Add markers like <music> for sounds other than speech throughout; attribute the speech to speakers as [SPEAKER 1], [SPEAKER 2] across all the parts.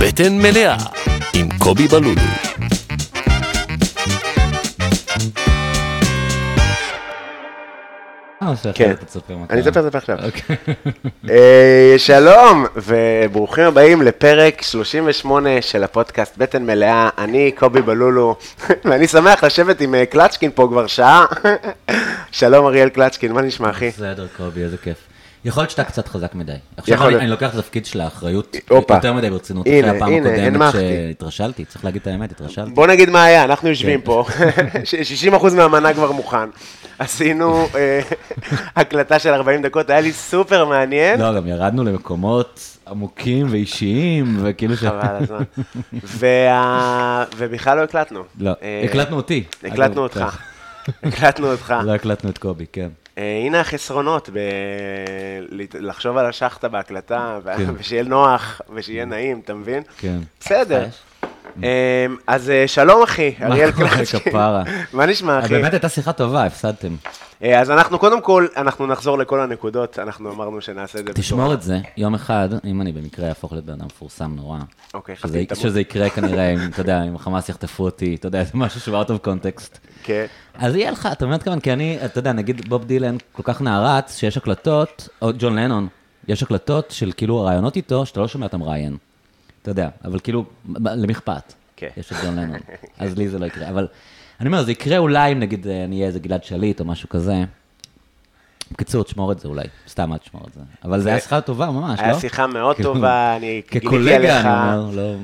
[SPEAKER 1] בטן מלאה עם קובי בלולו.
[SPEAKER 2] אה, שאחרת
[SPEAKER 3] כן.
[SPEAKER 2] אתה תספר מתי.
[SPEAKER 3] אני אספר את זה עכשיו.
[SPEAKER 2] אוקיי.
[SPEAKER 3] אה, שלום, וברוכים הבאים לפרק 38 של הפודקאסט בטן מלאה. אני קובי בלולו, <laughs> ואני שמח לשבת עם אה, קלצ'קין פה כבר שעה. <laughs> שלום, אריאל קלצ'קין, מה נשמע, אחי?
[SPEAKER 2] בסדר, קובי, איזה כיף. יכול להיות שאתה קצת חזק מדי. עכשיו
[SPEAKER 3] יכול
[SPEAKER 2] אני,
[SPEAKER 3] להיות.
[SPEAKER 2] אני לוקח את התפקיד של האחריות
[SPEAKER 3] הופה.
[SPEAKER 2] יותר מדי ברצינות.
[SPEAKER 3] הנה,
[SPEAKER 2] אחרי הפעם
[SPEAKER 3] הנה,
[SPEAKER 2] הקודמת
[SPEAKER 3] הנמכתי.
[SPEAKER 2] שהתרשלתי, צריך להגיד את האמת, התרשלתי.
[SPEAKER 3] בוא נגיד מה היה, אנחנו יושבים
[SPEAKER 2] כן. <laughs>
[SPEAKER 3] פה, ש- 60% מהמנה כבר מוכן. עשינו אה, <laughs> הקלטה של 40 דקות, היה לי סופר מעניין.
[SPEAKER 2] לא, גם ירדנו למקומות עמוקים ואישיים, וכאילו ש...
[SPEAKER 3] חבל על הזמן. וה- ובכלל לא הקלטנו.
[SPEAKER 2] לא,
[SPEAKER 3] אה,
[SPEAKER 2] הקלטנו אותי. אגב,
[SPEAKER 3] הקלטנו אותך.
[SPEAKER 2] ככה.
[SPEAKER 3] הקלטנו
[SPEAKER 2] <laughs>
[SPEAKER 3] אותך.
[SPEAKER 2] לא הקלטנו את קובי, כן.
[SPEAKER 3] אה, הנה החסרונות, ב... לת- לחשוב על השחטה בהקלטה, ו-
[SPEAKER 2] כן.
[SPEAKER 3] <laughs> ושיהיה נוח, ושיהיה נעים, אתה מבין?
[SPEAKER 2] כן.
[SPEAKER 3] בסדר.
[SPEAKER 2] יש?
[SPEAKER 3] אה, אז אה, שלום אחי,
[SPEAKER 2] מה
[SPEAKER 3] אריאל
[SPEAKER 2] קורה,
[SPEAKER 3] קלצ'קין.
[SPEAKER 2] כפרה?
[SPEAKER 3] <laughs>
[SPEAKER 2] אה,
[SPEAKER 3] מה נשמע אחי?
[SPEAKER 2] באמת הייתה שיחה טובה, הפסדתם.
[SPEAKER 3] אה, אז אנחנו קודם כל, אנחנו נחזור לכל הנקודות, אנחנו אמרנו שנעשה את זה.
[SPEAKER 2] תשמור את זה, יום אחד, אם אני במקרה אהפוך להיות בן אדם מפורסם נורא,
[SPEAKER 3] אוקיי,
[SPEAKER 2] שזה-
[SPEAKER 3] חכי, תמות.
[SPEAKER 2] שזה יקרה כנראה, אם, אתה יודע, אם החמאס יחטפו אותי, אתה יודע, זה משהו שהוא out of context.
[SPEAKER 3] כן.
[SPEAKER 2] אז יהיה לך, אתה מבין מה אני מתכוון? כי אני, אתה יודע, נגיד בוב דילן כל כך נערץ, שיש הקלטות, או ג'ון לנון, יש הקלטות של כאילו הרעיונות איתו, שאתה לא שומע את המראיין. אתה יודע, אבל כאילו, ב- למי אכפת?
[SPEAKER 3] כן.
[SPEAKER 2] יש את ג'ון לנון, אז לי זה לא יקרה. אבל אני אומר, זה יקרה אולי אם נגיד אה, אני אהיה איזה גלעד שליט או משהו כזה. בקיצור, תשמור את זה אולי, סתם אל תשמור את זה. אבל זה היה שיחה טובה ממש, לא?
[SPEAKER 3] אה, היה שיחה מאוד
[SPEAKER 2] כאילו,
[SPEAKER 3] טובה, אני גיליתי
[SPEAKER 2] כקולגה,
[SPEAKER 3] עליך,
[SPEAKER 2] אני אומר, לא...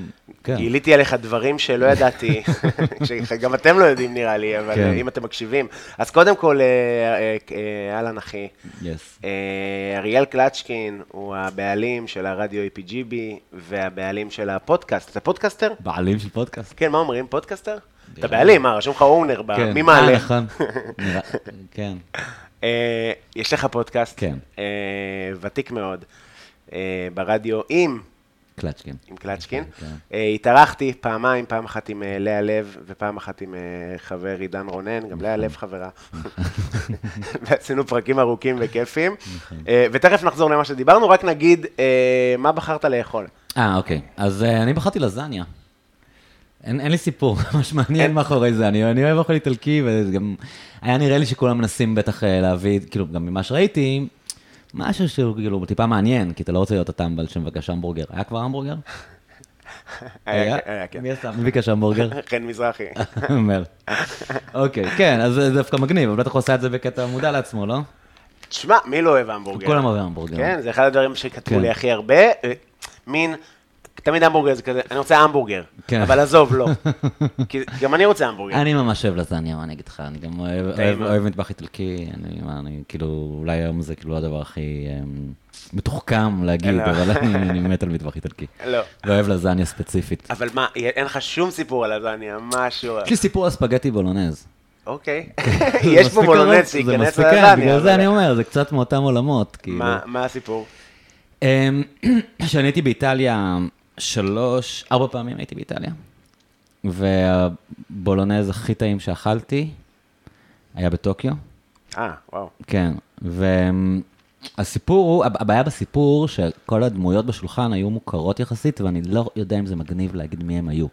[SPEAKER 2] כן.
[SPEAKER 3] גיליתי עליך דברים שלא ידעתי, <laughs> שגם אתם לא יודעים נראה לי, אבל
[SPEAKER 2] כן.
[SPEAKER 3] אה, אם אתם מקשיבים. אז קודם כל, אה, אה, אה, אהלן אחי,
[SPEAKER 2] Yes.
[SPEAKER 3] אה, אריאל קלצ'קין הוא הבעלים של הרדיו APGB והבעלים של הפודקאסט. אתה פודקאסטר?
[SPEAKER 2] בעלים של פודקאסט.
[SPEAKER 3] כן, מה אומרים? פודקאסטר? אתה בעלים, מה? רשום לך אונר,
[SPEAKER 2] כן.
[SPEAKER 3] מי מעלה?
[SPEAKER 2] אה, נכון.
[SPEAKER 3] <laughs>
[SPEAKER 2] נראה- כן.
[SPEAKER 3] אה, יש לך פודקאסט?
[SPEAKER 2] כן.
[SPEAKER 3] אה, ותיק מאוד. אה, ברדיו עם,
[SPEAKER 2] קלצ'קין.
[SPEAKER 3] עם קלצ'קין.
[SPEAKER 2] כן.
[SPEAKER 3] אה, התארחתי פעמיים, פעם אחת עם אה, לאה לב ופעם אחת עם אה, חבר עידן רונן, גם לאה לב
[SPEAKER 2] נכון. <laughs>
[SPEAKER 3] חברה. <laughs> ועשינו פרקים ארוכים וכיפים.
[SPEAKER 2] נכון.
[SPEAKER 3] אה, ותכף נחזור למה שדיברנו, רק נגיד, אה, מה בחרת לאכול?
[SPEAKER 2] אה, אוקיי. אז אה, אני בחרתי לזניה. אין, אין לי סיפור <laughs> ממש מעניין
[SPEAKER 3] אין-
[SPEAKER 2] מאחורי זה, אני, אני אוהב אוכל איטלקי, וגם היה נראה לי שכולם מנסים בטח אה, להביא, כאילו, גם ממה שראיתי, משהו שהוא כאילו טיפה מעניין, כי אתה לא רוצה להיות הטמבל שמבקש המבורגר. היה כבר המבורגר?
[SPEAKER 3] היה, כן.
[SPEAKER 2] מי עשה? מי ביקש
[SPEAKER 3] <laughs>
[SPEAKER 2] המבורגר? <laughs>
[SPEAKER 3] חן מזרחי.
[SPEAKER 2] אומר. אוקיי, כן, אז זה דווקא מגניב, אבל בטח הוא עשה את זה בקטע מודע לעצמו, לא?
[SPEAKER 3] תשמע, מי לא אוהב המבורגר?
[SPEAKER 2] כולם אוהבים המבורגר.
[SPEAKER 3] כן, זה אחד הדברים שכתבו
[SPEAKER 2] כן.
[SPEAKER 3] לי הכי הרבה. אה, מין, תמיד המבורגר זה כזה, אני רוצה המבורגר.
[SPEAKER 2] כן.
[SPEAKER 3] אבל עזוב,
[SPEAKER 2] <laughs>
[SPEAKER 3] לא. כי גם אני רוצה המבורגר.
[SPEAKER 2] אני ממש אוהב לזניה, מה אני אגיד לך? אני גם אוהב- אוהב-
[SPEAKER 3] מאוד.
[SPEAKER 2] אוהב מטבח איטלקי, אני מה, אני כאילו, אולי היום זה כאילו לא הדבר הכי אמ, מתוחכם להגיד,
[SPEAKER 3] לא.
[SPEAKER 2] אבל
[SPEAKER 3] <laughs>
[SPEAKER 2] אני אני מת על מטבח איטלקי.
[SPEAKER 3] לא.
[SPEAKER 2] ואוהב לזניה ספציפית.
[SPEAKER 3] אבל מה, אין לך שום סיפור על לזניה, משהו.
[SPEAKER 2] יש לי סיפור על ספגטי בולונז. <laughs>
[SPEAKER 3] אוקיי.
[SPEAKER 2] זה
[SPEAKER 3] <laughs> יש פה
[SPEAKER 2] מספיק
[SPEAKER 3] בולונד
[SPEAKER 2] ארוך, זה
[SPEAKER 3] שייכנס
[SPEAKER 2] מספיק, כן,
[SPEAKER 3] ללזניה.
[SPEAKER 2] בגלל
[SPEAKER 3] אבל-
[SPEAKER 2] זה אני אומר, זה קצת מאותם עולמות, כאילו.
[SPEAKER 3] מה- מה הסיפור?
[SPEAKER 2] אמ, <clears throat> כשאני הייתי באיטליה שלוש, ארבע פעמים הייתי באיטליה, והבולונז הכי טעים שאכלתי היה בטוקיו,
[SPEAKER 3] אה, וואו.
[SPEAKER 2] כן, והסיפור הוא, הב- הבעיה בסיפור שכל הדמויות בשולחן היו מוכרות יחסית, ואני לא יודע אם זה מגניב להגיד מי הם היו,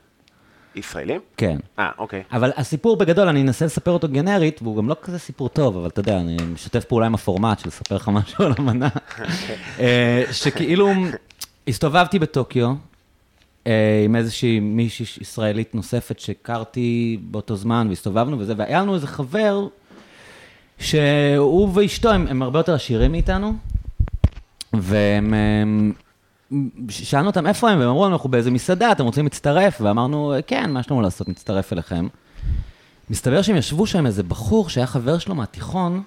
[SPEAKER 3] ישראלים?
[SPEAKER 2] כן.
[SPEAKER 3] אה, אוקיי.
[SPEAKER 2] אבל הסיפור בגדול, אני אנסה לספר אותו גנרית, והוא גם לא כזה סיפור טוב, אבל אתה יודע, אני משתף פעולה עם הפורמט של לספר לך משהו על אמנה. אה, שכאילו, הסתובבתי בטוקיו אה, עם איזושהי מישהי ש- ישראלית נוספת שהכרתי באותו זמן, והסתובבנו וזה, והיה לנו איזה חבר, שהוא ואשתו, הם, הם הרבה יותר עשירים מאיתנו, והם... הם, ש- שאלנו אותם איפה הם, והם אמרו לנו, אנחנו באיזה מסעדה, אתם רוצים להצטרף? ואמרנו, כן, מה יש לנו לעשות, נצטרף אליכם. מסתבר שהם ישבו שם איזה בחור שהיה חבר שלו מהתיכון,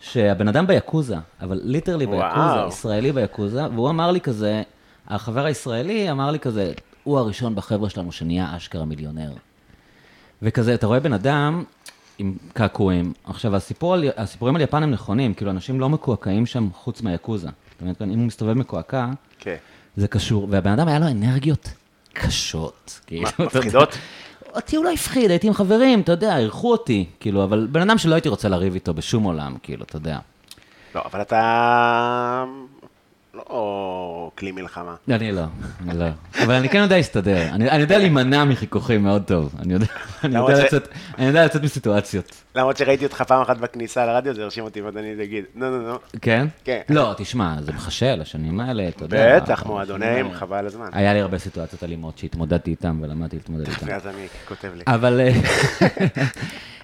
[SPEAKER 2] שהבן אדם ביקוזה, אבל ליטרלי
[SPEAKER 3] וואו.
[SPEAKER 2] ביקוזה, ישראלי ביקוזה, והוא אמר לי כזה, החבר הישראלי אמר לי כזה, הוא הראשון בחבר'ה שלנו שנהיה אשכרה מיליונר. וכזה, אתה רואה בן אדם עם קעקועים. עכשיו, הסיפור על, הסיפורים על יפן הם נכונים, כאילו, אנשים לא מקועקעים שם חוץ מהיקוזה. זאת אומרת, אם הוא מסתובב מקועקע, <laughs>
[SPEAKER 3] כן.
[SPEAKER 2] זה קשור, והבן אדם היה לו אנרגיות קשות. כאילו, אתה יודע.
[SPEAKER 3] מפחידות?
[SPEAKER 2] אותי הוא לא הפחיד, הייתי עם חברים, אתה יודע, אירחו אותי, כאילו, אבל בן אדם שלא הייתי רוצה לריב איתו בשום עולם, כאילו, אתה יודע.
[SPEAKER 3] לא, אבל אתה... לא כלי מלחמה.
[SPEAKER 2] אני לא, אני לא. אבל אני כן יודע להסתדר. אני אני יודע להימנע מחיכוכים מאוד טוב. אני יודע- אני
[SPEAKER 3] למרות
[SPEAKER 2] יודע
[SPEAKER 3] ש-
[SPEAKER 2] לצאת- אני יודע לצאת מסיטואציות.
[SPEAKER 3] למרות שראיתי אותך פעם אחת בכניסה לרדיו, זה הרשים אותי ועוד אני אגיד, נו, נו, נו.
[SPEAKER 2] כן?
[SPEAKER 3] כן.
[SPEAKER 2] לא, תשמע, זה מחשל, השנים האלה, אתה יודע.
[SPEAKER 3] בטח,
[SPEAKER 2] השנים
[SPEAKER 3] מועדונים,
[SPEAKER 2] האלה.
[SPEAKER 3] חבל הזמן.
[SPEAKER 2] היה לי הרבה סיטואציות אלימות שהתמודדתי איתן ולמדתי להתמודד איתן.
[SPEAKER 3] ואז אני כותב לי.
[SPEAKER 2] אבל... אה, <laughs>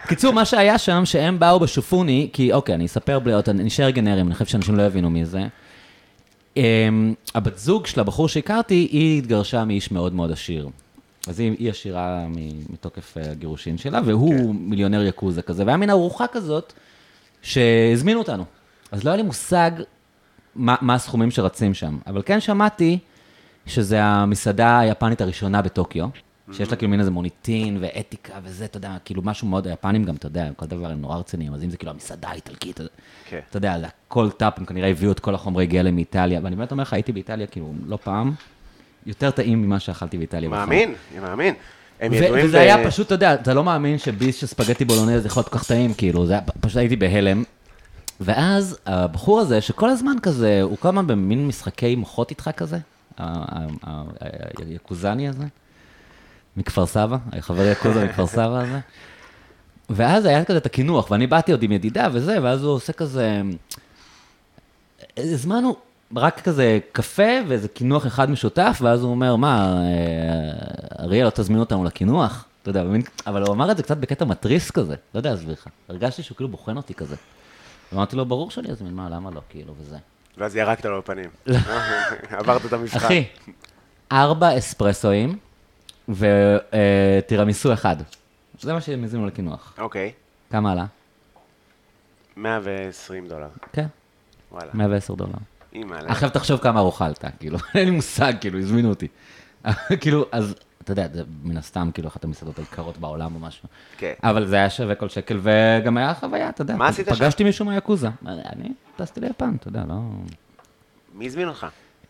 [SPEAKER 2] קיצור, מה שהיה שם, שהם באו בשופוני, כי אוקיי, אני אספר בלי עוד, אני נשאר גנרים, אני חושב שאנשים לא יבינו מי זה. אמ, הבת זוג של הבחור שהכרתי, היא התגרשה מאיש מאוד מאוד עשיר. אז היא, היא עשירה מ- מתוקף אה, הגירושין שלה, והוא מיליונר יקוזה כזה, והיה מין ארוחה כזאת שהזמינו אותנו. אז לא היה לי מושג מה, מה הסכומים שרצים שם, אבל כן שמעתי שזה המסעדה היפנית הראשונה בטוקיו, שיש לה כאילו מין איזה מוניטין ואתיקה וזה, אתה יודע, כאילו משהו מאוד, היפנים גם, אתה יודע, כל דבר הם נורא רציניים, אז אם זה כאילו המסעדה האיטלקית, אז-
[SPEAKER 3] כן.
[SPEAKER 2] אתה יודע, זה הכל טאפ, הם כנראה הביאו את כל החומרי גלם מאיטליה, ואני באמת אומר לך, הייתי באיטליה כאילו לא פעם, יותר טעים ממה שאכלתי באיטליה. בחיים.
[SPEAKER 3] מאמין, אני מאמין. הם
[SPEAKER 2] נכון. ו-
[SPEAKER 3] ידועים
[SPEAKER 2] וזה היה פשוט, אתה יודע, אתה לא מאמין שביס של ספגטי בולונז יכול להיות כל כך טעים, כאילו, זה היה, פשוט הייתי בהלם. ואז הבחור הזה, שכל הזמן כזה, הוא כל הזמן במין משחקי מוחות איתך כזה, ה- ה- ה- ה- היקוזני הזה, מכפר סבא, החבר יקוזה מכפר סבא הזה. ואז היה כזה את הקינוח, ואני באתי עוד עם ידידה וזה, ואז הוא עושה כזה... הזמנו רק כזה קפה ואיזה קינוח אחד משותף, ואז הוא אומר, מה, אה, אריאל, לא תזמין אותנו לקינוח? אתה יודע, במין, אבל הוא אמר את זה קצת בקטע מתריס כזה, לא יודע להסביר לך. הרגשתי שהוא כאילו בוחן אותי כזה. אמרתי לו, ברור שאני אזמין, מה, למה לא, כאילו, וזה.
[SPEAKER 3] ואז ירקת לו בפנים. <laughs> עברת את המבחן.
[SPEAKER 2] לא. אחי, ארבע אספרסואים וטירמיסו אחד. זה מה שהם הזמינו לקינוח.
[SPEAKER 3] אוקיי,
[SPEAKER 2] כמה עלה?
[SPEAKER 3] 120 דולר.
[SPEAKER 2] כן,
[SPEAKER 3] וואלה.
[SPEAKER 2] 110 דולר.
[SPEAKER 3] אימא'לה.
[SPEAKER 2] עכשיו תחשוב כמה ארוחה עלתה, כאילו, <laughs> אין לי מושג, כאילו, הזמינו אותי. <laughs> כאילו, אז, אתה יודע, זה מן הסתם, כאילו, אחת המסעדות היקרות בעולם או משהו.
[SPEAKER 3] כן.
[SPEAKER 2] אבל זה היה שווה כל שקל, וגם היה חוויה, אתה יודע.
[SPEAKER 3] מה עשית שם?
[SPEAKER 2] פגשתי מישהו מהיאקוזה. אני טסתי ליפן, אתה יודע, לא...
[SPEAKER 3] מי הזמין אותך?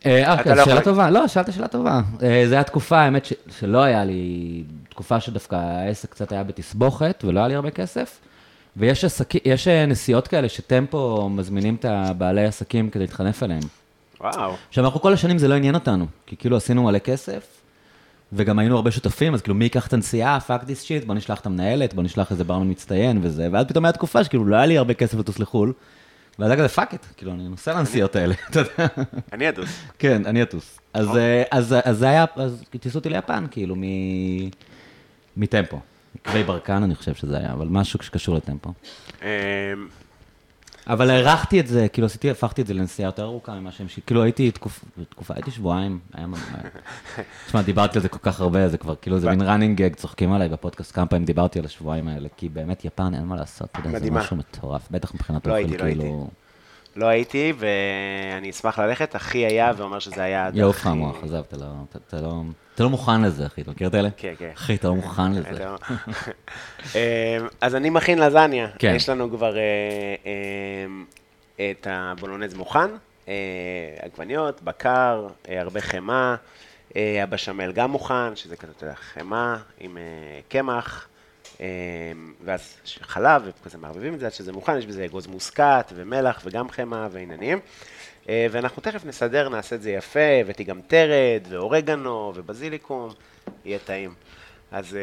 [SPEAKER 2] אה,
[SPEAKER 3] אתה
[SPEAKER 2] אוקיי,
[SPEAKER 3] לא
[SPEAKER 2] שאלה
[SPEAKER 3] יכול-
[SPEAKER 2] טובה. לא, שאלת שאלה טובה. אה, זו הייתה תקופה, האמת, ש- שלא היה לי... תקופה שדווקא העסק קצת היה בתסבוכת, ולא היה לי הרבה כסף. ויש עסקי- יש אה, נסיעות כאלה שטמפו מזמינים את הבעלי עסקים כדי להתחנף אליהם.
[SPEAKER 3] וואו.
[SPEAKER 2] עכשיו, אנחנו כל השנים זה לא עניין אותנו, כי כאילו עשינו מלא כסף, וגם היינו הרבה שותפים, אז כאילו מי ייקח את הנסיעה, fuck this shit, בוא נשלח את המנהלת, בוא נשלח איזה ברמן מצטיין וזה, ואז פתאום הייתה תקופה שכאילו לא היה לי הרבה כסף לטוס לחו"ל, ואז היה כזה fuck it, כאילו אני נוסע לנסיעות האלה, <laughs> אתה יודע,
[SPEAKER 3] אני אדוס.
[SPEAKER 2] כן, אני אטוס. אז אה, אז- אז זה היה, אז טיסו אותי ליפן, כאילו, מ... מטמפו. מקרי ברקן, אני חושב שזה היה, אבל משהו שקשור לטמפו.
[SPEAKER 3] אמ,
[SPEAKER 2] אבל הארכתי את זה, כאילו עשיתי, הפכתי את זה לנסיעה יותר ארוכה ממה שהם, ש- כאילו הייתי תקופ- תקופה, הייתי שבועיים, היה מ...
[SPEAKER 3] <laughs>
[SPEAKER 2] תשמע, דיברתי על זה כל כך הרבה, זה כבר כאילו, זה מין running gag, צוחקים עליי בפודקאסט כמה פעמים דיברתי על השבועיים האלה, כי באמת יפן, אין מה לעשות, אתה יודע, זה
[SPEAKER 3] מדהימה.
[SPEAKER 2] משהו מטורף, בטח מבחינת
[SPEAKER 3] לא
[SPEAKER 2] אוכל,
[SPEAKER 3] הייתי, לא
[SPEAKER 2] כאילו,
[SPEAKER 3] הייתי. לא הייתי, ואני אשמח ללכת. אחי היה ואומר שזה היה... עד
[SPEAKER 2] יעוף לך
[SPEAKER 3] הכי-
[SPEAKER 2] המוח, עזוב, אתה לא- אתה- אתה לא, אתה לא מוכן לזה, אחי, אתה מכיר את אלה?
[SPEAKER 3] כן, כן.
[SPEAKER 2] אחי, אתה לא מוכן לזה.
[SPEAKER 3] אתה- אמ, אז אני מכין לזניה.
[SPEAKER 2] כן.
[SPEAKER 3] יש לנו כבר אה, אמ, את הבולונז מוכן, אה, עגבניות, בקר, אה, הרבה חמאה, אה, הבשמל גם מוכן, שזה כזה, אתה יודע, חמאה עם אה, קמח. אמ, ואז ש- חלב, וכזה מערבבים את זה עד שזה מוכן, יש בזה אגוז מוסקת ומלח וגם חמאה ועניינים. אה, ואנחנו תכף נסדר, נעשה את זה יפה, הבאתי גם טרד ואורגנו ובזיליקום, יהיה טעים. אז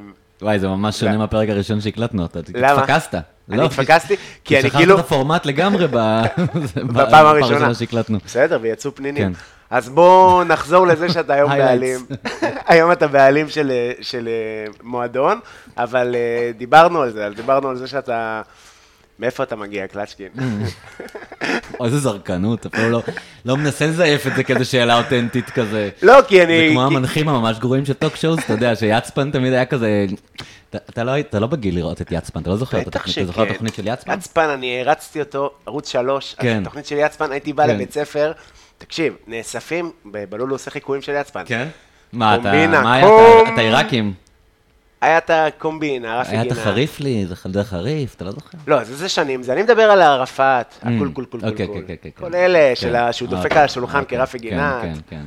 [SPEAKER 3] אמ,
[SPEAKER 2] וואי, זה ממש שונה מהפרק הראשון שהקלטנו, אתה
[SPEAKER 3] למה?
[SPEAKER 2] התפקסת.
[SPEAKER 3] אני
[SPEAKER 2] לא,
[SPEAKER 3] התפקסתי, כי אני כאילו-
[SPEAKER 2] שכחת את הפורמט לגמרי ב-
[SPEAKER 3] <laughs> בפעם הראשונה.
[SPEAKER 2] שהקלטנו.
[SPEAKER 3] בסדר, ויצאו פנינים.
[SPEAKER 2] כן.
[SPEAKER 3] אז בואו נחזור לזה שאתה
[SPEAKER 2] <laughs>
[SPEAKER 3] היום
[SPEAKER 2] Highlights.
[SPEAKER 3] בעלים. <laughs> היום אתה בעלים של, אה, של אה, מועדון, אבל אה, דיברנו על זה, אז דיברנו על זה שאתה... מאיפה אתה מגיע,
[SPEAKER 2] <laughs>
[SPEAKER 3] קלצ'קין?
[SPEAKER 2] או איזה זרקנות, אפילו לא, לא מנסה לזייף את זה כאיזו שאלה אותנטית כזה.
[SPEAKER 3] לא, כי אני...
[SPEAKER 2] זה כמו
[SPEAKER 3] כי-
[SPEAKER 2] המנחים הממש גרועים של טוק שואוז, אתה יודע, שיצפן תמיד היה כזה... אתה, אתה, לא, היית- אתה לא בגיל לראות את יצפן, אתה לא זוכר את
[SPEAKER 3] בטח
[SPEAKER 2] התוכנית,
[SPEAKER 3] שכן.
[SPEAKER 2] אתה זוכר את התוכנית של יצפן?
[SPEAKER 3] יצפן, אני הרצתי אותו, ערוץ 3, אז
[SPEAKER 2] כן.
[SPEAKER 3] התוכנית של יצפן, הייתי בא
[SPEAKER 2] כן.
[SPEAKER 3] לבית ספר, תקשיב, נאספים, ב- בלולו עושה חיקויים של יצפן.
[SPEAKER 2] כן? מה, אתה,
[SPEAKER 3] קומבינה,
[SPEAKER 2] מה היה,
[SPEAKER 3] קום.
[SPEAKER 2] אתה, אתה עיראקים?
[SPEAKER 3] היה את הקומבינה, רפי
[SPEAKER 2] היה
[SPEAKER 3] גינה.
[SPEAKER 2] אתה חריף לי, זה חדר חריף, אתה לא זוכר?
[SPEAKER 3] לא, זה זה שנים, זה אני מדבר על הערפאת,
[SPEAKER 2] Mm.
[SPEAKER 3] הקול קול קול קול
[SPEAKER 2] אוקיי,
[SPEAKER 3] קול.
[SPEAKER 2] כן, כן, כן.
[SPEAKER 3] כל אלה
[SPEAKER 2] כן.
[SPEAKER 3] של ה- שהוא דופק
[SPEAKER 2] אוקיי,
[SPEAKER 3] על השולחן
[SPEAKER 2] אוקיי.
[SPEAKER 3] כרפי
[SPEAKER 2] כן,
[SPEAKER 3] גינת.
[SPEAKER 2] כן, לא. כן.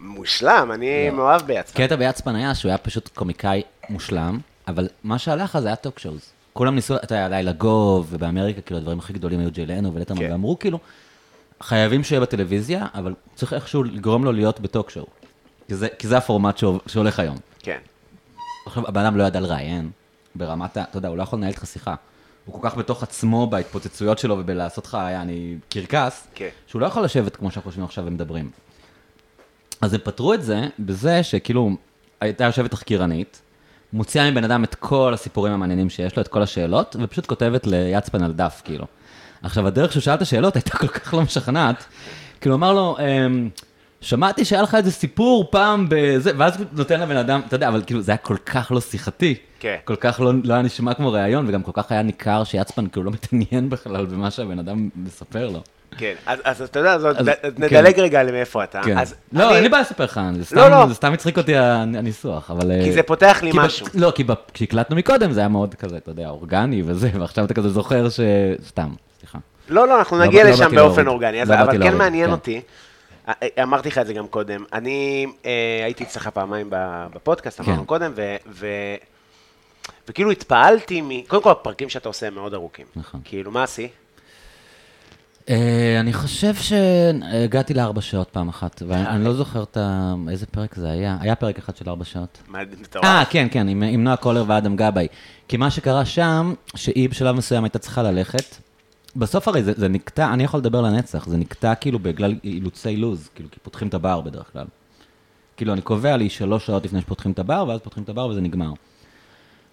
[SPEAKER 3] מושלם, אני מאוהב בעצמם.
[SPEAKER 2] קטע ביצפן היה שהוא היה פשוט קומיקאי מושלם, אבל מה שהלך אז היה טוק שואוז. כולם ניסו, אתה יודע, לילה גוב, ובאמריקה, כאילו, הדברים הכי גדולים היו ג'יי לנו ולטרמן,
[SPEAKER 3] כן.
[SPEAKER 2] ואמרו כאילו, חייבים שיהיה בטלוויזיה, אבל צריך איכשהו לגרום לו להיות בטוק שואו. כי זה- כי זה הפורמט שהוב- שהולך היום.
[SPEAKER 3] כן.
[SPEAKER 2] עכשיו, הבן אדם לא ידע לראיין ברמת ה... אתה יודע, הוא לא יכול לנהל איתך שיחה. הוא כל כך בתוך עצמו בהתפוצצויות שלו ובלעשות לך, אני קרקס,
[SPEAKER 3] כן.
[SPEAKER 2] שהוא לא יכול לשבת כמו שאנחנו יושבים עכשיו ומדברים. אז הם פתרו את זה בזה שכאילו, הייתה יושבת תחקירנית, מוציאה מבן אדם את כל הסיפורים המעניינים שיש לו, את כל השאלות, ופשוט כותבת ליצפן על דף, כאילו. עכשיו, הדרך שהוא שאל את השאלות הייתה כל כך לא משכנעת, כאילו, אמר לו, "אמ, שמעתי שהיה לך איזה סיפור פעם בזה, ואז הוא נותן לבן אדם, אתה יודע, אבל כאילו, זה היה כל כך לא שיחתי.
[SPEAKER 3] כן.
[SPEAKER 2] כל כך לא, לא היה נשמע כמו ראיון, וגם כל כך היה ניכר שיצפן כאילו לא מתעניין בכלל במה שהבן אדם מספר לו.
[SPEAKER 3] כן, אז, אז אתה יודע, אז, עוד
[SPEAKER 2] אז-
[SPEAKER 3] נ-
[SPEAKER 2] כן.
[SPEAKER 3] נדלג רגע למאיפה אתה.
[SPEAKER 2] כן.
[SPEAKER 3] אז
[SPEAKER 2] לא,
[SPEAKER 3] אני-
[SPEAKER 2] אין לי בעיה לספר לך, זה סתם-
[SPEAKER 3] לא, לא.
[SPEAKER 2] זה סתם הצחיק אותי הנ- הניסוח, אבל...
[SPEAKER 3] כי
[SPEAKER 2] אה,
[SPEAKER 3] זה פותח לי
[SPEAKER 2] כי ב-
[SPEAKER 3] משהו.
[SPEAKER 2] לא, כי ב- כשהקלטנו מקודם זה היה מאוד כזה, אתה יודע, אורגני וזה, <laughs> ועכשיו אתה כזה זוכר ש... סתם, סליחה.
[SPEAKER 3] לא, לא, אנחנו
[SPEAKER 2] לא
[SPEAKER 3] נגיע
[SPEAKER 2] בא- לא
[SPEAKER 3] לשם
[SPEAKER 2] באתי
[SPEAKER 3] באופן
[SPEAKER 2] להוריד.
[SPEAKER 3] אורגני, אז-
[SPEAKER 2] לא באתי
[SPEAKER 3] אבל כן
[SPEAKER 2] להוריד,
[SPEAKER 3] מעניין
[SPEAKER 2] כן.
[SPEAKER 3] אותי. א- א- אמרתי לך את זה גם קודם, אני אה, הייתי אצלך פעמיים ב- בפודקאסט, אמרנו
[SPEAKER 2] כן.
[SPEAKER 3] קודם, ו- ו- וכאילו התפעלתי מ... קודם כל, הפרקים שאתה עושה הם מאוד ארוכים.
[SPEAKER 2] נכון.
[SPEAKER 3] כאילו, מה עשי?
[SPEAKER 2] אה, אני חושב שהגעתי לארבע שעות פעם אחת, ואני לא זוכר את ה... איזה פרק זה היה. היה פרק אחד של ארבע שעות.
[SPEAKER 3] מה, מטורף.
[SPEAKER 2] אה, כן, כן, עם, עם נועה קולר ואדם גבאי. כי מה שקרה שם, שהיא בשלב מסוים הייתה צריכה ללכת. בסוף הרי זה, זה נקטע, אני יכול לדבר לנצח, זה נקטע כאילו בגלל אילוצי לוז, כאילו, כי פותחים את הבר בדרך כלל. כאילו, אני קובע לי שלוש שעות לפני שפותחים את הבר, ואז פותחים את הבר וזה נגמר.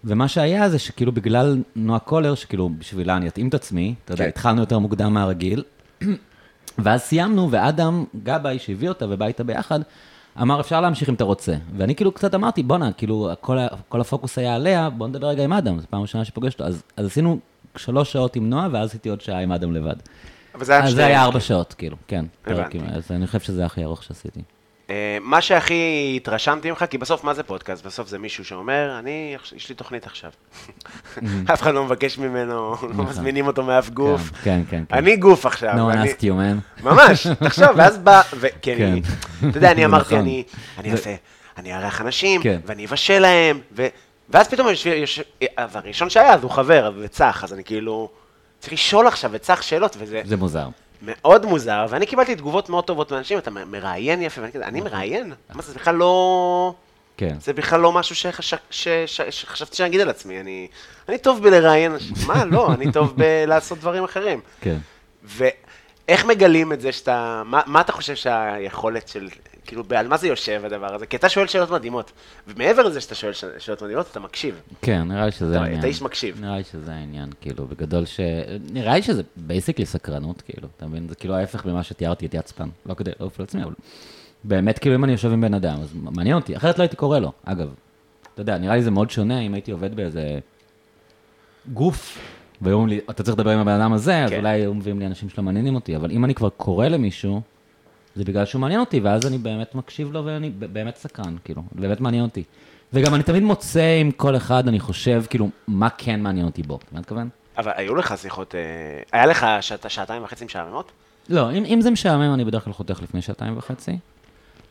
[SPEAKER 2] ומה שהיה זה שכאילו בגלל נועה קולר, שכאילו בשבילה אני אתאים את עצמי, אתה יודע,
[SPEAKER 3] כן.
[SPEAKER 2] התחלנו יותר מוקדם מהרגיל, ואז סיימנו, ואדם גבאי, שהביא אותה ובא איתה ביחד, אמר, אפשר להמשיך אם אתה רוצה. ואני כאילו קצת אמרתי, בואנה, כאילו, כל, ה- כל הפוקוס היה עליה, בוא נדבר רגע עם אדם, זו פעם ראשונה שפוגש אותו. אז, אז עשינו שלוש שעות עם נועה, ואז הייתי עוד שעה עם אדם לבד.
[SPEAKER 3] אבל זה היה
[SPEAKER 2] אז אה, זה
[SPEAKER 3] שניהם.
[SPEAKER 2] היה ארבע שעות, כאילו, כן.
[SPEAKER 3] הבנתי.
[SPEAKER 2] פרקים. אז אני חושב שזה הכי ארוך שעשיתי.
[SPEAKER 3] אה, מה שהכי התרשמתי ממך, כי בסוף מה זה פודקאסט? בסוף זה מישהו שאומר, אני, יש לי
[SPEAKER 2] <laughs>
[SPEAKER 3] תוכנית עכשיו. אף אחד לא מבקש ממנו, לא מזמינים אותו מאף גוף.
[SPEAKER 2] נכון. כן, כן, כן.
[SPEAKER 3] אני גוף עכשיו.
[SPEAKER 2] No one
[SPEAKER 3] אני-
[SPEAKER 2] asked you, man.
[SPEAKER 3] ממש,
[SPEAKER 2] <laughs>
[SPEAKER 3] תחשוב, ואז בא, ו- כי אני, אתה יודע, אני
[SPEAKER 2] זה
[SPEAKER 3] אמרתי,
[SPEAKER 2] נכון.
[SPEAKER 3] אני אני אעשה, אני אארח אנשים,
[SPEAKER 2] כן.
[SPEAKER 3] ואני אבשל להם, ו- ואז פתאום, יש- יש- אבל הראשון שהיה, אז הוא חבר, אז זה צח, אז אני כאילו, צריך לשאול עכשיו את צח שאלות, וזה
[SPEAKER 2] זה מוזר.
[SPEAKER 3] מאוד מוזר, ואני קיבלתי תגובות מאוד טובות מאנשים, אתה מ- מראיין יפה, ואני כזה, אני מראיין? מה זה, זה בכלל לא...
[SPEAKER 2] כן.
[SPEAKER 3] זה בכלל לא משהו שחש- ש- ש- שחשבתי שאני אגיד על עצמי, אני אני טוב בלראיין, אנשים. מה, לא, אני טוב בלעשות דברים אחרים.
[SPEAKER 2] כן.
[SPEAKER 3] ואיך מגלים את זה שאתה, מה, מה אתה חושב שהיכולת של, כאילו, על מה זה יושב הדבר הזה? כי אתה שואל שאלות מדהימות. ומעבר לזה שאתה שואל ש- שאלות מדהימות, אתה מקשיב.
[SPEAKER 2] כן, נראה לי שזה
[SPEAKER 3] אתה-
[SPEAKER 2] העניין.
[SPEAKER 3] אתה איש מקשיב.
[SPEAKER 2] נראה לי שזה העניין, כאילו, בגדול ש... נראה לי שזה בייסיקלי סקרנות, כאילו, אתה מבין? זה כאילו ההפך ממה שתיארתי את יצפן. לא כדי לעוף על עצמי, אבל... באמת, כאילו, אם אני יושב עם בן אדם, אז מעניין אותי. אחרת לא הייתי קורא לו, אגב. אתה יודע, נראה לי זה מאוד שונה אם הייתי עובד באיזה גוף, והיו אומרים לי, אתה צריך לדבר עם הבן אדם הזה, אז
[SPEAKER 3] כן.
[SPEAKER 2] אולי היו מביאים לי אנשים שלא מעניינים אותי, אבל אם אני כבר קורא למישהו, זה בגלל שהוא מעניין אותי, ואז אני באמת מקשיב לו ואני ב- באמת סקרן, כאילו, באמת מעניין אותי. וגם אני תמיד מוצא עם כל אחד, אני חושב, כאילו, מה כן מעניין אותי בו, אתה מתכוון?
[SPEAKER 3] אבל היו לך שיחות, אה, היה לך שעת, שעתיים וחצי משעממות?
[SPEAKER 2] לא, אם, אם זה משעמם, אני בדרך כלל חותך לפני שעתיים וחצי.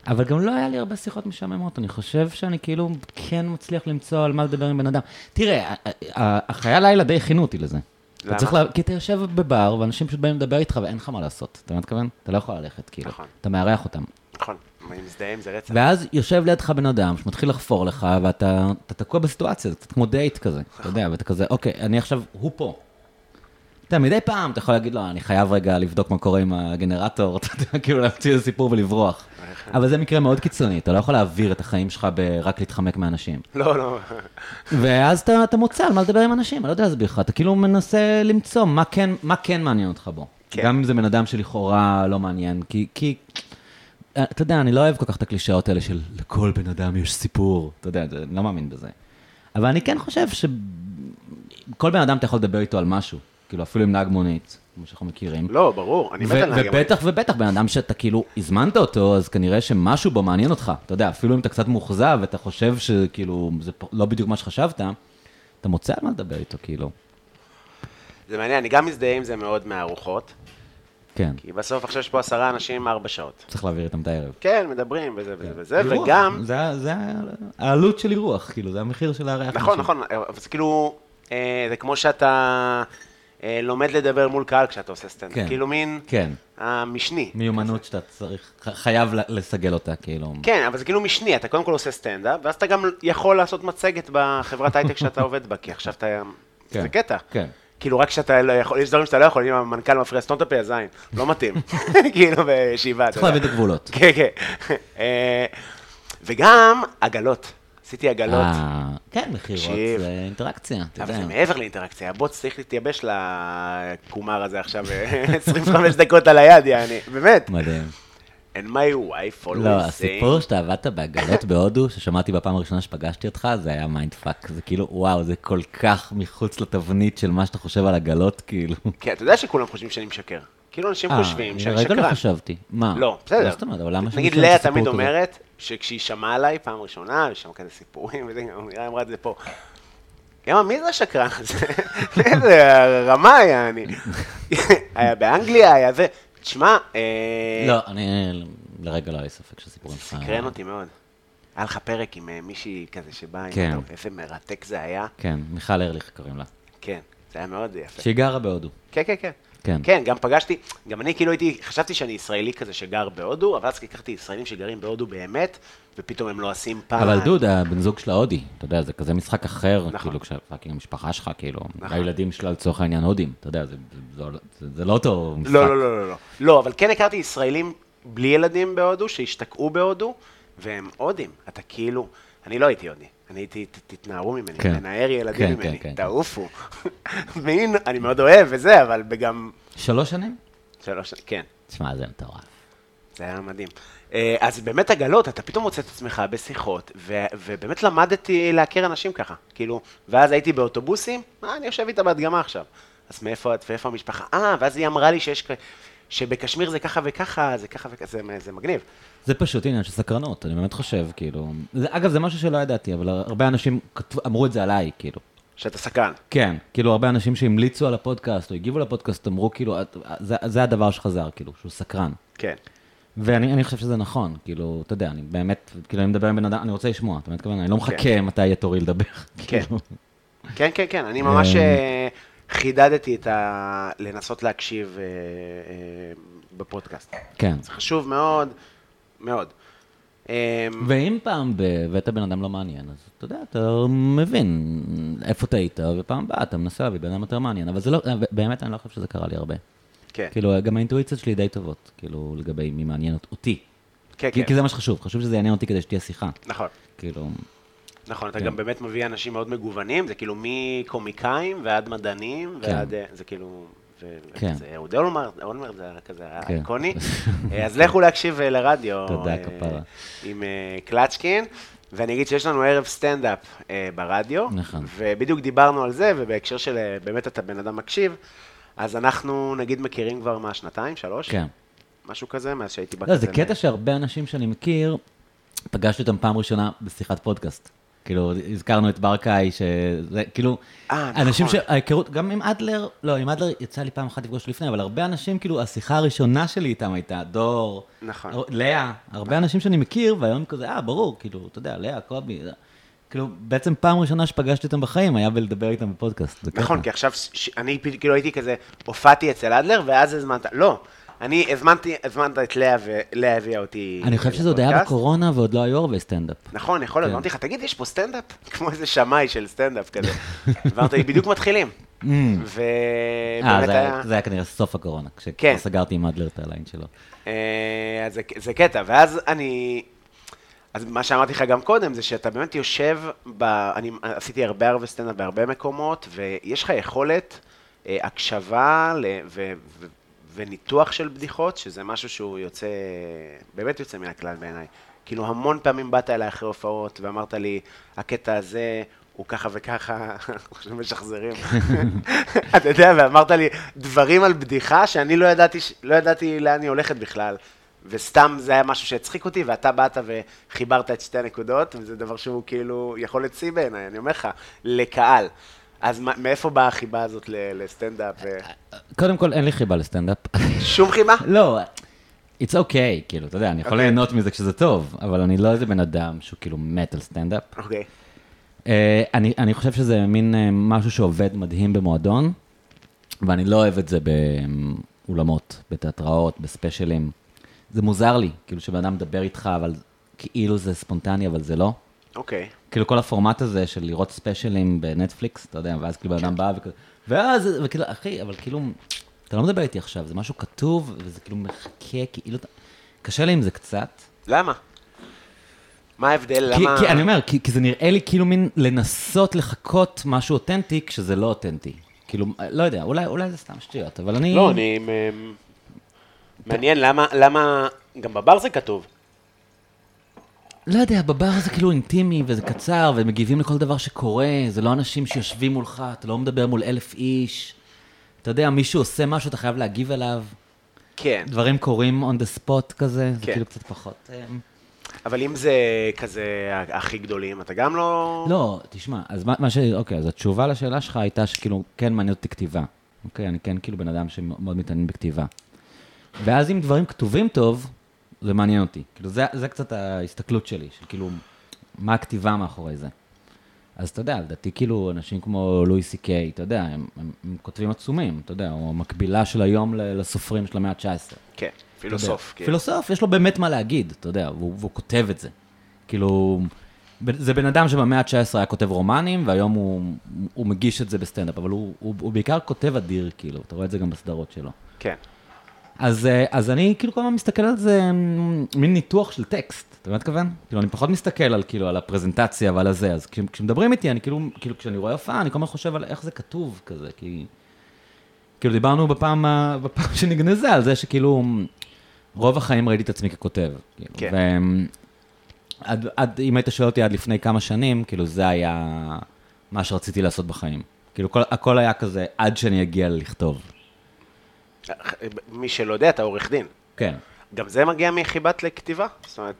[SPEAKER 2] אבל גם לא היה לי הרבה שיחות משעממות, אני חושב שאני כאילו כן מצליח למצוא על מה לדבר עם בן אדם. תראה, ה- ה- החיי לילה די הכינו אותי לזה. אתה
[SPEAKER 3] למה?
[SPEAKER 2] צריך לה... כי אתה יושב בבר, ואנשים פשוט באים לדבר איתך ואין לך מה לעשות, אתה מתכוון? אתה לא יכול ללכת, כאילו.
[SPEAKER 3] נכון.
[SPEAKER 2] אתה מארח אותם.
[SPEAKER 3] נכון, אני מזדהה עם זה רצח.
[SPEAKER 2] ואז יושב לידך בן אדם שמתחיל לחפור לך, ואתה אתה תקוע בסיטואציה, זה קצת כמו דייט כזה, אתה יודע, ואתה כזה, אוקיי, אני עכשיו, הוא פה. אתה יודע, מדי פעם אתה יכול להגיד לו, אני חייב רגע לבדוק מה קורה עם הגנרטור, <laughs> אתה יודע, כאילו להמציא איזה סיפור ולברוח. אבל זה מקרה מאוד קיצוני, אתה לא יכול להעביר את החיים שלך ברק להתחמק מאנשים.
[SPEAKER 3] לא, לא.
[SPEAKER 2] ואז אתה, אתה מוצא על מה לדבר עם אנשים, אני לא יודע להסביר לך, אתה כאילו מנסה למצוא מה כן, מה כן מעניין אותך בו.
[SPEAKER 3] כן.
[SPEAKER 2] כן. גם אם זה בן אדם שלכאורה לא מעניין, כי, כי, אה, אתה יודע, אני לא אוהב כל כך את הקלישאות האלה של לכל בן אדם יש סיפור, אתה יודע, אני לא מאמין בזה. אבל אני כן חושב שכל בן אדם אתה יכול לדבר איתו על משהו, כאילו אפילו עם נהג מונית, כמו שאנחנו מכירים.
[SPEAKER 3] לא, ברור, אני מת על
[SPEAKER 2] ו-
[SPEAKER 3] נהגי מונית.
[SPEAKER 2] ובטח ובטח, בן אדם שאתה כאילו הזמנת אותו, אז כנראה שמשהו בו מעניין אותך. אתה יודע, אפילו אם אתה קצת מאוכזב ואתה חושב שכאילו זה פ- לא בדיוק מה שחשבת, אתה מוצא על מה לדבר איתו, כאילו.
[SPEAKER 3] זה מעניין, אני גם מזדהה עם זה מאוד מהארוחות,
[SPEAKER 2] כן,
[SPEAKER 3] כי בסוף עכשיו יש פה עשרה אנשים, ארבע שעות.
[SPEAKER 2] צריך להעביר איתם את הערב.
[SPEAKER 3] כן, מדברים וזה וזה וזה,
[SPEAKER 2] אירוח,
[SPEAKER 3] וגם...
[SPEAKER 2] כן. זה ה- זה ה- העלות של אירוח, כאילו, זה המחיר של הארח.
[SPEAKER 3] נכון, נכון, אבל זה כאילו, אה, זה כמו שאתה אה, לומד לדבר מול קהל כשאתה עושה סטנדאפ.
[SPEAKER 2] כן.
[SPEAKER 3] כאילו מין
[SPEAKER 2] כן.
[SPEAKER 3] המשני.
[SPEAKER 2] מיומנות שאתה צריך, ח- חייב ל- לסגל אותה, כאילו.
[SPEAKER 3] כן, אבל זה כאילו משני, אתה קודם כל עושה סטנדאפ, ואז אתה גם יכול לעשות מצגת בחברת הייטק
[SPEAKER 2] <laughs>
[SPEAKER 3] שאתה עובד בה, כי עכשיו אתה...
[SPEAKER 2] כן,
[SPEAKER 3] זה קטע.
[SPEAKER 2] כן.
[SPEAKER 3] כאילו, רק שאתה לא יכול, יש דברים שאתה לא יכול, אם המנכ"ל מפריע סתום את הפה, אז אין, לא
[SPEAKER 2] <laughs>
[SPEAKER 3] מתאים. <laughs> כאילו, בישיבה.
[SPEAKER 2] צריך
[SPEAKER 3] אתה יודע.
[SPEAKER 2] להבין את הגבולות.
[SPEAKER 3] <laughs> כן, כן. אה, וגם עגלות. עשיתי עגלות.
[SPEAKER 2] אה, כן, מכירות
[SPEAKER 3] תקשיב.
[SPEAKER 2] זה אינטראקציה, אתה
[SPEAKER 3] אבל זה
[SPEAKER 2] יודע.
[SPEAKER 3] מעבר לאינטראקציה, הבוץ צריך להתייבש לקומר הזה עכשיו, <laughs> 25 דקות על היד, יעני, באמת.
[SPEAKER 2] מדהים.
[SPEAKER 3] And my wife always
[SPEAKER 2] לא,
[SPEAKER 3] saying-
[SPEAKER 2] הסיפור שאתה עבדת בעגלות בהודו, ששמעתי בפעם הראשונה שפגשתי אותך, זה היה מיינד פאק. זה כאילו, וואו, זה כל כך מחוץ לתבנית של מה שאתה חושב על עגלות, כאילו.
[SPEAKER 3] כן, אתה יודע שכולם חושבים שאני משקר. כאילו, אנשים חושבים שאני
[SPEAKER 2] רגע לא
[SPEAKER 3] שקרן.
[SPEAKER 2] חשבתי. מה?
[SPEAKER 3] לא, בסדר.
[SPEAKER 2] זאת אומרת, אבל למה
[SPEAKER 3] נגיד,
[SPEAKER 2] שמישהו יעשה
[SPEAKER 3] לאה
[SPEAKER 2] סיפור
[SPEAKER 3] תמיד
[SPEAKER 2] כזה?
[SPEAKER 3] אומרת, שכשהיא שמעה עליי פעם ראשונה, יש שם כזה סיפורים, וזה, גם היא אמרה את זה פה. היא אמרה, מי זה השקרן הזה? <laughs> איזה רמה היה אני. היה באנגליה, היה זה. תשמע, אה,
[SPEAKER 2] לא, אני לרגע לא היה לי ספק שהסיפורים שלך...
[SPEAKER 3] סקרן אותי מאוד. היה לך פרק עם אה, מישהי כזה שבאה, עם
[SPEAKER 2] כן.
[SPEAKER 3] אותו- איזה מרתק זה היה.
[SPEAKER 2] כן, מיכל ארליך קוראים לה.
[SPEAKER 3] כן, זה היה מאוד יפה.
[SPEAKER 2] שהיא גרה בהודו.
[SPEAKER 3] כן, כן, כן.
[SPEAKER 2] כן.
[SPEAKER 3] כן, גם פגשתי, גם אני כאילו הייתי, חשבתי שאני ישראלי כזה שגר בהודו, אבל אז לקחתי ישראלים שגרים בהודו באמת, ופתאום הם לא עושים פעם.
[SPEAKER 2] אבל דוד, הבן זוג שלה הודי, אתה יודע, זה כזה משחק אחר,
[SPEAKER 3] נכון.
[SPEAKER 2] כאילו, כשפאקינג המשפחה שלך, כאילו, הילדים שלה לצורך העניין הודים, אתה יודע, זה- זה- זה- זה לא אותו משחק.
[SPEAKER 3] לא, לא, לא, לא, לא. לא, אבל כן הכרתי ישראלים בלי ילדים בהודו, שהשתקעו בהודו, והם הודים. אתה כאילו, אני לא הייתי הודי. אני הייתי, "ת- תתנערו ממני,
[SPEAKER 2] כן.
[SPEAKER 3] תנער
[SPEAKER 2] כן,
[SPEAKER 3] ילדים
[SPEAKER 2] כן,
[SPEAKER 3] ממני,
[SPEAKER 2] כן.
[SPEAKER 3] תעופו. <laughs> מין, אני מאוד אוהב וזה, אבל גם...
[SPEAKER 2] שלוש שנים?
[SPEAKER 3] שלוש, כן.
[SPEAKER 2] תשמע, זה מטורף.
[SPEAKER 3] זה היה מדהים. אה, אז באמת עגלות, אתה פתאום מוצא את עצמך בשיחות, ו- ובאמת למדתי להכיר אנשים ככה. כאילו, ואז הייתי באוטובוסים, אה, אני יושב איתה בהדגמה עכשיו. אז מאיפה את ואיפה המשפחה? אה, ואז היא אמרה לי שיש, כ- שבקשמיר זה ככה וככה, זה ככה וככה, זה, זה מגניב.
[SPEAKER 2] זה פשוט עניין של סקרנות, אני באמת חושב, כאילו... זה, אגב, זה משהו שלא ידעתי, אבל הרבה אנשים כתבו- אמרו את זה עליי, כאילו.
[SPEAKER 3] שאתה סקרן.
[SPEAKER 2] כן, כאילו, הרבה אנשים שהמליצו על הפודקאסט, או הגיבו לפודקאסט, אמרו, כאילו, את- זה, זה הדבר שחזר, כאילו, שהוא סקרן.
[SPEAKER 3] כן.
[SPEAKER 2] ואני אני חושב שזה נכון, כאילו, אתה יודע, אני באמת, כאילו, אני מדבר עם בן אדם, אני רוצה לשמוע, אתה מתכוון, אני לא מחכה מתי יהיה תורי לדבר. <laughs>
[SPEAKER 3] כן.
[SPEAKER 2] כאילו.
[SPEAKER 3] כן, כן, כן, אני ממש אה, חידדתי את ה... לנסות להקשיב אה, אה, בפודקאסט.
[SPEAKER 2] כן.
[SPEAKER 3] זה חשוב מאוד, מאוד. אה,
[SPEAKER 2] ואם פעם בבית הבן אדם לא מעניין, אז אתה יודע, אתה מבין איפה טעית, ופעם הבאה אתה מנסה להביא בן אדם יותר מעניין, אבל זה לא, באמת אני לא חושב שזה קרה לי הרבה.
[SPEAKER 3] כן.
[SPEAKER 2] כאילו, גם האינטואיציות שלי די טובות, כאילו, לגבי מי מעניין אות- אותי.
[SPEAKER 3] כן,
[SPEAKER 2] כי,
[SPEAKER 3] כן.
[SPEAKER 2] כי זה מה שחשוב, חשוב שזה יעניין אותי כדי שתהיה שיחה.
[SPEAKER 3] נכון.
[SPEAKER 2] כאילו,
[SPEAKER 3] נכון,
[SPEAKER 2] כן.
[SPEAKER 3] אתה גם באמת מביא אנשים מאוד מגוונים, זה כאילו מקומיקאים ועד מדענים,
[SPEAKER 2] כן.
[SPEAKER 3] ועד... אה, זה כאילו... ו-
[SPEAKER 2] כן.
[SPEAKER 3] זה אהוד אולמרט, אולמרט זה היה כזה
[SPEAKER 2] כן. <laughs>
[SPEAKER 3] האיקוני. אה, אז לכו להקשיב אה, לרדיו.
[SPEAKER 2] תודה,
[SPEAKER 3] אה,
[SPEAKER 2] כפרה.
[SPEAKER 3] עם אה, קלצ'קין, ואני אגיד שיש לנו ערב סטנדאפ אה, ברדיו.
[SPEAKER 2] נכון.
[SPEAKER 3] ובדיוק דיברנו על זה, ובהקשר של אה, באמת אתה בן אדם מקשיב, אז אנחנו נגיד מכירים כבר מה, שנתיים, שלוש?
[SPEAKER 2] כן.
[SPEAKER 3] משהו כזה, מאז שהייתי
[SPEAKER 2] לא, זה קטע שהרבה אנשים שאני מכיר, פגשתי אותם פעם ראשונה בשיחת פודקאסט. כאילו, הזכרנו את ברקאי, שזה כאילו,
[SPEAKER 3] אה,
[SPEAKER 2] אנשים
[SPEAKER 3] נכון.
[SPEAKER 2] שההיכרות, גם עם אדלר, לא, עם אדלר יצא לי פעם אחת לפגוש לפני, אבל הרבה אנשים, כאילו, השיחה הראשונה שלי איתם הייתה דור,
[SPEAKER 3] נכון.
[SPEAKER 2] הר- לאה, הרבה אנשים שאני מכיר, והיום כזה, אה, ברור, כאילו, אתה יודע, לאה, קובי, זה- כאילו, בעצם פעם ראשונה שפגשתי אותם בחיים, היה בלדבר איתם בפודקאסט. זה
[SPEAKER 3] נכון,
[SPEAKER 2] קטע.
[SPEAKER 3] כי עכשיו, ש- ש- אני פ- כאילו הייתי כזה, הופעתי אצל אדלר, ואז הזמנת, לא, אני הזמנתי, הזמנת את לאה, ולאה הביאה אותי.
[SPEAKER 2] אני חושב שזה עוד היה
[SPEAKER 3] לפודקאסט.
[SPEAKER 2] בקורונה ועוד לא היו הרבה סטנדאפ.
[SPEAKER 3] נכון, יכול להיות,
[SPEAKER 2] כן.
[SPEAKER 3] אמרתי לך, תגיד, יש פה סטנדאפ? <laughs> כמו איזה שמאי של סטנדאפ כזה. ואמרת לי, בדיוק
[SPEAKER 2] <laughs>
[SPEAKER 3] מתחילים.
[SPEAKER 2] Mm. אה,
[SPEAKER 3] ובאמת
[SPEAKER 2] זה היה-
[SPEAKER 3] היה...
[SPEAKER 2] זה היה כנראה סוף הקורונה, כשכבר
[SPEAKER 3] כן.
[SPEAKER 2] סגרתי עם אדלר את הליין שלו.
[SPEAKER 3] אה, אז זה, זה קטע, ואז אני... אז מה שאמרתי לך גם קודם, זה שאתה באמת יושב ב... אני עשיתי הרבה הרבה סטנדאפ בהרבה מקומות, ויש לך יכולת אה, הקשבה ל... ו... ו... וניתוח של בדיחות, שזה משהו שהוא יוצא, באמת יוצא מן הכלל בעיניי. כאילו המון פעמים באת אליי אחרי הופעות ואמרת לי, הקטע הזה הוא ככה וככה, <laughs> אנחנו משחזרים. אתה יודע, ואמרת לי דברים על בדיחה שאני לא ידעתי, ש- לא ידעתי לאן היא הולכת בכלל. וסתם זה היה משהו שהצחיק אותי, ואתה באת וחיברת את שתי הנקודות, וזה דבר שהוא כאילו יכולת שיא בעיניי, אני אומר לך, לקהל. אז מה- מאיפה באה החיבה הזאת ל- לסטנדאפ? אה?
[SPEAKER 2] קודם כל, אין לי חיבה לסטנדאפ. <laughs>
[SPEAKER 3] שום חיבה?
[SPEAKER 2] לא, it's okay, כאילו, אתה יודע, אני יכול
[SPEAKER 3] אוקיי.
[SPEAKER 2] ליהנות מזה כשזה טוב, אבל אני לא איזה בן אדם שהוא כאילו מת על סטנדאפ.
[SPEAKER 3] אוקיי.
[SPEAKER 2] אה, אני אני חושב שזה מין אה, משהו שעובד מדהים במועדון, ואני לא אוהב את זה באולמות, בתיאטראות, בספיישלים. זה מוזר לי, כאילו שבן אדם מדבר איתך, אבל כאילו זה ספונטני, אבל זה לא.
[SPEAKER 3] אוקיי.
[SPEAKER 2] כאילו כל הפורמט הזה של לראות ספיישלים בנטפליקס, אתה יודע, ואז כאילו בן אדם בא וכזה, ואז, וכאילו, אחי, אבל כאילו, אתה לא מדבר איתי עכשיו, זה משהו כתוב, וזה כאילו מחכה, כאילו, אתה- קשה לי עם זה קצת.
[SPEAKER 3] למה? מה ההבדל?
[SPEAKER 2] כי,
[SPEAKER 3] למה...
[SPEAKER 2] כי אני אומר, כי, כי זה נראה לי כאילו מין לנסות לחקות משהו אותנטי כשזה לא אותנטי. כאילו, לא יודע, אולי, אולי זה סתם שטויות, אבל אני...
[SPEAKER 4] לא, אני... אמ, מעניין למה, למה, גם בבר זה כתוב.
[SPEAKER 2] לא יודע, בבר זה כאילו אינטימי וזה קצר, ומגיבים לכל דבר שקורה, זה לא אנשים שיושבים מולך, אתה לא מדבר מול אלף איש. אתה יודע, מישהו עושה משהו, אתה חייב להגיב אליו.
[SPEAKER 3] כן.
[SPEAKER 2] דברים קורים on the spot כזה, זה
[SPEAKER 3] כן.
[SPEAKER 2] כאילו קצת פחות... אמ,
[SPEAKER 3] אבל אם זה כזה ה- הכי גדולים, אתה גם לא...
[SPEAKER 2] לא, תשמע, אז מה, מה ש... אוקיי, אז התשובה לשאלה שלך הייתה שכאילו, כן מעניין אותי כתיבה. אוקיי, אני כן כאילו בן אדם שמאוד מתעניין בכתיבה. ואז אם דברים כתובים טוב, זה מעניין אותי. כאילו, זה, זה קצת ההסתכלות שלי, של כאילו, מה הכתיבה מאחורי זה. אז אתה יודע, לדעתי כאילו, אנשים כמו לואי סי קיי, אתה יודע, הם, הם, הם כותבים עצומים, אתה יודע, או מקבילה של היום ל- לסופרים של המאה ה-19.
[SPEAKER 3] כן,
[SPEAKER 2] אתה
[SPEAKER 3] פילוסוף.
[SPEAKER 2] יודע.
[SPEAKER 3] כן.
[SPEAKER 2] פילוסוף, יש לו באמת מה להגיד, אתה יודע, והוא, והוא כותב את זה. כאילו, ב- זה בן אדם שבמאה ה-19 היה כותב רומנים, והיום הוא, הוא מגיש את זה בסטנדאפ, אבל הוא, הוא, הוא בעיקר כותב אדיר, כאילו, אתה רואה את זה גם בסדרות שלו.
[SPEAKER 3] כן.
[SPEAKER 2] אז, אה, אז אני כאילו כל הזמן מסתכל על זה, מ- מין ניתוח של טקסט, אתה מבין מה אתכוון? כאילו, אני פחות מסתכל על, כאילו, על הפרזנטציה ועל הזה, אז כש, כשמדברים איתי, אני כאילו, כאילו, כשאני רואה הופעה, אני כל הזמן חושב על איך זה כתוב כזה, כי... כאילו, דיברנו בפעם, ה- בפעם <laughs> שנגנזה על זה שכאילו, רוב החיים ראיתי את עצמי ככותב. כאילו,
[SPEAKER 3] כן.
[SPEAKER 2] ו- עד, עד, אם היית שואל אותי עד לפני כמה שנים, כאילו זה היה מה שרציתי לעשות בחיים. כאילו כל, הכל היה כזה עד שאני אגיע לכתוב.
[SPEAKER 3] מי שלא יודע, אתה עורך דין.
[SPEAKER 2] כן.
[SPEAKER 3] גם זה מגיע מחיבת לכתיבה? זאת אומרת,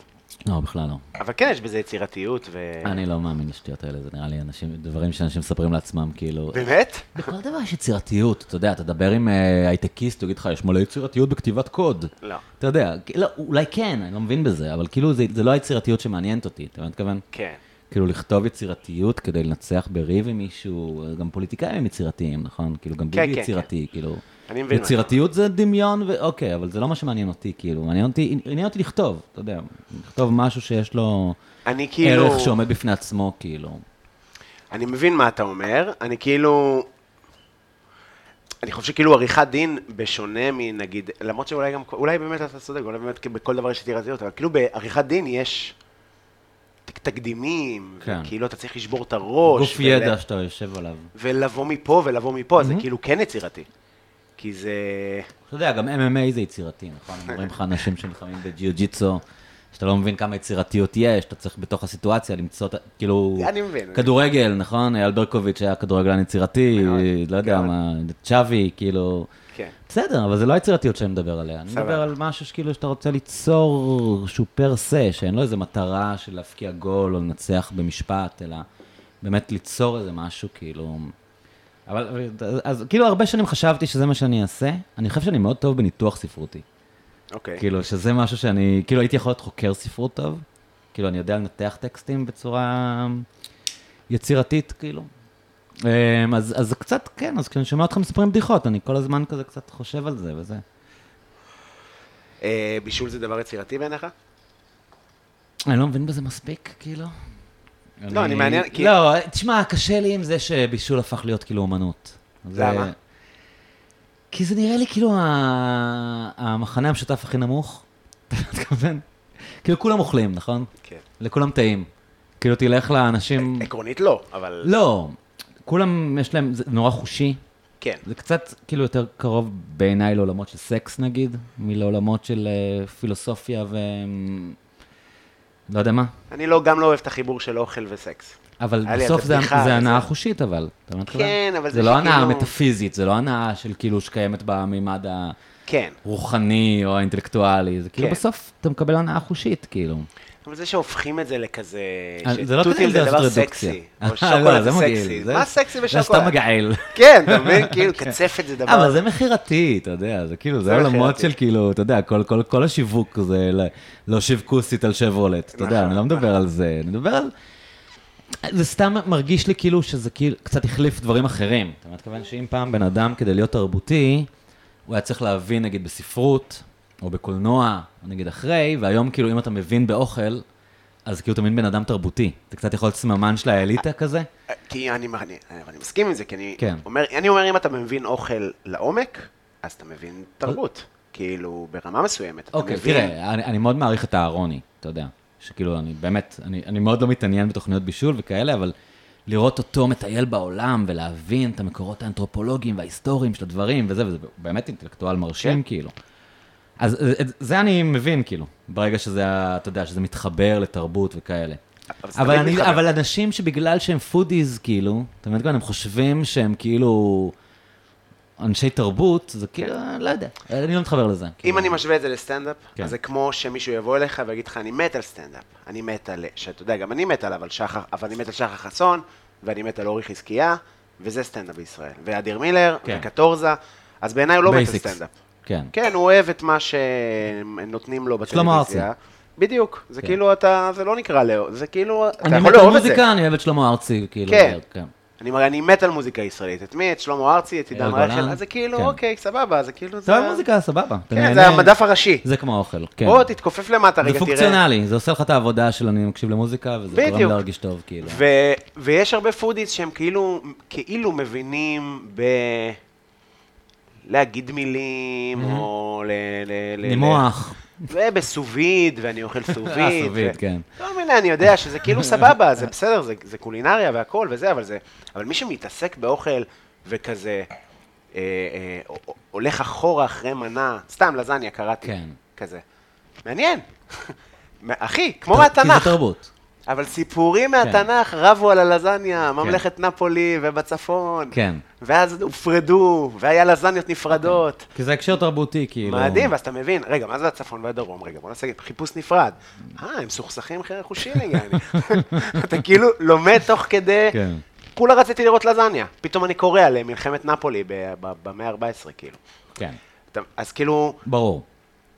[SPEAKER 2] לא, בכלל לא.
[SPEAKER 3] אבל כן יש בזה יצירתיות ו...
[SPEAKER 2] אני לא מאמין לשטויות האלה, זה נראה לי אנשים, דברים שאנשים מספרים לעצמם, כאילו...
[SPEAKER 3] באמת?
[SPEAKER 2] בכל דבר יש יצירתיות, אתה יודע, אתה תדבר עם אה, הייטקיסט, הוא יגיד לך, יש מלא יצירתיות בכתיבת קוד.
[SPEAKER 3] לא.
[SPEAKER 2] אתה יודע, כי- לא, אולי כן, אני לא מבין בזה, אבל כאילו זה, זה לא היצירתיות שמעניינת אותי, אתה מבין מה אני מתכוון?
[SPEAKER 3] כן.
[SPEAKER 2] כאילו לכתוב יצירתיות כדי לנצח בריב עם מישהו, גם פוליטיקאים הם יצירתיים, נכון? כאילו גם
[SPEAKER 3] כן,
[SPEAKER 2] ביבי
[SPEAKER 3] כן,
[SPEAKER 2] יצירתי, כאילו...
[SPEAKER 3] אני מבין מה.
[SPEAKER 2] יצירתיות זה דמיון, ו... אוקיי, אבל זה לא מה שמעניין אותי, כאילו, מעניין אותי, עניין אותי לכתוב, אתה יודע, לכתוב משהו שיש לו
[SPEAKER 3] אני כאילו...
[SPEAKER 2] ערך שעומד בפני עצמו, כאילו.
[SPEAKER 3] אני מבין מה אתה אומר, אני כאילו... אני חושב שכאילו עריכת דין, בשונה מנגיד, למרות שאולי גם, אולי באמת אתה צודק, אולי באמת בכל דבר יש יצירתיות, אבל כאילו בעריכת דין יש תק- תקדימים,
[SPEAKER 2] כן.
[SPEAKER 3] כאילו אתה צריך לשבור את הראש.
[SPEAKER 2] גוף ידע Mm-hmm. שאתה יושב עליו.
[SPEAKER 3] ולבוא מפה ולבוא מפה, זה כאילו כן יצירתי. כי זה...
[SPEAKER 2] אתה יודע, גם MMA זה יצירתי, נכון?
[SPEAKER 3] כן.
[SPEAKER 2] אומרים לך אנשים שנלחמים בג'יוג'יצו, שאתה לא מבין כמה יצירתיות יש, אתה צריך בתוך הסיטואציה למצוא, את ה- כאילו...
[SPEAKER 3] אני מבין.
[SPEAKER 2] כדורגל, נכון? אייל ברקוביץ' היה כדורגלן יצירתי, לא יודע
[SPEAKER 3] מאוד.
[SPEAKER 2] מה, צ'אבי, כאילו...
[SPEAKER 3] כן.
[SPEAKER 2] בסדר, אבל זה לא היצירתיות שאני מדבר עליה. אני
[SPEAKER 3] סבבה.
[SPEAKER 2] מדבר על משהו שכאילו שאתה רוצה ליצור שהוא פר סה, שאין לו איזה מטרה של להפקיע גול או לנצח במשפט, אלא באמת ליצור איזה משהו, כאילו... אבל, אז, אז כאילו הרבה שנים חשבתי שזה מה שאני אעשה. אני חושב שאני מאוד טוב בניתוח ספרותי.
[SPEAKER 3] אוקיי.
[SPEAKER 2] כאילו, שזה משהו שאני, כאילו, הייתי יכול להיות חוקר ספרות טוב. כאילו, אני יודע לנתח טקסטים בצורה יצירתית, כאילו. אמ, אז, אז זה קצת, כן, אז כשאני שומע אותך מספרים בדיחות, אני כל הזמן כזה קצת חושב על זה וזה.
[SPEAKER 3] אה, בישול זה דבר יצירתי בעיניך?
[SPEAKER 2] אני לא מבין בזה מספיק, כאילו.
[SPEAKER 3] לא, אני מעניין, כי-
[SPEAKER 2] לא, תשמע, קשה לי עם זה שבישול הפך להיות כאילו אומנות. זה-
[SPEAKER 3] למה?
[SPEAKER 2] כי זה נראה לי כאילו ה- המחנה המשותף הכי נמוך. <laughs> אתה מתכוון? כאילו, כולם אוכלים, נכון?
[SPEAKER 3] כן.
[SPEAKER 2] לכולם טעים. כאילו, תלך לאנשים...
[SPEAKER 3] עקרונית לא, אבל
[SPEAKER 2] לא, כולם יש להם, זה נורא חושי.
[SPEAKER 3] כן.
[SPEAKER 2] זה קצת כאילו יותר קרוב בעיניי לעולמות של סקס נגיד, מלעולמות של אה, פילוסופיה ו... לא יודע מה.
[SPEAKER 3] אני לא, גם לא אוהב את החיבור של אוכל וסקס.
[SPEAKER 2] אבל
[SPEAKER 3] היה לי
[SPEAKER 2] בסוף
[SPEAKER 3] איזה
[SPEAKER 2] זה,
[SPEAKER 3] בדיחה,
[SPEAKER 2] זה הנאה
[SPEAKER 3] זה-
[SPEAKER 2] חושית, אבל. אתה מבין מה אני
[SPEAKER 3] כן,
[SPEAKER 2] מתכוון?
[SPEAKER 3] אבל
[SPEAKER 2] זה
[SPEAKER 3] זה
[SPEAKER 2] לא הנאה
[SPEAKER 3] שכאילו-
[SPEAKER 2] מטאפיזית, זה לא הנאה של כאילו שקיימת במימד
[SPEAKER 3] כן.
[SPEAKER 2] הרוחני או האינטלקטואלי, זה כאילו
[SPEAKER 3] כן.
[SPEAKER 2] בסוף אתה מקבל הנאה חושית, כאילו.
[SPEAKER 3] אבל זה שהופכים את זה לכזה...
[SPEAKER 2] אה, זה לא
[SPEAKER 3] שטוטים
[SPEAKER 2] כדי
[SPEAKER 3] זה
[SPEAKER 2] לעשות
[SPEAKER 3] דבר
[SPEAKER 2] רדוקציה.
[SPEAKER 3] סקסי.
[SPEAKER 2] אה,
[SPEAKER 3] או
[SPEAKER 2] <laughs> לא,
[SPEAKER 3] שוקולד
[SPEAKER 2] זה
[SPEAKER 3] זה
[SPEAKER 2] מגעיל,
[SPEAKER 3] סקסי.
[SPEAKER 2] זה-
[SPEAKER 3] מה סקסי
[SPEAKER 2] זה סתם
[SPEAKER 3] בשוקולד?
[SPEAKER 2] מגעיל. אה,
[SPEAKER 3] כן, אתה
[SPEAKER 2] <laughs>
[SPEAKER 3] מבין? כאילו, קצפת זה דבר...
[SPEAKER 2] אבל זה מכירתי, אתה יודע, זה כאילו, זה
[SPEAKER 3] זה
[SPEAKER 2] עולמות
[SPEAKER 3] מכירתי.
[SPEAKER 2] של כאילו, אתה יודע, כל- כל- כל השיווק זה ל- להושיב כוסית על שברולט, אתה יודע,
[SPEAKER 3] נכון,
[SPEAKER 2] אני לא מדבר על זה, אני מדבר על... זה סתם מרגיש לי כאילו שזה כאילו קצת החליף דברים אחרים. אתה מתכוון שאם פעם בן אדם, כדי להיות תרבותי, הוא היה צריך להבין נגיד בספרות, או בקולנוע, נגיד אחרי, והיום כאילו אם אתה מבין באוכל, אז כאילו תמיד בן אדם תרבותי. זה קצת יכול להיות סממן של האליטה כזה.
[SPEAKER 3] אה, כי אני, אני, אה, אני מסכים עם זה, כי אני,
[SPEAKER 2] כן.
[SPEAKER 3] אומר, אני אומר, אם אתה מבין אוכל לעומק, אז אתה מבין תרבות. כאילו, ברמה מסוימת. אתה
[SPEAKER 2] אוקיי,
[SPEAKER 3] מבין-
[SPEAKER 2] תראה, אני, אני מאוד מעריך את אהרוני, אתה יודע. שכאילו, אני באמת, אני, אני מאוד לא מתעניין בתוכניות בישול וכאלה, אבל לראות אותו מטייל בעולם ולהבין את המקורות האנתרופולוגיים וההיסטוריים של הדברים וזה, וזה באמת אינטלקטואל מרשים,
[SPEAKER 3] כן.
[SPEAKER 2] כאילו. אז את- זה אני מבין, כאילו, ברגע שזה, ה- אתה יודע, שזה מתחבר לתרבות וכאלה.
[SPEAKER 3] אבל זה
[SPEAKER 2] אבל,
[SPEAKER 3] תמיד
[SPEAKER 2] אני,
[SPEAKER 3] מתחבר.
[SPEAKER 2] אבל אנשים שבגלל שהם פודיז, כאילו, אתה מבין, הם חושבים שהם כאילו אנשי תרבות, זה כאילו, לא יודע, אני לא מתחבר לזה. כאילו.
[SPEAKER 3] אם אני משווה את זה לסטנדאפ,
[SPEAKER 2] כן.
[SPEAKER 3] אז זה כמו שמישהו יבוא אליך ויגיד לך, אני מת על סטנדאפ. אני מת על, שאתה יודע, גם אני מת עליו, על שחר, אבל אני מת על שחר חסון, ואני מת על אורי חזקיה, וזה סטנדאפ בישראל. ואדיר מילר,
[SPEAKER 2] כן.
[SPEAKER 3] וקטורזה, אז בעיניי הוא לא מת על
[SPEAKER 2] Basics.
[SPEAKER 3] סטנדאפ.
[SPEAKER 2] כן.
[SPEAKER 3] כן, הוא אוהב את מה שנותנים לו בטלוויזיה.
[SPEAKER 2] שלמה
[SPEAKER 3] בדיוק, זה
[SPEAKER 2] כן.
[SPEAKER 3] כאילו אתה, זה לא נקרא לאו, זה כאילו, אתה
[SPEAKER 2] אני
[SPEAKER 3] יכול
[SPEAKER 2] מת על
[SPEAKER 3] לאהוב את זה.
[SPEAKER 2] מוזיקה, אני אוהב את שלמה ארצי, כאילו.
[SPEAKER 3] כן. אני מראה, אני מת על מוזיקה ישראלית. את מי? את שלמה ארצי, את עידן
[SPEAKER 2] אייל גולן.
[SPEAKER 3] רייכל, אז זה כאילו,
[SPEAKER 2] כן.
[SPEAKER 3] אוקיי, סבבה, זה כאילו,
[SPEAKER 2] אתה אוהב מוזיקה, סבבה. אתה
[SPEAKER 3] כן, זה
[SPEAKER 2] נהנה.
[SPEAKER 3] המדף הראשי.
[SPEAKER 2] זה כמו האוכל, כן.
[SPEAKER 3] בוא, תתכופף למטה רגע,
[SPEAKER 2] זה
[SPEAKER 3] תראה.
[SPEAKER 2] פונקציונלי, זה עושה לך את העבודה של אני מקשיב למוזיקה, וזה גורם
[SPEAKER 3] בדיוק.
[SPEAKER 2] להרגיש טוב, כאילו.
[SPEAKER 3] ו- ויש הרבה פודיס שהם כאילו, כאילו מבינים ב... להגיד מילים, או ל... ל- ל-
[SPEAKER 2] נימוח.
[SPEAKER 3] ובסוביד, ואני אוכל סוביד.
[SPEAKER 2] סוביד,
[SPEAKER 3] ו-
[SPEAKER 2] אה, כן.
[SPEAKER 3] לא מבינה, אני יודע שזה
[SPEAKER 2] <laughs>
[SPEAKER 3] כאילו סבבה, זה בסדר, זה, זה קולינריה והכל וזה, אבל זה... אבל מי שמתעסק באוכל וכזה אה, אה, ה- ה- הולך אחורה אחרי מנה, סתם לזניה קראתי,
[SPEAKER 2] כן.
[SPEAKER 3] כזה. מעניין. <laughs> אחי, כמו
[SPEAKER 2] כי זה
[SPEAKER 3] מהתנ"ך.
[SPEAKER 2] תרבות.
[SPEAKER 3] אבל סיפורים
[SPEAKER 2] כן.
[SPEAKER 3] מהתנ"ך רבו על הלזניה, ממלכת נפולי ובצפון.
[SPEAKER 2] כן.
[SPEAKER 3] ואז הופרדו, והיה לזניות נפרדות.
[SPEAKER 2] כי זה הקשר תרבותי, כאילו.
[SPEAKER 3] מדהים, ואז אתה מבין, רגע, מה זה הצפון והדרום? רגע, בוא נעשה חיפוש נפרד.
[SPEAKER 2] Mm.
[SPEAKER 3] אה, הם סוכסכים אחרי חושים יעני. <laughs> אתה כאילו לומד תוך כדי...
[SPEAKER 2] כן.
[SPEAKER 3] כולה רציתי לראות לזניה. פתאום אני קורא על מלחמת נפולי במאה ה-14, כאילו.
[SPEAKER 2] כן,
[SPEAKER 3] אתה- אז כאילו,
[SPEAKER 2] ברור.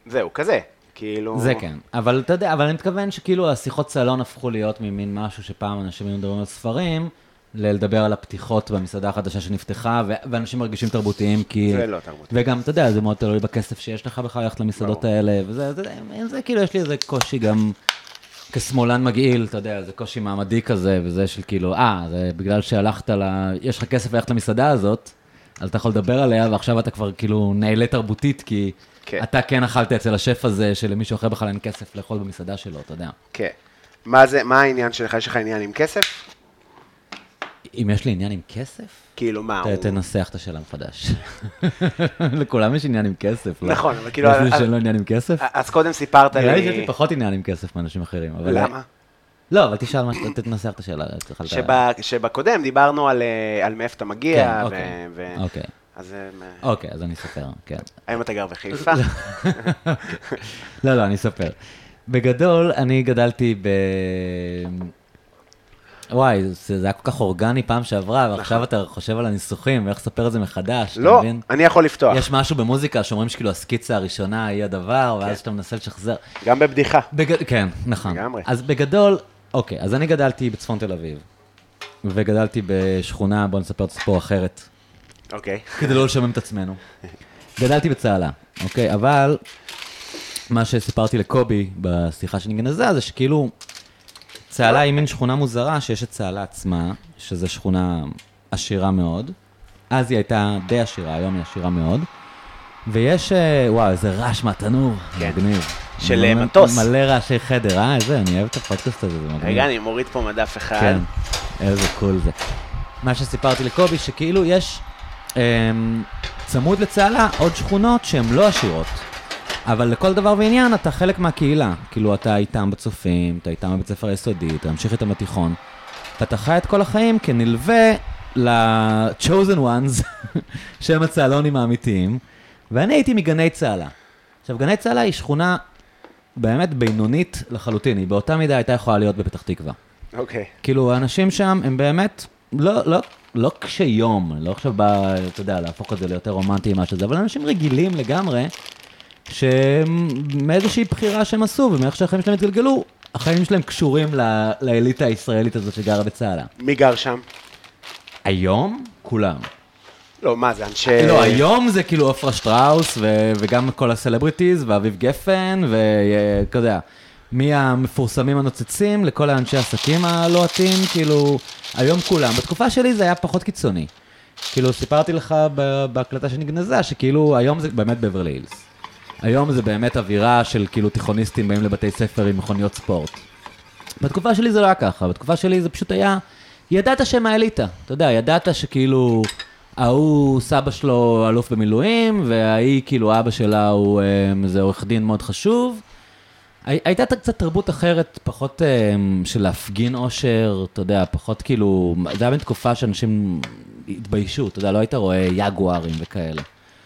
[SPEAKER 3] זהו, כזה. כאילו...
[SPEAKER 2] זה כן. אבל אתה יודע, אבל אני מתכוון שכאילו השיחות סלון הפכו להיות ממין משהו שפעם אנשים היו מדברים על ספרים, ללדבר על הפתיחות במסעדה החדשה שנפתחה, ו- ואנשים מרגישים תרבותיים כי...
[SPEAKER 3] זה לא תרבותי.
[SPEAKER 2] וגם, אתה יודע, זה מאוד תלוי בכסף שיש לך בכלל ללכת למסעדות
[SPEAKER 3] ברור.
[SPEAKER 2] האלה, וזה, זה, עם זה כאילו יש לי איזה קושי גם כשמאלן מגעיל, אתה יודע, זה קושי מעמדי כזה, וזה של כאילו, אה, זה בגלל שהלכת ל... יש לך כסף ללכת למסעדה הזאת, אז אתה יכול לדבר עליה, ועכשיו אתה כבר כאילו נעלה תרבותית, כי
[SPEAKER 3] כן.
[SPEAKER 2] אתה כן אכלת אצל השף הזה, שלמישהו אחר בכלל אין כסף לאכול במסעדה שלו, אתה יודע.
[SPEAKER 3] כן. מה זה, מה העניין שלך? יש לך עניין עם כסף?
[SPEAKER 2] אם יש לי עניין עם כסף?
[SPEAKER 3] כאילו, מה,
[SPEAKER 2] ת-
[SPEAKER 3] הוא...
[SPEAKER 2] תנסח את השאלה מחדש. <laughs> לכולם יש עניין עם כסף, לא?
[SPEAKER 3] נכון, אבל כאילו- אה,
[SPEAKER 2] יש מישהו
[SPEAKER 3] אז-
[SPEAKER 2] שאין לו עניין עם כסף?
[SPEAKER 3] אז קודם סיפרת לי...
[SPEAKER 2] נראה לי שיש לי פחות עניין עם כסף מאנשים אחרים. אבל-
[SPEAKER 3] אה, למה?
[SPEAKER 2] לא, אבל תשאל, מה- ת- תנסח את השאלה. תאכל את ה-
[SPEAKER 3] שב- שבקודם דיברנו על, אה, על מאיפה אתה מגיע,
[SPEAKER 2] כן,
[SPEAKER 3] ו...
[SPEAKER 2] אוקיי,
[SPEAKER 3] ו-
[SPEAKER 2] אוקיי.
[SPEAKER 3] אז אה, מה-
[SPEAKER 2] אוקיי, אז אני אספר, כן.
[SPEAKER 3] האם אתה גר בחיפה? <laughs>
[SPEAKER 2] לא, לא, אני אספר. בגדול, אני גדלתי ב... וואי, זה זה היה כל כך אורגני פעם שעברה, ועכשיו אתה חושב על הניסוחים, ואיך לספר את זה מחדש, אתה
[SPEAKER 3] נכון. לא,
[SPEAKER 2] מבין?
[SPEAKER 3] אני יכול לפתוח.
[SPEAKER 2] יש משהו במוזיקה שאומרים שכאילו הסקיצה הראשונה היא הדבר,
[SPEAKER 3] כן.
[SPEAKER 2] ואז שאתה מנסה לשחזר.
[SPEAKER 3] גם בבדיחה.
[SPEAKER 2] בג... כן, נכון.
[SPEAKER 3] לגמרי.
[SPEAKER 2] אז בגדול, אוקיי, אז אני גדלתי בצפון תל אביב, וגדלתי בשכונה, בוא נספר את הסיפור אחרת, <laughs>
[SPEAKER 3] אוקיי.
[SPEAKER 2] כדי לא לשמם את עצמנו. גדלתי בצהלה, אוקיי? אבל מה שסיפרתי לקובי בשיחה שנגנזה זה שכאילו, צהלה היא מין שכונה מוזרה שיש את צהלה עצמה, שזו שכונה עשירה מאוד. אז היא הייתה די עשירה, היום היא עשירה מאוד. ויש, אה, וואו, איזה רעש מהתנור,
[SPEAKER 3] כן.
[SPEAKER 2] מגניב.
[SPEAKER 3] של,
[SPEAKER 2] אני
[SPEAKER 3] אה,
[SPEAKER 2] אומר,
[SPEAKER 3] מטוס.
[SPEAKER 2] מלא רעשי חדר, אה, איזה, אני אוהב את הפודקאסט הזה, זה מגניב.
[SPEAKER 3] רגע, אני מוריד פה מדף אחד.
[SPEAKER 2] כן, איזה קול זה. מה שסיפרתי לקובי, שכאילו יש אמ, צמוד לצהלה עוד שכונות שהן לא עשירות. אבל לכל דבר ועניין אתה חלק מהקהילה. כאילו, אתה איתם בצופים, אתה איתם בבית ספר היסודי, אתה ממשיך איתם בתיכון. ואתה חי את כל החיים כנלווה ל-chosen ones, <laughs> שהם הצהלונים האמיתיים. ואני הייתי מגני צהלה. עכשיו, גני צהלה היא שכונה באמת בינונית לחלוטין, היא באותה מידה הייתה יכולה להיות בפתח תקווה.
[SPEAKER 3] אוקיי.
[SPEAKER 2] כאילו, האנשים שם הם באמת לא, לא, לא קשי יום, אני לא עכשיו בא, אתה יודע, להפוך את זה ליותר רומנטי ממה שזה, אבל אנשים רגילים לגמרי, שמאיזושהי בחירה שהם עשו ומאיך שהחיים שלהם התגלגלו, החיים שלהם קשורים ל- לאליטה הישראלית הזאת שגרה בצהלה.
[SPEAKER 3] מי גר שם?
[SPEAKER 2] היום? כולם.
[SPEAKER 3] לא, מה זה, אנשי...
[SPEAKER 2] לא, היום זה כאילו עפרה שטראוס, ו- וגם כל הסלבריטיז, ואביב גפן, ואתה יודע, מהמפורסמים הנוצצים לכל האנשי העסקים הלוהטים, כאילו, היום כולם. בתקופה שלי זה היה פחות קיצוני. כאילו, סיפרתי לך ב- בהקלטה שנגנזה, שכאילו, היום זה באמת בברלי הילס. היום זה באמת אווירה של כאילו תיכוניסטים באים לבתי ספר עם מכוניות ספורט. בתקופה שלי זה לא היה ככה, בתקופה שלי זה פשוט היה, ידעת שהם האליטה, אתה יודע, ידעת שכאילו, ההוא, סבא שלו אלוף במילואים, וההיא, כאילו, אבא שלה הוא אה, איזה עורך דין מאוד חשוב. הי- הייתה ת- קצת תרבות אחרת, פחות אה, של להפגין אושר, אתה יודע, פחות כאילו, זה היה בתקופה שאנשים התביישו, אתה יודע, לא היית רואה יגוארים וכאלה.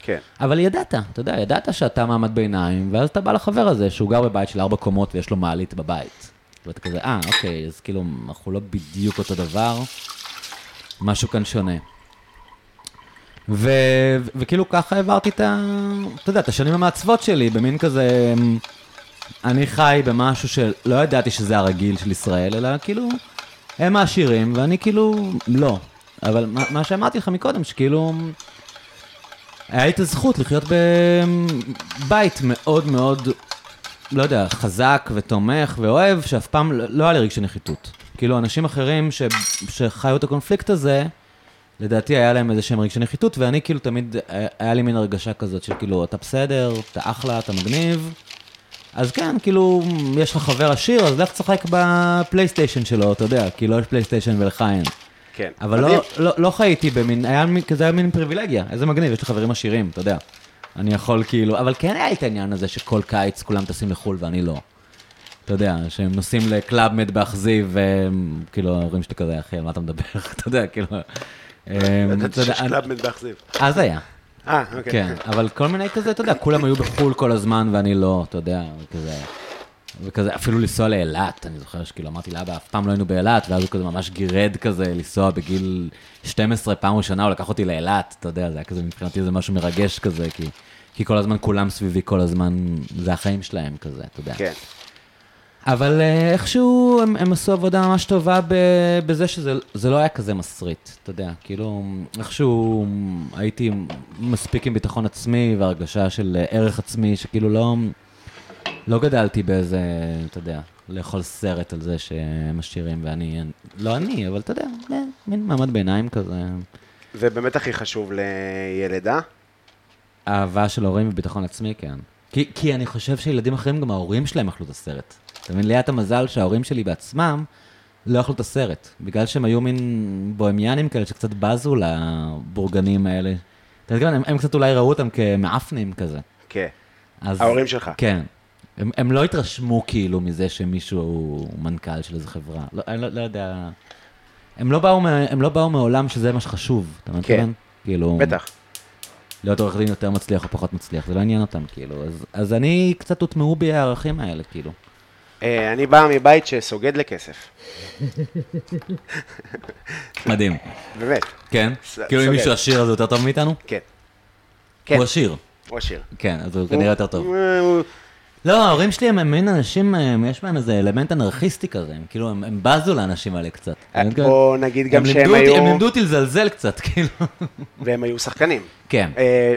[SPEAKER 3] כן.
[SPEAKER 2] אבל ידעת, אתה יודע, ידעת שאתה מעמד ביניים, ואז אתה בא לחבר הזה שהוא גר בבית של ארבע קומות ויש לו מעלית בבית. ואתה כזה, אה, אוקיי, אז כאילו, אנחנו לא בדיוק אותו דבר, משהו כאן שונה. ו- ו- וכאילו ככה העברתי את ה... אתה יודע, את השנים המעצבות שלי, במין כזה... אמ, אני חי במשהו שלא ידעתי שזה הרגיל של ישראל, אלא כאילו, הם העשירים, ואני כאילו, לא. אבל מה, מה שאמרתי לך מקודם, שכאילו, היה לי את הזכות לחיות בבית מאוד מאוד, לא יודע, חזק ותומך ואוהב, שאף פעם לא- לא היה לי רגשי נחיתות. כאילו, אנשים אחרים ש... שחיו את הקונפליקט הזה, לדעתי היה להם איזה שהם רגשי נחיתות, ואני כאילו תמיד, אה, היה לי מין הרגשה כזאת של כאילו, אתה בסדר, אתה אחלה, אתה מגניב. אז כן, כאילו, יש לך חבר עשיר, אז לך תשחק בפלייסטיישן שלו, אתה יודע, כי לו יש פלייסטיישן ולך אין.
[SPEAKER 3] כן.
[SPEAKER 2] אבל
[SPEAKER 3] מדהים.
[SPEAKER 2] לא, לא, לא חייתי במין, היה מין, כזה היה מין פריבילגיה, איזה מגניב, יש לי חברים עשירים, אתה יודע. אני יכול כאילו, אבל כן היה לי את העניין הזה שכל קיץ כולם טסים לחו"ל ואני לא. אתה יודע, שהם נוסעים לקלאב מת באכזיב, והם, כאילו, ההורים שלי כזה, אחי, על מה אתה מדבר? <laughs> אתה יודע, כאילו... אמ, אתה
[SPEAKER 3] ידעתי
[SPEAKER 2] יודע,
[SPEAKER 3] שיש קלאב מדבחזיב.
[SPEAKER 2] אז היה.
[SPEAKER 3] אה, אוקיי.
[SPEAKER 2] כן, אבל כל מיני כזה, אתה יודע, כולם היו בחו"ל כל הזמן ואני לא, אתה יודע, וכזה, וכזה, אפילו לנסוע לאילת, אני זוכר שכאילו אמרתי לאבא, אף פעם לא היינו באילת, ואז הוא כזה ממש גירד כזה לנסוע בגיל 12 פעם ראשונה, הוא לקח אותי לאילת, אתה יודע, זה היה כזה מבחינתי זה משהו מרגש כזה, כי, כי כל הזמן כולם סביבי, כל הזמן, זה החיים שלהם כזה, אתה יודע.
[SPEAKER 3] כן.
[SPEAKER 2] אבל אה, איכשהו הם, הם עשו עבודה ממש טובה ב, בזה שזה זה לא היה כזה מסריט, אתה יודע, כאילו איכשהו הייתי מספיק עם ביטחון עצמי והרגשה של אה, ערך עצמי, שכאילו לא, לא גדלתי באיזה, אתה יודע, לאכול סרט על זה שהם עשירים ואני, לא אני, אבל אתה יודע, אה, מין מעמד ביניים כזה.
[SPEAKER 3] זה באמת הכי חשוב לילדה.
[SPEAKER 2] אהבה של הורים וביטחון עצמי, כן. כי, כי אני חושב שילדים אחרים, גם ההורים שלהם אכלו את הסרט. אתה מבין, לי היה את המזל שההורים שלי בעצמם לא אכלו את הסרט. בגלל שהם היו מין בוהמיאנים כאלה שקצת בזו לבורגנים האלה. אתה יודע, הם, הם קצת אולי ראו אותם כמאפנים כזה.
[SPEAKER 3] כן.
[SPEAKER 2] אז,
[SPEAKER 3] ההורים שלך.
[SPEAKER 2] כן. הם, הם לא התרשמו כאילו מזה שמישהו הוא מנכ"ל של איזו חברה. לא, אני לא, לא יודע. הם לא, באו, מה- הם לא באו מעולם שזה מה שחשוב, אתה מתכוון? כאילו...
[SPEAKER 3] כן. בטח.
[SPEAKER 2] להיות עורך דין יותר מצליח או פחות מצליח, זה לא עניין אותם, כאילו. אז, אז אני, קצת הוטמעו בי הערכים האלה, כאילו.
[SPEAKER 3] אה, אני בא מבית שסוגד לכסף.
[SPEAKER 2] מדהים.
[SPEAKER 3] באמת.
[SPEAKER 2] כן?
[SPEAKER 3] ס-
[SPEAKER 2] כאילו אם
[SPEAKER 3] סוגר.
[SPEAKER 2] מישהו עשיר אז הוא יותר טוב מאיתנו?
[SPEAKER 3] כן. כן.
[SPEAKER 2] הוא עשיר.
[SPEAKER 3] הוא עשיר.
[SPEAKER 2] כן, אז הוא כנראה יותר טוב.
[SPEAKER 3] אה, הוא-
[SPEAKER 2] לא, ההורים שלי הם הם מין אנשים, הם- יש בהם איזה אלמנט אנרכיסטי כזה, הם כאילו, הם- הם בזו לאנשים האלה קצת. אני מתכוון-
[SPEAKER 3] אה, או נגיד
[SPEAKER 2] הם
[SPEAKER 3] גם שהם
[SPEAKER 2] לימדו אותי-
[SPEAKER 3] היו-
[SPEAKER 2] הם לימדו אותי לזלזל קצת, <laughs> כאילו.
[SPEAKER 3] והם היו שחקנים.
[SPEAKER 2] כן,
[SPEAKER 3] אה,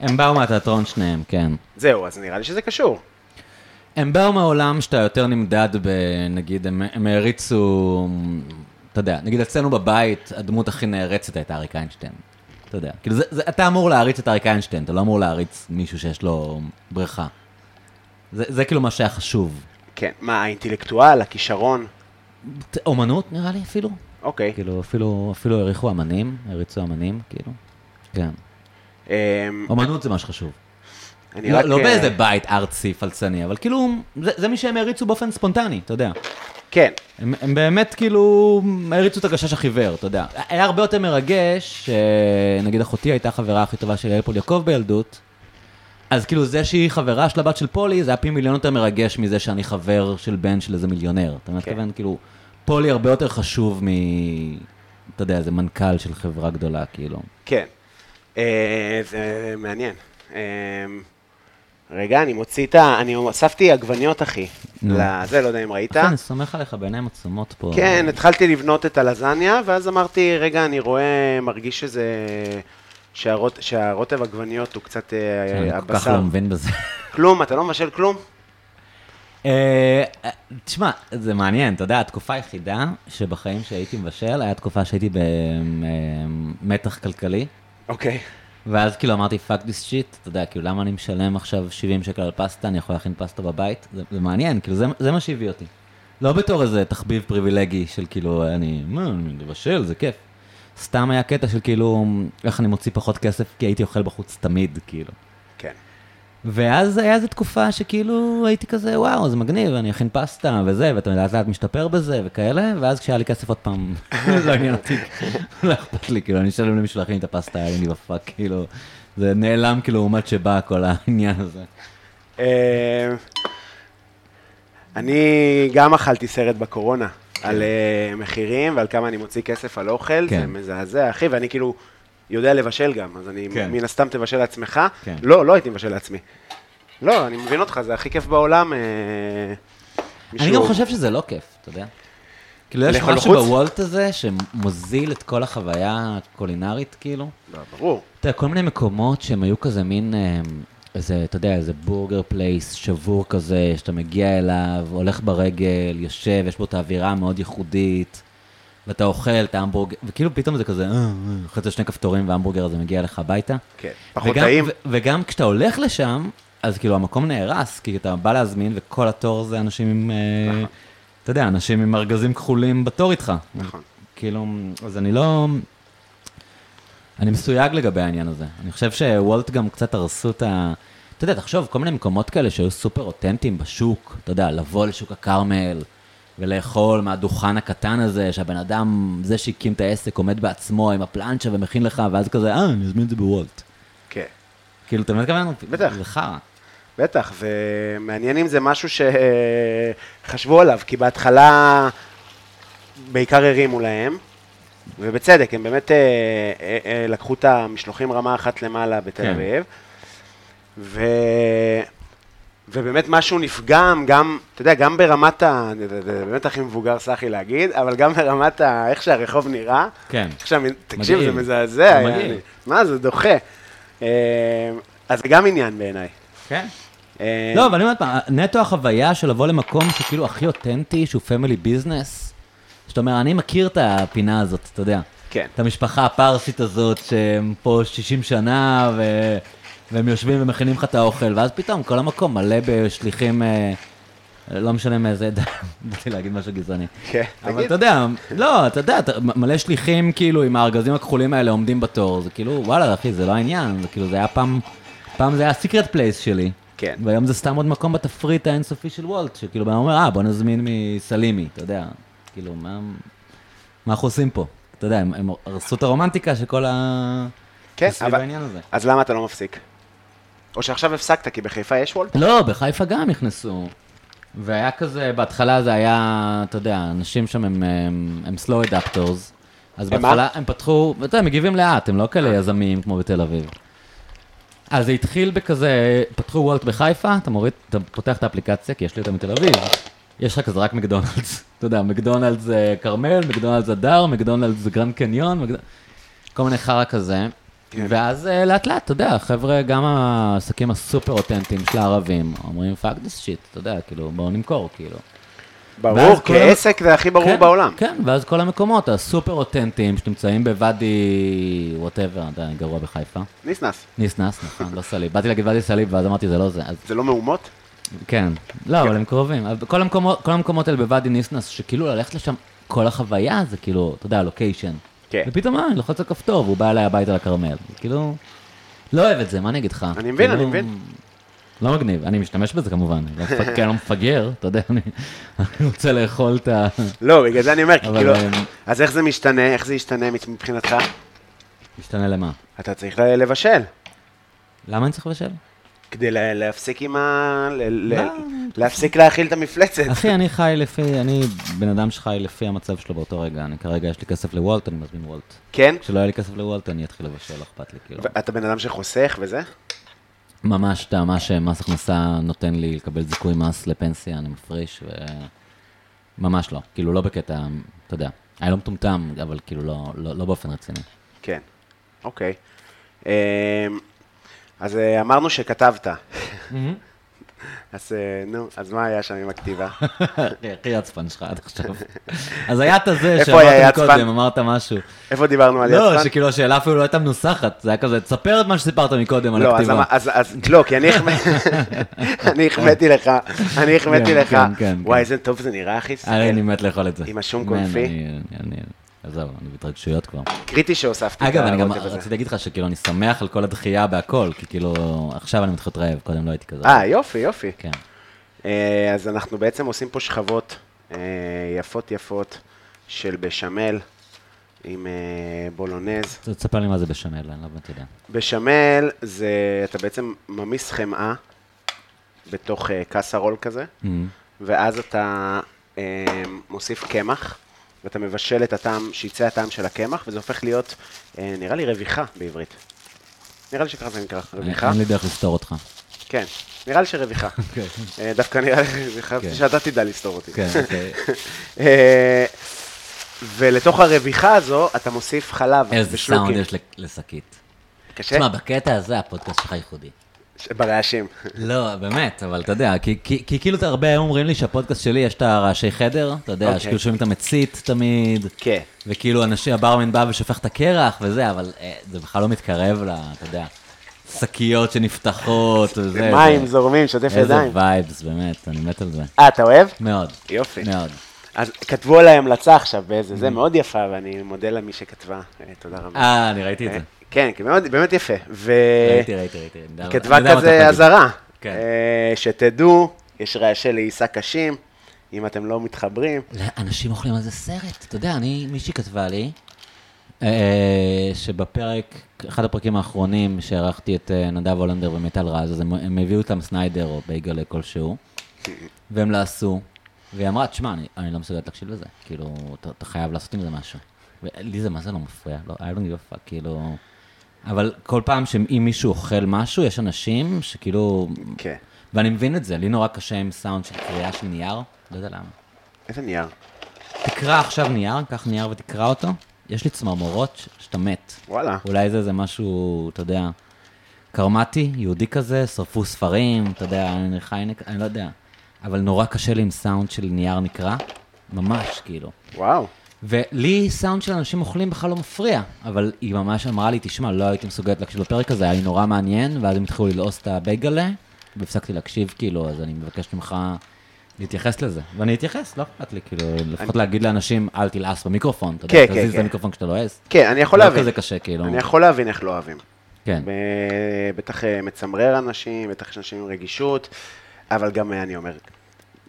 [SPEAKER 2] הם באו מהתיאטרון שניהם, כן.
[SPEAKER 3] זהו, אז נראה לי שזה קשור.
[SPEAKER 2] הם באו מהעולם שאתה יותר נמדד ב... נגיד, הם, הם העריצו, אתה יודע, נגיד אצלנו בבית, הדמות הכי נערצת הייתה אריק איינשטיין. אתה יודע, כאילו, זה, זה, אתה אמור להעריץ את אריק איינשטיין, אתה לא אמור להעריץ מישהו שיש לו בריכה. זה, זה כאילו מה שהיה חשוב.
[SPEAKER 3] כן. מה, האינטלקטואל, הכישרון?
[SPEAKER 2] ת- אומנות, נראה לי, אפילו.
[SPEAKER 3] אוקיי.
[SPEAKER 2] כאילו, אפילו, אפילו העריכו אמנים, העריצו אמנים, כאילו. כן.
[SPEAKER 3] אה,
[SPEAKER 2] אומנות זה מה שחשוב.
[SPEAKER 3] אני
[SPEAKER 2] לא,
[SPEAKER 3] רק,
[SPEAKER 2] לא
[SPEAKER 3] אה,
[SPEAKER 2] באיזה בית ארצי פלצני, אבל כאילו, זה, זה מי שהם העריצו באופן ספונטני, אתה יודע.
[SPEAKER 3] כן.
[SPEAKER 2] הם, הם באמת כאילו הריצו את הגשש החיוור, אתה יודע. היה הרבה יותר מרגש, שנגיד אחותי הייתה החברה הכי טובה של יעל פול יעקב בילדות, אז כאילו זה שהיא חברה של הבת של פולי, זה היה פי מיליון יותר מרגש מזה שאני חבר של בן של איזה מיליונר. אתה מתכוון, כאילו, פולי הרבה יותר חשוב מ... אתה יודע, זה מנכ"ל של חברה גדולה, כאילו.
[SPEAKER 3] כן. אה, זה מעניין. אה,
[SPEAKER 4] רגע, אני מוציא את ה... אני אספתי עגבניות, אחי.
[SPEAKER 2] נו. נכון,
[SPEAKER 4] לזה, לא יודע אם ראית.
[SPEAKER 2] אחי, אני סומך עליך בעיניים עצומות פה.
[SPEAKER 4] כן,
[SPEAKER 3] התחלתי לבנות את הלזניה, ואז אמרתי, רגע, אני רואה, מרגיש שזה... שהרוט- שהרוטב עגבניות הוא קצת אה,
[SPEAKER 2] אני כל כך
[SPEAKER 3] הבשר.
[SPEAKER 2] לא מבין בזה.
[SPEAKER 3] כלום, אתה לא מבשל כלום?
[SPEAKER 2] אה, תשמע, זה מעניין, אתה יודע, התקופה היחידה שבחיים שהייתי מבשל, היה תקופה שהייתי במתח כלכלי,
[SPEAKER 4] אוקיי.
[SPEAKER 2] ואז כאילו אמרתי, fuck this shit, אתה יודע, כאילו, למה אני משלם עכשיו 70 שקל על פסטה, אני יכול להכין פסטה בבית? זה, זה מעניין, כאילו, זה, זה מה שהביא אותי. לא בתור איזה תחביב פריבילגי של כאילו, אני, מה, אני מבשל, זה כיף. סתם היה קטע של כאילו, איך אני מוציא פחות כסף, כי הייתי אוכל בחוץ תמיד, כאילו.
[SPEAKER 3] כן.
[SPEAKER 2] ואז היה איזו תקופה שכאילו הייתי כזה, וואו, זה מגניב, אני אכין פסטה וזה, ואתה לאט לאט משתפר בזה וכאלה, ואז כשהיה לי כסף עוד פעם, <laughs> לא עניין אותי, לא אכפת לי, כאילו, אני אשלם למישהו להכין את הפסטה, היה לי בפאק, כאילו, זה נעלם כאילו לעומת שבא כל העניין הזה.
[SPEAKER 3] אה, אני גם אכלתי סרט בקורונה על אה, מחירים ועל כמה אני מוציא כסף על אוכל, זה
[SPEAKER 2] כן.
[SPEAKER 3] מזעזע, אחי, ואני כאילו יודע לבשל גם, אז אני
[SPEAKER 2] כן.
[SPEAKER 3] מן הסתם תבשל לעצמך.
[SPEAKER 2] כן.
[SPEAKER 3] לא, לא הייתי מבשל לעצמי. לא, אני מבין אותך, זה הכי כיף בעולם. אה,
[SPEAKER 2] אני
[SPEAKER 3] מישהו-
[SPEAKER 2] גם חושב שזה לא כיף, אתה יודע. כאילו, יש
[SPEAKER 3] לאכול
[SPEAKER 2] משהו
[SPEAKER 3] בחוץ?
[SPEAKER 2] בוולט הזה שמוזיל את כל החוויה הקולינרית, כאילו.
[SPEAKER 3] לא, ברור.
[SPEAKER 2] אתה יודע, כל מיני מקומות שהם היו כזה מין, אה, איזה, אתה יודע, איזה בורגר פלייס שבור כזה, שאתה מגיע אליו, הולך ברגל, יושב, יש בו את האווירה המאוד ייחודית, ואתה אוכל את ההמבורגר, וכאילו פתאום זה כזה, "אה, אה", אחרי זה שני כפתורים וההמבורגר הזה מגיע אליך הביתה.
[SPEAKER 3] כן, פחות
[SPEAKER 2] וגם-
[SPEAKER 3] טעים.
[SPEAKER 2] ו- וגם כשאתה הולך לשם, אז כאילו המקום נהרס, כי אתה בא להזמין, וכל התור זה אנשים עם, אה, אתה יודע, אנשים עם ארגזים כחולים בתור איתך.
[SPEAKER 3] נכון.
[SPEAKER 2] כאילו, אז אני לא... אני מסויג לגבי העניין הזה. אני חושב שוולט גם קצת הרסו את ה... אתה יודע, תחשוב, כל מיני מקומות כאלה שהיו סופר אותנטיים בשוק, אתה יודע, לבוא לשוק הכרמל ולאכול מהדוכן הקטן הזה, שהבן אדם, זה שהקים את העסק, עומד בעצמו עם הפלנצ'ה ומכין לך, ואז כזה, אה, אני אזמין את זה בוולט.
[SPEAKER 3] כן.
[SPEAKER 2] כאילו, אתה מבין מה אני מתכוון?
[SPEAKER 3] בטח.
[SPEAKER 2] זה חרא.
[SPEAKER 3] בטח, ומעניין אם זה משהו שחשבו עליו, כי בהתחלה בעיקר הרימו להם, ובצדק, הם באמת אה, אה, אה, לקחו את המשלוחים רמה אחת למעלה בתל
[SPEAKER 2] כן.
[SPEAKER 3] אביב, ו... ובאמת משהו נפגם, גם, אתה יודע, גם ברמת ה... זה- זה- זה באמת הכי מבוגר, סחי להגיד, אבל גם ברמת ה... איך שהרחוב נראה,
[SPEAKER 2] כן.
[SPEAKER 3] עכשיו, תקשיב, זה
[SPEAKER 2] מדהים.
[SPEAKER 3] מזעזע,
[SPEAKER 2] זה מדהים.
[SPEAKER 3] יעני. מה, זה דוחה. אה, אז זה גם עניין בעיניי.
[SPEAKER 2] כן.
[SPEAKER 3] אה,
[SPEAKER 2] לא, אבל אני אומר עוד פעם, נטו החוויה של לבוא למקום שכאילו הכי אותנטי, שהוא פמילי ביזנס, שאתה אומר, אני מכיר את הפינה הזאת, אתה יודע.
[SPEAKER 3] כן.
[SPEAKER 2] את המשפחה הפרסית הזאת, שהם פה 60 שנה, ו... והם יושבים ומכינים לך את האוכל, ואז פתאום כל המקום מלא בשליחים, אה, לא משנה מאיזה <laughs> עדה, באתי להגיד משהו גזעני.
[SPEAKER 3] כן,
[SPEAKER 2] אבל
[SPEAKER 3] תגיד.
[SPEAKER 2] אתה יודע, לא, אתה יודע, אתה- מ- מלא שליחים כאילו עם הארגזים הכחולים האלה עומדים בתור, זה כאילו, וואלה, אחי, זה לא העניין, זה כאילו, זה היה פעם, פעם זה היה הסיקרט פלייס שלי.
[SPEAKER 3] כן.
[SPEAKER 2] והיום זה סתם עוד מקום בתפריט האינסופי של וולט, שכאילו, בן אדם אומר, אה, בוא נזמין מסלימי, אתה יודע, כאילו, מה, מה אנחנו עושים פה? אתה יודע, הם, הם הרסו את הרומנטיקה של כל ה...
[SPEAKER 3] כן,
[SPEAKER 2] סביב
[SPEAKER 3] אבל...
[SPEAKER 2] העניין הזה.
[SPEAKER 3] אז למה אתה לא מפסיק? או שעכשיו הפסקת, כי בחיפה יש וולט?
[SPEAKER 2] לא, בחיפה גם נכנסו. והיה כזה, בהתחלה זה היה, אתה יודע, אנשים שם הם, הם, הם slow adapters. אז
[SPEAKER 3] הם מה? אה.
[SPEAKER 2] בהתחלה הם פתחו, אתה יודע, מגיבים לאט, הם לא כאלה יזמיים כמו בתל אביב. אז זה התחיל בכזה, פתחו וולט בחיפה, אתה מוריד, אתה פותח את האפליקציה, כי יש לי אותה מתל אביב. יש לך כזה רק מקדונלדס. <laughs> אתה יודע, מקדונלדס זה כרמל, מקדונלדס זה הדר, מקדונלדס זה גרנד קניון, מקד... כל מיני חרא כזה.
[SPEAKER 3] כן.
[SPEAKER 2] ואז אה, לאט לאט, אתה יודע, חבר'ה, גם העסקים הסופר אותנטיים של הערבים, אומרים פאק דיס שיט, אתה יודע, כאילו, בואו נמכור, כאילו.
[SPEAKER 3] ברור,
[SPEAKER 2] ואז כל המ-
[SPEAKER 3] כעסק זה הכי ברור
[SPEAKER 2] כן,
[SPEAKER 3] בעולם.
[SPEAKER 2] כן, ואז כל המקומות הסופר אותנטיים שנמצאים בוואדי, וואטאבר, אתה יודע, גרוע בחיפה.
[SPEAKER 3] ניסנס.
[SPEAKER 2] ניסנס, נכון, לא סליב. באתי להגיד ואדי סליב, ואז אמרתי, זה לא זה. אז
[SPEAKER 3] זה לא מהומות?
[SPEAKER 2] כן, לא, אבל הם קרובים. אבל כל המקומות, כל המקומות האלה בוואדי ניסנס, שכאילו ללכת לשם, כל החוויה זה כאילו, אתה יודע, הלוקיישן.
[SPEAKER 3] כן.
[SPEAKER 2] ופתאום, אה, אני לוחץ על כפתור, והוא בא אליי הביתה לכרמל. זה כאילו, לא אוהב את זה, מה אני אגיד לך?
[SPEAKER 3] אני מבין,
[SPEAKER 2] כאילו,
[SPEAKER 3] אני מבין.
[SPEAKER 2] לא מגניב, אני משתמש בזה כמובן, אני לא מפג- כי אני לא מפגר, אתה יודע, אני אני רוצה לאכול את ה...
[SPEAKER 3] לא, בגלל זה אני אומר, כי
[SPEAKER 2] אבל,
[SPEAKER 3] כאילו...
[SPEAKER 2] אמ,
[SPEAKER 3] אז איך זה משתנה? איך זה ישתנה מת- מבחינתך?
[SPEAKER 2] משתנה למה?
[SPEAKER 3] אתה צריך ל- לבשל,
[SPEAKER 2] למה אני צריך לבשל?
[SPEAKER 3] כדי ל- להפסיק עם ה... ל- ל-
[SPEAKER 2] לא.
[SPEAKER 3] להפסיק להאכיל את המפלצת.
[SPEAKER 2] אחי, אני חי לפי, אני בן אדם שחי לפי המצב שלו באותו רגע, אני כרגע יש לי כסף לוולט, אני מזמין וולט.
[SPEAKER 3] כן?
[SPEAKER 2] כשלא היה לי כסף לוולט, אני אתחיל לבשל, לא אכפת לי, כאילו.
[SPEAKER 3] אתה בן אדם שחוסך וזה?
[SPEAKER 2] ממש טעמה שמס הכנסה נותן לי לקבל זיכוי מס לפנסיה, אני מפריש, ו... ממש לא. כאילו, לא בקטע, אתה יודע. אני לא מטומטם, אבל כאילו, לא, לא, לא באופן רציני.
[SPEAKER 3] כן, אוקיי. אמ, אז אה, אמרנו שכתבת.
[SPEAKER 2] Mm-hmm.
[SPEAKER 3] אז אה, נו, אז מה היה שם עם הכתיבה? <laughs>
[SPEAKER 2] אחי, הכי עצפן שלך עד עכשיו. אז היה את הזה
[SPEAKER 3] איפה היה
[SPEAKER 2] שאמרתם
[SPEAKER 3] יצפן?
[SPEAKER 2] קודם, אמרת משהו.
[SPEAKER 3] איפה דיברנו על יצפן?
[SPEAKER 2] לא, שכאילו השאלה אפילו לא הייתה מנוסחת, זה היה כזה, תספר את מה שסיפרת מקודם על
[SPEAKER 3] לא, אז,
[SPEAKER 2] הכתיבה.
[SPEAKER 3] אמר- אז, אז, לא, כי אני החמ-
[SPEAKER 2] <laughs>
[SPEAKER 3] אני החמאתי לך, אני החמאתי
[SPEAKER 2] כן,
[SPEAKER 3] לך.
[SPEAKER 2] כן, כן,
[SPEAKER 3] וואי,
[SPEAKER 2] כן.
[SPEAKER 3] איזה טוב זה נראה, אחי.
[SPEAKER 2] הרי אני מת לאכול את זה.
[SPEAKER 3] עם השום
[SPEAKER 2] מן,
[SPEAKER 3] קונפי?
[SPEAKER 2] אני- אני... עזוב, אני בהתרגשויות כבר.
[SPEAKER 3] קריטי שהוספתי את
[SPEAKER 2] אגב, אני גם
[SPEAKER 3] הרוטב הזה.
[SPEAKER 2] רציתי להגיד לך שכאילו אני שמח על כל הדחייה בהכל, כי כאילו, עכשיו אני מתחיל להיות רעב, קודם לא הייתי כזה.
[SPEAKER 3] אה, יופי, יופי.
[SPEAKER 2] כן.
[SPEAKER 3] אה, אז אנחנו בעצם עושים פה שכבות אה, יפות יפות של בשמל עם אה, בולונז.
[SPEAKER 2] ת- תספר לי מה זה בשמל, אני לא באמת יודע.
[SPEAKER 3] בשמל זה, אתה בעצם ממיס חמאה בתוך אה, קסרול כזה, ואז אתה אה, מוסיף קמח, ואתה מבשל את הטעם, שיצא הטעם של הקמח, וזה הופך להיות, אה, נראה לי, רוויחה בעברית. נראה לי שככה זה נקרא, רוויחה.
[SPEAKER 2] אין לי דרך לפתור אותך.
[SPEAKER 3] כן, נראה לי
[SPEAKER 2] <laughs>
[SPEAKER 3] שרוויחה.
[SPEAKER 2] כן.
[SPEAKER 3] אה, דווקא נראה לי רוויחה,
[SPEAKER 2] כן.
[SPEAKER 3] שאתה תדע לסתור אותי.
[SPEAKER 2] כן, אוקיי.
[SPEAKER 3] <laughs> אה, ולתוך הרוויחה הזו, אתה מוסיף חלב
[SPEAKER 2] איזה סאונד
[SPEAKER 3] בשלוקים.
[SPEAKER 2] יש לק- לשקית.
[SPEAKER 3] קשה?
[SPEAKER 2] תשמע, בקטע הזה הפודקאסט שלך ייחודי.
[SPEAKER 3] ש- ברעשים.
[SPEAKER 2] לא, באמת, אבל אתה יודע, כי- כי כי כאילו אתה הרבה היום אומרים לי שהפודקאסט שלי יש את הרעשי חדר, אתה יודע,
[SPEAKER 3] אוקיי.
[SPEAKER 2] שכאילו שומעים את המצית תמיד,
[SPEAKER 3] כן.
[SPEAKER 2] וכאילו אנשים, הברמן בא ושופך את הקרח וזה, אבל אה, זה בכלל לא מתקרב ל... אתה יודע, שקיות שנפתחות וזה.
[SPEAKER 3] זה מים זורמים, שוטף
[SPEAKER 2] איזה
[SPEAKER 3] ידיים.
[SPEAKER 2] וייבס, באמת, אני מת על זה.
[SPEAKER 3] אה, אתה אוהב?
[SPEAKER 2] מאוד.
[SPEAKER 3] יופי.
[SPEAKER 2] מאוד.
[SPEAKER 3] אז כתבו עליי המלצה עכשיו באיזה, זה מאוד יפה, ואני מודה למי שכתבה. אה, תודה רבה.
[SPEAKER 2] Mm. אה, אני ראיתי את
[SPEAKER 3] אה,
[SPEAKER 2] זה.
[SPEAKER 3] כן, כי מאוד- באמת יפה. ו...
[SPEAKER 2] ראיתי, ראיתי, ראיתי. אני יודע-
[SPEAKER 3] היא
[SPEAKER 2] אני יודע
[SPEAKER 3] כתבה
[SPEAKER 2] מה אתה
[SPEAKER 3] כזה
[SPEAKER 2] חושב.
[SPEAKER 3] אזהרה.
[SPEAKER 2] כן.
[SPEAKER 3] אה, שתדעו, יש רעשי לעיסה קשים, אם אתם לא מתחברים.
[SPEAKER 2] לא, אנשים אוכלים על זה סרט. אתה יודע, אני, מישהי כתבה לי, אה, שבפרק, אחד הפרקים האחרונים שערכתי את אה, נדב הולנדר ומיטל רז, אז הם, הם הביאו איתם סניידר או בייגלה כלשהו, והם לעשו, והיא אמרה, תשמע, אני, אני לא מסוגלת להקשיב לזה, כאילו, אתה, אתה חייב לעשות עם זה משהו. ולי זה מה זה לא מפריע, לא, I don't give a fuck, כאילו... אבל כל פעם שאם מישהו אוכל משהו, יש אנשים שכאילו...
[SPEAKER 3] כן.
[SPEAKER 2] ואני מבין את זה, לי נורא קשה עם סאונד של קריאה של נייר, לא יודע למה.
[SPEAKER 3] איזה נייר.
[SPEAKER 2] תקרא עכשיו נייר, קח נייר ותקרא אותו. יש לי צמרמורות ש- שאתה מת.
[SPEAKER 3] וואלה.
[SPEAKER 2] אולי זה איזה משהו, אתה יודע, קרמטי, יהודי כזה, שרפו ספרים, אתה יודע, חי, אני לא יודע. אבל נורא קשה לי עם סאונד של נייר נקרא, ממש, כאילו.
[SPEAKER 3] וואו.
[SPEAKER 2] ולי סאונד של אנשים אוכלים בכלל לא מפריע, אבל היא ממש אמרה לי, תשמע, לא הייתי מסוגלת להקשיב לפרק הזה, היה לי נורא מעניין, ואז הם התחילו ללעוס את הבייגלה, והפסקתי להקשיב, כאילו, אז אני מבקש ממך להתייחס לזה. ואני אתייחס, לא אכפת לי, כאילו, לפחות להגיד לאנשים, אל תלעס במיקרופון, אתה
[SPEAKER 3] כן,
[SPEAKER 2] יודע,
[SPEAKER 3] כן,
[SPEAKER 2] תזיז את
[SPEAKER 3] כן.
[SPEAKER 2] המיקרופון כשאתה לועס.
[SPEAKER 3] כן, אני יכול
[SPEAKER 2] לא
[SPEAKER 3] להבין.
[SPEAKER 2] כזה קשה, כאילו.
[SPEAKER 3] אני יכול להבין איך לא אוהבים.
[SPEAKER 2] כן.
[SPEAKER 3] ב- בטח אה, מצמרר אנשים, בטח יש אנשים עם רגישות, אבל גם אה, אני אומר,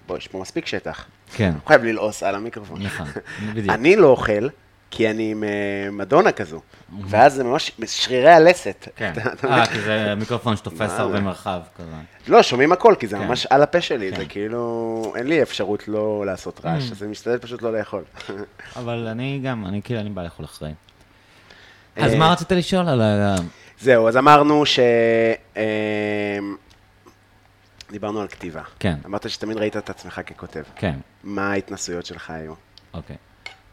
[SPEAKER 3] בוא, יש פה מספיק שטח.
[SPEAKER 2] כן.
[SPEAKER 3] לא חייב ללעוס על המיקרופון. <laughs>
[SPEAKER 2] נכון, בדיוק.
[SPEAKER 3] אני לא אוכל, כי אני עם אה, מדונה כזו, ואז זה ממש שרירי הלסת.
[SPEAKER 2] כן.
[SPEAKER 3] אתה- אתה
[SPEAKER 2] אה,
[SPEAKER 3] מבין?
[SPEAKER 2] כי זה מיקרופון שתופס הרבה מרחב, כזה.
[SPEAKER 3] לא, שומעים הכל, כי זה
[SPEAKER 2] כן.
[SPEAKER 3] ממש על הפה שלי, זה כאילו, אין לי אפשרות לא לעשות רעש, אז אני משתדל פשוט לא לאכול. <laughs>
[SPEAKER 2] אבל אני גם, אני כאילו, אני בא לאכול אחרי.
[SPEAKER 3] אה,
[SPEAKER 2] אז מה רצית לשאול על ה...
[SPEAKER 3] זהו, אז אמרנו ש... אמ, דיברנו על כתיבה.
[SPEAKER 2] כן.
[SPEAKER 3] אמרת שתמיד ראית את עצמך ככותב.
[SPEAKER 2] כן.
[SPEAKER 3] מה ההתנסויות שלך היו?
[SPEAKER 2] אוקיי.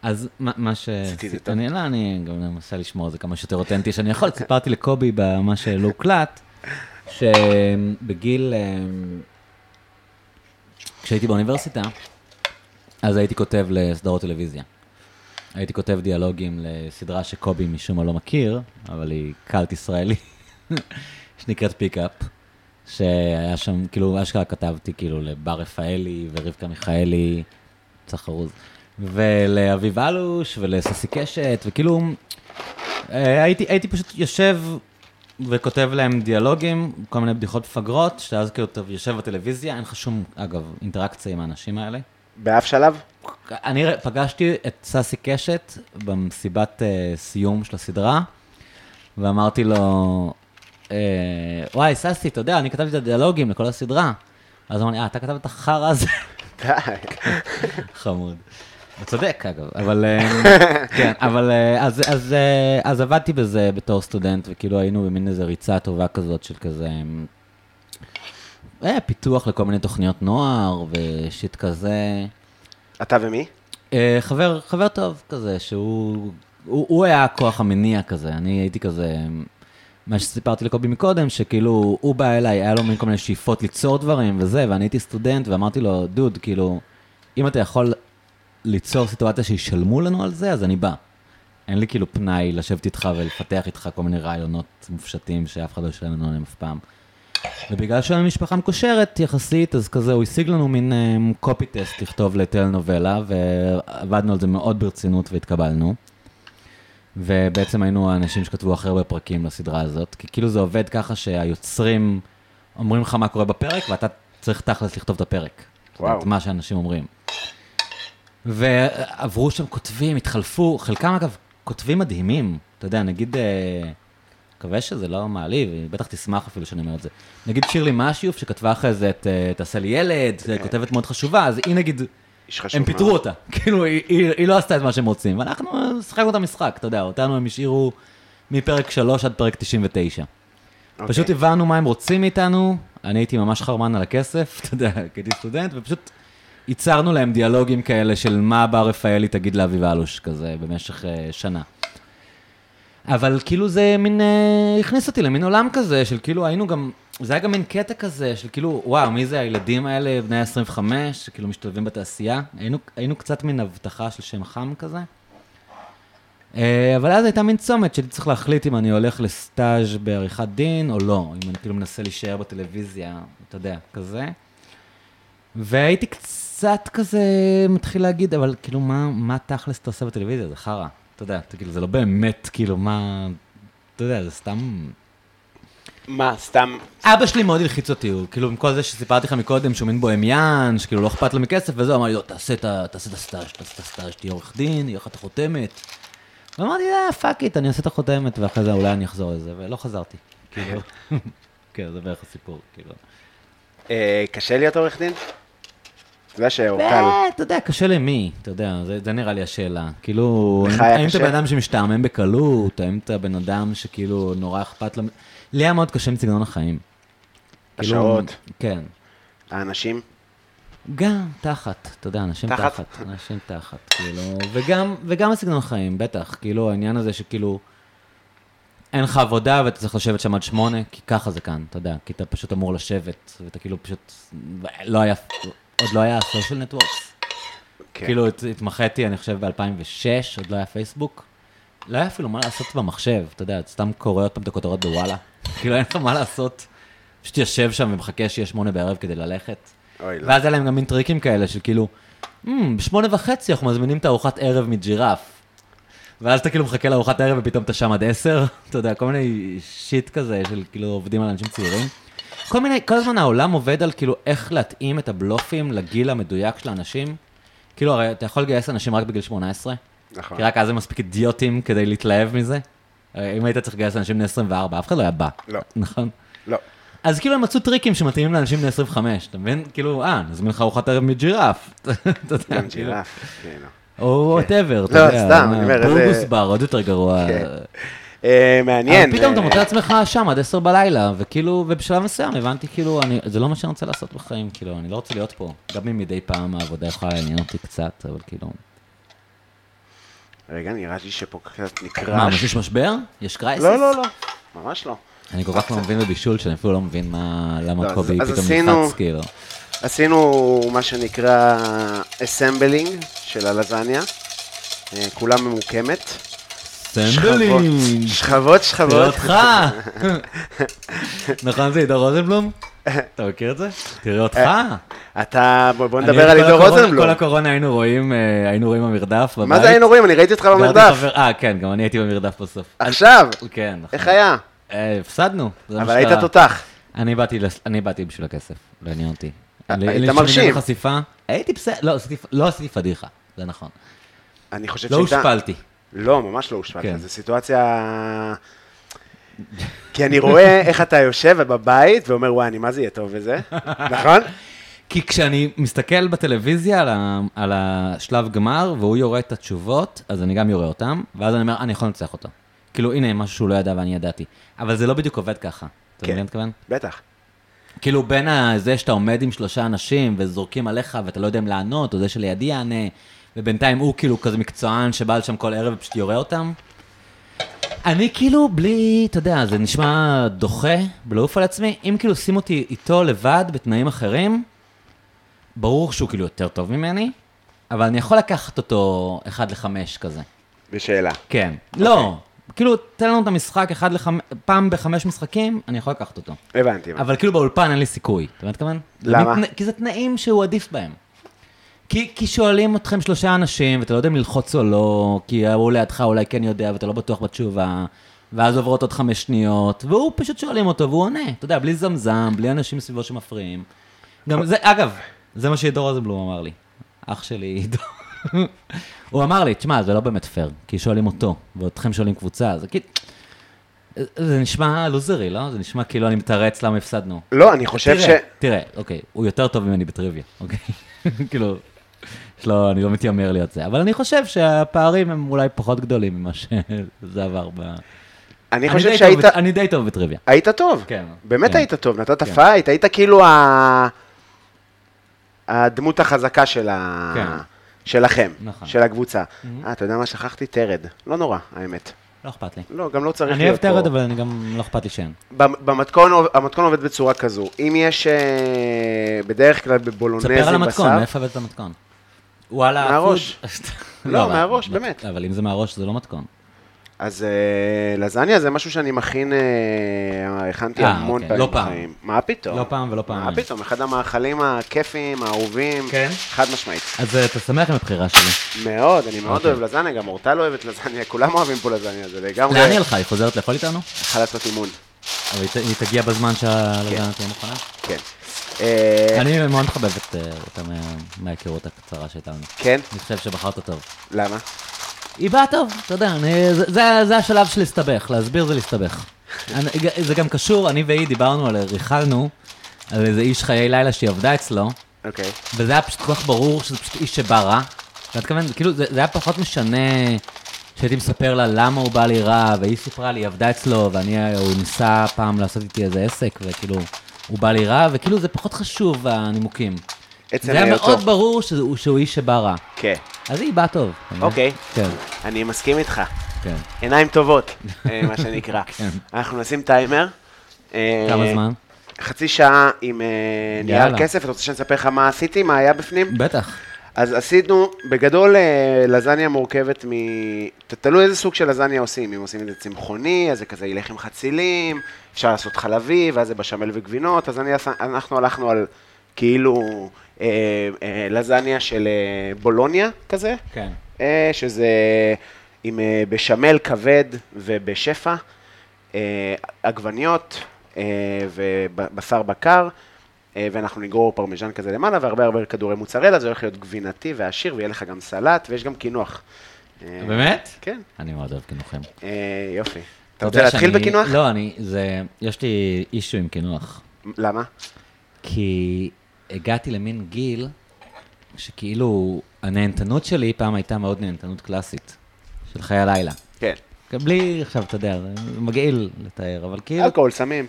[SPEAKER 2] אז מה, מה ש...
[SPEAKER 3] עשיתי את זה טוב.
[SPEAKER 2] אני, לא, אני גם מנסה לשמור על זה כמה שיותר אותנטי שאני
[SPEAKER 3] <laughs>
[SPEAKER 2] יכול. סיפרתי לקובי במה שלא הוקלט, שבגיל... אמ, כשהייתי באוניברסיטה, אז הייתי כותב לסדרות טלוויזיה. הייתי כותב דיאלוגים לסדרה שקובי משום מה לא מכיר, אבל היא קאלט ישראלי, <laughs> שנקראת פיקאפ, שהיה שם, כאילו, אשכרה כתבתי, כאילו, לבר רפאלי ורבקה מיכאלי, צחרוז, ולאביב אלוש ולססי קשת, וכאילו, אה, הייתי, הייתי פשוט יושב וכותב להם דיאלוגים, כל מיני בדיחות מפגרות, שאז כאילו אתה יושב בטלוויזיה, אין לך שום, אגב, אינטראקציה עם האנשים האלה.
[SPEAKER 3] באף
[SPEAKER 2] <laughs>
[SPEAKER 3] שלב?
[SPEAKER 2] אני ר- פגשתי את ססי קשת במסיבת אה, סיום של הסדרה, ואמרתי לו, אה, וואי, ססי, אתה יודע, אני כתבתי את הדיאלוגים לכל הסדרה. אז הוא אמר לי, אה, אתה כתב את החרא הזה? <laughs>
[SPEAKER 3] די.
[SPEAKER 2] חמוד. הוא צודק, אגב, אבל... אה, כן, אבל... אה, אז- אז, אה, אז עבדתי בזה בתור סטודנט, וכאילו היינו במין איזו ריצה טובה כזאת של כזה... אה, אה, פיתוח לכל מיני תוכניות נוער ושיט כזה.
[SPEAKER 3] אתה ומי?
[SPEAKER 2] אה, חבר, חבר טוב כזה, שהוא הוא, הוא היה הכוח המניע כזה, אני הייתי כזה, מה שסיפרתי לקובי מקודם, שכאילו, הוא בא אליי, היה לו מין כל מיני שאיפות ליצור דברים וזה, ואני הייתי סטודנט, ואמרתי לו, דוד, כאילו, אם אתה יכול ליצור סיטואציה שישלמו לנו על זה, אז אני בא. אין לי כאילו פנאי לשבת איתך ולפתח איתך כל מיני רעיונות מופשטים שאף אחד לא ישלם לנו עליהם אף פעם. ובגלל שהיום משפחה מקושרת יחסית, אז כזה הוא השיג לנו מין קופי טסט לכתוב לטלנובלה, ועבדנו על זה מאוד ברצינות והתקבלנו. ובעצם היינו האנשים שכתבו הכי הרבה פרקים לסדרה הזאת, כי כאילו זה עובד ככה שהיוצרים אומרים לך מה קורה בפרק, ואתה צריך תכלס לכתוב את הפרק.
[SPEAKER 3] וואו.
[SPEAKER 2] את מה שאנשים אומרים. ועברו שם כותבים, התחלפו, חלקם אגב כותבים מדהימים, אתה יודע, נגיד, אה, מקווה שזה לא מעליב, היא בטח תשמח אפילו שאני אומר את זה. נגיד שירלי משיוף, שכתבה אחרי זה את אה, תעשה לי ילד, אה, כותבת מאוד חשובה, אז היא נגיד,
[SPEAKER 3] כן. איש חשוב
[SPEAKER 2] הם פיטרו
[SPEAKER 3] מאוד.
[SPEAKER 2] אותה, <laughs> כאילו, היא- היא היא לא עשתה את מה שהם רוצים, ואנחנו אה, שיחקנו את המשחק, אתה יודע, אותנו הם השאירו מפרק 3 עד פרק 99.
[SPEAKER 3] אוקיי.
[SPEAKER 2] פשוט הבנו מה הם רוצים מאיתנו, אני הייתי ממש חרמן על הכסף, <laughs> אתה יודע, כי הייתי סטודנט, ופשוט ייצרנו להם דיאלוגים כאלה של מה בר רפאלי תגיד לאביב אלוש כזה, במשך אה, שנה. אבל כאילו זה מין, אה, הכניס אותי למין עולם כזה, של כאילו היינו גם, זה היה גם מין קטע כזה, של כאילו, וואו, מי זה הילדים האלה, בני ה-25, שכאילו משתלבים בתעשייה? היינו, היינו קצת מין הבטחה של שם חם כזה. אה, אבל אז הייתה מין צומת שאני צריך להחליט אם אני הולך לסטאז' בעריכת דין או לא, אם אני כאילו מנסה להישאר בטלוויזיה, אתה יודע, כזה. והייתי קצת כזה מתחיל להגיד, אבל כאילו, מה, מה תכלס אתה עושה בטלוויזיה? זה חרא. אתה יודע, אתה, כאילו, זה לא באמת, כאילו, מה... אתה יודע, זה סתם...
[SPEAKER 4] מה, סתם,
[SPEAKER 2] אבא שלי מאוד הלחיץ אותי, הוא כאילו, עם כל זה שסיפרתי לך מקודם, שהוא מין בוהמיין, שכאילו לא אכפת לו מכסף, וזה, הוא אמר לי, לא, תעשה את ה- תעשה את הסטאז', תעשה את הסטאז', תהיה עורך דין, יהיה לך את החותמת. ואמרתי, אה, פאק איט, אני אעשה את החותמת, ואחרי זה אולי אני אחזור לזה, ולא חזרתי.
[SPEAKER 3] <laughs>
[SPEAKER 2] כאילו, כן, זה בערך הסיפור, כאילו.
[SPEAKER 3] אה, קשה להיות עורך דין? אתה יודע שהוא קל.
[SPEAKER 2] אה, אתה יודע, קשה למי, אתה יודע, זה, זה נראה לי השאלה. כאילו,
[SPEAKER 3] לך
[SPEAKER 2] האם-
[SPEAKER 3] היה
[SPEAKER 2] האם אתה
[SPEAKER 3] קשה?
[SPEAKER 2] בן אדם שמשתעמם בקלות, האם אתה בן אדם שכאילו נורא אכפת לו... לי היה מאוד קשה עם סגנון החיים. כאילו,
[SPEAKER 3] השעות.
[SPEAKER 2] כן.
[SPEAKER 3] האנשים?
[SPEAKER 2] גם תחת, אתה יודע, אנשים
[SPEAKER 3] תחת?
[SPEAKER 2] תחת, אנשים תחת, כאילו, וגם, וגם הסגנון חיים, בטח, כאילו, העניין הזה שכאילו, אין לך עבודה ואתה צריך לשבת שם עד שמונה, כי ככה זה כאן, אתה יודע, כי אתה פשוט אמור לשבת, ואתה כאילו פשוט, לא היה, עוד לא היה social networks.
[SPEAKER 3] כן.
[SPEAKER 2] כאילו, הת- התמחיתי, אני חושב, ב-2006, עוד לא היה פייסבוק. לא היה אפילו מה לעשות במחשב, אתה יודע, אתה סתם קורא עוד פעם את הכותרות בוואלה. <laughs> כאילו, אין לך מה לעשות. פשוט יושב שם ומחכה שיהיה שמונה בערב כדי ללכת.
[SPEAKER 3] אוי, לא.
[SPEAKER 2] ואז היה להם גם מין טריקים כאלה של כאילו, "מ, בשמונה וחצי אנחנו מזמינים את הארוחת ערב מג'ירף. ואז אתה כאילו מחכה לארוחת ערב ופתאום אתה שם עד עשר, <laughs> אתה יודע, כל מיני שיט כזה של כאילו עובדים על אנשים צעירים. כל מיני, כל הזמן העולם עובד על כאילו איך להתאים את הבלופים לגיל המדויק של האנשים. כאילו, הרי אתה יכול לגייס אנשים רק בגיל 18,
[SPEAKER 3] נכון.
[SPEAKER 2] כי רק אז הם מספיק אידיוטים כדי להתלהב מזה. הרי אם היית צריך לגייס אנשים בני 24, אף אחד לא היה בא.
[SPEAKER 3] לא.
[SPEAKER 2] <laughs> נכון?
[SPEAKER 3] לא.
[SPEAKER 2] אז כאילו הם מצאו טריקים שמתאימים לאנשים בני 25, אתה מבין? כאילו, אה, נזמין לך ארוחת ערב מג'ירף. <laughs> אתה יודע, כאילו.
[SPEAKER 3] גם כן, ג'ירף. כן, לא.
[SPEAKER 2] או וואטאבר, אתה
[SPEAKER 3] לא,
[SPEAKER 2] יודע.
[SPEAKER 3] סתם, אני אומר, איזה-
[SPEAKER 2] בורגוס בר, עוד יותר גרוע.
[SPEAKER 3] כן. אה, מעניין.
[SPEAKER 2] אבל פתאום אתה
[SPEAKER 3] אה,
[SPEAKER 2] מוצא עצמך שם עד 10 בלילה, וכאילו, ובשלב מסוים הבנתי, כאילו, אני- זה לא מה שאני רוצה לעשות בחיים, כאילו, אני לא רוצה להיות פה. גם אם מדי פעם העבודה יכולה לעניין אותי קצת, אבל כאילו...
[SPEAKER 3] רגע, נראה לי שפה קצת
[SPEAKER 2] מה,
[SPEAKER 3] נקרע.
[SPEAKER 2] משהו יש משבר? יש קרייסס?
[SPEAKER 3] לא, לא, לא. ממש לא.
[SPEAKER 2] אני כל כך לא מבין בבישול, שאני אפילו לא מבין מה...
[SPEAKER 3] לא,
[SPEAKER 2] למה
[SPEAKER 3] אז-
[SPEAKER 2] קובי
[SPEAKER 3] אז
[SPEAKER 2] פתאום
[SPEAKER 3] עשינו-
[SPEAKER 2] נלחץ, כאילו.
[SPEAKER 3] עשינו מה שנקרא אסמבלינג של הלזניה. אה, כולה ממוקמת.
[SPEAKER 2] סמבלינג!
[SPEAKER 3] שכבות,
[SPEAKER 2] תראה
[SPEAKER 3] שכבות. <laughs>
[SPEAKER 2] אותך! נכון זה עידו
[SPEAKER 3] <laughs>
[SPEAKER 2] רוזנבלום? אתה מכיר את זה? תראה אותך!
[SPEAKER 3] אה, אתה, בוא בוא
[SPEAKER 2] אני
[SPEAKER 3] נדבר על
[SPEAKER 2] כל
[SPEAKER 3] עידו
[SPEAKER 2] הקורונה-
[SPEAKER 3] רוזנבלום.
[SPEAKER 2] כל הקורונה היינו רואים, אה, היינו רואים במרדף בבית.
[SPEAKER 3] מה זה היינו רואים? אני ראיתי אותך
[SPEAKER 2] גרתי
[SPEAKER 3] במרדף.
[SPEAKER 2] חבר- אה, כן, גם אני הייתי במרדף בסוף.
[SPEAKER 3] עכשיו,
[SPEAKER 2] כן, נכון.
[SPEAKER 3] איך היה?
[SPEAKER 2] אה, הפסדנו. זה מה
[SPEAKER 3] אבל היית
[SPEAKER 2] שקרה.
[SPEAKER 3] תותח.
[SPEAKER 2] אני באתי, לס- אני באתי בשביל הכסף, לא עניין אותי. אין לי-
[SPEAKER 3] אה, היית
[SPEAKER 2] אין לי שום עניין
[SPEAKER 3] מרשים.
[SPEAKER 2] חשיפה. הייתי בסדר, לא, עשיתי- לא עשיתי פדיחה, זה נכון.
[SPEAKER 3] אני חושב
[SPEAKER 2] לא
[SPEAKER 3] שהייתה-
[SPEAKER 2] הושפלתי.
[SPEAKER 3] לא, ממש לא הושפלת.
[SPEAKER 2] כן.
[SPEAKER 3] זו סיטואציה... כי אני רואה איך אתה יושב בבית ואומר, וואי, אני מה זה יהיה טוב
[SPEAKER 2] <laughs>
[SPEAKER 3] וזה, נכון?
[SPEAKER 2] כי כשאני מסתכל בטלוויזיה על, ה, על השלב גמר, והוא יורה את התשובות, אז אני גם יורה אותם, ואז אני אומר, אני יכול לנצח אותו. כאילו, הנה, משהו שהוא לא ידע ואני ידעתי. אבל זה לא בדיוק עובד ככה. אתה
[SPEAKER 3] כן.
[SPEAKER 2] מבין מה אני מתכוון?
[SPEAKER 3] בטח.
[SPEAKER 2] כאילו בין ה- זה שאתה עומד עם שלושה אנשים וזורקים עליך ואתה לא יודע אם לענות, או זה שלידי יענה, ובינתיים הוא כאילו כזה מקצוען שבא לשם כל ערב ופשוט יורה אותם. אני כאילו בלי, אתה יודע, זה נשמע דוחה, בלעוף על עצמי, אם כאילו שים אותי איתו לבד בתנאים אחרים, ברור שהוא כאילו יותר טוב ממני, אבל אני יכול לקחת אותו אחד לחמש כזה.
[SPEAKER 3] בשאלה.
[SPEAKER 2] כן. לא, כאילו, תן לנו את המשחק אחד לחמש, פעם בחמש משחקים, אני יכול לקחת אותו.
[SPEAKER 3] הבנתי. הבנתי.
[SPEAKER 2] אבל כאילו באולפן אין לי סיכוי, אתה מבין מה אתכוון?
[SPEAKER 3] למה?
[SPEAKER 2] זה מתנא- כי זה תנאים שהוא עדיף בהם. כי, כי שואלים אתכם שלושה אנשים, ואתה לא יודע אם ללחוץ או לא, כי ההוא לידך אולי כן יודע, ואתה לא בטוח בתשובה, ואז עוברות עוד חמש שניות, והוא פשוט שואלים אותו, והוא עונה, אתה יודע, בלי זמזם, בלי אנשים סביבו שמפריעים. גם זה, אגב, זה מה שדור רוזנבלום אמר לי, אח שלי דור. <laughs> הוא אמר לי, תשמע, זה לא באמת פייר, כי שואלים אותו, ואתכם שואלים קבוצה, זה כאילו... זה נשמע לוזרי, לא? זה נשמע כאילו אני מתרץ למה הפסדנו.
[SPEAKER 3] לא, אני חושב ש...
[SPEAKER 2] תראה, תראה, אוקיי, הוא יותר טוב ממני בטריוויה, אוקיי? <laughs> כאילו, יש לו, אני לא מתיימר להיות זה, אבל אני חושב שהפערים הם אולי פחות גדולים ממה שזה עבר ב...
[SPEAKER 3] אני
[SPEAKER 2] די
[SPEAKER 3] חושב
[SPEAKER 2] טוב
[SPEAKER 3] שהיית...
[SPEAKER 2] בט- אני די טוב בטריוויה.
[SPEAKER 3] היית טוב.
[SPEAKER 2] כן.
[SPEAKER 3] באמת
[SPEAKER 2] כן.
[SPEAKER 3] היית טוב, נתת פייט, היית כאילו ה... הדמות החזקה של ה...
[SPEAKER 2] כן.
[SPEAKER 3] שלכם,
[SPEAKER 2] נכון.
[SPEAKER 3] של הקבוצה. אה, אתה יודע מה? שכחתי טרד. לא נורא, האמת.
[SPEAKER 2] לא אכפת לי.
[SPEAKER 3] לא, גם לא צריך
[SPEAKER 2] אני אוהב
[SPEAKER 3] להיות פה.
[SPEAKER 2] טרד, אבל אני גם לא אכפת לי שאין.
[SPEAKER 3] במ- במתכון, עוב- המתכון עובד בצורה כזו. אם יש, אה, בדרך כלל בבולונזי בשר...
[SPEAKER 2] תספר על המתכון, מאיפה הבאת את המתכון? וואלה,
[SPEAKER 3] מהראש.
[SPEAKER 2] הפוד- <laughs>
[SPEAKER 3] לא,
[SPEAKER 2] אבל-
[SPEAKER 3] מהראש, באמת.
[SPEAKER 2] אבל אם זה מהראש, זה לא מתכון.
[SPEAKER 3] אז אה, לזניה זה משהו שאני מכין, אה, הכנתי
[SPEAKER 2] אה,
[SPEAKER 3] המון
[SPEAKER 2] אוקיי,
[SPEAKER 3] פעמים
[SPEAKER 2] לא פעם.
[SPEAKER 3] בחיים. מה פתאום?
[SPEAKER 2] לא פעם ולא פעמיים.
[SPEAKER 3] מה פתאום? אחד המאכלים הכיפים, האהובים,
[SPEAKER 2] כן?
[SPEAKER 3] חד משמעית.
[SPEAKER 2] אז אה, אתה שמח עם הבחירה שלי.
[SPEAKER 3] מאוד, אני מאוד
[SPEAKER 2] אוקיי.
[SPEAKER 3] אוהב לזניה, גם אורטל אוהבת לזניה, כולם אוהבים פה לזניה, זה לגמרי...
[SPEAKER 2] לאן היא הלכה? היא חוזרת לאכול איתנו?
[SPEAKER 3] צריכה לעשות אימון,
[SPEAKER 2] אבל היא ת- היא תגיע בזמן שהלגנה תהיה מוכנה?
[SPEAKER 3] כן. אה,
[SPEAKER 2] אני מאוד מחבב את, אה, אותה מה- מההיכרות הקצרה שהייתה לנו.
[SPEAKER 3] כן?
[SPEAKER 2] אני חושב שבחרת טוב.
[SPEAKER 3] למה?
[SPEAKER 2] היא באה טוב, אתה יודע, אני, זה, זה, זה השלב של להסתבך, להסביר זה להסתבך. אני, זה גם קשור, אני והיא דיברנו על, ריחלנו, על איזה איש חיי לילה שהיא עבדה אצלו,
[SPEAKER 3] אוקיי.
[SPEAKER 2] וזה היה פשוט כל כך ברור שזה פשוט איש שבא רע. אתה מתכוון, כאילו, זה, זה היה פחות משנה שהייתי מספר לה למה הוא בא לי רע, והיא סיפרה לי, היא עבדה אצלו, ואני, אה, הוא ניסה פעם לעשות איתי איזה עסק, וכאילו, הוא בא לי רע, וכאילו, זה פחות חשוב, הנימוקים.
[SPEAKER 3] עצם
[SPEAKER 2] זה היה
[SPEAKER 3] היותו.
[SPEAKER 2] מאוד ברור שהוא שהוא איש שבא רע.
[SPEAKER 3] כן.
[SPEAKER 2] אז היא באה טוב. אתה מבין?
[SPEAKER 3] אוקיי.
[SPEAKER 2] כן,
[SPEAKER 3] אני מסכים איתך.
[SPEAKER 2] כן.
[SPEAKER 3] עיניים טובות, אה, מה
[SPEAKER 2] <laughs>
[SPEAKER 3] שנקרא. אנחנו נשים טיימר. אה,
[SPEAKER 2] כמה זמן?
[SPEAKER 3] חצי שעה עם אה, נייר
[SPEAKER 2] יאללה.
[SPEAKER 3] כסף, אתה רוצה שאני אספר לך מה עשיתי, מה היה בפנים?
[SPEAKER 2] בטח.
[SPEAKER 3] אז עשינו, בגדול אה, לזניה מורכבת מ... ת- תלוי איזה סוג של לזניה עושים, אם עושים את זה צמחוני, אז זה כזה ילך עם חצילים, אפשר לעשות חלבי, ואז זה בשמל וגבינות, אז אני, עשה- אנחנו הלכנו על כאילו אה, אה, לזניה של אה, בולוניה כזה,
[SPEAKER 2] כן.
[SPEAKER 3] אה, שזה עם אה, בשמל כבד ובשפע, אה, עגבניות אה, ובשר בקר, אה, ואנחנו נגרור פרמיז'ן כזה למעלה, והרבה הרבה כדורי מוצרלה, זה הולך להיות גבינתי ועשיר, ויהיה לך גם סלט, ויש גם קינוח. אה,
[SPEAKER 2] באמת?
[SPEAKER 3] כן,
[SPEAKER 2] אני מאוד אוהב קינוחים.
[SPEAKER 3] אה, יופי.
[SPEAKER 2] יודע
[SPEAKER 3] אתה רוצה להתחיל
[SPEAKER 2] שאני-
[SPEAKER 3] בקינוח?
[SPEAKER 2] לא, אני, זה, יש לי אישו עם קינוח.
[SPEAKER 3] למה?
[SPEAKER 2] כי הגעתי למין גיל שכאילו הנהנתנות שלי פעם הייתה מאוד נהנתנות קלאסית, של חיי הלילה.
[SPEAKER 3] כן.
[SPEAKER 2] גם בלי, עכשיו, אתה יודע, זה מגעיל לתאר, אבל כאילו,
[SPEAKER 3] אלכוהול, סמים.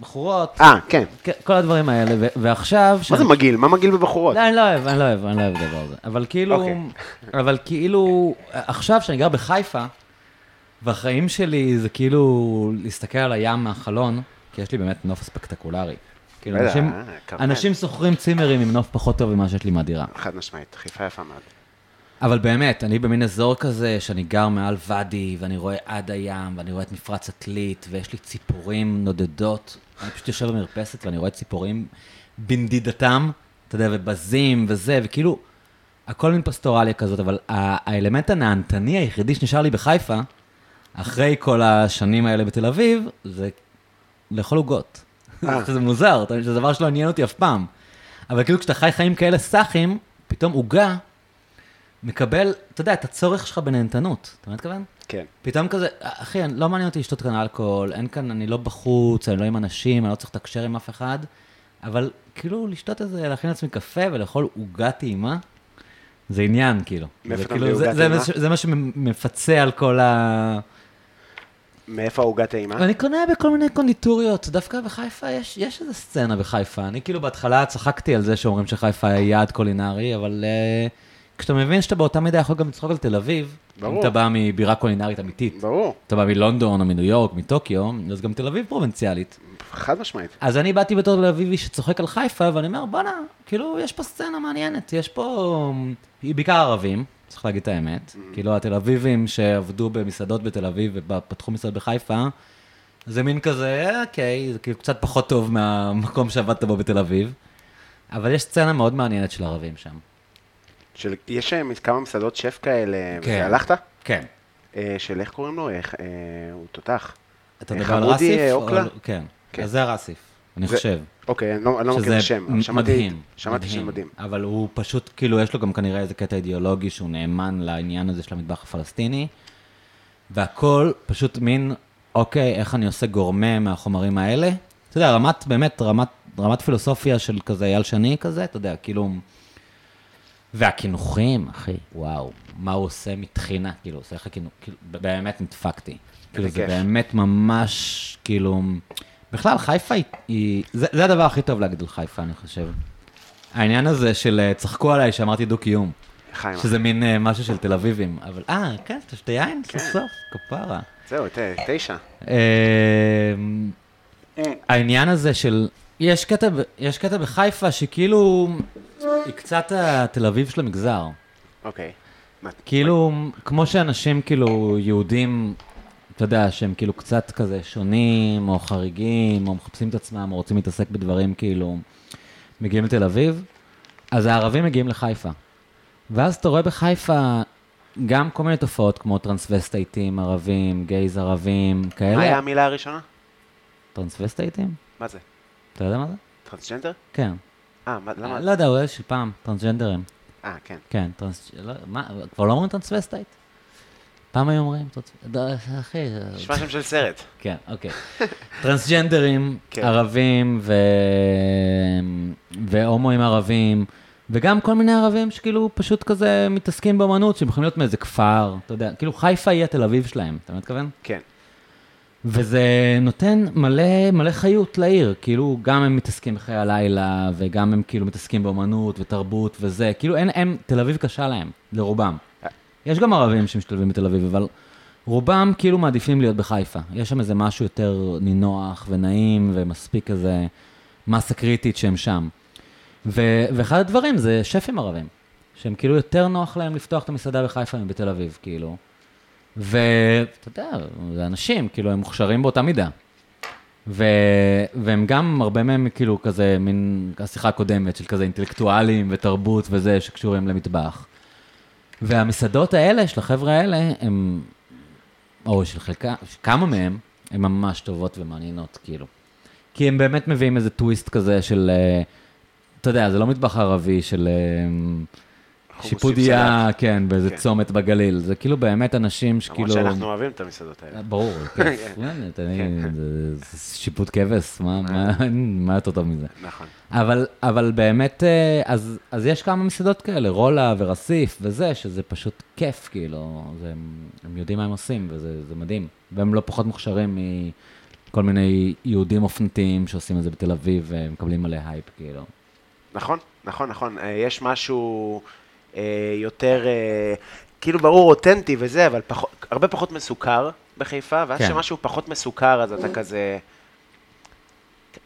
[SPEAKER 2] בחורות,
[SPEAKER 3] אה, כן.
[SPEAKER 2] כ- כל הדברים האלה, ו- ועכשיו...
[SPEAKER 3] מה זה
[SPEAKER 2] שאני-
[SPEAKER 3] מגעיל? מה מגעיל בבחורות?
[SPEAKER 2] לא, אני לא אוהב, אני לא אוהב, אני לא אוהב את הדבר הזה. אבל כאילו,
[SPEAKER 3] אוקיי.
[SPEAKER 2] אבל כאילו, עכשיו שאני גר בחיפה, והחיים שלי זה כאילו להסתכל על הים מהחלון, כי יש לי באמת נוף ספקטקולרי. כאילו,
[SPEAKER 3] בטח,
[SPEAKER 2] אנשים,
[SPEAKER 3] אה, כרמל.
[SPEAKER 2] אנשים שוכרים צימרים עם נוף פחות טוב ממה שיש לי מהדירה.
[SPEAKER 3] חד משמעית, חיפה יפה מאוד.
[SPEAKER 2] אבל באמת, אני במין אזור כזה שאני גר מעל ואדי, ואני רואה עד הים, ואני רואה את מפרץ עתלית, ויש לי ציפורים נודדות. אני פשוט יושב במרפסת ואני רואה ציפורים בנדידתם, אתה יודע, ובזים וזה, וכאילו, הכל מין פסטורליה כזאת, אבל ה- האלמנט הנהנתני היחידי שנשאר לי בחיפה, אחרי כל השנים האלה בתל אביב, זה לאכול עוגות. <laughs> זה מוזר, אתה מבין? זה דבר שלא עניין אותי אף פעם. אבל כאילו כשאתה חי חיים כאלה סאחים, פתאום עוגה מקבל, אתה יודע, את הצורך שלך בנהנתנות. אתה מבין מה מתכוון?
[SPEAKER 3] כן.
[SPEAKER 2] פתאום כזה, אחי, אני- לא מעניין אותי לשתות כאן אלכוהול, אין כאן, אני לא בחוץ, אני לא עם אנשים, אני לא צריך לתקשר עם אף אחד, אבל כאילו לשתות איזה, להכין לעצמי קפה ולאכול עוגה טעימה, זה עניין, כאילו.
[SPEAKER 3] מאיפה
[SPEAKER 2] זה
[SPEAKER 3] אתה
[SPEAKER 2] כאילו,
[SPEAKER 3] מביא
[SPEAKER 2] זה-
[SPEAKER 3] עוגה
[SPEAKER 2] זה מה
[SPEAKER 3] טעימה?
[SPEAKER 2] ש- זה מה שמפצה על כל ה...
[SPEAKER 3] מאיפה העוגת טעימה?
[SPEAKER 2] אני קונה בכל מיני קונדיטוריות, דווקא בחיפה יש, יש איזו סצנה בחיפה. אני כאילו בהתחלה צחקתי על זה שאומרים שחיפה היא יעד קולינרי, אבל uh, כשאתה מבין שאתה באותה מידה יכול גם לצחוק על תל אביב,
[SPEAKER 3] ברור.
[SPEAKER 2] אם אתה בא מבירה קולינרית אמיתית,
[SPEAKER 3] ברור,
[SPEAKER 2] אתה בא מלונדון או מניו יורק, מטוקיו, אז גם תל אביב פרובינציאלית.
[SPEAKER 3] חד משמעית.
[SPEAKER 2] אז אני באתי בתור תל אביבי שצוחק על חיפה, ואני אומר, בואנה, כאילו, יש פה סצנה מעניינת, יש פה... היא בעיקר ערבים, צריך להגיד את האמת.
[SPEAKER 3] Mm.
[SPEAKER 2] כאילו, התל אביבים שעבדו במסעדות בתל אביב ופתחו מסעד בחיפה, זה מין כזה, אוקיי, זה כאילו קצת פחות טוב מהמקום שעבדת בו בתל אביב. אבל יש סצנה מאוד מעניינת של ערבים שם.
[SPEAKER 3] של, יש אה, כמה מסעדות שף כאלה,
[SPEAKER 2] כן.
[SPEAKER 3] כן. והלכת?
[SPEAKER 2] כן.
[SPEAKER 3] אה, של איך קוראים לו? איך, אה, הוא תותח.
[SPEAKER 2] אתה
[SPEAKER 3] אה,
[SPEAKER 2] מדבר על
[SPEAKER 3] חמודי,
[SPEAKER 2] רסיף?
[SPEAKER 3] אה,
[SPEAKER 2] או
[SPEAKER 3] אוקלה?
[SPEAKER 2] לא? כן.
[SPEAKER 3] כן.
[SPEAKER 2] אז זה הרסיף, אני
[SPEAKER 3] זה-
[SPEAKER 2] חושב.
[SPEAKER 3] אוקיי, אני לא, אני לא מכיר את
[SPEAKER 2] שזה
[SPEAKER 3] השם, אבל
[SPEAKER 2] מ-
[SPEAKER 3] שמעתי,
[SPEAKER 2] מדהים.
[SPEAKER 3] שמעתי שזה מדהים.
[SPEAKER 2] אבל הוא פשוט, כאילו, יש לו גם כנראה איזה קטע אידיאולוגי שהוא נאמן לעניין הזה של המטבח הפלסטיני, והכל פשוט מין, אוקיי, איך אני עושה גורמה מהחומרים האלה? אתה יודע, רמת, באמת, רמת, רמת פילוסופיה של כזה אייל שני כזה, אתה יודע, כאילו... והקינוחים, אחי, וואו, מה הוא עושה מטחינה, כאילו, עושה לך קינוח, כאילו, באמת נדפקתי. כאילו, זה
[SPEAKER 3] כיף.
[SPEAKER 2] באמת ממש, כאילו, בכלל, חיפה היא, היא זה, זה הדבר הכי טוב להגיד על חיפה, אני חושב. העניין הזה של אה, צחקו עליי שאמרתי דו-קיום,
[SPEAKER 3] חיים,
[SPEAKER 2] שזה מין אה, משהו של תל אביבים, אבל אה, כן, אתה שותה יין? סוף סוף, כפרה.
[SPEAKER 3] זהו, ת, תשע.
[SPEAKER 2] אמ, העניין הזה של... יש קטע, ב- יש קטע בחיפה שכאילו היא קצת התל אביב של המגזר.
[SPEAKER 3] אוקיי. מה-
[SPEAKER 2] כאילו, כמו שאנשים כאילו יהודים, אתה יודע, שהם כאילו קצת כזה שונים, או חריגים, או מחפשים את עצמם, או רוצים להתעסק בדברים כאילו, מגיעים לתל אביב, אז הערבים מגיעים לחיפה. ואז אתה רואה בחיפה גם כל מיני תופעות כמו טרנסווסטייטים ערבים, גייז ערבים,
[SPEAKER 3] מה היה
[SPEAKER 2] כאלה.
[SPEAKER 3] המילה הראשונה?
[SPEAKER 2] טרנסווסטייטים?
[SPEAKER 3] מה זה?
[SPEAKER 2] אתה יודע מה זה?
[SPEAKER 3] טרנסג'נדר?
[SPEAKER 2] כן.
[SPEAKER 3] אה, מה- למה?
[SPEAKER 2] לא יודע, הוא איזשהו פעם, טרנסג'נדרים.
[SPEAKER 3] אה, כן.
[SPEAKER 2] כן, טרנס... לא, מה, כבר לא אומרים טרנסווסטייט? פעם היו אומרים טרנסווסטייט. לא, אחי... זה-
[SPEAKER 3] נשמע שם של סרט.
[SPEAKER 2] כן, אוקיי. טרנסג'נדרים,
[SPEAKER 3] כן.
[SPEAKER 2] ערבים ו... והומואים ערבים, וגם כל מיני ערבים שכאילו פשוט כזה מתעסקים באמנות, שהם יכולים להיות מאיזה כפר, אתה יודע, כאילו חיפה היא התל אביב שלהם, אתה מתכוון?
[SPEAKER 3] כן.
[SPEAKER 2] וזה נותן מלא, מלא חיות לעיר, כאילו גם הם מתעסקים בחיי הלילה, וגם הם כאילו מתעסקים באמנות ותרבות וזה, כאילו אין, הם, תל אביב קשה להם, לרובם. יש גם ערבים שמשתלבים בתל אביב, אבל רובם כאילו מעדיפים להיות בחיפה. יש שם איזה משהו יותר נינוח ונעים, ומספיק איזה מסה קריטית שהם שם. ו- ואחד הדברים זה שפים ערבים, שהם כאילו יותר נוח להם לפתוח את המסעדה בחיפה מבתל אביב, כאילו. ואתה יודע, זה אנשים, כאילו, הם מוכשרים באותה מידה. ו... והם גם, הרבה מהם כאילו כזה, מין השיחה הקודמת של כזה אינטלקטואלים ותרבות וזה, שקשורים למטבח. והמסעדות האלה, של החבר'ה האלה, הם, או של חלקם, כמה מהם, הן ממש טובות ומעניינות, כאילו. כי הם באמת מביאים איזה טוויסט כזה של, אה, אתה יודע, זה לא מטבח ערבי של אה,
[SPEAKER 3] חומוס עם
[SPEAKER 2] שיפודיה, כן, באיזה
[SPEAKER 3] כן.
[SPEAKER 2] צומת בגליל. זה כאילו באמת אנשים
[SPEAKER 3] למרות
[SPEAKER 2] שכאילו...
[SPEAKER 3] שאנחנו כן. אוהבים את המסעדות האלה. <laughs>
[SPEAKER 2] ברור, כיף, באמת, אני- זה- זה שיפוט כבש, מה- מה-
[SPEAKER 3] אה.
[SPEAKER 2] <laughs> מה יותר טוב מזה?
[SPEAKER 3] נכון.
[SPEAKER 2] אבל, אבל באמת, אה, אז, אז יש כמה מסעדות כאלה, רולה ורסיף וזה, שזה פשוט כיף, כאילו, זה, הם יודעים מה הם עושים, וזה זה מדהים. והם לא פחות מוכשרים מכל מיני יהודים אופנתיים שעושים את זה בתל אביב, ומקבלים מלא הייפ, כאילו.
[SPEAKER 3] נכון, נכון, נכון. אה, יש משהו אה, יותר, אה, כאילו ברור אותנטי וזה, אבל פחות, הרבה פחות מסוכר בחיפה, ואז
[SPEAKER 2] כן.
[SPEAKER 3] כשמשהו פחות מסוכר, אז אתה כזה...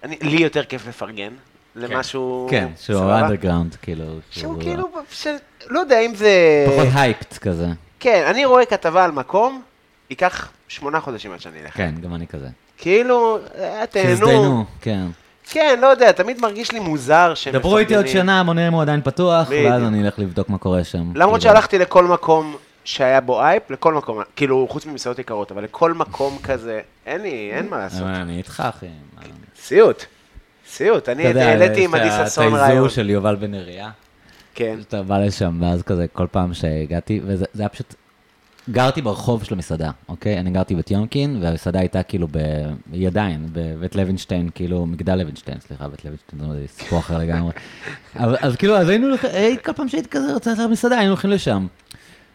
[SPEAKER 3] אני, לי יותר כיף לפרגן למשהו...
[SPEAKER 2] כן, שהוא
[SPEAKER 3] סבבה?
[SPEAKER 2] אנדרגראונד, כאילו.
[SPEAKER 3] שהוא כאילו, ש... לא יודע אם זה...
[SPEAKER 2] פחות הייפט כזה.
[SPEAKER 3] כן, אני רואה כתבה על מקום, ייקח שמונה חודשים עד שאני אלך.
[SPEAKER 2] כן, גם אני כזה.
[SPEAKER 3] כאילו, אה,
[SPEAKER 2] תזדיינו,
[SPEAKER 3] תהנו.
[SPEAKER 2] כן.
[SPEAKER 3] כן, לא יודע, תמיד מרגיש לי מוזר שמפרגנים.
[SPEAKER 2] דברו איתי עוד שנה, המונרים הוא עדיין פתוח, ואז
[SPEAKER 3] בדיוק.
[SPEAKER 2] אני אלך לבדוק מה קורה שם.
[SPEAKER 3] למרות
[SPEAKER 2] כאילו.
[SPEAKER 3] שהלכתי לכל מקום שהיה בו אייפ, לכל מקום, כאילו, חוץ ממסעדות יקרות, אבל לכל מקום כזה, אין לי, אין מה לעשות.
[SPEAKER 2] אבל אני איתך, אחי. מה-
[SPEAKER 3] סיוט. סיוט. אני
[SPEAKER 2] אתה יודע,
[SPEAKER 3] העליתי
[SPEAKER 2] יש
[SPEAKER 3] עם עדי
[SPEAKER 2] את ה-
[SPEAKER 3] ששון
[SPEAKER 2] את
[SPEAKER 3] רעיון.
[SPEAKER 2] האיזור של יובל בן אריה,
[SPEAKER 3] כן,
[SPEAKER 2] שאתה בא לשם, ואז כזה, כל פעם שהגעתי, וזה זה היה פשוט... גרתי ברחוב של המסעדה, אוקיי? אני גרתי בטיומקין, והמסעדה הייתה כאילו ב... היא עדיין, בבית לוינשטיין, כאילו, מגדל לוינשטיין, סליחה, בית לוינשטיין, זה סיפור אחר לגמרי. אבל, אז כאילו, אז היינו, הולכים- אה, כל פעם שהייתי כזה רוצה ללכת למסעדה, היינו הולכים לשם.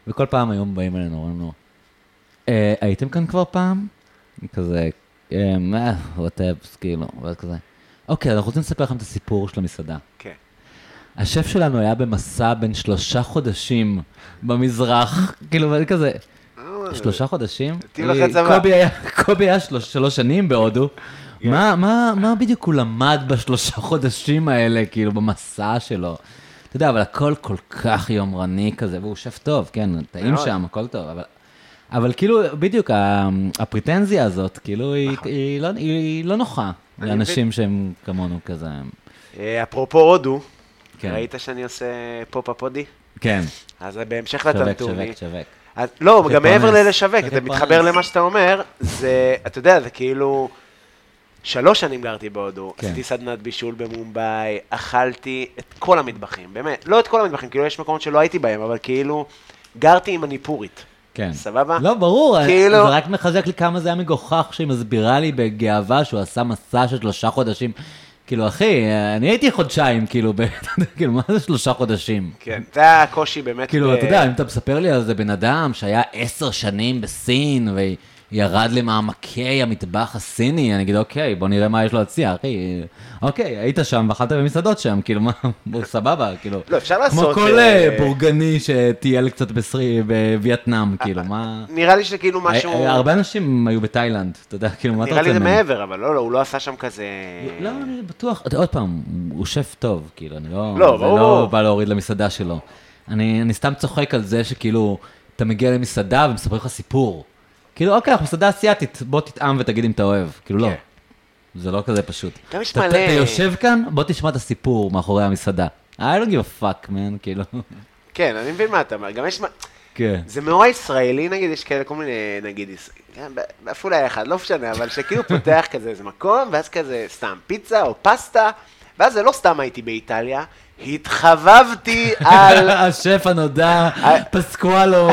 [SPEAKER 2] וכל פעם היו באים אלינו, אומרים לנו, "אה, הייתם כאן כבר פעם? כזה, אה, וואטאבס, כאילו, ואז כזה. אוקיי, אנחנו רוצים לספר לכם את הסיפור של המסעדה.
[SPEAKER 3] כן.
[SPEAKER 2] השף שלנו היה במסע בין שלושה חודשים במזרח, כאילו, ואני כזה, שלושה חודשים?
[SPEAKER 3] מתאים לך צבא.
[SPEAKER 2] קובי היה, קובי היה שלוש, שלוש שנים בהודו.
[SPEAKER 3] כן.
[SPEAKER 2] מה, מה, מה בדיוק הוא למד בשלושה חודשים האלה, כאילו, במסע שלו? אתה יודע, אבל הכל כל כך יומרני כזה, והוא שף טוב, כן, טעים
[SPEAKER 3] מאוד.
[SPEAKER 2] שם, הכל טוב, אבל... אבל כאילו, בדיוק, ה- הפריטנזיה הזאת, כאילו, היא, היא, לא, היא לא נוחה
[SPEAKER 3] נכון. אני
[SPEAKER 2] לאנשים שהם כמונו כזה.
[SPEAKER 3] אה, אפרופו הודו,
[SPEAKER 2] כן.
[SPEAKER 3] ראית שאני עושה פופ-אפ הודי?
[SPEAKER 2] כן,
[SPEAKER 3] אז בהמשך
[SPEAKER 2] שווק,
[SPEAKER 3] לטנטורי.
[SPEAKER 2] שווק, שווק.
[SPEAKER 3] אז- לא,
[SPEAKER 2] צריך
[SPEAKER 3] גם מעבר
[SPEAKER 2] להתפרנס.
[SPEAKER 3] ללשווק,
[SPEAKER 2] צריך
[SPEAKER 3] זה מתחבר
[SPEAKER 2] להתפרנס.
[SPEAKER 3] למה שאתה אומר, זה, אתה יודע, זה כאילו, שלוש שנים גרתי בהודו,
[SPEAKER 2] כן.
[SPEAKER 3] עשיתי סדנת בישול במומבאי, אכלתי את כל המטבחים, באמת, לא את כל המטבחים, כאילו יש מקומות שלא הייתי בהם, אבל כאילו, גרתי עם מניפורית.
[SPEAKER 2] כן.
[SPEAKER 3] סבבה?
[SPEAKER 2] לא, ברור,
[SPEAKER 3] כאילו-
[SPEAKER 2] זה רק מחזק לי כמה זה היה מגוחך שהיא מסבירה לי בגאווה שהוא עשה מסע של שלושה חודשים. כאילו, אחי, אני הייתי חודשיים, כאילו, ב- <laughs> כאילו, מה זה שלושה חודשים?
[SPEAKER 3] כן, זה הקושי באמת. אה,
[SPEAKER 2] כאילו,
[SPEAKER 3] ב-
[SPEAKER 2] אתה יודע, אם אתה מספר לי על זה בן אדם שהיה עשר שנים בסין, וירד למעמקי המטבח הסיני, אני אגיד, אוקיי, בוא נראה מה יש לו להציע, אחי. אוקיי, היית שם ואכלת במסעדות שם, כאילו, מה, <laughs> בוא, סבבה, כאילו.
[SPEAKER 3] לא, אפשר
[SPEAKER 2] כמו
[SPEAKER 3] לעשות,
[SPEAKER 2] כל
[SPEAKER 3] אה,
[SPEAKER 2] אה, בורגני שטייל קצת בסרי- בווייטנאם, כאילו, מה...
[SPEAKER 3] נראה לי שכאילו אה, משהו,
[SPEAKER 2] אה, אה, הרבה אנשים היו בתאילנד, אתה יודע, כאילו, מה אתה
[SPEAKER 3] נראה
[SPEAKER 2] רוצה
[SPEAKER 3] לי זה
[SPEAKER 2] מהם?
[SPEAKER 3] מעבר, אבל לא, לא, הוא לא עשה שם כזה...
[SPEAKER 2] לא, אני בטוח, אתה- עוד פעם, הוא שף טוב, כאילו, אני לא...
[SPEAKER 3] לא,
[SPEAKER 2] זה
[SPEAKER 3] ברור.
[SPEAKER 2] לא בא להוריד למסעדה שלו. אני אני סתם צוחק על זה שכאילו, אתה מגיע למסעדה ומספר לך סיפור. כאילו, אוקיי, אנחנו מסעדה אסיאתית, בוא תטעם ותגיד אם אתה אוהב. כאילו, לא.
[SPEAKER 3] כן.
[SPEAKER 2] זה לא כזה פשוט.
[SPEAKER 3] גם יש
[SPEAKER 2] אתה-
[SPEAKER 3] מלא-
[SPEAKER 2] אתה יושב כאן, בוא תשמע את הסיפור מאחורי המסעדה. I don't give a fuck, man,
[SPEAKER 3] <laughs>
[SPEAKER 2] כאילו.
[SPEAKER 3] כן, אני מבין מה אתה אומר, גם יש... מה-
[SPEAKER 2] כן.
[SPEAKER 3] זה נורא ישראלי, נגיד, יש כאלה כל מיני, נגיד, יש- כן, ב- ב- אפילו היה אחד, לא משנה, אבל שכאילו פותח כזה איזה מקום, ואז כזה סתם פיצה או פסטה, ואז זה לא סתם הייתי באיטליה, התחבבתי
[SPEAKER 2] <laughs>
[SPEAKER 3] על...
[SPEAKER 2] השף הנודע,
[SPEAKER 3] <laughs>
[SPEAKER 2] פסקואלו.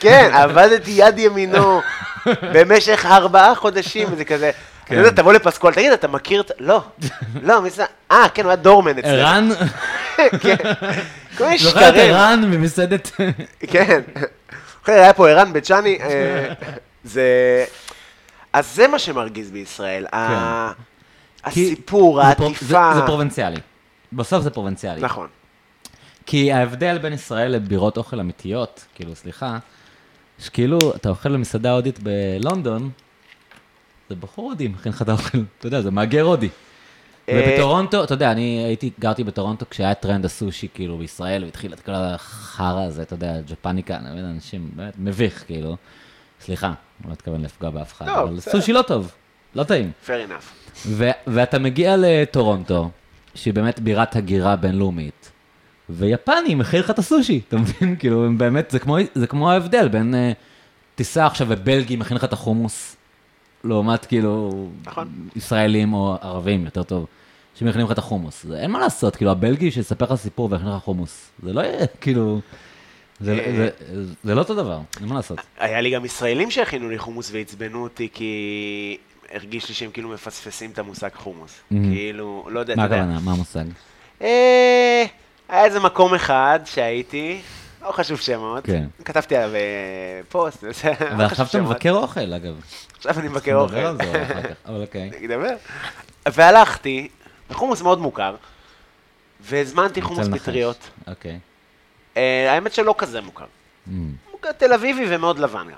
[SPEAKER 3] כן, עבדתי יד ימינו במשך ארבעה חודשים, וזה כזה...
[SPEAKER 2] כן.
[SPEAKER 3] אתה יודע, תבוא לפסקול, תגיד, אתה מכיר את... לא, לא, מי זה... אה, כן, הוא היה דורמן אצלנו.
[SPEAKER 2] ערן,
[SPEAKER 3] כן. כל מיני
[SPEAKER 2] זוכר את
[SPEAKER 3] שקרים.
[SPEAKER 2] ערן ממסעדת...
[SPEAKER 3] כן. אחרי, היה פה ערן בית שני, אה, זה... אז זה מה שמרגיז בישראל. ה-
[SPEAKER 2] כן. כי-
[SPEAKER 3] הסיפור,
[SPEAKER 2] זה פרו-
[SPEAKER 3] העטיפה.
[SPEAKER 2] זה- זה פרובינציאלי. בסוף זה פרובינציאלי.
[SPEAKER 3] נכון.
[SPEAKER 2] כי ההבדל בין ישראל לבירות אוכל אמיתיות, כאילו, סליחה, שכאילו, אתה אוכל במסעדה הודית בלונדון, זה בחור הודי מכין לך את <laughs> האוכל, אתה יודע, זה מהגר הודי.
[SPEAKER 3] אה,
[SPEAKER 2] ובטורונטו, אתה יודע, אני הייתי, גרתי בטורונטו כשהיה טרנד הסושי, כאילו, בישראל, והתחיל את כל החרא הזה, אתה יודע, ג'פניקה, אני מבין, אנשים, באמת, מביך, כאילו. סליחה, אני לא מתכוון לפגוע באף אחד,
[SPEAKER 3] לא,
[SPEAKER 2] אבל
[SPEAKER 3] בסדר.
[SPEAKER 2] סושי לא טוב, לא טעים.
[SPEAKER 3] fair enough.
[SPEAKER 2] ו- ואתה מגיע לטורונטו, שהיא באמת בירת הגירה בינלאומית, ויפני מכין לך את הסושי, אתה מבין? <laughs> כאילו, הם באמת, זה כמו, זה כמו ההבדל בין אה, טיסה עכשיו ובלגי מכין לך את החומוס, לעומת כאילו,
[SPEAKER 3] נכון.
[SPEAKER 2] ישראלים או ערבים, יותר טוב, שמכינים לך את החומוס. זה, אין מה לעשות, כאילו, הבלגי שיספר לך סיפור ויכין לך חומוס, זה לא יהיה, <laughs> כאילו... זה,
[SPEAKER 3] אה.
[SPEAKER 2] זה, זה, זה לא אותו דבר, אין מה לעשות.
[SPEAKER 3] היה לי גם ישראלים שהכינו לי חומוס ועצבנו אותי כי הרגיש לי שהם כאילו מפספסים את המושג חומוס. כאילו, לא יודע,
[SPEAKER 2] מה
[SPEAKER 3] אתה יודע.
[SPEAKER 2] הכוונה? מה המושג?
[SPEAKER 3] אה, היה איזה מקום אחד שהייתי, לא חשוב שמות.
[SPEAKER 2] כן.
[SPEAKER 3] כתבתי עליו אה, פוסט, זה- לא
[SPEAKER 2] אבל
[SPEAKER 3] חשוב
[SPEAKER 2] עכשיו אתה
[SPEAKER 3] שמות.
[SPEAKER 2] מבקר אוכל, אגב.
[SPEAKER 3] עכשיו אני
[SPEAKER 2] נדבר
[SPEAKER 3] מבקר אוכל.
[SPEAKER 2] על זה אולי אחר כך, אבל אוקיי.
[SPEAKER 3] נדבר. והלכתי, חומוס מאוד מוכר, והזמנתי חומוס
[SPEAKER 2] רוצה לנחש.
[SPEAKER 3] פטריות.
[SPEAKER 2] אוקיי.
[SPEAKER 3] אה, האמת שלא כזה מוכר.
[SPEAKER 2] Mm.
[SPEAKER 3] מוכר תל אביבי ומאוד לבן גם.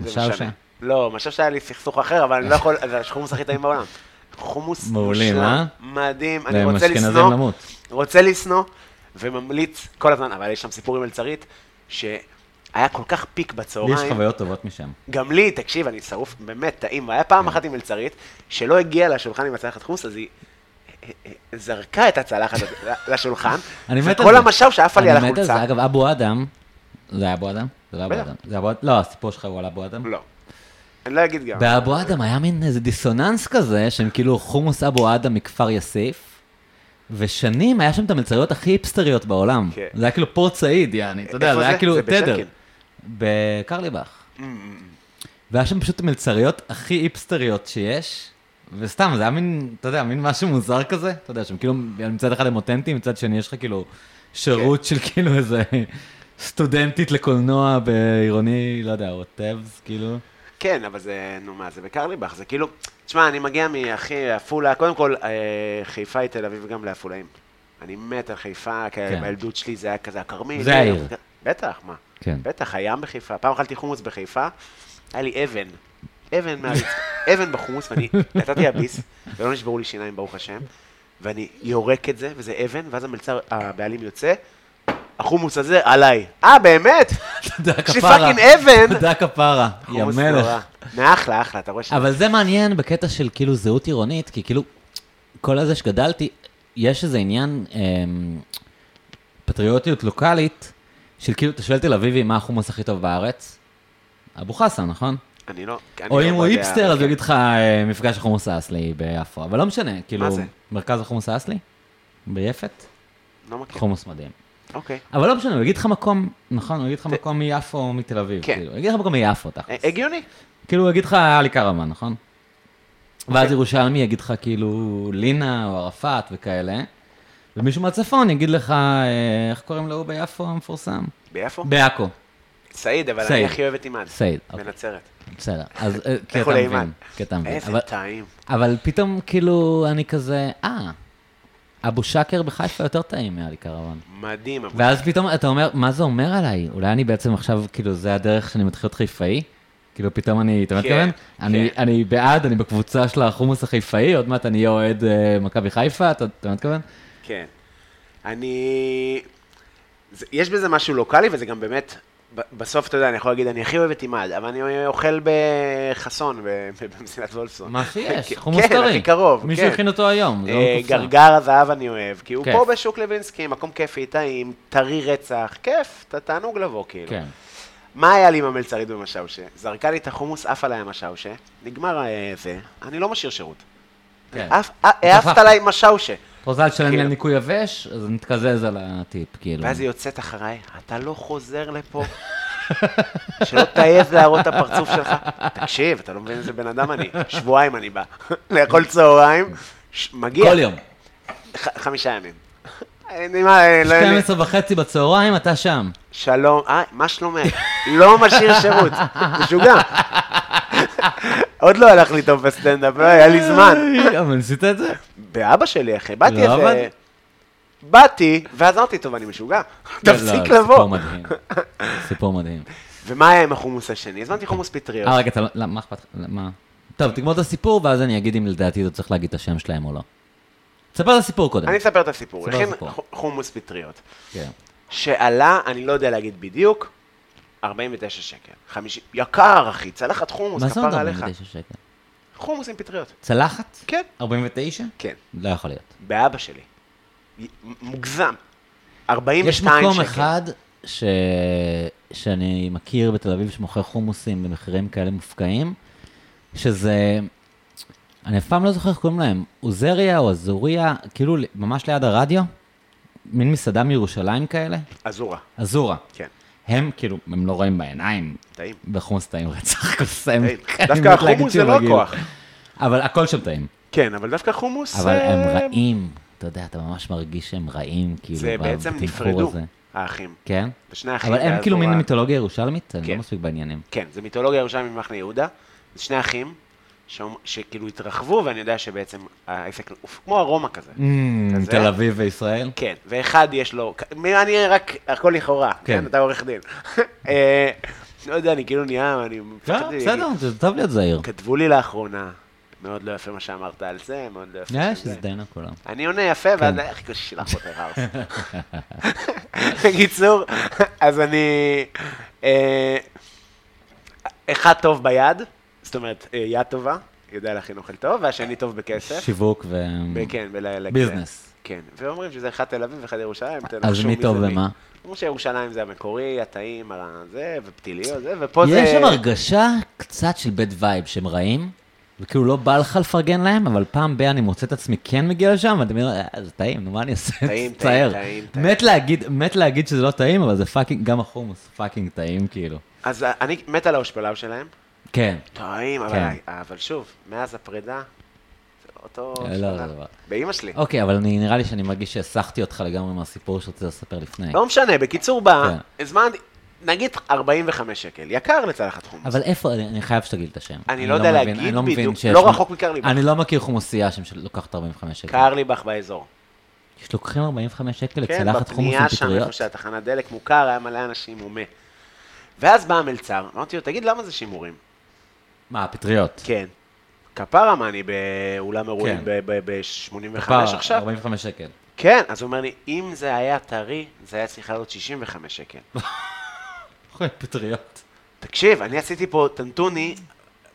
[SPEAKER 3] זה
[SPEAKER 2] משאושה.
[SPEAKER 3] משנה. לא, משהו שהיה לי סכסוך אחר, אבל אני לא יכול, זה החומוס הכי טעים בעולם. חומוס
[SPEAKER 2] מעולים,
[SPEAKER 3] מושלם,
[SPEAKER 2] אה?
[SPEAKER 3] מדהים, אני
[SPEAKER 2] להם
[SPEAKER 3] רוצה
[SPEAKER 2] אשכנזים
[SPEAKER 3] לשנוא,
[SPEAKER 2] למות.
[SPEAKER 3] רוצה לשנוא, וממליץ כל הזמן, אבל יש שם סיפורים על צריט, שהיה כל כך פיק
[SPEAKER 2] לי יש
[SPEAKER 3] בצהריים,
[SPEAKER 2] חוויות טובות משם.
[SPEAKER 3] גם לי, תקשיב, אני שרוף, באמת טעים. היה
[SPEAKER 2] כן.
[SPEAKER 3] פעם אחת עם מלצרית, שלא הגיעה לשולחן עם הצלחת חומוס, אז היא אה, אה, זרקה את הצלחת
[SPEAKER 2] <laughs>
[SPEAKER 3] לשולחן,
[SPEAKER 2] אני מת על זה.
[SPEAKER 3] וכל המשאב שעפה לי על
[SPEAKER 2] אני מת על
[SPEAKER 3] החולצה.
[SPEAKER 2] זה, אגב, אבו אדם, זה היה אבו אדם? זה לא אבו
[SPEAKER 3] בטח.
[SPEAKER 2] אדם. זה אבו אדם? לא, הסיפור שלך הוא על אבו אדם?
[SPEAKER 3] לא. אני לא אגיד גם.
[SPEAKER 2] באבו אדם היה מין איזה דיסוננס כזה, שהם כאילו חומוס אבו אדם מכפר יאסיף, ושנים היה שם את המלצריות הכי היפסטריות בעולם.
[SPEAKER 3] כן.
[SPEAKER 2] זה היה כאילו פורט סעיד, יעני, אתה יודע,
[SPEAKER 3] איפה
[SPEAKER 2] זה היה
[SPEAKER 3] זה?
[SPEAKER 2] כאילו
[SPEAKER 3] זה Mm,
[SPEAKER 2] תדר.
[SPEAKER 3] בשרקין?
[SPEAKER 2] בקרליבך. והיה שם פשוט מלצריות הכי היפסטריות שיש, וסתם, זה היה מין, אתה יודע, מין משהו מוזר כזה, אתה יודע, שהם כאילו, מצד אחד הם אותנטיים, מצד שני יש לך כאילו
[SPEAKER 3] כן.
[SPEAKER 2] שירות של כאילו איזה סטודנטית לקולנוע בעירוני, לא יודע, ווטאבס, כאילו.
[SPEAKER 3] כן, אבל זה, נו מה, זה בקרליבך, זה כאילו, תשמע, אני מגיע מאחי, עפולה, קודם כל, אה, חיפה היא תל אביב גם לעפולאים. אני מת על חיפה, כי
[SPEAKER 2] כן.
[SPEAKER 3] בילדות שלי זה היה כזה הכרמל.
[SPEAKER 2] זה העיר.
[SPEAKER 3] בטח, מה?
[SPEAKER 2] כן.
[SPEAKER 3] בטח, הים בחיפה. פעם אכלתי חומוס בחיפה, היה לי אבן. אבן מהרצפה, <laughs> אבן בחומוס, ואני נתתי לה ביס, ולא נשברו לי שיניים, ברוך השם, ואני יורק את זה, וזה אבן, ואז המלצר, הבעלים יוצא, החומוס הזה עליי. אה, באמת?
[SPEAKER 2] תודה
[SPEAKER 3] יש לי
[SPEAKER 2] כפרה.
[SPEAKER 3] פאקינג אבן.
[SPEAKER 2] תודה כפרה, יא
[SPEAKER 3] חומוס נורא.
[SPEAKER 2] מלך.
[SPEAKER 3] מאחלה, אחלה, אתה רואה ש...
[SPEAKER 2] אבל זה מעניין בקטע של כאילו זהות עירונית, כי כאילו, כל הזה שגדלתי, יש איזה עניין אמ, פטריוטיות לוקאלית, של כאילו, אתה שואל תל אביבי מה החומוס הכי טוב בארץ? אבו חסן, נכון?
[SPEAKER 3] אני לא... אני
[SPEAKER 2] או
[SPEAKER 3] לא
[SPEAKER 2] אם הוא
[SPEAKER 3] יודע.
[SPEAKER 2] היפסטר, אז הוא יגיד לך אה, מפגש החומוס האסלי ביפו, אבל לא משנה, כאילו,
[SPEAKER 3] זה?
[SPEAKER 2] מרכז החומוס האסלי? ביפת?
[SPEAKER 3] לא מכיר.
[SPEAKER 2] חומוס מדהים.
[SPEAKER 3] אוקיי.
[SPEAKER 2] אבל לא משנה, הוא יגיד לך מקום, נכון, הוא יגיד לך מקום מיפו או מתל אביב,
[SPEAKER 3] כן.
[SPEAKER 2] כאילו, הוא יגיד לך מקום מיפו, תכלס.
[SPEAKER 3] אה, הגיוני.
[SPEAKER 2] כאילו, הוא יגיד לך, היה לי קרוון, נכון?
[SPEAKER 3] אוקיי.
[SPEAKER 2] ואז ירושלמי יגיד לך, כאילו, לינה או ערפאת וכאלה, ומישהו מהצפון יגיד לך, אה, איך קוראים לו ביפו המפורסם?
[SPEAKER 3] ביפו?
[SPEAKER 2] בעכו,
[SPEAKER 3] סעיד, אבל אני
[SPEAKER 2] סעיד.
[SPEAKER 3] הכי אוהב את אימאן.
[SPEAKER 2] סעיד, אוקיי.
[SPEAKER 3] בנצרת.
[SPEAKER 2] בסדר. אז
[SPEAKER 3] <laughs>
[SPEAKER 2] אה, כי
[SPEAKER 3] לכו
[SPEAKER 2] אתה
[SPEAKER 3] לאימן.
[SPEAKER 2] מבין, כי אתה מבין.
[SPEAKER 3] איזה
[SPEAKER 2] אבל-
[SPEAKER 3] טעים.
[SPEAKER 2] אבל פתאום, כאילו, אני כזה, אה, אבו שאקר בחיפה יותר טעים מאלי קרוון.
[SPEAKER 3] מדהים. אבל-
[SPEAKER 2] ואז פתאום אתה אומר, מה זה אומר עליי? אולי אני בעצם עכשיו, כאילו, זה הדרך שאני מתחיל להיות חיפאי? כאילו, פתאום אני, אתה
[SPEAKER 3] כן,
[SPEAKER 2] מתכוון? אני-
[SPEAKER 3] כן.
[SPEAKER 2] אני בעד, אני בקבוצה של החומוס החיפאי, עוד מעט אני אהיה אוהד אה, מכבי חיפה, אתה אתה מתכוון?
[SPEAKER 3] כן. אני... זה, יש בזה משהו לוקאלי, וזה גם באמת, ב- בסוף, אתה יודע, אני יכול להגיד, אני הכי אוהב את עימד, אבל אני אוכל בחסון, ב- במסילת וולפסון.
[SPEAKER 2] מה שיש,
[SPEAKER 3] כן,
[SPEAKER 2] חומוס
[SPEAKER 3] כן,
[SPEAKER 2] טרי.
[SPEAKER 3] הכי קרוב,
[SPEAKER 2] מישהו
[SPEAKER 3] כן.
[SPEAKER 2] הכין אותו היום, זה לא
[SPEAKER 3] אה,
[SPEAKER 2] מקופסה.
[SPEAKER 3] גרגר הזהב אני אוהב, כי הוא
[SPEAKER 2] כיף.
[SPEAKER 3] פה בשוק לוינסקי, מקום כיפי, טעים, טרי רצח, כיף, אתה תענוג לבוא, כאילו.
[SPEAKER 2] כן.
[SPEAKER 3] מה היה לי עם המלצרית במשאושה? זרקה לי את החומוס, עפה עליי המשאושה, נגמר אה, זה, אני לא משאיר שירות.
[SPEAKER 2] כן.
[SPEAKER 3] עף- אה, העפת
[SPEAKER 2] שכחתי.
[SPEAKER 3] עליי משאושה.
[SPEAKER 2] את רוצה לשלם לי
[SPEAKER 3] כאילו.
[SPEAKER 2] על ניקוי יבש, אז נתקזז על הטיפ, כאילו.
[SPEAKER 3] ואז היא יוצאת אחריי, אתה לא חוזר לפה. <laughs> שלא תעז להראות את הפרצוף שלך. תקשיב, אתה לא מבין איזה בן אדם אני. שבועיים אני בא. <laughs> לאכול צהריים, ש- מגיע.
[SPEAKER 2] כל יום.
[SPEAKER 3] ח- חמישה ימים. אני מה, אה, לא אין לי-
[SPEAKER 2] 12 וחצי בצהריים, אתה שם.
[SPEAKER 3] שלום, אה, מה שלומך? לא משאיר שירות, <laughs> משוגע. עוד לא הלך לי טוב בסטנדאפ, לא, היה לי
[SPEAKER 2] <laughs>
[SPEAKER 3] זמן.
[SPEAKER 2] אה, אבל ניסית את זה?
[SPEAKER 3] באבא שלי, אחי, באתי
[SPEAKER 2] לא
[SPEAKER 3] איזה...
[SPEAKER 2] עבד?
[SPEAKER 3] באתי, ואז אמרתי, טוב, אני משוגע,
[SPEAKER 2] לא,
[SPEAKER 3] תפסיק
[SPEAKER 2] זה סיפור
[SPEAKER 3] לבוא.
[SPEAKER 2] מדהים. סיפור מדהים.
[SPEAKER 3] ומה היה עם החומוס השני? הזמנתי חומוס פטריות.
[SPEAKER 2] אה, רגע, אתה לא... לא, מה אכפת לך? לא, מה? טוב, תגמור את הסיפור, ואז אני אגיד אם לדעתי אתה צריך להגיד את השם שלהם או לא. תספר את הסיפור קודם.
[SPEAKER 3] אני אספר את הסיפור.
[SPEAKER 2] ספר
[SPEAKER 3] הכין
[SPEAKER 2] סיפור.
[SPEAKER 3] ח- חומוס פטריות.
[SPEAKER 2] כן.
[SPEAKER 3] שעלה, אני לא יודע להגיד בדיוק, 49 שקל. 50, יקר, אחי, צלחת חומוס,
[SPEAKER 2] מה זה עוד
[SPEAKER 3] כפרה עליך.
[SPEAKER 2] 49 שקל?
[SPEAKER 3] חומוס עם פטריות.
[SPEAKER 2] צלחת?
[SPEAKER 3] כן.
[SPEAKER 2] 49?
[SPEAKER 3] כן.
[SPEAKER 2] לא יכול להיות.
[SPEAKER 3] באבא שלי. מ- מוגזם. 42
[SPEAKER 2] יש
[SPEAKER 3] שקל.
[SPEAKER 2] מקום אחד ש... שאני מכיר בתל אביב שמוכר חומוסים במחירים כאלה מופקעים, שזה... אני אף פעם לא זוכר איך קוראים להם, עוזריה או אזוריה, כאילו ל- ממש ליד הרדיו, מין מסעדה מירושלים כאלה,
[SPEAKER 3] אזורה,
[SPEAKER 2] אזורה.
[SPEAKER 3] כן.
[SPEAKER 2] הם כאילו, הם לא רואים בעיניים, <laughs>
[SPEAKER 3] טעים.
[SPEAKER 2] בחומוס טעים רצח, קוסם.
[SPEAKER 3] טעים.
[SPEAKER 2] אני
[SPEAKER 3] דווקא
[SPEAKER 2] מת להגיד
[SPEAKER 3] החומוס זה
[SPEAKER 2] שהוא
[SPEAKER 3] לא
[SPEAKER 2] רגיל.
[SPEAKER 3] הכוח.
[SPEAKER 2] אבל הכל שם טעים.
[SPEAKER 3] כן, אבל דווקא חומוס...
[SPEAKER 2] אבל
[SPEAKER 3] אה,
[SPEAKER 2] הם רעים, אתה יודע, אתה ממש מרגיש שהם רעים, כאילו,
[SPEAKER 3] זה
[SPEAKER 2] ב-
[SPEAKER 3] בעצם
[SPEAKER 2] בתמחור
[SPEAKER 3] נפרדו,
[SPEAKER 2] הזה.
[SPEAKER 3] האחים.
[SPEAKER 2] כן?
[SPEAKER 3] זה שני אחים.
[SPEAKER 2] אבל הם
[SPEAKER 3] ואז
[SPEAKER 2] כאילו
[SPEAKER 3] הוא
[SPEAKER 2] מין
[SPEAKER 3] ראה-
[SPEAKER 2] מיתולוגיה ירושלמית, אני לא
[SPEAKER 3] כן.
[SPEAKER 2] מספיק בעניינים.
[SPEAKER 3] כן, זה מיתולוגיה ירושלמית ממחנה יהודה. זה שני אחים שאומ- שכאילו התרחבו, ואני יודע שבעצם העסק הוא כמו ארומה כזה.
[SPEAKER 2] Mm.
[SPEAKER 3] כזה.
[SPEAKER 2] תל אביב וישראל?
[SPEAKER 3] כן, ואחד יש לו, אני רק, הכל לכאורה, כן,
[SPEAKER 2] כן.
[SPEAKER 3] אתה עורך דין. <laughs> אה, לא יודע, אני כאילו נהיה, אני...
[SPEAKER 2] לא, בסדר, זה טוב להיות זהיר.
[SPEAKER 3] כתבו לי לאחרונה, מאוד לא יפה מה שאמרת על זה, מאוד לא יפה.
[SPEAKER 2] יש,
[SPEAKER 3] שזה.
[SPEAKER 2] זה די כולם.
[SPEAKER 3] אני עונה
[SPEAKER 2] כן.
[SPEAKER 3] יפה, ואז איך כאילו שלח אותך ארס. בקיצור, אז אני... אה, אחד טוב ביד, זאת אומרת, אה, יד טובה, יודע להכין אוכל טוב, והשני טוב בכסף.
[SPEAKER 2] שיווק ו...
[SPEAKER 3] ב- כן, ב-
[SPEAKER 2] ביזנס.
[SPEAKER 3] כן, ואומרים שזה אחד תל אביב ואחד ירושלים,
[SPEAKER 2] אז
[SPEAKER 3] תנחשו
[SPEAKER 2] מי
[SPEAKER 3] זה
[SPEAKER 2] טוב
[SPEAKER 3] מי.
[SPEAKER 2] ומה?
[SPEAKER 3] אמרו שירושלים זה המקורי, הטעים, הזה, ופתיליות, זה, ופה זה...
[SPEAKER 2] יש שם הרגשה קצת של בד וייב שהם רעים, וכאילו לא בא לך לפרגן להם, אבל פעם ב- אני מוצא את עצמי כן מגיע לשם, ואתה אומר, "אה, זה טעים, נו מה אני עושה? <laughs>
[SPEAKER 3] טעים,
[SPEAKER 2] זה צער."
[SPEAKER 3] טעים, טעים,
[SPEAKER 2] מת להגיד, מת להגיד שזה לא טעים, אבל זה פאקינג, גם החומוס פאקינג טעים, כאילו.
[SPEAKER 3] אז אני מת על ההושפלב שלהם.
[SPEAKER 2] כן.
[SPEAKER 3] טעים, אבל,
[SPEAKER 2] כן.
[SPEAKER 3] אבל שוב, מאז הפרידה, זה לא אותו...
[SPEAKER 2] לא,
[SPEAKER 3] שנה.
[SPEAKER 2] לא, לא.
[SPEAKER 3] באימא שלי.
[SPEAKER 2] אוקיי, אבל אני, נראה לי שאני מרגיש שהסחתי אותך לגמרי מהסיפור שרציתי לספר לפני.
[SPEAKER 3] לא משנה, לא בקיצור, בא,
[SPEAKER 2] כן.
[SPEAKER 3] הזמנתי, נגיד 45 שקל, יקר לצלחת חומוס.
[SPEAKER 2] אבל איפה, אני אני חייב שתגיד את השם.
[SPEAKER 3] לא יודע
[SPEAKER 2] מבין-
[SPEAKER 3] להגיד
[SPEAKER 2] אני מבין
[SPEAKER 3] בדיוק,
[SPEAKER 2] שיש-
[SPEAKER 3] לא רחוק מכר לי.
[SPEAKER 2] אני לא מכיר חומוסייה שלוקחת 45 שקל.
[SPEAKER 3] קרליבך באזור.
[SPEAKER 2] יש לוקחים 45 שקל
[SPEAKER 3] כן,
[SPEAKER 2] לצלחת חומוס
[SPEAKER 3] בפנייה שם,
[SPEAKER 2] ופטריות?
[SPEAKER 3] איפה שהתחנת דלק מוכר, היה מלא אנשים, הוא מת. ואז בא המלצר, אמרתי לו, תגיד, למה זה שימורים?
[SPEAKER 2] מה, פטריות?
[SPEAKER 3] כן. כפרה מה, אני באולם אירועים
[SPEAKER 2] כן.
[SPEAKER 3] ב-85
[SPEAKER 2] כפרה,
[SPEAKER 3] עכשיו?
[SPEAKER 2] 45 שקל.
[SPEAKER 3] כן, אז הוא אומר לי, אם זה היה טרי, זה היה צריך לעלות 65 שקל.
[SPEAKER 2] אוכל פטריות.
[SPEAKER 3] תקשיב, אני עשיתי פה טנטוני,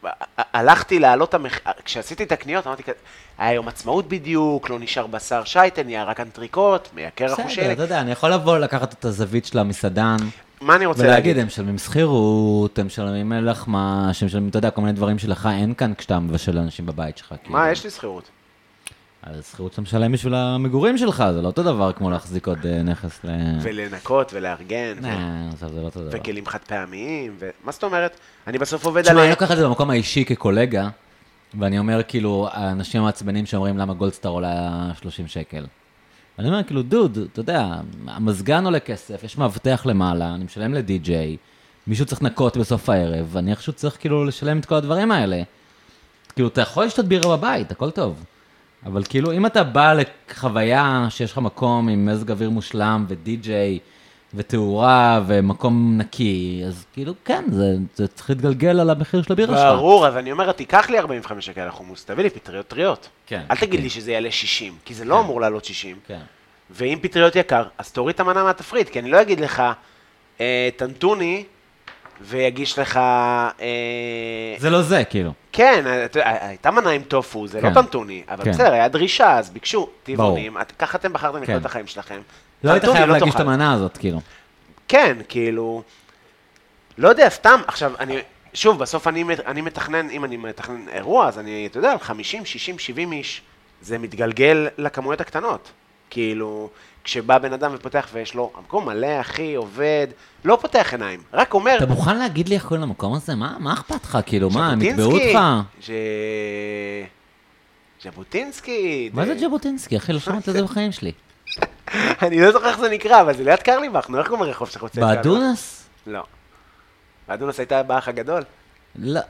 [SPEAKER 3] ה- ה- הלכתי להעלות את המח... כשעשיתי את הקניות, אמרתי כזה, היה יום עצמאות בדיוק, לא נשאר בשר שייטן, נהיה רק אנטריקוט, מייקר
[SPEAKER 2] בסדר,
[SPEAKER 3] החושלת.
[SPEAKER 2] אתה יודע, אני יכול לבוא לקחת את הזווית של המסעדן,
[SPEAKER 3] מה אני רוצה
[SPEAKER 2] ולהגיד,
[SPEAKER 3] להגיד?
[SPEAKER 2] הם משלמים שכירות, הם משלמים לחמש, הם משלמים, אתה יודע, כל מיני דברים שלך אין כאן כשאתה מבשל לאנשים בבית שלך.
[SPEAKER 3] מה, יש לי שכירות.
[SPEAKER 2] אז שכירות שאתה משלם בשביל המגורים שלך, זה לא אותו דבר כמו להחזיק עוד אה, נכס ל...
[SPEAKER 3] ולנקות ולארגן, ו-
[SPEAKER 2] אה, עזוב, זה לא אותו דבר.
[SPEAKER 3] וכלים חד פעמיים, ו- מה זאת אומרת? אני בסוף עובד על...
[SPEAKER 2] תשמע, לא אני לוקח את זה במקום האישי כקולגה, ואני אומר, כאילו, האנשים המעצבנים שאומרים למה גולדסטאר עולה 30 שקל. אני אומר, כאילו, דוד, אתה יודע, המזגן עולה כסף, יש מאבטח למעלה, אני משלם לדי-ג'יי, מישהו צריך לנקות בסוף הערב, ואני איכשהו צריך כאילו לשלם את כל הדברים האלה. כאילו, אתה יכול לשתות בירה בבית, הכל טוב. אבל כאילו, אם אתה בא לחוויה שיש לך מקום עם מזג אוויר מושלם ודי-ג'יי ותאורה ומקום נקי, אז כאילו, כן, זה, זה צריך להתגלגל על המחיר של הבירה שלך.
[SPEAKER 3] ברור, אז אני אומר, תיקח לי 45 שקל לחומוס, תביא לי פטריות טריות.
[SPEAKER 2] כן.
[SPEAKER 3] אל תגיד
[SPEAKER 2] כן.
[SPEAKER 3] לי שזה יעלה 60, כי זה לא אמור לעלות 60.
[SPEAKER 2] כן.
[SPEAKER 3] ואם פטריות יקר, אז תוריד את המנה מהתפריט, כי אני לא אגיד לך, אה, תנתוני, ויגיש לך... אה,
[SPEAKER 2] זה לא זה, כאילו.
[SPEAKER 3] כן, אה, אתה- אה, הייתה מנה עם טופו, זה
[SPEAKER 2] כן.
[SPEAKER 3] לא טנטוני, אבל
[SPEAKER 2] כן.
[SPEAKER 3] בסדר, היה דרישה, אז ביקשו טבעונים, את- ככה אתם בחרתם
[SPEAKER 2] כן.
[SPEAKER 3] לחיות את החיים שלכם.
[SPEAKER 2] לא היית
[SPEAKER 3] טנטוני
[SPEAKER 2] חייב
[SPEAKER 3] לא
[SPEAKER 2] להגיש את
[SPEAKER 3] תאכל.
[SPEAKER 2] המנה הזאת, כאילו.
[SPEAKER 3] כן, כאילו, לא יודע, סתם, עכשיו, אני, שוב, בסוף אני, מת- אני מתכנן, אם אני מתכנן אירוע, אז אני, אתה יודע, על 50, 60, 70 איש, זה מתגלגל לכמויות הקטנות. כאילו, כשבא בן אדם ופותח ויש לו, המקום מלא, אחי, עובד, לא פותח עיניים, רק אומר,
[SPEAKER 2] אתה מוכן להגיד לי איך קוראים למקום הזה? מה מה אכפת לך, כאילו? מה, הם
[SPEAKER 3] "ז'בוטינסקי,
[SPEAKER 2] יקבעו אותך?
[SPEAKER 3] ז'... ז'בוטינסקי.
[SPEAKER 2] מה זה ג'בוטינסקי, אחי? לא שמעתי
[SPEAKER 3] <laughs>
[SPEAKER 2] את זה בחיים שלי.
[SPEAKER 3] אני לא זוכר איך זה נקרא, אבל זה ליד קרליבך, נו, איך קוראים לרחוב שאתה חוצה? את קרליבך?
[SPEAKER 2] באדונס?
[SPEAKER 3] לא. באדונס הייתה באח הגדול?
[SPEAKER 2] לא.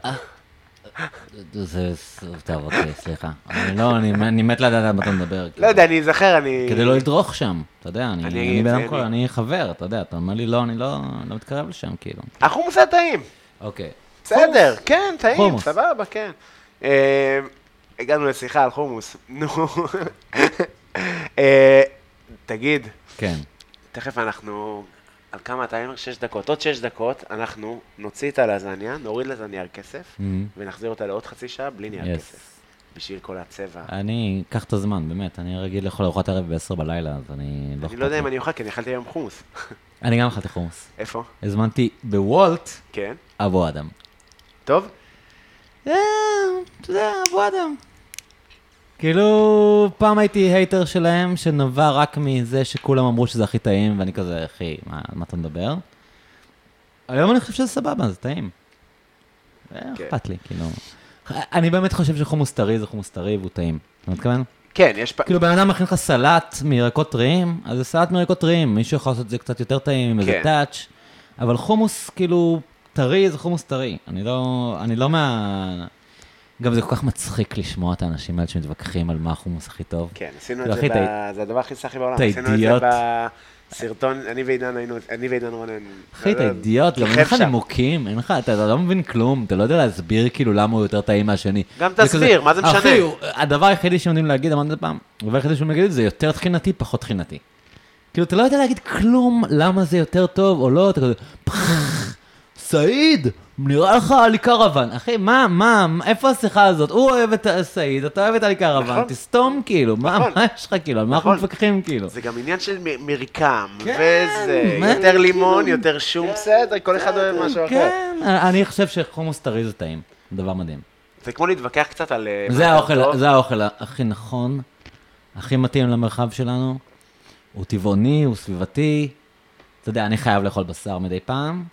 [SPEAKER 2] אה, זה... זה- טוב, אוקיי, סליחה. אני לא, אני אני מת לדעת על מה אתה מדבר.
[SPEAKER 3] לא יודע, אני אזכר, אני...
[SPEAKER 2] כדי לא לדרוך שם, אתה יודע, אני-
[SPEAKER 3] אני
[SPEAKER 2] אני
[SPEAKER 3] אגיד,
[SPEAKER 2] בן
[SPEAKER 3] זה
[SPEAKER 2] אדם כל,
[SPEAKER 3] אני.
[SPEAKER 2] אני חבר, אתה יודע, אתה אומר לי לא, אני לא לא מתקרב לשם, כאילו.
[SPEAKER 3] החומוס היה טעים.
[SPEAKER 2] אוקיי.
[SPEAKER 3] בסדר, כן, טעים,
[SPEAKER 2] חומוס.
[SPEAKER 3] סבבה, כן. אה, הגענו לשיחה על חומוס. <laughs> נו. אה, תגיד,
[SPEAKER 2] כן.
[SPEAKER 3] תכף אנחנו... על כמה טיימר? שש דקות. עוד שש דקות, אנחנו נוציא את הלזניה, נוריד לזה נייר כסף,
[SPEAKER 2] מהמם.
[SPEAKER 3] ונחזיר אותה לעוד חצי שעה בלי נייר
[SPEAKER 2] Yes.
[SPEAKER 3] כסף. בשביל כל הצבע.
[SPEAKER 2] אה, אני אקח את הזמן, באמת, אני רגיל לאכול ארוחת ערב ב-10 בלילה, אז אני לא
[SPEAKER 3] אני לא יודע
[SPEAKER 2] אכפת
[SPEAKER 3] אם
[SPEAKER 2] לי.
[SPEAKER 3] אני אוכל, כי אני אכלתי היום חומוס. <laughs>
[SPEAKER 2] אני גם אכלתי חומוס.
[SPEAKER 3] איפה?
[SPEAKER 2] הזמנתי בוולט
[SPEAKER 3] כן.
[SPEAKER 2] אבו אדם.
[SPEAKER 3] טוב?
[SPEAKER 2] אה, אתה יודע, אבו אדם. כאילו, פעם הייתי הייטר שלהם, שנבע רק מזה שכולם אמרו שזה הכי טעים, ואני כזה, אחי, מה, על מה אתה מדבר? היום אני חושב שזה סבבה, זה טעים. אה,
[SPEAKER 3] כן.
[SPEAKER 2] אכפת לי, כאילו. אני באמת חושב שחומוס טרי זה חומוס טרי והוא טעים. אתה מתכוון?
[SPEAKER 3] כן, יש פ...
[SPEAKER 2] כאילו, בן אדם מכין לך סלט מירקות טריים, אז זה סלט מירקות טריים, מישהו יכול לעשות את זה קצת יותר טעים, עם איזה
[SPEAKER 3] כן.
[SPEAKER 2] טאץ', אבל חומוס, כאילו, טרי זה חומוס טרי. אני לא, אני לא מה... גם זה כל כך מצחיק לשמוע את האנשים האלה שמתווכחים על מה החומוס הכי טוב.
[SPEAKER 3] כן, עשינו
[SPEAKER 2] לא,
[SPEAKER 3] את זה,
[SPEAKER 2] הכי טעי-
[SPEAKER 3] ב... זה הדבר הכי סחי בעולם.
[SPEAKER 2] אתה
[SPEAKER 3] עשינו את
[SPEAKER 2] אידיוט.
[SPEAKER 3] זה בסרטון, אני ועידן היינו, אני ועידן רונן.
[SPEAKER 2] אחי, אתה אידיוט, גם אין לך
[SPEAKER 3] כיף שם.
[SPEAKER 2] נימוקים, אין לך, אתה אתה לא מבין כלום, אתה לא יודע להסביר כאילו למה הוא יותר טעים מהשני.
[SPEAKER 3] גם
[SPEAKER 2] זה
[SPEAKER 3] תסביר,
[SPEAKER 2] כזה,
[SPEAKER 3] מה זה משנה?
[SPEAKER 2] אחי, הוא- הדבר היחידי שהם יודעים להגיד, אמרתי את זה פעם, הדבר היחידי שהם יודעים להגיד זה יותר טחינתי, פחות טחינתי. כאילו, אתה לא יודע להגיד כלום למה זה יותר טוב או לא, אתה כזה, "פח, סעיד, נראה לך עלי קרוון. אחי, מה, מה, מה- איפה השיחה הזאת? הוא אוהב את סעיד, אתה אוהב את עלי קרוון,
[SPEAKER 3] נכון.
[SPEAKER 2] תסתום כאילו, מה
[SPEAKER 3] נכון.
[SPEAKER 2] מה יש לך כאילו, על מה אנחנו
[SPEAKER 3] נכון.
[SPEAKER 2] מתווכחים כאילו?
[SPEAKER 3] זה גם עניין של מ- מרקם,
[SPEAKER 2] כן,
[SPEAKER 3] וזה,
[SPEAKER 2] מה,
[SPEAKER 3] יותר
[SPEAKER 2] כאילו,
[SPEAKER 3] לימון, יותר שום, בסדר, כל אחד אוהב משהו אחר.
[SPEAKER 2] כן, אני חושב שחומוס טרי זה טעים, דבר מדהים.
[SPEAKER 3] זה כמו להתווכח קצת על... אה, מה
[SPEAKER 2] זה
[SPEAKER 3] יותר
[SPEAKER 2] האוכל,
[SPEAKER 3] טוב.
[SPEAKER 2] זה האוכל הכי נכון, הכי מתאים למרחב שלנו. הוא טבעוני, הוא סביבתי. אתה יודע, אני חייב לאכול בשר מדי פעם,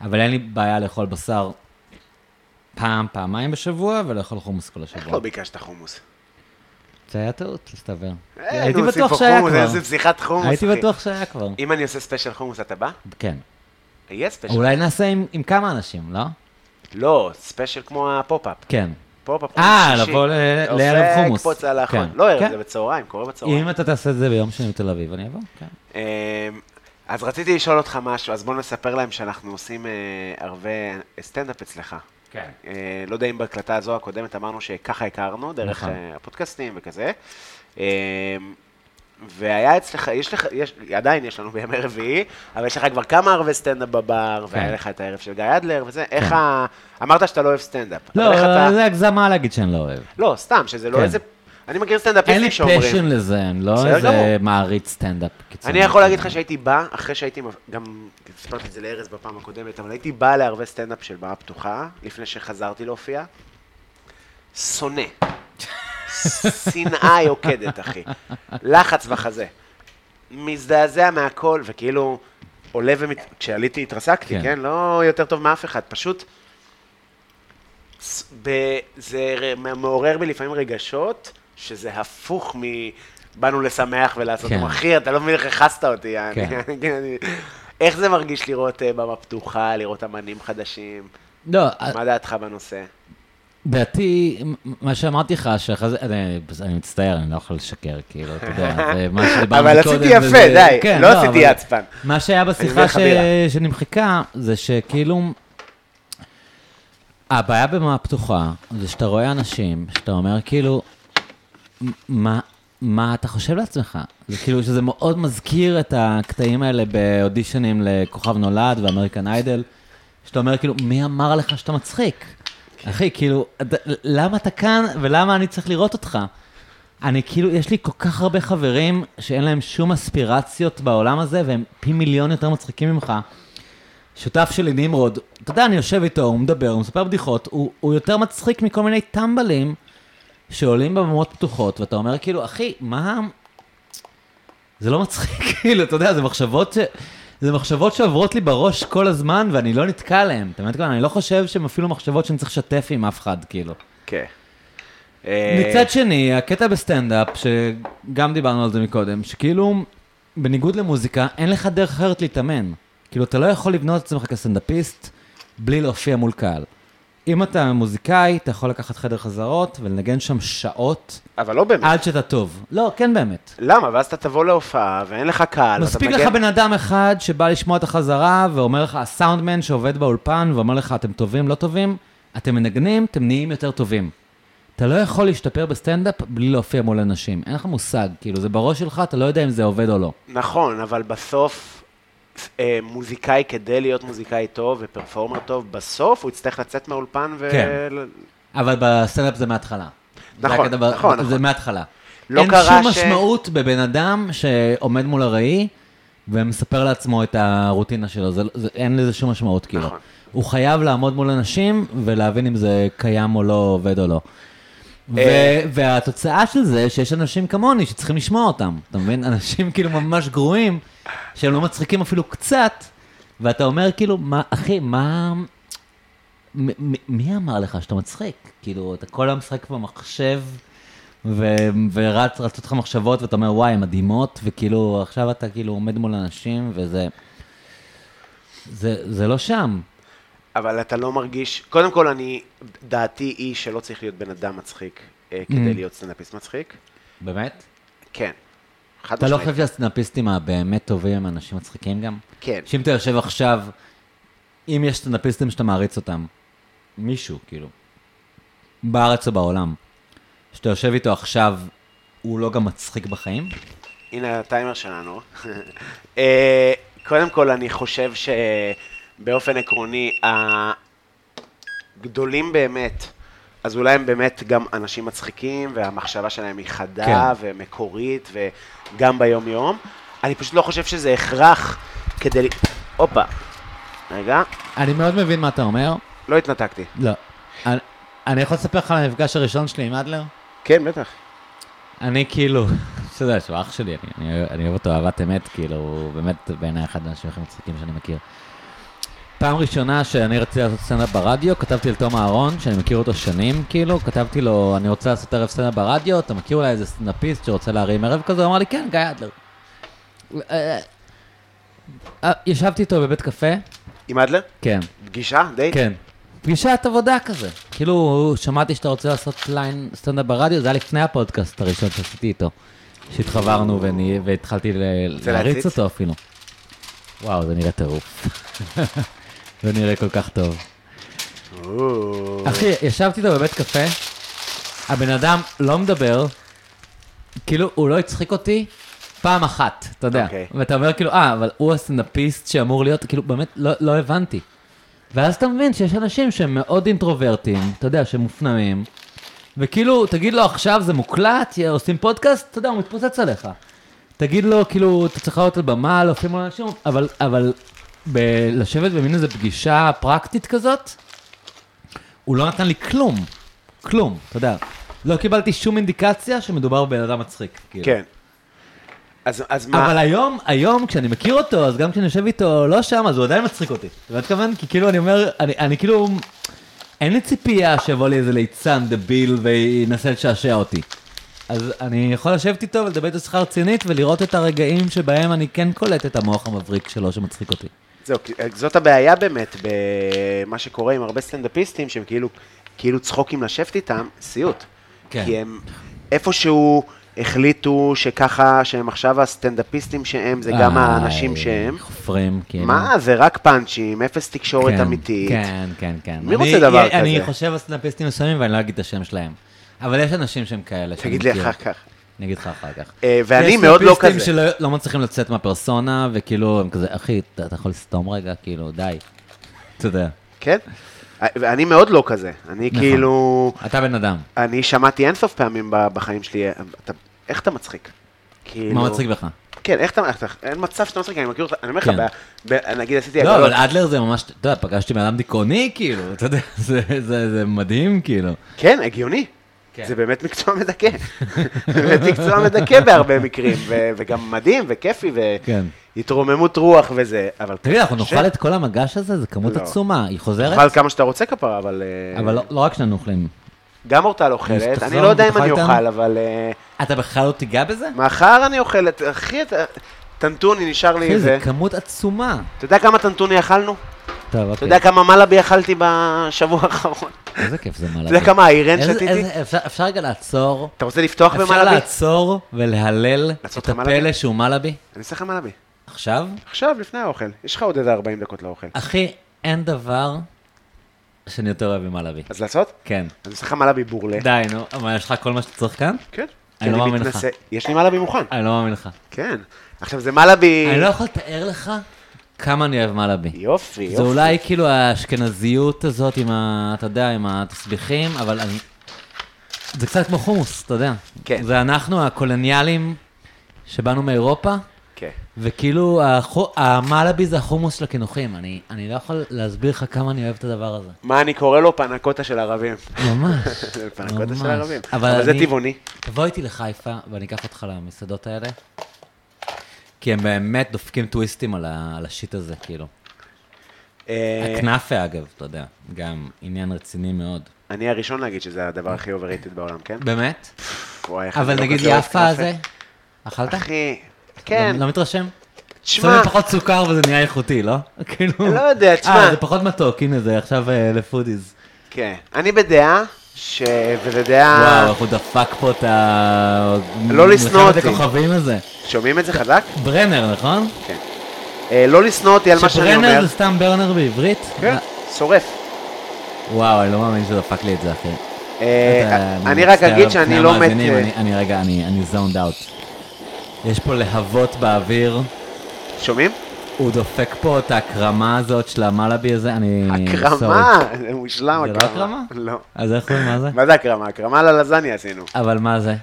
[SPEAKER 2] אבל אין לי בעיה לאכול בשר פעם, פעמיים בשבוע, ולאכול חומוס כל
[SPEAKER 3] איך
[SPEAKER 2] השבוע.
[SPEAKER 3] לא ביקשת חומוס?
[SPEAKER 2] זה היה טעות, מסתבר.
[SPEAKER 3] אה,
[SPEAKER 2] הייתי
[SPEAKER 3] נו, עושים
[SPEAKER 2] בטוח
[SPEAKER 3] פה
[SPEAKER 2] שהיה
[SPEAKER 3] חומוס,
[SPEAKER 2] כבר.
[SPEAKER 3] איזה שיחת חומוס,
[SPEAKER 2] הייתי
[SPEAKER 3] אחי.
[SPEAKER 2] בטוח שהיה כבר.
[SPEAKER 3] אם אני עושה ספיישל חומוס, אתה בא?
[SPEAKER 2] כן.
[SPEAKER 3] יהיה ספיישל.
[SPEAKER 2] אולי נעשה עם- עם כמה אנשים, לא?
[SPEAKER 3] לא, ספיישל כמו הפופ-אפ.
[SPEAKER 2] כן.
[SPEAKER 3] פופ-אפ
[SPEAKER 2] אה,
[SPEAKER 3] חומוס שישי.
[SPEAKER 2] לבוא ל- לערב חומוס.
[SPEAKER 3] עושה קפוץ על האחרון.
[SPEAKER 2] כן.
[SPEAKER 3] לא ערב,
[SPEAKER 2] כן.
[SPEAKER 3] זה בצהריים, קורה בצהריים.
[SPEAKER 2] אם אתה תעשה את זה ביום שני בתל אביב, אני אבוא, כן.
[SPEAKER 3] אמ, אז רציתי לשאול אותך משהו, אז בוא נספר להם שאנחנו עושים אה, הרבה סטנדאפ אצלך.
[SPEAKER 2] כן.
[SPEAKER 3] אה, לא יודע אם בהקלטה הזו הקודמת אמרנו שככה הכרנו, דרך
[SPEAKER 2] נכון.
[SPEAKER 3] אה, הפודקאסטים וכזה. אמ, והיה אצלך, יש לך, יש, עדיין יש לנו בימי רביעי, אבל יש לך כבר כמה ערבי סטנדאפ בבר, והיה
[SPEAKER 2] כן.
[SPEAKER 3] לך את הערב של גיא אדלר וזה, איך ה... אמרת שאתה לא אוהב סטנדאפ.
[SPEAKER 2] לא,
[SPEAKER 3] אבל איך אתה...
[SPEAKER 2] זה הגזמה להגיד שאני לא אוהב.
[SPEAKER 3] לא, סתם, שזה לא
[SPEAKER 2] כן.
[SPEAKER 3] איזה... אני מכיר
[SPEAKER 2] אין לי
[SPEAKER 3] סטנדאפיסטים שאומרים...
[SPEAKER 2] פשן לזה, אני לא
[SPEAKER 3] בסדר
[SPEAKER 2] איזה
[SPEAKER 3] גמור.
[SPEAKER 2] מעריץ סטנדאפ קיצוני.
[SPEAKER 3] אני יכול להגיד לך שהייתי בא, אחרי שהייתי, מב- גם סיפרתי את זה לארז בפעם הקודמת, אבל הייתי בא לערבי סטנדאפ של במה פתוחה, לפני שחזרתי להופיע, שונא. שנאה יוקדת, אחי. לחץ בחזה. מזדעזע מהכל, וכאילו, עולה ומת... כשעליתי התרסקתי,
[SPEAKER 2] כן.
[SPEAKER 3] כן? כן? לא יותר טוב מאף אחד, פשוט... ס- ב... זה ר- מעורר בי לפעמים רגשות, שזה הפוך מ... באנו לשמח ולעשות
[SPEAKER 2] כן.
[SPEAKER 3] כן. אחי, אתה לא מבין איך הכסת אותי, יעני.
[SPEAKER 2] כן.
[SPEAKER 3] <laughs> אני- אני- איך זה מרגיש לראות אה, במה פתוחה, לראות אמנים חדשים?
[SPEAKER 2] לא,
[SPEAKER 3] מה דעתך בנושא?
[SPEAKER 2] דעתי, מ- מה שאמרתי לך, שאחרי זה, אני- אני מצטער, אני לא יכול לשקר, כאילו, אתה יודע, זה מה שדיברנו
[SPEAKER 3] אבל
[SPEAKER 2] קודם.
[SPEAKER 3] עשיתי
[SPEAKER 2] וזה-
[SPEAKER 3] יפה, די,
[SPEAKER 2] כן,
[SPEAKER 3] לא עשיתי
[SPEAKER 2] אבל
[SPEAKER 3] עצפן.
[SPEAKER 2] מה שהיה
[SPEAKER 3] אביא
[SPEAKER 2] בשיחה
[SPEAKER 3] לך
[SPEAKER 2] ש-
[SPEAKER 3] בירה.
[SPEAKER 2] שנמחקה, זה שכאילו, הבעיה במה הפתוחה, זה שאתה רואה אנשים, שאתה אומר כאילו, "מ- מה... מה אתה חושב לעצמך? זה כאילו שזה מאוד מזכיר את הקטעים האלה באודישנים לכוכב נולד ואמריקן איידל, שאתה אומר כאילו, מי אמר לך שאתה מצחיק? אחי, כאילו, אתה- למה אתה כאן ולמה אני צריך לראות אותך? אני כאילו, יש לי כל כך הרבה חברים שאין להם שום אספירציות בעולם הזה, והם פי מיליון יותר מצחיקים ממך. שותף שלי, נמרוד, אתה יודע, אני יושב איתו, הוא מדבר, הוא מספר בדיחות, הוא, הוא יותר מצחיק מכל מיני טמבלים שעולים בממות פתוחות, ואתה אומר כאילו, אחי, מה... זה לא מצחיק, <laughs> כאילו, אתה יודע, זה מחשבות ש... זה מחשבות שעוברות לי בראש כל הזמן, ואני לא נתקע עליהן. אתה מבין? מה אני מתכוון? אני לא חושב שהן אפילו מחשבות שאני צריך לשתף עם אף אחד, כאילו.
[SPEAKER 3] כן. אה,
[SPEAKER 2] מצד שני, הקטע בסטנדאפ, שגם דיברנו על זה מקודם, שכאילו, בניגוד למוזיקה, אין לך דרך אחרת להתאמן. כאילו, אתה לא יכול לבנות את עצמך כסטנדאפיסט בלי להופיע מול קהל. אם אתה מוזיקאי, אתה יכול לקחת חדר חזרות ולנגן שם שעות
[SPEAKER 3] אבל לא באמת.
[SPEAKER 2] עד שאתה טוב. לא, כן באמת.
[SPEAKER 3] למה? ואז אתה תבוא להופעה ואין לך קהל. ואתה
[SPEAKER 2] מספיק
[SPEAKER 3] מנגן-
[SPEAKER 2] לך בן אדם אחד שבא לשמוע את החזרה, ואומר לך, הסאונדמן שעובד באולפן, ואומר לך, אתם טובים, לא טובים, אתם מנגנים, אתם נהיים יותר טובים. אתה לא יכול להשתפר בסטנדאפ בלי להופיע מול אנשים. אין לך מושג, כאילו, זה בראש שלך, אתה לא יודע אם זה עובד או לא.
[SPEAKER 3] נכון, אבל בסוף אה, מוזיקאי, כדי להיות מוזיקאי טוב ופרפורמר טוב, בסוף הוא יצטרך לצאת מהאולפן ו...
[SPEAKER 2] כן. אבל בסטנדאפ זה מההתחלה. זה
[SPEAKER 3] נכון,
[SPEAKER 2] הקטע ב-
[SPEAKER 3] נכון,
[SPEAKER 2] זה
[SPEAKER 3] נכון.
[SPEAKER 2] מההתחלה.
[SPEAKER 3] לא
[SPEAKER 2] אין
[SPEAKER 3] קרה
[SPEAKER 2] שום
[SPEAKER 3] ש-
[SPEAKER 2] משמעות בבן אדם שעומד מול הראי ומספר לעצמו את הרוטינה שלו, זה, לא- זה, אין לזה שום משמעות כאילו.
[SPEAKER 3] נכון.
[SPEAKER 2] הוא חייב לעמוד מול אנשים ולהבין אם זה קיים או לא, עובד או לא. ו-
[SPEAKER 3] אה.
[SPEAKER 2] והתוצאה של זה שיש אנשים כמוני שצריכים לשמוע אותם, אתה מבין? <laughs> אנשים כאילו ממש גרועים, שהם לא מצחיקים אפילו קצת, ואתה אומר כאילו, מה, אחי, מה... מ- מ- מי אמר לך שאתה מצחיק? כאילו, אתה כל היום משחק במחשב, ו- ורץ, רצות לך מחשבות, ואתה אומר, וואי, הן מדהימות, וכאילו, עכשיו אתה כאילו עומד מול אנשים, וזה... זה, זה לא שם.
[SPEAKER 3] אבל אתה לא מרגיש... קודם כל, אני... דעתי היא שלא צריך להיות בן אדם מצחיק אה,
[SPEAKER 2] Mm.
[SPEAKER 3] כדי להיות סטנדאפיסט מצחיק.
[SPEAKER 2] באמת?
[SPEAKER 3] כן. חד
[SPEAKER 2] אתה לא
[SPEAKER 3] משמעית.
[SPEAKER 2] חושב שהסטנדאפיסטים הבאמת טובים הם אנשים מצחיקים גם?
[SPEAKER 3] כן.
[SPEAKER 2] שאם אתה יושב עכשיו, אם יש סטנדאפיסטים שאתה מעריץ אותם, מישהו, כאילו, בארץ או בעולם, שאתה יושב איתו עכשיו, הוא לא גם מצחיק בחיים?
[SPEAKER 3] הנה הטיימר שלנו. <laughs> אה, קודם כל, אני חושב שבאופן עקרוני, הגדולים באמת, אז אולי הם באמת גם אנשים מצחיקים, והמחשבה שלהם היא חדה
[SPEAKER 2] כן.
[SPEAKER 3] כן. ומקורית, וגם ביום-יום. אני פשוט לא חושב שזה הכרח כדי... ל- הופה, רגע,
[SPEAKER 2] אני מאוד מבין מה אתה אומר.
[SPEAKER 3] לא התנתקתי.
[SPEAKER 2] לא. אני- אני יכול לספר לך על המפגש הראשון שלי עם אדלר?
[SPEAKER 3] כן, בטח.
[SPEAKER 2] אני כאילו, <laughs> אתה יודע, שהוא אח שלי, אני- אני- אני אוהב אותו אהבת אמת, כאילו, הוא באמת בעיניי אחד האנשים הכי מצחיקים שאני מכיר. פעם ראשונה שאני רציתי לעשות סצנה ברדיו, כתבתי לתום אהרון, שאני מכיר אותו שנים, כאילו, כתבתי לו, אני רוצה לעשות ערב סצנה ברדיו, אתה מכיר אולי איזה סטנדאפיסט שרוצה להרים ערב כזה? הוא אמר לי, כן, אה, גיא אדלר. אה, ישבתי איתו אה, בבית קפה,
[SPEAKER 3] עם אדלר?
[SPEAKER 2] כן,
[SPEAKER 3] פגישה? דייט?
[SPEAKER 2] כן. פגישת עבודה כזה. כאילו, שמעתי שאתה רוצה לעשות ליין סטנדאפ ברדיו, זה היה לפני הפודקאסט הראשון שעשיתי איתו. שהתחברנו ואני- והתחלתי ל-
[SPEAKER 3] להציץ?
[SPEAKER 2] להריץ אותו אפילו. וואו, זה נראה טירוף. <laughs> זה נראה כל כך טוב.
[SPEAKER 3] או,
[SPEAKER 2] אחי, ישבתי איתו בבית קפה, הבן אדם לא מדבר, כאילו, הוא לא הצחיק אותי פעם אחת, אתה יודע.
[SPEAKER 3] אוקיי.
[SPEAKER 2] ואתה אומר כאילו, אה, אבל הוא הסטנדאפיסט שאמור להיות, כאילו, באמת, לא, לא הבנתי. ואז אתה מבין שיש אנשים שהם מאוד אינטרוברטים, אתה יודע, שהם מופנמים, וכאילו, תגיד לו עכשיו זה מוקלט, יא, עושים פודקאסט, אתה יודע, הוא מתפוצץ עליך. תגיד לו, כאילו, אתה צריך לעלות על במה, להופיע מול אנשים, אבל, אבל ב- לשבת במין איזו פגישה פרקטית כזאת, הוא לא נתן לי כלום, כלום, אתה יודע. לא קיבלתי שום אינדיקציה שמדובר בבן אדם מצחיק. כאילו.
[SPEAKER 3] כן. אז אז מה?
[SPEAKER 2] אבל היום, היום כשאני מכיר אותו, אז גם כשאני יושב איתו לא שם, אז הוא עדיין מצחיק אותי. אתה מבין מה אתכוון? כי כאילו אני אומר, אני, אני כאילו, אין לי ציפייה שיבוא לי איזה ליצן דביל וינסה לשעשע אותי. אז אני יכול לשבת איתו ולדבר איתו שיחה רצינית ולראות את הרגעים שבהם אני כן קולט את המוח המבריק שלו שמצחיק אותי.
[SPEAKER 3] זהו, כי- אה, זאת הבעיה באמת במה שקורה עם הרבה סטנדאפיסטים, שהם כאילו, כאילו צחוקים לשבת איתם, סיוט.
[SPEAKER 2] כן.
[SPEAKER 3] כי הם איפשהו החליטו שככה, שהם עכשיו הסטנדאפיסטים שהם, זה גם
[SPEAKER 2] איי,
[SPEAKER 3] האנשים שהם.
[SPEAKER 2] אה, חופרים, כאילו.
[SPEAKER 3] מה, זה רק פאנצ'ים, אפס תקשורת
[SPEAKER 2] כן,
[SPEAKER 3] אמיתית.
[SPEAKER 2] כן, כן, כן. אני-
[SPEAKER 3] מי רוצה דבר
[SPEAKER 2] אני- אני
[SPEAKER 3] כזה?
[SPEAKER 2] חושב על סטנדאפיסטים מסוימים ואני לא אגיד את השם שלהם. אבל יש אנשים שהם כאלה. שאני
[SPEAKER 3] תגיד לי
[SPEAKER 2] מכיר.
[SPEAKER 3] אחר כך.
[SPEAKER 2] אני אגיד לך אחר כך.
[SPEAKER 3] אה, ואני
[SPEAKER 2] יש
[SPEAKER 3] מאוד לא
[SPEAKER 2] סטנדאפיסטים
[SPEAKER 3] כזה.
[SPEAKER 2] שלא לא מצליחים לצאת מהפרסונה, וכאילו, הם כזה, אחי, אתה אתה יכול לסתום רגע, כאילו, די. אתה יודע.
[SPEAKER 3] כן? ואני מאוד לא כזה. אני
[SPEAKER 2] נכון.
[SPEAKER 3] כאילו...
[SPEAKER 2] אתה בן אדם.
[SPEAKER 3] אני שמעתי אינסוף פעמים ב- בחיים שלי, אתה, איך אתה מצחיק? כאילו...
[SPEAKER 2] מה מצחיק בך?
[SPEAKER 3] כן, איך אתה, איך אתה, אין מצב שאתה מצחיק, אני מכיר אותך, אני אומר לך,
[SPEAKER 2] כן.
[SPEAKER 3] ב- ב- נגיד עשיתי...
[SPEAKER 2] לא,
[SPEAKER 3] הגרלות-
[SPEAKER 2] אבל אדלר זה ממש, אתה יודע, פגשתי בן אדם דיכאוני, כאילו, אתה יודע, <laughs> זה- זה זה מדהים, כאילו.
[SPEAKER 3] כן, הגיוני.
[SPEAKER 2] כן.
[SPEAKER 3] זה באמת מקצוע מדכא. <laughs> באמת מקצוע מדכא בהרבה מקרים, ו- וגם מדהים וכיפי,
[SPEAKER 2] כן.
[SPEAKER 3] והתרוממות רוח וזה, אבל...
[SPEAKER 2] תגיד, אנחנו
[SPEAKER 3] קשה.
[SPEAKER 2] נאכל את כל המגש הזה? זו כמות
[SPEAKER 3] לא.
[SPEAKER 2] עצומה, היא חוזרת?
[SPEAKER 3] תאכל כמה שאתה רוצה כפרה, אבל... אה,
[SPEAKER 2] אבל לא- לא רק שאנחנו אוכלים.
[SPEAKER 3] גם אורטל
[SPEAKER 2] אז
[SPEAKER 3] אוכלת, אני
[SPEAKER 2] תחזור,
[SPEAKER 3] לא יודע אם
[SPEAKER 2] תאכל
[SPEAKER 3] אני
[SPEAKER 2] איתנו?
[SPEAKER 3] אוכל, אבל... אה,
[SPEAKER 2] אתה בכלל לא תיגע בזה?
[SPEAKER 3] מחר אני אוכלת, אחי, אתה- טנטוני נשאר לי
[SPEAKER 2] אחי, זה
[SPEAKER 3] איזה...
[SPEAKER 2] כמות עצומה.
[SPEAKER 3] אתה יודע כמה טנטוני אכלנו?
[SPEAKER 2] טוב,
[SPEAKER 3] אתה
[SPEAKER 2] אוקיי.
[SPEAKER 3] יודע כמה מלאבי אכלתי בשבוע האחרון?
[SPEAKER 2] איזה כיף זה מלאבי.
[SPEAKER 3] אתה יודע כמה האירן
[SPEAKER 2] איזה-
[SPEAKER 3] שתיתי?
[SPEAKER 2] איזה- אפשר- אפשר רגע לעצור.
[SPEAKER 3] אתה רוצה לפתוח
[SPEAKER 2] אפשר
[SPEAKER 3] במלאבי?
[SPEAKER 2] לעצור ולהלל
[SPEAKER 3] לעשות
[SPEAKER 2] את
[SPEAKER 3] לך מלאבי?
[SPEAKER 2] הפלא שהוא מלאבי?
[SPEAKER 3] אני אעשה לך מלאבי.
[SPEAKER 2] עכשיו?
[SPEAKER 3] עכשיו, לפני האוכל. יש לך עוד איזה 40 דקות לאוכל.
[SPEAKER 2] אחי, אין דבר שאני יותר אוהב ממלאבי.
[SPEAKER 3] אז לעשות?
[SPEAKER 2] כן.
[SPEAKER 3] אז אני אעשה לך מלאבי בורלה.
[SPEAKER 2] די, נו. אבל יש לך כל מה שאתה צריך כאן?
[SPEAKER 3] כן.
[SPEAKER 2] אני לא מאמין לך.
[SPEAKER 3] יש לי מלאבי מוכן.
[SPEAKER 2] אני לא מאמין לך.
[SPEAKER 3] כן. עכשיו, זה מלאבי...
[SPEAKER 2] אני לא יכול לתאר לך כמה אני אוהב מלאבי.
[SPEAKER 3] יופי, יופי.
[SPEAKER 2] זה אולי כאילו האשכנזיות הזאת עם ה... אתה יודע, עם התסביכים, אבל אני... זה קצת כמו חומוס, אתה יודע.
[SPEAKER 3] כן.
[SPEAKER 2] זה אנחנו הקולוניאלים שבאנו מאירופה,
[SPEAKER 3] כן.
[SPEAKER 2] וכאילו החו... המלאבי זה החומוס של הקינוחים. אני, אני לא יכול להסביר לך כמה אני אוהב את הדבר הזה.
[SPEAKER 3] מה אני קורא לו? פנקוטה
[SPEAKER 2] <laughs>
[SPEAKER 3] של ערבים.
[SPEAKER 2] ממש.
[SPEAKER 3] <laughs> זה פנקוטה
[SPEAKER 2] ממש.
[SPEAKER 3] של ערבים.
[SPEAKER 2] אבל
[SPEAKER 3] אבל זה
[SPEAKER 2] אני-
[SPEAKER 3] טבעוני.
[SPEAKER 2] תבוא איתי לחיפה ואני אקח אותך למסעדות האלה, כי הם באמת דופקים טוויסטים על, ה... על השיט הזה, כאילו.
[SPEAKER 3] אה,
[SPEAKER 2] הכנאפה, אגב, אתה יודע, גם עניין רציני מאוד.
[SPEAKER 3] אני הראשון להגיד שזה הדבר הכי overrated בעולם, כן?
[SPEAKER 2] באמת?
[SPEAKER 3] וואי, איך אני
[SPEAKER 2] אבל
[SPEAKER 3] לא
[SPEAKER 2] נגיד
[SPEAKER 3] כזה אוהב
[SPEAKER 2] יפה
[SPEAKER 3] כנאפה.
[SPEAKER 2] זה, אכלת?
[SPEAKER 3] אחי,
[SPEAKER 2] לא-
[SPEAKER 3] כן,
[SPEAKER 2] לא מתרשם?
[SPEAKER 3] תשמע,
[SPEAKER 2] שמים פחות סוכר וזה נהיה איכותי, לא? <laughs> כאילו...
[SPEAKER 3] לא יודע, תשמע.
[SPEAKER 2] אה, זה פחות מתוק, הנה זה עכשיו אה, לפודיז.
[SPEAKER 3] כן. אני בדעה, ש... וזו דעה...
[SPEAKER 2] וואו, איך הוא דפק פה את ה...
[SPEAKER 3] אה. לא לשנוא
[SPEAKER 2] מלחמת
[SPEAKER 3] אותי.
[SPEAKER 2] הכוכבים הזה.
[SPEAKER 3] שומעים את זה חזק?
[SPEAKER 2] ברנר, נכון?
[SPEAKER 3] אה, לא לשנוא אותי על כן, מה שאני אומר.
[SPEAKER 2] שברנר זה סתם ברנר בעברית?
[SPEAKER 3] כן,
[SPEAKER 2] אה,
[SPEAKER 3] שורף.
[SPEAKER 2] וואו, אני לא מאמין שדפק לי את זה, אחי.
[SPEAKER 3] אה,
[SPEAKER 2] אתה-
[SPEAKER 3] אני רק
[SPEAKER 2] מצטער
[SPEAKER 3] אגיד
[SPEAKER 2] בפני
[SPEAKER 3] שאני לא מת...
[SPEAKER 2] המאזינים,
[SPEAKER 3] אה,
[SPEAKER 2] אני- אני רגע, אני אני zoned out. יש פה להבות באוויר.
[SPEAKER 3] שומעים?
[SPEAKER 2] הוא דופק פה את ההקרמה הזאת של המלאבי הזה, אני... סורי.
[SPEAKER 3] הקרמה, זה מושלם
[SPEAKER 2] זה לא
[SPEAKER 3] הקרמה.
[SPEAKER 2] הקרמה?
[SPEAKER 3] לא.
[SPEAKER 2] אז איך קוראים, מה זה?
[SPEAKER 3] מה זה הקרמה? הקרמה ללזניה עשינו.
[SPEAKER 2] אבל מה זה?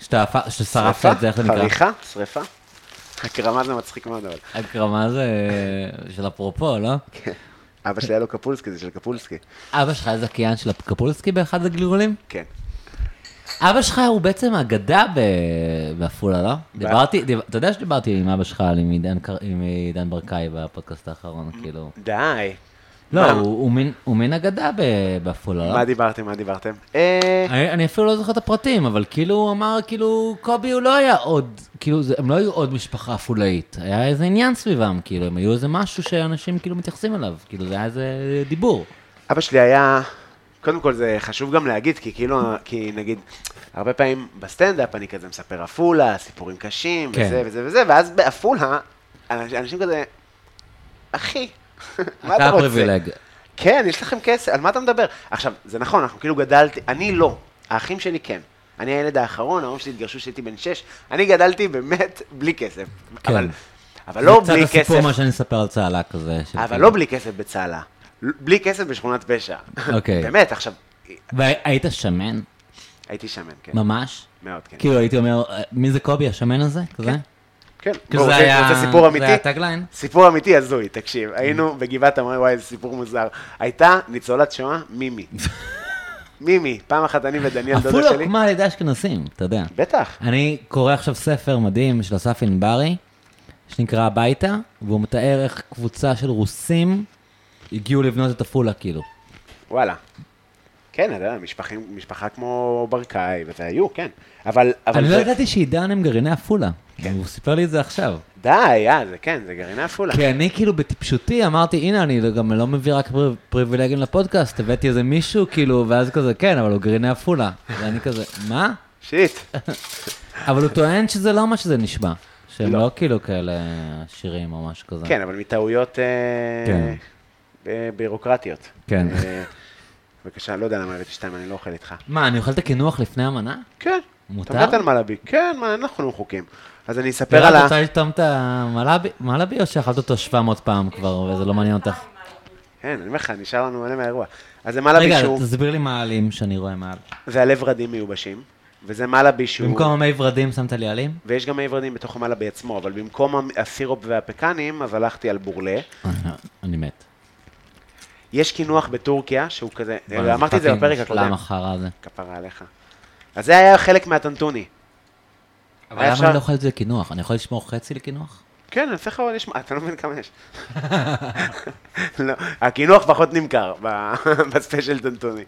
[SPEAKER 2] שאתה הפ- ששרפת
[SPEAKER 3] שריפה?
[SPEAKER 2] את זה, איך זה נקרא?
[SPEAKER 3] חריכה? שריפה? הקרמה זה מצחיק מאוד, אבל. כן.
[SPEAKER 2] הקרמה זה אה, של אפרופו, לא?
[SPEAKER 3] אבא שלי היה לו קפולסקי, זה של קפולסקי.
[SPEAKER 2] אבא שלך היה זכיין של קפולסקי באחד הגלגולים?
[SPEAKER 3] כן.
[SPEAKER 2] אבא שלך הוא בעצם אגדה ב- בעפולה, לא? דיברתי, דיב- אתה יודע
[SPEAKER 3] Mm.
[SPEAKER 2] שדיברתי עם אבא שלך על- עם עידן קר- עם עידן ברקאי בפודקאסט האחרון, כאילו.
[SPEAKER 3] די.
[SPEAKER 2] לא,
[SPEAKER 3] מה?
[SPEAKER 2] הוא- הוא מין- הוא מין אגדה ב- בעפולה. לא?
[SPEAKER 3] מה דיברתם, מה דיברתם? אה,
[SPEAKER 2] אני אני אפילו לא זוכר את הפרטים, אבל כאילו הוא אמר, כאילו, קובי הוא לא היה עוד, כאילו, זה- הם לא היו עוד משפחה עפולאית. היה איזה עניין סביבם, כאילו, הם היו איזה משהו שאנשים כאילו מתייחסים אליו, כאילו, זה היה איזה דיבור.
[SPEAKER 3] אבא שלי היה, קודם כל זה חשוב גם להגיד, כי כאילו, כי נגיד, הרבה פעמים בסטנדאפ אני כזה מספר עפולה, סיפורים קשים,
[SPEAKER 2] כן.
[SPEAKER 3] כן. וזה וזה וזה, ואז בעפולה, אנש- אנשים כזה, אחי, מה אתה
[SPEAKER 2] אתה
[SPEAKER 3] רוצה?
[SPEAKER 2] הפריבילג.
[SPEAKER 3] כן, יש לכם כסף, על מה אתה מדבר? עכשיו, זה נכון, אנחנו כאילו גדלתי, אני לא, האחים שלי כן. אני הילד האחרון, ההורים שלי התגרשו כשהייתי בן שש, אני גדלתי באמת בלי כסף.
[SPEAKER 2] כן.
[SPEAKER 3] אבל, אבל לא
[SPEAKER 2] זה
[SPEAKER 3] בלי
[SPEAKER 2] קצת הסיפור
[SPEAKER 3] כסף,
[SPEAKER 2] מה שאני אספר על צהלה כזה. של
[SPEAKER 3] אבל
[SPEAKER 2] כאילו-
[SPEAKER 3] לא בלי כסף בצהלה. ל- בלי כסף בשכונת פשע.
[SPEAKER 2] אוקיי.
[SPEAKER 3] <laughs> באמת, עכשיו,
[SPEAKER 2] והיית שמן?
[SPEAKER 3] הייתי שמן, כן.
[SPEAKER 2] ממש?
[SPEAKER 3] מאוד, כן.
[SPEAKER 2] כאילו, הייתי אומר, מי זה קובי השמן הזה? כזה?
[SPEAKER 3] כן.
[SPEAKER 2] כאילו,
[SPEAKER 3] בואו,
[SPEAKER 2] זה
[SPEAKER 3] זה-
[SPEAKER 2] היה-
[SPEAKER 3] זה סיפור
[SPEAKER 2] זה
[SPEAKER 3] אמיתי.
[SPEAKER 2] היה tagline? Mm.
[SPEAKER 3] סיפור אמיתי הזוי, תקשיב. היינו בגבעת המרי, וואי, איזה סיפור מוזר. הייתה ניצולת שואה, מימי.
[SPEAKER 2] <laughs>
[SPEAKER 3] מימי, פעם אחת אני ודניאל דודה
[SPEAKER 2] עפולה
[SPEAKER 3] שלי.
[SPEAKER 2] הוקמה לא על ידי אשכנזים, אתה יודע.
[SPEAKER 3] בטח.
[SPEAKER 2] אני קורא עכשיו ספר מדהים של אסף ענברי, שנקרא הביתה, והוא מתאר איך קבוצה של רוסים הגיעו לבנות את עפולה, כאילו.
[SPEAKER 3] וואלה. כן, אתה יודע, משפחים- משפחה כמו ברקאי, וזה היו, כן. אבל, אבל
[SPEAKER 2] אני
[SPEAKER 3] זה... כן.
[SPEAKER 2] לא ידעתי שעידן הם גרעיני עפולה. הוא סיפר לי את זה עכשיו.
[SPEAKER 3] די, אה, זה כן, זה גרעיני עפולה.
[SPEAKER 2] <laughs> כי אני כאילו בטיפשותי אמרתי, הנה, אני גם לא מביא רק פר- פריבילגים לפודקאסט, הבאתי איזה מישהו, כאילו, ואז כזה, כן, אבל הוא גרעיני עפולה. <laughs> ואני כזה, מה?
[SPEAKER 3] שיט.
[SPEAKER 2] אבל הוא טוען שזה לא מה שזה נשמע. שהם
[SPEAKER 3] לא.
[SPEAKER 2] לא כאילו כאלה עשירים או משהו כזה.
[SPEAKER 3] כן, אבל מטעויות אה,
[SPEAKER 2] כן.
[SPEAKER 3] ב- בירוקרטיות.
[SPEAKER 2] כן.
[SPEAKER 3] אה, בבקשה, לא יודע למה הבאתי שתיים, אני לא אוכל איתך.
[SPEAKER 2] מה, אני אוכל את הקינוח לפני המנה?
[SPEAKER 3] כן.
[SPEAKER 2] מותר?
[SPEAKER 3] אתה מת על מלאבי. כן, מה, אין לנו חוקים. אז אני אספר על
[SPEAKER 2] ורק
[SPEAKER 3] ה...
[SPEAKER 2] רוצה לטעום את המלאבי, מלאבי או שאכלת אותו 700 פעם כבר וזה לא מעניין אותך?
[SPEAKER 3] כן, אני אומר לך, נשאר לנו מלא מהאירוע. אז זה מלאבי
[SPEAKER 2] רגע,
[SPEAKER 3] שהוא...
[SPEAKER 2] תסביר לי מה העלים שאני רואה מעל.
[SPEAKER 3] זה הלב ורדים מיובשים, וזה מלאבי שהוא...
[SPEAKER 2] במקום המי ורדים שמת לי עלים? <laughs>
[SPEAKER 3] ויש גם מי ורדים בתוך המלאבי עצמו, אבל במקום המ- הסירופ והפקנים, אז הלכתי על בורלה.
[SPEAKER 2] אני מת.
[SPEAKER 3] יש קינוח בטורקיה, שהוא כזה...
[SPEAKER 2] וואי,
[SPEAKER 3] אמרתי את זה
[SPEAKER 2] פאקינג
[SPEAKER 3] בפרק
[SPEAKER 2] שלם
[SPEAKER 3] הקודם.
[SPEAKER 2] החרא הזה.
[SPEAKER 3] כפרה עליך. אז זה היה חלק מהטנטוני.
[SPEAKER 2] אבל למה
[SPEAKER 3] אפשר-
[SPEAKER 2] אני לא אוכל את זה לקינוח? אני יכול לשמור חצי לקינוח?
[SPEAKER 3] כן, אני אעשה לך עוד יש... אתה לא מבין כמה יש. לא, הקינוח פחות נמכר ב- <laughs> בספיישל טנטוני.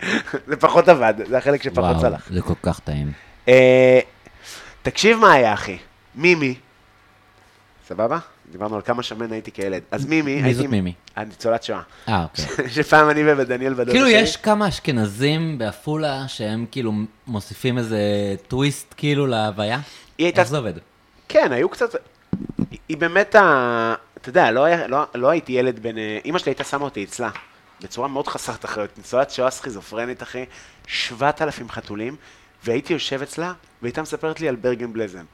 [SPEAKER 3] זה פחות עבד, זה החלק שפחות
[SPEAKER 2] וואו,
[SPEAKER 3] צלח.
[SPEAKER 2] זה כל כך טעים.
[SPEAKER 3] אה, תקשיב מה היה, אחי. מימי, סבבה? דיברנו על כמה שמן הייתי כילד. אז מימי,
[SPEAKER 2] מי
[SPEAKER 3] הייתי...
[SPEAKER 2] זאת מימי?
[SPEAKER 3] הניצולת שואה. <laughs>
[SPEAKER 2] אה, אוקיי.
[SPEAKER 3] שפעם אני ודניאל בדודה
[SPEAKER 2] כאילו
[SPEAKER 3] שלי-
[SPEAKER 2] יש כמה אשכנזים בעפולה שהם כאילו מוסיפים איזה טוויסט כאילו להוויה?
[SPEAKER 3] היא הייתה-
[SPEAKER 2] איך זה עובד?
[SPEAKER 3] כן, היו קצת... היא- היא באמת ה... אתה יודע, לא, היה, לא, לא הייתי ילד בן... אה, אימא שלי הייתה שמה אותי אצלה, בצורה מאוד חסרת אחריות, ניצולת שואה סכיזופרנית, אחי, 7,000 חתולים, והייתי יושב אצלה, והייתה מספרת לי על ברגן בלזן.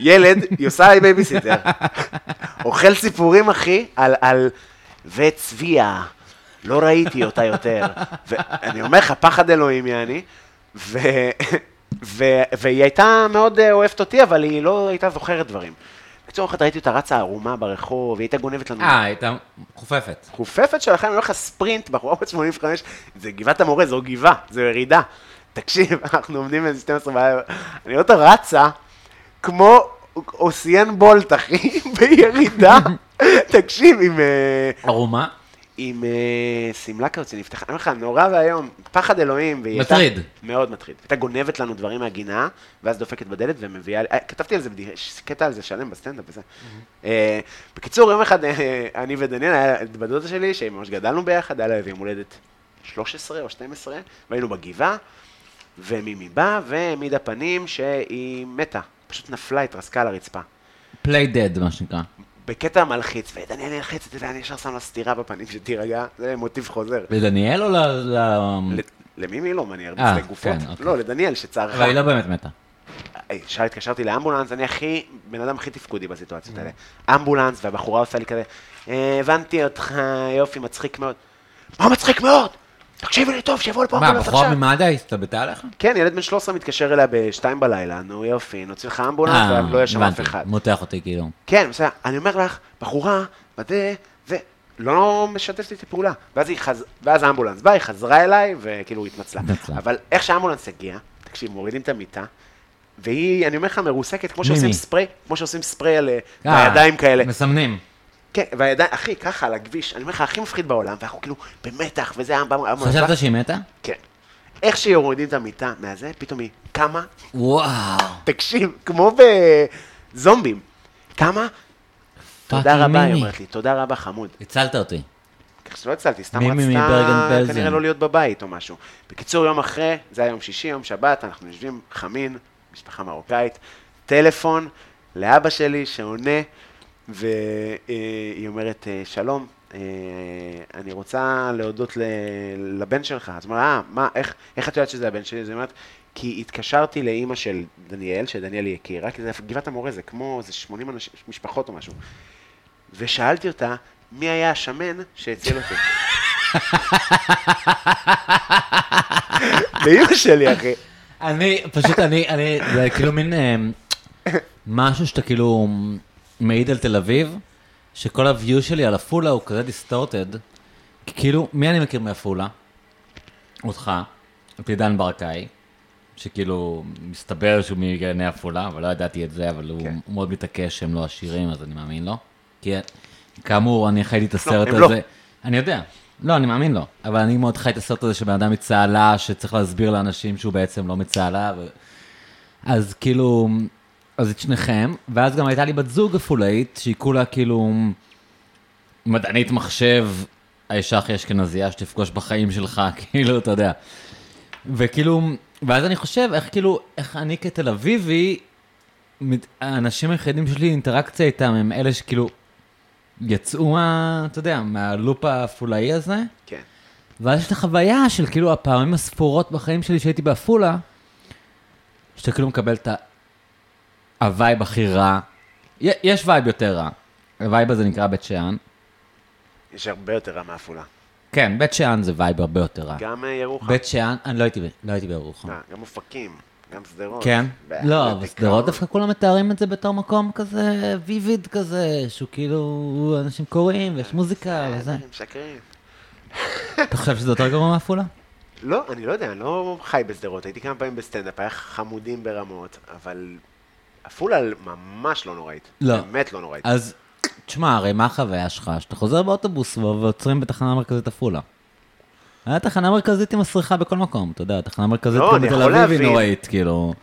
[SPEAKER 3] ילד, היא עושה לי בייביסיטר. אוכל סיפורים, אחי, על... על... וצביה, לא ראיתי אותה יותר. ואני אומר לך, פחד אלוהים, יעני. ו... ו... והיא הייתה מאוד אה, אוהבת אותי, אבל היא לא הייתה זוכרת דברים. בקיצור, אחת ראיתי אותה רצה ערומה ברחוב, היא הייתה גונבת לנו.
[SPEAKER 2] אה, הייתה חופפת.
[SPEAKER 3] חופפת שלכם, אני אומר לך ספרינט, בחורה בת 85, זה גבעת המורה, זו גבעה, זו ירידה. תקשיב, <laughs> אנחנו עומדים באיזה 12 בעיה, אני רואה אותה רצה, כמו אוסיאן בולט, אחי, <laughs> בירידה. תקשיב, עם... אה,
[SPEAKER 2] ערומה?
[SPEAKER 3] עם אה, שמלה כזאת שנפתחה, אני אומר לך, נורא ואיום, פחד אלוהים. והיא הייתה-
[SPEAKER 2] מטריד.
[SPEAKER 3] מאוד מטריד. הייתה גונבת לנו דברים מהגינה, ואז דופקת בדלת ומביאה, אה, כתבתי על זה, בדיחה, יש קטע על זה שלם בסטנדאפ וזה. אה, בקיצור, יום אחד אה, אני ודניאל, היה את בת דודה שלי, שממש גדלנו ביחד, היה לה איזה יום הולדת 13 או 12, והיינו בגבעה, ומימי באה והעמידה פנים שהיא מתה, פשוט נפלה, התרסקה על הרצפה.
[SPEAKER 2] פליי דד, מה שנקרא.
[SPEAKER 3] בקטע מלחיץ, ודניאל נלחץ, אתה יודע, אני ישר שם לה סטירה בפנים שתירגע, זה מוטיב חוזר.
[SPEAKER 2] לדניאל או ל... ל-
[SPEAKER 3] ל- למי מי לא, מה, אני ארביץ
[SPEAKER 2] אה,
[SPEAKER 3] לגופות?
[SPEAKER 2] כן, אוקיי.
[SPEAKER 3] לא, לדניאל שצערך.
[SPEAKER 2] אבל היא לא באמת מתה.
[SPEAKER 3] אה, ישר התקשרתי לאמבולנס, אני הכי, בן אדם הכי תפקודי
[SPEAKER 2] Mm.
[SPEAKER 3] בסיטואציות האלה. אמבולנס, והבחורה עושה לי כזה, "אה, הבנתי אותך, יופי, מצחיק מאוד. מה מצחיק מאוד? תקשיבי לי טוב, שיבוא לפה
[SPEAKER 2] מה,
[SPEAKER 3] אמבולנס עכשיו.
[SPEAKER 2] הבחורה ממד"א הסתבטה עליך?
[SPEAKER 3] כן, ילד בן 13 מתקשר אליה בשתיים בלילה, נו יופי, נוציא לך אמבולנס, ולא יהיה שם לא
[SPEAKER 2] אה,
[SPEAKER 3] אף
[SPEAKER 2] הבנתי.
[SPEAKER 3] אחד.
[SPEAKER 2] מותח אותי כאילו.
[SPEAKER 3] כן, בסדר, אני אומר לך, בחורה, בדה, זה, לא משתפת איתי פעולה. ואז, היא חז... ואז האמבולנס בא, היא חזרה אליי, וכאילו היא התנצלה.
[SPEAKER 2] התנצלה.
[SPEAKER 3] אבל איך שהאמבולנס הגיע, תקשיב, מורידים את המיטה, והיא, אני אומר לך, מרוסקת, כמו
[SPEAKER 2] מימי.
[SPEAKER 3] שעושים ספרי, כמו שעושים ספרי על אה,
[SPEAKER 2] אה,
[SPEAKER 3] בידיים כאלה.
[SPEAKER 2] מסמנים.
[SPEAKER 3] כן, והידיים, אחי, ככה, על הכביש, אני אומר לך, הכי מפחיד בעולם, ואנחנו כאילו במתח, וזה היה... אמבו- אמבו-
[SPEAKER 2] חשבת שהיא מתה?
[SPEAKER 3] כן. איך שיורידים את המיטה מהזה, פתאום היא קמה,
[SPEAKER 2] וואו.
[SPEAKER 3] תקשיב, כמו בזומבים. קמה, תודה רבה, היא אומרת לי, תודה רבה, חמוד.
[SPEAKER 2] הצלת אותי.
[SPEAKER 3] כך שלא הצלתי, סתם
[SPEAKER 2] מימי מברגן
[SPEAKER 3] רצתה
[SPEAKER 2] בלזן.
[SPEAKER 3] כנראה לא להיות בבית או משהו. בקיצור, יום אחרי, זה היה יום שישי, יום שבת, אנחנו יושבים, חמין, משפחה מרוקאית, טלפון לאבא שלי שעונה, והיא אומרת, אה, שלום, אה, אני רוצה להודות ל- לבן שלך. אז הוא אומר, אה, מה, איך, איך את יודעת שזה הבן שלי? אז היא אומרת, כי התקשרתי לאימא של דניאל, שדניאל היא הכירה, כי זה גבעת המורה, זה כמו, זה 80 אנשים, משפחות או משהו. ושאלתי אותה, מי היה השמן שהציל אותי? לאימא שלי, אחי.
[SPEAKER 2] אני, פשוט אני, אני, זה כאילו מין אה, משהו שאתה כאילו מעיד על תל אביב, שכל הוויו שלי על עפולה הוא כזה דיסטורטד, כי כאילו, מי אני מכיר מעפולה? אותך, את עידן ברקאי, שכאילו, מסתבר שהוא מגני עפולה, אבל לא ידעתי את זה, אבל הוא,
[SPEAKER 3] כן.
[SPEAKER 2] הוא מאוד מתעקש שהם לא עשירים, אז אני מאמין לו. כי כאמור, אני חייתי את הסרט
[SPEAKER 3] הם
[SPEAKER 2] הזה.
[SPEAKER 3] לא.
[SPEAKER 2] אני יודע. לא, אני מאמין לו. אבל אני מאוד חי את הסרט הזה שבן אדם מצהלה, שצריך להסביר לאנשים שהוא בעצם לא מצהלה. ו... אז כאילו, אז את שניכם, ואז גם הייתה לי בת זוג עפולאית, שהיא כולה כאילו מדענית מחשב, האישה הכי אשכנזייה שתפגוש בחיים שלך, <laughs> כאילו, אתה יודע. וכאילו, ואז אני חושב, איך כאילו, איך אני כתל אביבי, מת- האנשים היחידים שלי, אינטראקציה איתם, הם אלה שכאילו יצאו מה, אתה יודע, מהלופ העפולאי הזה,
[SPEAKER 3] כן.
[SPEAKER 2] ואז יש את החוויה של כאילו הפעמים הספורות בחיים שלי שהייתי בעפולה, שאתה כאילו מקבל את ה- הווייב הכי רע. י- יש וייב יותר רע, הווייב הזה נקרא בית שאן.
[SPEAKER 3] יש הרבה יותר רע מעפולה.
[SPEAKER 2] כן, בית שאן זה וייב הרבה יותר רע.
[SPEAKER 3] גם אה, ירוחם.
[SPEAKER 2] בית שאן, אני לא הייתי, ב- לא הייתי בירוחם.
[SPEAKER 3] אה, גם אופקים. גם שדרות.
[SPEAKER 2] כן?
[SPEAKER 3] ב-
[SPEAKER 2] לא,
[SPEAKER 3] זה
[SPEAKER 2] אבל
[SPEAKER 3] דיכאון.
[SPEAKER 2] שדרות דווקא כולם מתארים את זה בתור מקום כזה ויביד כזה, שהוא כאילו, אנשים קוראים ויש מוזיקה וזה.
[SPEAKER 3] הם משקרים.
[SPEAKER 2] אתה חושב שזה יותר גרוע מעפולה?
[SPEAKER 3] לא, אני לא יודע, אני לא חי בשדרות. הייתי כמה פעמים בסטנדאפ, היה חמודים ברמות, אבל עפולה ממש לא נוראית.
[SPEAKER 2] לא.
[SPEAKER 3] באמת לא נוראית.
[SPEAKER 2] אז, תשמע, הרי מה החוויה שלך? שאתה חוזר באוטובוס ו- ועוצרים בתחנה מרכזית עפולה. היה תחנה מרכזית עם מסריחה בכל מקום, אתה יודע, תחנה מרכזית
[SPEAKER 3] לא,
[SPEAKER 2] גם
[SPEAKER 3] אני
[SPEAKER 2] בתל
[SPEAKER 3] יכול
[SPEAKER 2] אביב היא
[SPEAKER 3] להבין.
[SPEAKER 2] נוראית, כאילו.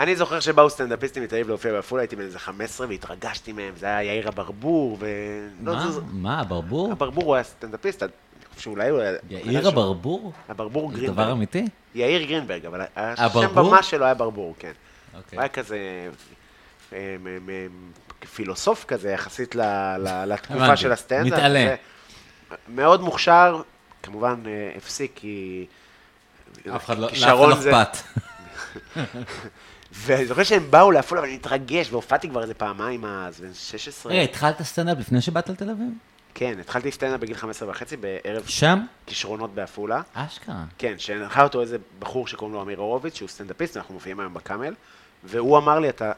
[SPEAKER 3] אני זוכר שבאו סטנדאפיסטים מתל אביב להופיע בעפולה, הייתי בן איזה 15 והתרגשתי מהם, זה היה יאיר אברבור, ו... לא,
[SPEAKER 2] מה?
[SPEAKER 3] זה-
[SPEAKER 2] מה, הברבור?
[SPEAKER 3] אברבור הוא היה סטנדאפיסט, אני חושב שאולי הוא היה...
[SPEAKER 2] יאיר הברבור?
[SPEAKER 3] אברבור
[SPEAKER 2] זה דבר
[SPEAKER 3] גרינברג.
[SPEAKER 2] אמיתי?
[SPEAKER 3] יאיר גרינברג, אבל השם
[SPEAKER 2] הברבור?
[SPEAKER 3] במה שלו היה ברבור, כן.
[SPEAKER 2] אוקיי.
[SPEAKER 3] הוא היה כזה אה, מ- מ- מ- פילוסוף כזה, יחסית ל- ל-
[SPEAKER 2] <laughs>
[SPEAKER 3] לתקופה
[SPEAKER 2] הבנתי.
[SPEAKER 3] של הסטנדאפ.
[SPEAKER 2] מתעלה.
[SPEAKER 3] זה מאוד מוכשר, כמובן אה, הפסיק כי...
[SPEAKER 2] אף אחד לא, לאף אחד
[SPEAKER 3] כישרון
[SPEAKER 2] לא
[SPEAKER 3] זה-
[SPEAKER 2] אכפת.
[SPEAKER 3] ואני זוכר שהם באו לעפולה, ואני מתרגש, והופעתי כבר איזה פעמיים אז, בן 16.
[SPEAKER 2] רגע, אה, התחלת סטנדאפ לפני שבאת לתל אביב?
[SPEAKER 3] כן, התחלתי סטנדאפ בגיל 15 וחצי בערב
[SPEAKER 2] שם?
[SPEAKER 3] כישרונות בעפולה.
[SPEAKER 2] אשכרה.
[SPEAKER 3] כן, שהנחה אותו איזה בחור שקוראים לו אמיר הורוביץ, שהוא סטנדאפיסט, אנחנו מופיעים היום בקאמל, והוא אמר לי, אתה,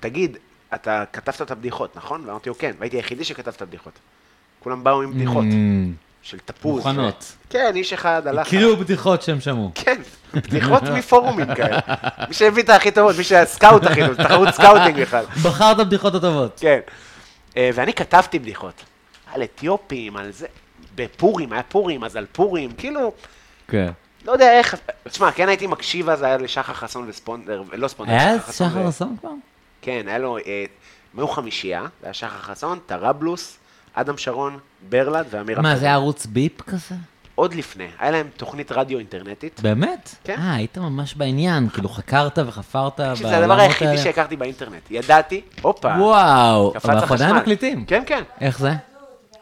[SPEAKER 3] תגיד, אתה כתבת את הבדיחות, נכון? ואמרתי לו, כן, והייתי היחידי שכתב את הבדיחות. כולם באו עם בדיחות,
[SPEAKER 2] Mm,
[SPEAKER 3] של תפוז.
[SPEAKER 2] מוכנות.
[SPEAKER 3] ו... כן, איש אחד הלך.
[SPEAKER 2] כאילו בדיחות שהם שמעו.
[SPEAKER 3] כן, בדיחות מפורומים כאלה. מי שהביא את הכי טובות, מי שהיה סקאוט הכי טוב, תחרות סקאוטינג בכלל.
[SPEAKER 2] בחרת בדיחות הטובות.
[SPEAKER 3] כן. אה, ואני כתבתי בדיחות. על אתיופים, על זה, בפורים, היה פורים, אז על פורים, כאילו,
[SPEAKER 2] כן.
[SPEAKER 3] לא יודע איך, תשמע, כן הייתי מקשיב אז, היה לשחר חסון וספונדר, לא ספונדר,
[SPEAKER 2] היה
[SPEAKER 3] שחר
[SPEAKER 2] אז
[SPEAKER 3] חסון
[SPEAKER 2] שחר
[SPEAKER 3] ו-
[SPEAKER 2] אסון כבר?
[SPEAKER 3] כן, היה לו, אה, הם היו חמישייה, זה היה שחר חסון, טראבלוס, אדם שרון, ברלד ואמיר
[SPEAKER 2] מה,
[SPEAKER 3] אפלבאום.
[SPEAKER 2] זה היה ערוץ ביפ כזה?
[SPEAKER 3] עוד לפני, היה להם תוכנית רדיו אינטרנטית.
[SPEAKER 2] באמת?
[SPEAKER 3] כן.
[SPEAKER 2] אה, היית ממש בעניין, כאילו חקרת וחפרת בעולמות האלה.
[SPEAKER 3] שזה הדבר היחידי שהכרתי באינטרנט. ידעתי, הופה,
[SPEAKER 2] לא וואו,
[SPEAKER 3] קפץ
[SPEAKER 2] אבל אנחנו עדיין
[SPEAKER 3] החשמל.
[SPEAKER 2] מקליטים.
[SPEAKER 3] כן, כן.
[SPEAKER 2] איך זה?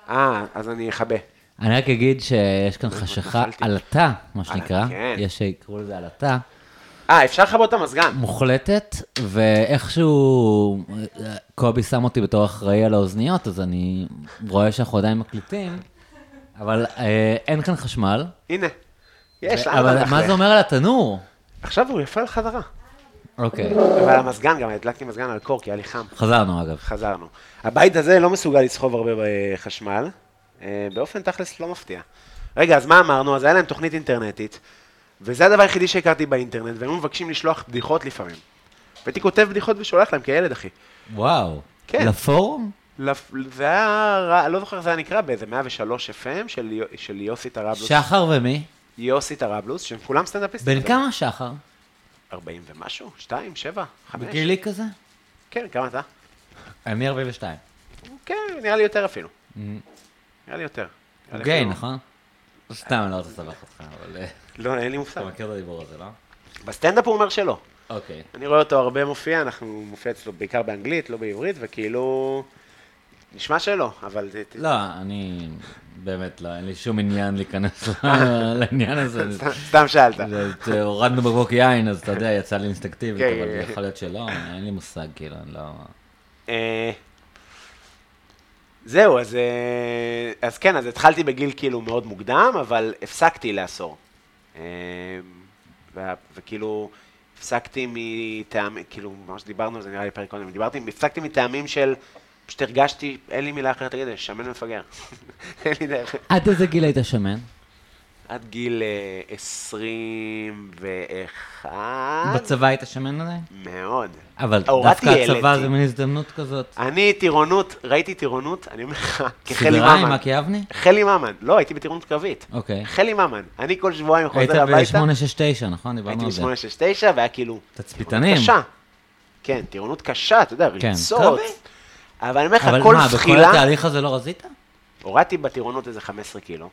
[SPEAKER 3] אה, אז אני אכבה.
[SPEAKER 2] אני רק אגיד שיש כאן חשיכה
[SPEAKER 3] נפלתי.
[SPEAKER 2] עלטה, מה שנקרא.
[SPEAKER 3] כן.
[SPEAKER 2] יש שיקראו לזה עלטה.
[SPEAKER 3] אה, אפשר לכבות את המזגן.
[SPEAKER 2] מוחלטת, ואיכשהו אה, קובי שם אותי בתור אחראי על האוזניות, אז אני רואה שאנחנו עדיין מקליטים, אבל אה, אין כאן חשמל.
[SPEAKER 3] הנה, יש לה.
[SPEAKER 2] אבל מה זה אומר על התנור?
[SPEAKER 3] עכשיו הוא יפה לחזרה.
[SPEAKER 2] אוקיי,
[SPEAKER 3] אבל המזגן, גם הדלקתי מזגן על קור, כי היה לי חם.
[SPEAKER 2] חזרנו אגב.
[SPEAKER 3] חזרנו. הבית הזה לא מסוגל לסחוב הרבה אה, חשמל, אה, באופן תכלס לא מפתיע. רגע, אז מה אמרנו? אז היה להם תוכנית אינטרנטית, וזה הדבר היחידי שהכרתי באינטרנט, והם היו מבקשים לשלוח בדיחות לפעמים. והייתי כותב בדיחות ושולח להם כילד, אחי.
[SPEAKER 2] וואו.
[SPEAKER 3] כן.
[SPEAKER 2] לפורום?
[SPEAKER 3] לפ- זה היה, ר- לא זוכר איך זה היה נקרא, באיזה 103 FM של יו- של יוסי טרבלוס.
[SPEAKER 2] שחר ומי?
[SPEAKER 3] יוסי טרבלוס, שהם כולם סטנדאפיסטים.
[SPEAKER 2] בן כמה שחר?
[SPEAKER 3] 40 ומשהו? 2, 7, 5.
[SPEAKER 2] בגילי כזה?
[SPEAKER 3] כן, כמה אתה?
[SPEAKER 2] אני 42.
[SPEAKER 3] כן, נראה לי יותר אפילו. נראה לי יותר. נראה
[SPEAKER 2] הוא
[SPEAKER 3] לי
[SPEAKER 2] גיי,
[SPEAKER 3] אפילו-
[SPEAKER 2] Mm-hmm. נכון? סתם, אני לא רוצה לסבך אותך, אבל... אה,
[SPEAKER 3] לא, אין לי מושג.
[SPEAKER 2] אתה מכיר את הדיבור הזה, לא?
[SPEAKER 3] בסטנדאפ הוא אומר שלא.
[SPEAKER 2] אוקיי.
[SPEAKER 3] אני רואה אותו הרבה מופיע, אנחנו מופיע אצלו בעיקר באנגלית, לא בעברית, וכאילו... נשמע שלא, אבל זה...
[SPEAKER 2] לא, אני באמת לא, אין לי שום עניין להיכנס <laughs> לעניין הזה.
[SPEAKER 3] סתם- סתם שאלת.
[SPEAKER 2] זה- זה- הורדנו בבוק יין, אז אתה יודע, יצא לי אינסטינקטיבית,
[SPEAKER 3] כן,
[SPEAKER 2] אבל
[SPEAKER 3] כן.
[SPEAKER 2] יכול להיות שלא, אין לי מושג, כאילו, אני לא...
[SPEAKER 3] אה, זהו, אז, אה, אז כן, אז התחלתי בגיל כאילו מאוד מוקדם, אבל הפסקתי לעשור. אה, וה- וכאילו, הפסקתי מטעמים, כאילו, ממש דיברנו על זה נראה לי פרק קודם, דיברתי, הפסקתי מטעמים של, פשוט הרגשתי, אין לי מילה אחרת להגיד, את זה, שמן ומפגר. <laughs> אין לי דרך.
[SPEAKER 2] עד איזה גיל היית שמן?
[SPEAKER 3] עד גיל אה, 21.
[SPEAKER 2] בצבא היית שמן עדיין?
[SPEAKER 3] מאוד.
[SPEAKER 2] אבל
[SPEAKER 3] אה? הורדתי, כן. אה,
[SPEAKER 2] דווקא הצבא
[SPEAKER 3] העליתי.
[SPEAKER 2] זה מין הזדמנות כזאת.
[SPEAKER 3] אני טירונות, ראיתי טירונות, אני אומר לך, כחלי
[SPEAKER 2] סדרה עם
[SPEAKER 3] ממן.
[SPEAKER 2] מקי אבני?
[SPEAKER 3] חלי ממן, לא, הייתי בטירונות קרבית.
[SPEAKER 2] אוקיי.
[SPEAKER 3] חלי ממן, אני כל שבועיים
[SPEAKER 2] היית
[SPEAKER 3] חוזר הביתה,
[SPEAKER 2] ב-869, נכון? דיברנו
[SPEAKER 3] הייתי
[SPEAKER 2] על זה.
[SPEAKER 3] ב-869, והיה כאילו...
[SPEAKER 2] תצפיתנים.
[SPEAKER 3] טירונות קשה. כן, טירונות קשה, אתה יודע,
[SPEAKER 2] כן.
[SPEAKER 3] ריצות.
[SPEAKER 2] קרבי.
[SPEAKER 3] אבל אני אומר לך,
[SPEAKER 2] אבל
[SPEAKER 3] כל
[SPEAKER 2] מה, בכל
[SPEAKER 3] זחילה,
[SPEAKER 2] התהליך הזה לא רזית?
[SPEAKER 3] הורדתי בטירונות איזה 15 קילו.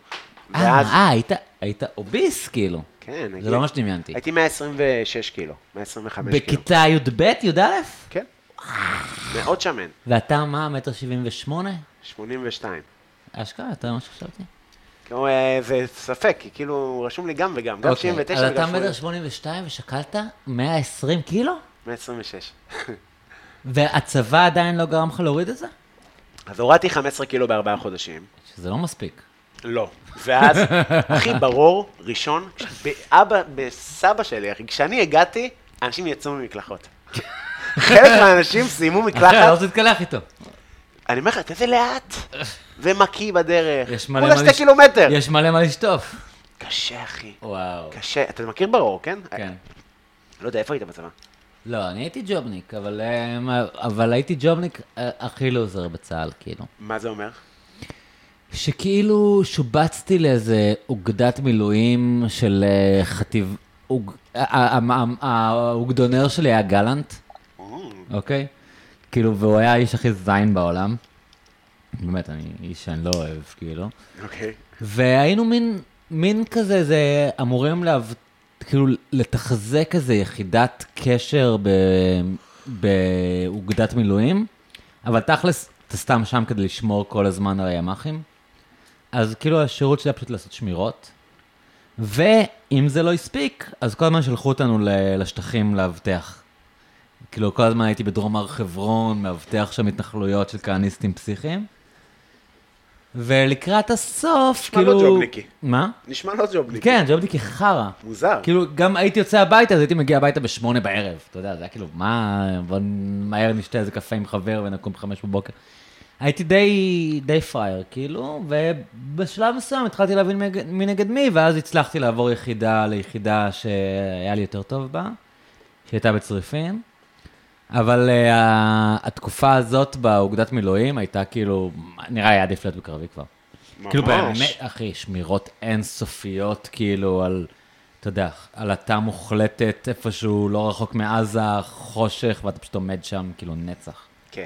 [SPEAKER 2] אה,
[SPEAKER 3] ואז,
[SPEAKER 2] אה, היית- היית אוביס, כאילו.
[SPEAKER 3] כן,
[SPEAKER 2] זה לא מה שדמיינתי.
[SPEAKER 3] הייתי כאילו. 126 קילו, 125 קילו.
[SPEAKER 2] בכיתה י"ב, י"א?
[SPEAKER 3] כן. מאוד שמן,
[SPEAKER 2] ואתה מה, מטר שבעים ושמונה?
[SPEAKER 3] 82.
[SPEAKER 2] אשכרה, יותר ממה שחשבתי.
[SPEAKER 3] כאילו, אה, זה ספק, כי כאילו, רשום לי גם וגם, גם
[SPEAKER 2] אוקיי,
[SPEAKER 3] 79
[SPEAKER 2] אז אתה
[SPEAKER 3] וגם
[SPEAKER 2] מטר
[SPEAKER 3] 80.
[SPEAKER 2] שמונים ושתיים ושקלת 120 קילו?
[SPEAKER 3] 126.
[SPEAKER 2] והצבא עדיין לא גרם לך להוריד את זה?
[SPEAKER 3] אז הורדתי 15 קילו בארבעה חודשים.
[SPEAKER 2] שזה לא מספיק.
[SPEAKER 3] לא.
[SPEAKER 2] <laughs>
[SPEAKER 3] ואז, הכי ברור, ראשון, באבא, בסבא שלי, אחי, כשאני הגעתי, אנשים יצאו ממקלחות. חלק מהאנשים
[SPEAKER 2] <laughs>
[SPEAKER 3] סיימו
[SPEAKER 2] אחי, אני לא
[SPEAKER 3] מקלחת,
[SPEAKER 2] רוצה להתקלח איתו.
[SPEAKER 3] אני אומר לך, תזה
[SPEAKER 2] <laughs>
[SPEAKER 3] לאט, ומקיא בדרך.
[SPEAKER 2] יש מלא
[SPEAKER 3] כולה
[SPEAKER 2] מה
[SPEAKER 3] שתי
[SPEAKER 2] לש-
[SPEAKER 3] קילומטר.
[SPEAKER 2] יש מלא מה לשטוף.
[SPEAKER 3] קשה, אחי.
[SPEAKER 2] וואו.
[SPEAKER 3] קשה. אתה מכיר ברור, כן?
[SPEAKER 2] כן.
[SPEAKER 3] לא יודע, איפה היית בצבא?
[SPEAKER 2] לא, אני הייתי ג'ובניק, אבל, אמ, אבל הייתי ג'ובניק אה, הכי לוזר בצה"ל, כאילו.
[SPEAKER 3] מה זה אומר?
[SPEAKER 2] שכאילו שובצתי לאיזה אוגדת מילואים של אה, חטיב... אוג- ה- ה- ה- האוגדונר שלי היה גלנט, אוקיי? כאילו, והוא היה האיש הכי זין בעולם. באמת, אני איש שאני לא אוהב, כאילו.
[SPEAKER 3] אוקיי.
[SPEAKER 2] והיינו מין, מין כזה, זה אמורים להב... כאילו, לתחזק איזה יחידת קשר ב... באוגדת מילואים, אבל תכלס, אתה סתם שם כדי לשמור כל הזמן על הימ"חים. אז כאילו השירות שלי היה פשוט לעשות שמירות. ואם זה לא הספיק, אז כל הזמן שלחו אותנו ל- לשטחים לאבטח. כאילו, כל הזמן הייתי בדרום הר חברון, מאבטח שם התנחלויות של כהניסטים פסיכיים. ולקראת הסוף,
[SPEAKER 3] נשמע לא
[SPEAKER 2] כאילו...
[SPEAKER 3] ג'ובניקי.
[SPEAKER 2] מה?
[SPEAKER 3] נשמע לא ג'ובניק.
[SPEAKER 2] כן, ג'ובניקי חרא.
[SPEAKER 3] מוזר.
[SPEAKER 2] כאילו, גם הייתי יוצא הביתה, אז הייתי מגיע הביתה בשמונה בערב. אתה יודע, זה היה כאילו, מה, בוא מהר נשתה איזה קפה עם חבר ונקום בחמש בבוקר. הייתי די, די פראייר, כאילו, ובשלב מסוים התחלתי להבין מי, מי נגד מי, ואז הצלחתי לעבור יחידה ליחידה שהיה לי יותר טוב בה, שהייתה בצריפין. אבל uh, התקופה הזאת באוגדת מילואים הייתה כאילו, נראה היה עדיף להיות בקרבי כבר.
[SPEAKER 3] ממש.
[SPEAKER 2] כאילו באמת, אחי, שמירות אינסופיות, כאילו, על, אתה יודע, על התא מוחלטת, איפשהו לא רחוק מעזה, חושך, ואתה פשוט עומד שם, כאילו, נצח.
[SPEAKER 3] כן.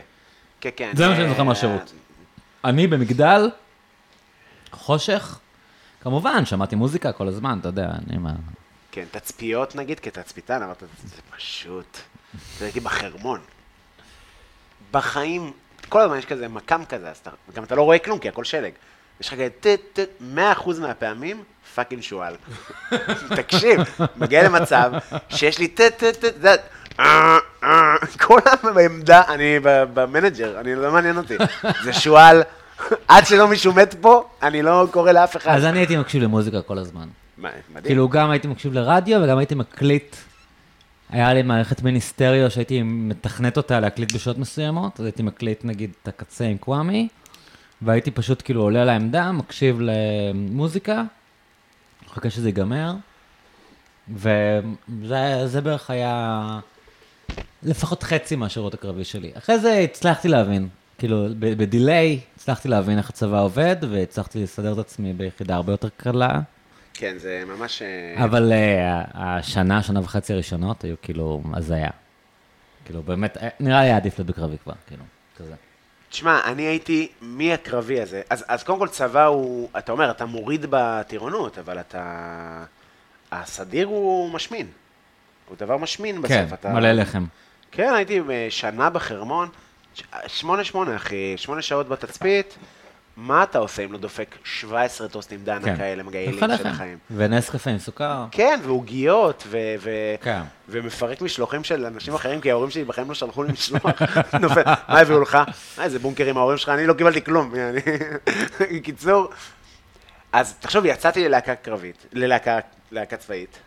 [SPEAKER 3] כן, כן.
[SPEAKER 2] זה מה
[SPEAKER 3] אה,
[SPEAKER 2] שאני זוכר מהשירות. אני במגדל, חושך, כמובן, שמעתי מוזיקה כל הזמן, אתה יודע, אני מה...
[SPEAKER 3] כן, תצפיות נגיד, כתצפיתן, אמרת, זה פשוט. זה הייתי בחרמון. בחיים, כל הזמן יש כזה מקם כזה, אז אתה, גם אתה לא רואה כלום, כי הכל שלג. יש לך כזה טט, טט, 100% מהפעמים, פאקינג שועל. <laughs> תקשיב, מגיע למצב שיש לי טט, טט, טט, זה... אה, אה, כל העמדה, אני ב- במנג'ר, אני לא מעניין אותי. זה שועל, עד שלא מישהו מת פה, אני לא קורא לאף אחד.
[SPEAKER 2] אז אני הייתי מקשיב למוזיקה כל הזמן.
[SPEAKER 3] מה, מדהים.
[SPEAKER 2] כאילו, גם הייתי מקשיב לרדיו וגם הייתי מקליט. היה לי מערכת מיניסטריו שהייתי מתכנת אותה להקליט בשעות מסוימות, אז הייתי מקליט נגיד את הקצה עם קוואמי, והייתי פשוט כאילו עולה לעמדה, מקשיב למוזיקה, מחכה שזה ייגמר, וזה זה בערך היה לפחות חצי מהשירות הקרבי שלי. אחרי זה הצלחתי להבין כאילו, ב- בדיליי הצלחתי להבין איך הצבא עובד, והצלחתי לסדר את עצמי ביחידה הרבה יותר קלה.
[SPEAKER 3] כן, זה ממש... אה,
[SPEAKER 2] אבל אה, השנה, שנה וחצי הראשונות היו כאילו הזיה. כאילו, באמת, אה, נראה לי עדיף להיות בקרבי כבר, כאילו, כזה.
[SPEAKER 3] תשמע, אני הייתי מהקרבי הזה. אז, אז קודם כל צבא הוא, אתה אומר, אתה מוריד בטירונות, אבל אתה... הסדיר הוא משמין. הוא דבר משמין בסוף.
[SPEAKER 2] כן,
[SPEAKER 3] אתה...
[SPEAKER 2] מלא לחם.
[SPEAKER 3] כן, הייתי אה, שנה בחרמון, ש- אה, שמונה שמונה, אחי, שמונה שעות בתצפית. מה אתה עושה אם לא דופק 17 טוסטים דנה
[SPEAKER 2] כן.
[SPEAKER 3] כאלה מגעילים
[SPEAKER 2] לך
[SPEAKER 3] של
[SPEAKER 2] לחם.
[SPEAKER 3] החיים?
[SPEAKER 2] ונס קפה עם סוכר.
[SPEAKER 3] כן, ועוגיות, ו- ו-
[SPEAKER 2] כן.
[SPEAKER 3] ומפרק משלוחים של אנשים אחרים, כי ההורים שלי בחיים לא שלחו לי משלוח. <laughs> נופל, מה הביאו לך? "אה, איזה בונקר עם ההורים שלך, אני לא קיבלתי כלום. <laughs> אני- קיצור, אז תחשוב, יצאתי ללהקה קרבית, ללהקה להקה צבאית.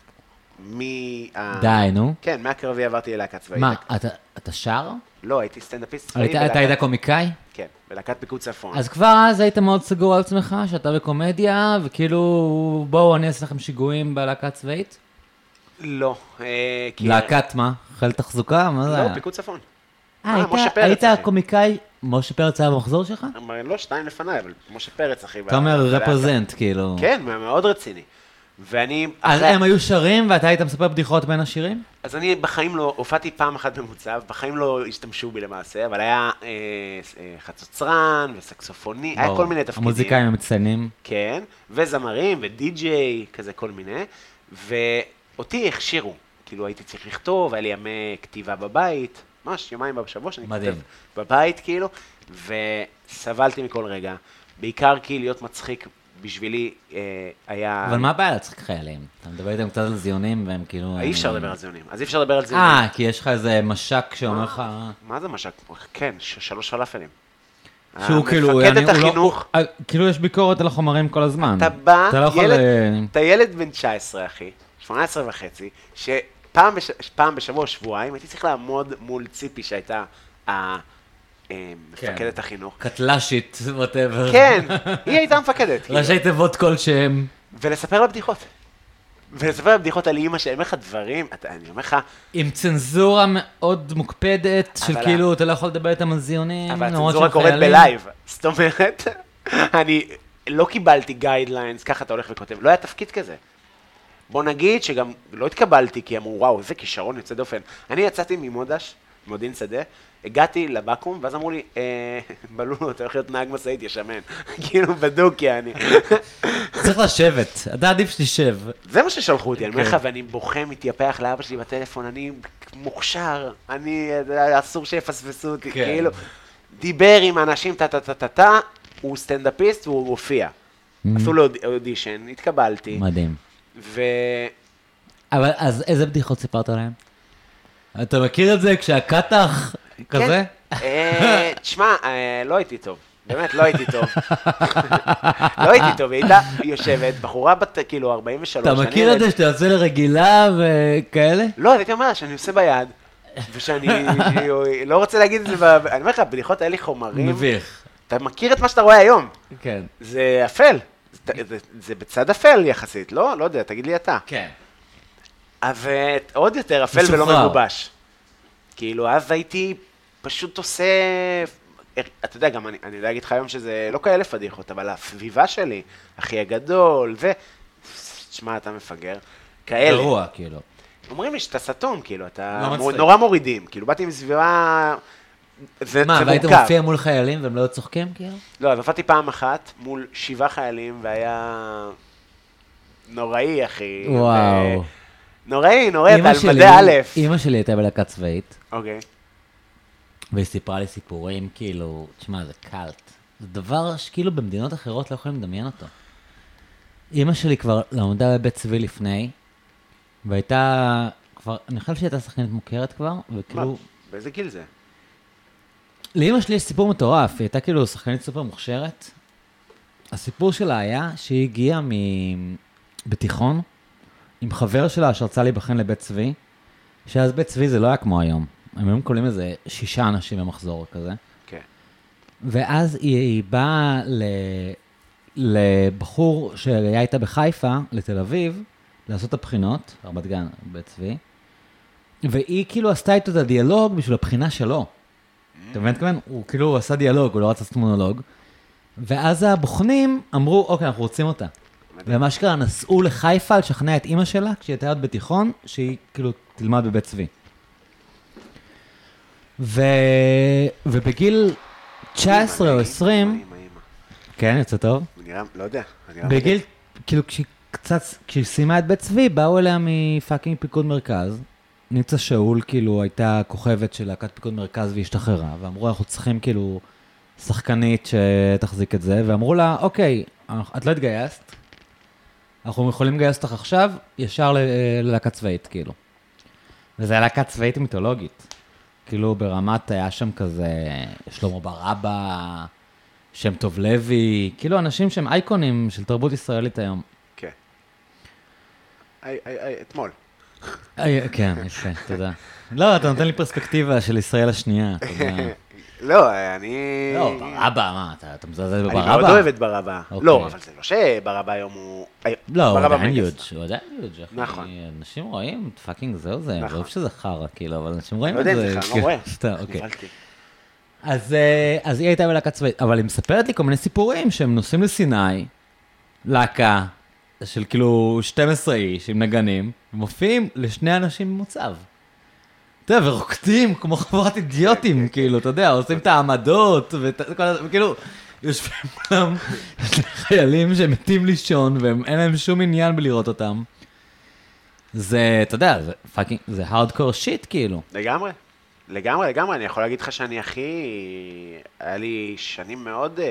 [SPEAKER 3] מה...
[SPEAKER 2] די, נו.
[SPEAKER 3] כן, מהקרבי עברתי ללהקה צבאית.
[SPEAKER 2] מה, אתה, אתה שר?
[SPEAKER 3] לא, הייתי סטנדאפיסט צבאי.
[SPEAKER 2] היית, אתה
[SPEAKER 3] בלהקת-
[SPEAKER 2] היית קומיקאי?
[SPEAKER 3] כן, בלהקת פיקוד צפון.
[SPEAKER 2] אז כבר אז היית מאוד סגור על עצמך, שאתה בקומדיה, וכאילו, בואו, אני אעשה לכם שיגועים בלהקה צבאית?
[SPEAKER 3] לא. אה, כי-
[SPEAKER 2] להקת מה? חיל תחזוקה? מה זה
[SPEAKER 3] לא,
[SPEAKER 2] היה?
[SPEAKER 3] פיקוד צפון.
[SPEAKER 2] אה,
[SPEAKER 3] אה,
[SPEAKER 2] היית-
[SPEAKER 3] משה פרץ,
[SPEAKER 2] היית
[SPEAKER 3] אחי.
[SPEAKER 2] קומיקאי, משה פרץ היה במחזור שלך?
[SPEAKER 3] אמר, לא, שתיים לפניי, אבל משה פרץ, אחי.
[SPEAKER 2] אתה אומר
[SPEAKER 3] בלהקה.
[SPEAKER 2] רפרזנט, כאילו.
[SPEAKER 3] כן, מה- מאוד רציני. ואני...
[SPEAKER 2] אז
[SPEAKER 3] אחרי-
[SPEAKER 2] הם היו שרים ואתה היית מספר בדיחות בין השירים?
[SPEAKER 3] אז אני בחיים לא, הופעתי פעם אחת במוצב, בחיים לא השתמשו בי למעשה, אבל היה אה, אה, חצוצרן וסקסופוני, היה
[SPEAKER 2] ברור.
[SPEAKER 3] כל מיני תפקידים.
[SPEAKER 2] המוזיקאים המצטיינים.
[SPEAKER 3] כן, וזמרים ודי-ג'יי, כזה כל מיני, ואותי הכשירו, כאילו הייתי צריך לכתוב, היה לי ימי כתיבה בבית, ממש יומיים בשבוע שאני
[SPEAKER 2] מדהים.
[SPEAKER 3] כותב בבית, כאילו, וסבלתי מכל רגע, בעיקר כי להיות מצחיק בשבילי אה, היה...
[SPEAKER 2] אבל מה הבעיה להצחיק חיילים? אתה מדבר איתם קצת על זיונים והם כאילו...
[SPEAKER 3] אי אפשר לדבר על זיונים, אז אי אפשר לדבר על זיונים. אה,
[SPEAKER 2] אה, כי יש לך איזה מש"ק שאומר לך...
[SPEAKER 3] מה זה משק? כן, ש- שלוש פלאפלים. אה,
[SPEAKER 2] שהוא כאילו...
[SPEAKER 3] מפקדת
[SPEAKER 2] אני- הוא לא-
[SPEAKER 3] החינוך,
[SPEAKER 2] אה, כאילו יש ביקורת על החומרים כל הזמן.
[SPEAKER 3] אתה בא,
[SPEAKER 2] אתה לא יכול...
[SPEAKER 3] ילד-
[SPEAKER 2] אה,
[SPEAKER 3] אתה ילד בן 19, אחי, 18 וחצי, שפעם בש- פעם בשבוע, שבועיים, הייתי צריך לעמוד מול ציפי שהייתה ה- אה,
[SPEAKER 2] כן.
[SPEAKER 3] מפקדת החינוך.
[SPEAKER 2] קטל"שית, וואטאבר.
[SPEAKER 3] כן, היא
[SPEAKER 2] <laughs>
[SPEAKER 3] הייתה מפקדת. כאילו.
[SPEAKER 2] ראשי תיבות כלשהם.
[SPEAKER 3] ולספר לה בדיחות. ולספר לה בדיחות על אימא, שאני אומר לך דברים, אתה- אני אומר לך,
[SPEAKER 2] עם צנזורה מאוד מוקפדת, של
[SPEAKER 3] אבל
[SPEAKER 2] כאילו, אתה לא יכול לדבר איתם על זיונים,
[SPEAKER 3] אבל
[SPEAKER 2] למרות
[SPEAKER 3] הצנזורה
[SPEAKER 2] שהם
[SPEAKER 3] קורית
[SPEAKER 2] חיילים.
[SPEAKER 3] בלייב, <laughs> זאת אומרת, אני לא קיבלתי גיידליינס, ככה אתה הולך וכותב, לא היה תפקיד כזה. בוא נגיד שגם לא התקבלתי, כי אמרו, וואו, איזה כישרון יוצא דופן. אני יצאתי ממודש, מודיעין שדה, הגעתי לבקו"ם, ואז אמרו לי, אה, <laughs> בלולו, אתה הולך להיות נהג משאית, יש שמן. <laughs> כאילו, בדוק, יעני.
[SPEAKER 2] צריך לשבת, אתה עדיף שתשב.
[SPEAKER 3] זה מה ששלחו אותי, אני אומר לך,
[SPEAKER 2] כן.
[SPEAKER 3] ואני בוכה, מתייפח לאבא שלי בטלפון, אני מוכשר, אני, אה, אסור שיפספסו אותי,
[SPEAKER 2] כן.
[SPEAKER 3] כאילו. דיבר עם אנשים, טה טה טה טה טה, הוא סטנדאפיסט והוא מופיע.
[SPEAKER 2] Mm.
[SPEAKER 3] עשו לו אוד- אודישן, התקבלתי,
[SPEAKER 2] מדהים.
[SPEAKER 3] וכן,
[SPEAKER 2] אבל אז איזה בדיחות סיפרת להם? אתה מכיר את זה כשהקטח
[SPEAKER 3] כן.
[SPEAKER 2] כזה?
[SPEAKER 3] אה, תשמע, אה, לא הייתי טוב. באמת, לא הייתי
[SPEAKER 2] <laughs>
[SPEAKER 3] טוב. לא הייתי טוב, היא הייתה יושבת, בחורה בת כאילו 43.
[SPEAKER 2] אתה
[SPEAKER 3] אני
[SPEAKER 2] מכיר את
[SPEAKER 3] ראיתי-
[SPEAKER 2] זה שאתה יוצא לרגילה וכאלה?
[SPEAKER 3] לא, אז הייתי אומר לה שאני עושה ביד, ושאני לא רוצה להגיד את זה, ב- אני אומר לך, הבדיחות האלה חומרים.
[SPEAKER 2] מביך.
[SPEAKER 3] אתה מכיר את מה שאתה רואה היום,
[SPEAKER 2] כן.
[SPEAKER 3] זה אפל. זה- זה- זה בצד אפל יחסית, לא? לא יודע, תגיד לי אתה.
[SPEAKER 2] כן.
[SPEAKER 3] אז אה, עוד יותר אפל ולא
[SPEAKER 2] משוחרר.
[SPEAKER 3] מגובש. כאילו, אז הייתי פשוט עושה... אתה יודע, גם אני, אני יודע להגיד לך היום שזה לא כאלה פדיחות, אבל הסביבה שלי, אחי הגדול, ו... תשמע, אתה מפגר. כאלה.
[SPEAKER 2] גרוע, כאילו.
[SPEAKER 3] אומרים לי שאתה סתום, כאילו,
[SPEAKER 2] לא
[SPEAKER 3] אתה
[SPEAKER 2] מצחיק.
[SPEAKER 3] מור... נורא מורידים. כאילו, באתי עם סביבה... זה,
[SPEAKER 2] מה,
[SPEAKER 3] זה
[SPEAKER 2] והיית
[SPEAKER 3] מורכב.
[SPEAKER 2] מופיע מול חיילים והם לא היו צוחקים, כאילו?
[SPEAKER 3] לא, אז הופעתי פעם אחת מול שבעה חיילים, והיה... נוראי, אחי.
[SPEAKER 2] וואו.
[SPEAKER 3] ו- נוראי, נוראי, אה, אתה
[SPEAKER 2] אמא
[SPEAKER 3] על
[SPEAKER 2] שלי-
[SPEAKER 3] מדי א'.
[SPEAKER 2] אמא שלי הייתה בלהקה צבאית,
[SPEAKER 3] אוקיי.
[SPEAKER 2] והיא סיפרה לי סיפורים, כאילו, תשמע, זה קאלט. זה דבר שכאילו במדינות אחרות לא יכולים לדמיין אותו. אימא שלי כבר למדה בבית צבי לפני, והייתה כבר, אני חושב שהיא הייתה שחקנית מוכרת כבר,
[SPEAKER 3] מה?
[SPEAKER 2] וכאילו,
[SPEAKER 3] באיזה גיל זה?
[SPEAKER 2] לאימא שלי יש סיפור מטורף, היא הייתה כאילו שחקנית סופר מוכשרת. הסיפור שלה היה שהיא הגיעה מ... בתיכון עם חבר שלה שרצה להיבחן לבית צבי, שאז בית צבי זה לא היה כמו היום. הם היו מקבלים איזה שישה אנשים במחזור כזה.
[SPEAKER 3] כן.
[SPEAKER 2] ואז היא, היא באה ל, לבחור שהיה איתה בחיפה, לתל אביב, לעשות את הבחינות, רמת גן, בית צבי, והיא כאילו עשתה איתו את הדיאלוג בשביל הבחינה שלו. אתה מבין? כמובן, הוא כאילו הוא עשה דיאלוג, הוא לא רצה לעשות מונולוג. ואז הבוחנים אמרו, אוקיי, אנחנו רוצים אותה. ומה שקרה, נסעו לחיפה לשכנע את אימא שלה, כשהיא הייתה עוד בתיכון, שהיא כאילו תלמד בבית צבי. ו... ובגיל 19 או 20,
[SPEAKER 3] אימא, אימא.
[SPEAKER 2] כן, יוצא טוב.
[SPEAKER 3] הוא נראה, לא יודע. הוא נראה
[SPEAKER 2] בגיל,
[SPEAKER 3] מדהים.
[SPEAKER 2] כאילו, כשהיא קצת, כשהיא סיימה את בית צבי, באו אליה מפאקינג פיקוד מרכז. ניצה שאול, כאילו, הייתה כוכבת של להקת פיקוד מרכז והיא השתחררה, ואמרו, אנחנו צריכים, כאילו, שחקנית שתחזיק את זה, ואמרו לה, אוקיי, את לא התגייסת, אנחנו יכולים לגייס אותך עכשיו, ישר ל- ללהקה צבאית, כאילו. וזו הייתה להקה צבאית מיתולוגית. כאילו, ברמת, היה שם כזה שלמה ברבא, שם טוב לוי, כאילו, אנשים שהם אייקונים של תרבות ישראלית היום.
[SPEAKER 3] כן. היי, היי, היי, אתמול.
[SPEAKER 2] אה, כן, יפה, תודה. <laughs> לא, אתה נותן לי פרספקטיבה של ישראל השנייה, אתה
[SPEAKER 3] <laughs>
[SPEAKER 2] יודע.
[SPEAKER 3] לא, אני...
[SPEAKER 2] לא, ברבא, מה, אתה אתה מזלזל
[SPEAKER 3] אני
[SPEAKER 2] בברבא?
[SPEAKER 3] מאוד אוהב את ברבא.
[SPEAKER 2] אוקיי.
[SPEAKER 3] לא, אבל זה לא שברבא היום הוא...
[SPEAKER 2] לא, הוא
[SPEAKER 3] ברבא
[SPEAKER 2] עדיין
[SPEAKER 3] מגה
[SPEAKER 2] יוג', הוא עדיין יוג', אחי.
[SPEAKER 3] נכון.
[SPEAKER 2] אנשים רואים, פאקינג זהו זה,
[SPEAKER 3] נכון.
[SPEAKER 2] אני אוהב שזה חרא, כאילו, אבל אנשים רואים
[SPEAKER 3] לא
[SPEAKER 2] את
[SPEAKER 3] יודע
[SPEAKER 2] זה.
[SPEAKER 3] אם זה חרא, אני
[SPEAKER 2] כאילו,
[SPEAKER 3] לא רואה.
[SPEAKER 2] סתם, אוקיי.
[SPEAKER 3] נבהלתי.
[SPEAKER 2] אז אה, אז היא הייתה בלהקה צבאית, אבל היא מספרת לי כל מיני סיפורים שהם נוסעים לסיני, להקה של כאילו 12 איש עם נגנים, ומופיעים לשני אנשים במוצב. אתה יודע, ורוקדים כמו חבורת
[SPEAKER 3] כן,
[SPEAKER 2] אידיוטים, כאילו, אתה יודע, עושים את העמדות, ואת כל ה- וכאילו, יושבים כולם שני חיילים שמתים לישון, ואין להם שום עניין בלראות אותם. זה, אתה יודע, זה פאקינג, זה הארדקור שיט, כאילו.
[SPEAKER 3] לגמרי. לגמרי, לגמרי. אני יכול להגיד לך שאני הכי... היה לי שנים מאוד אה,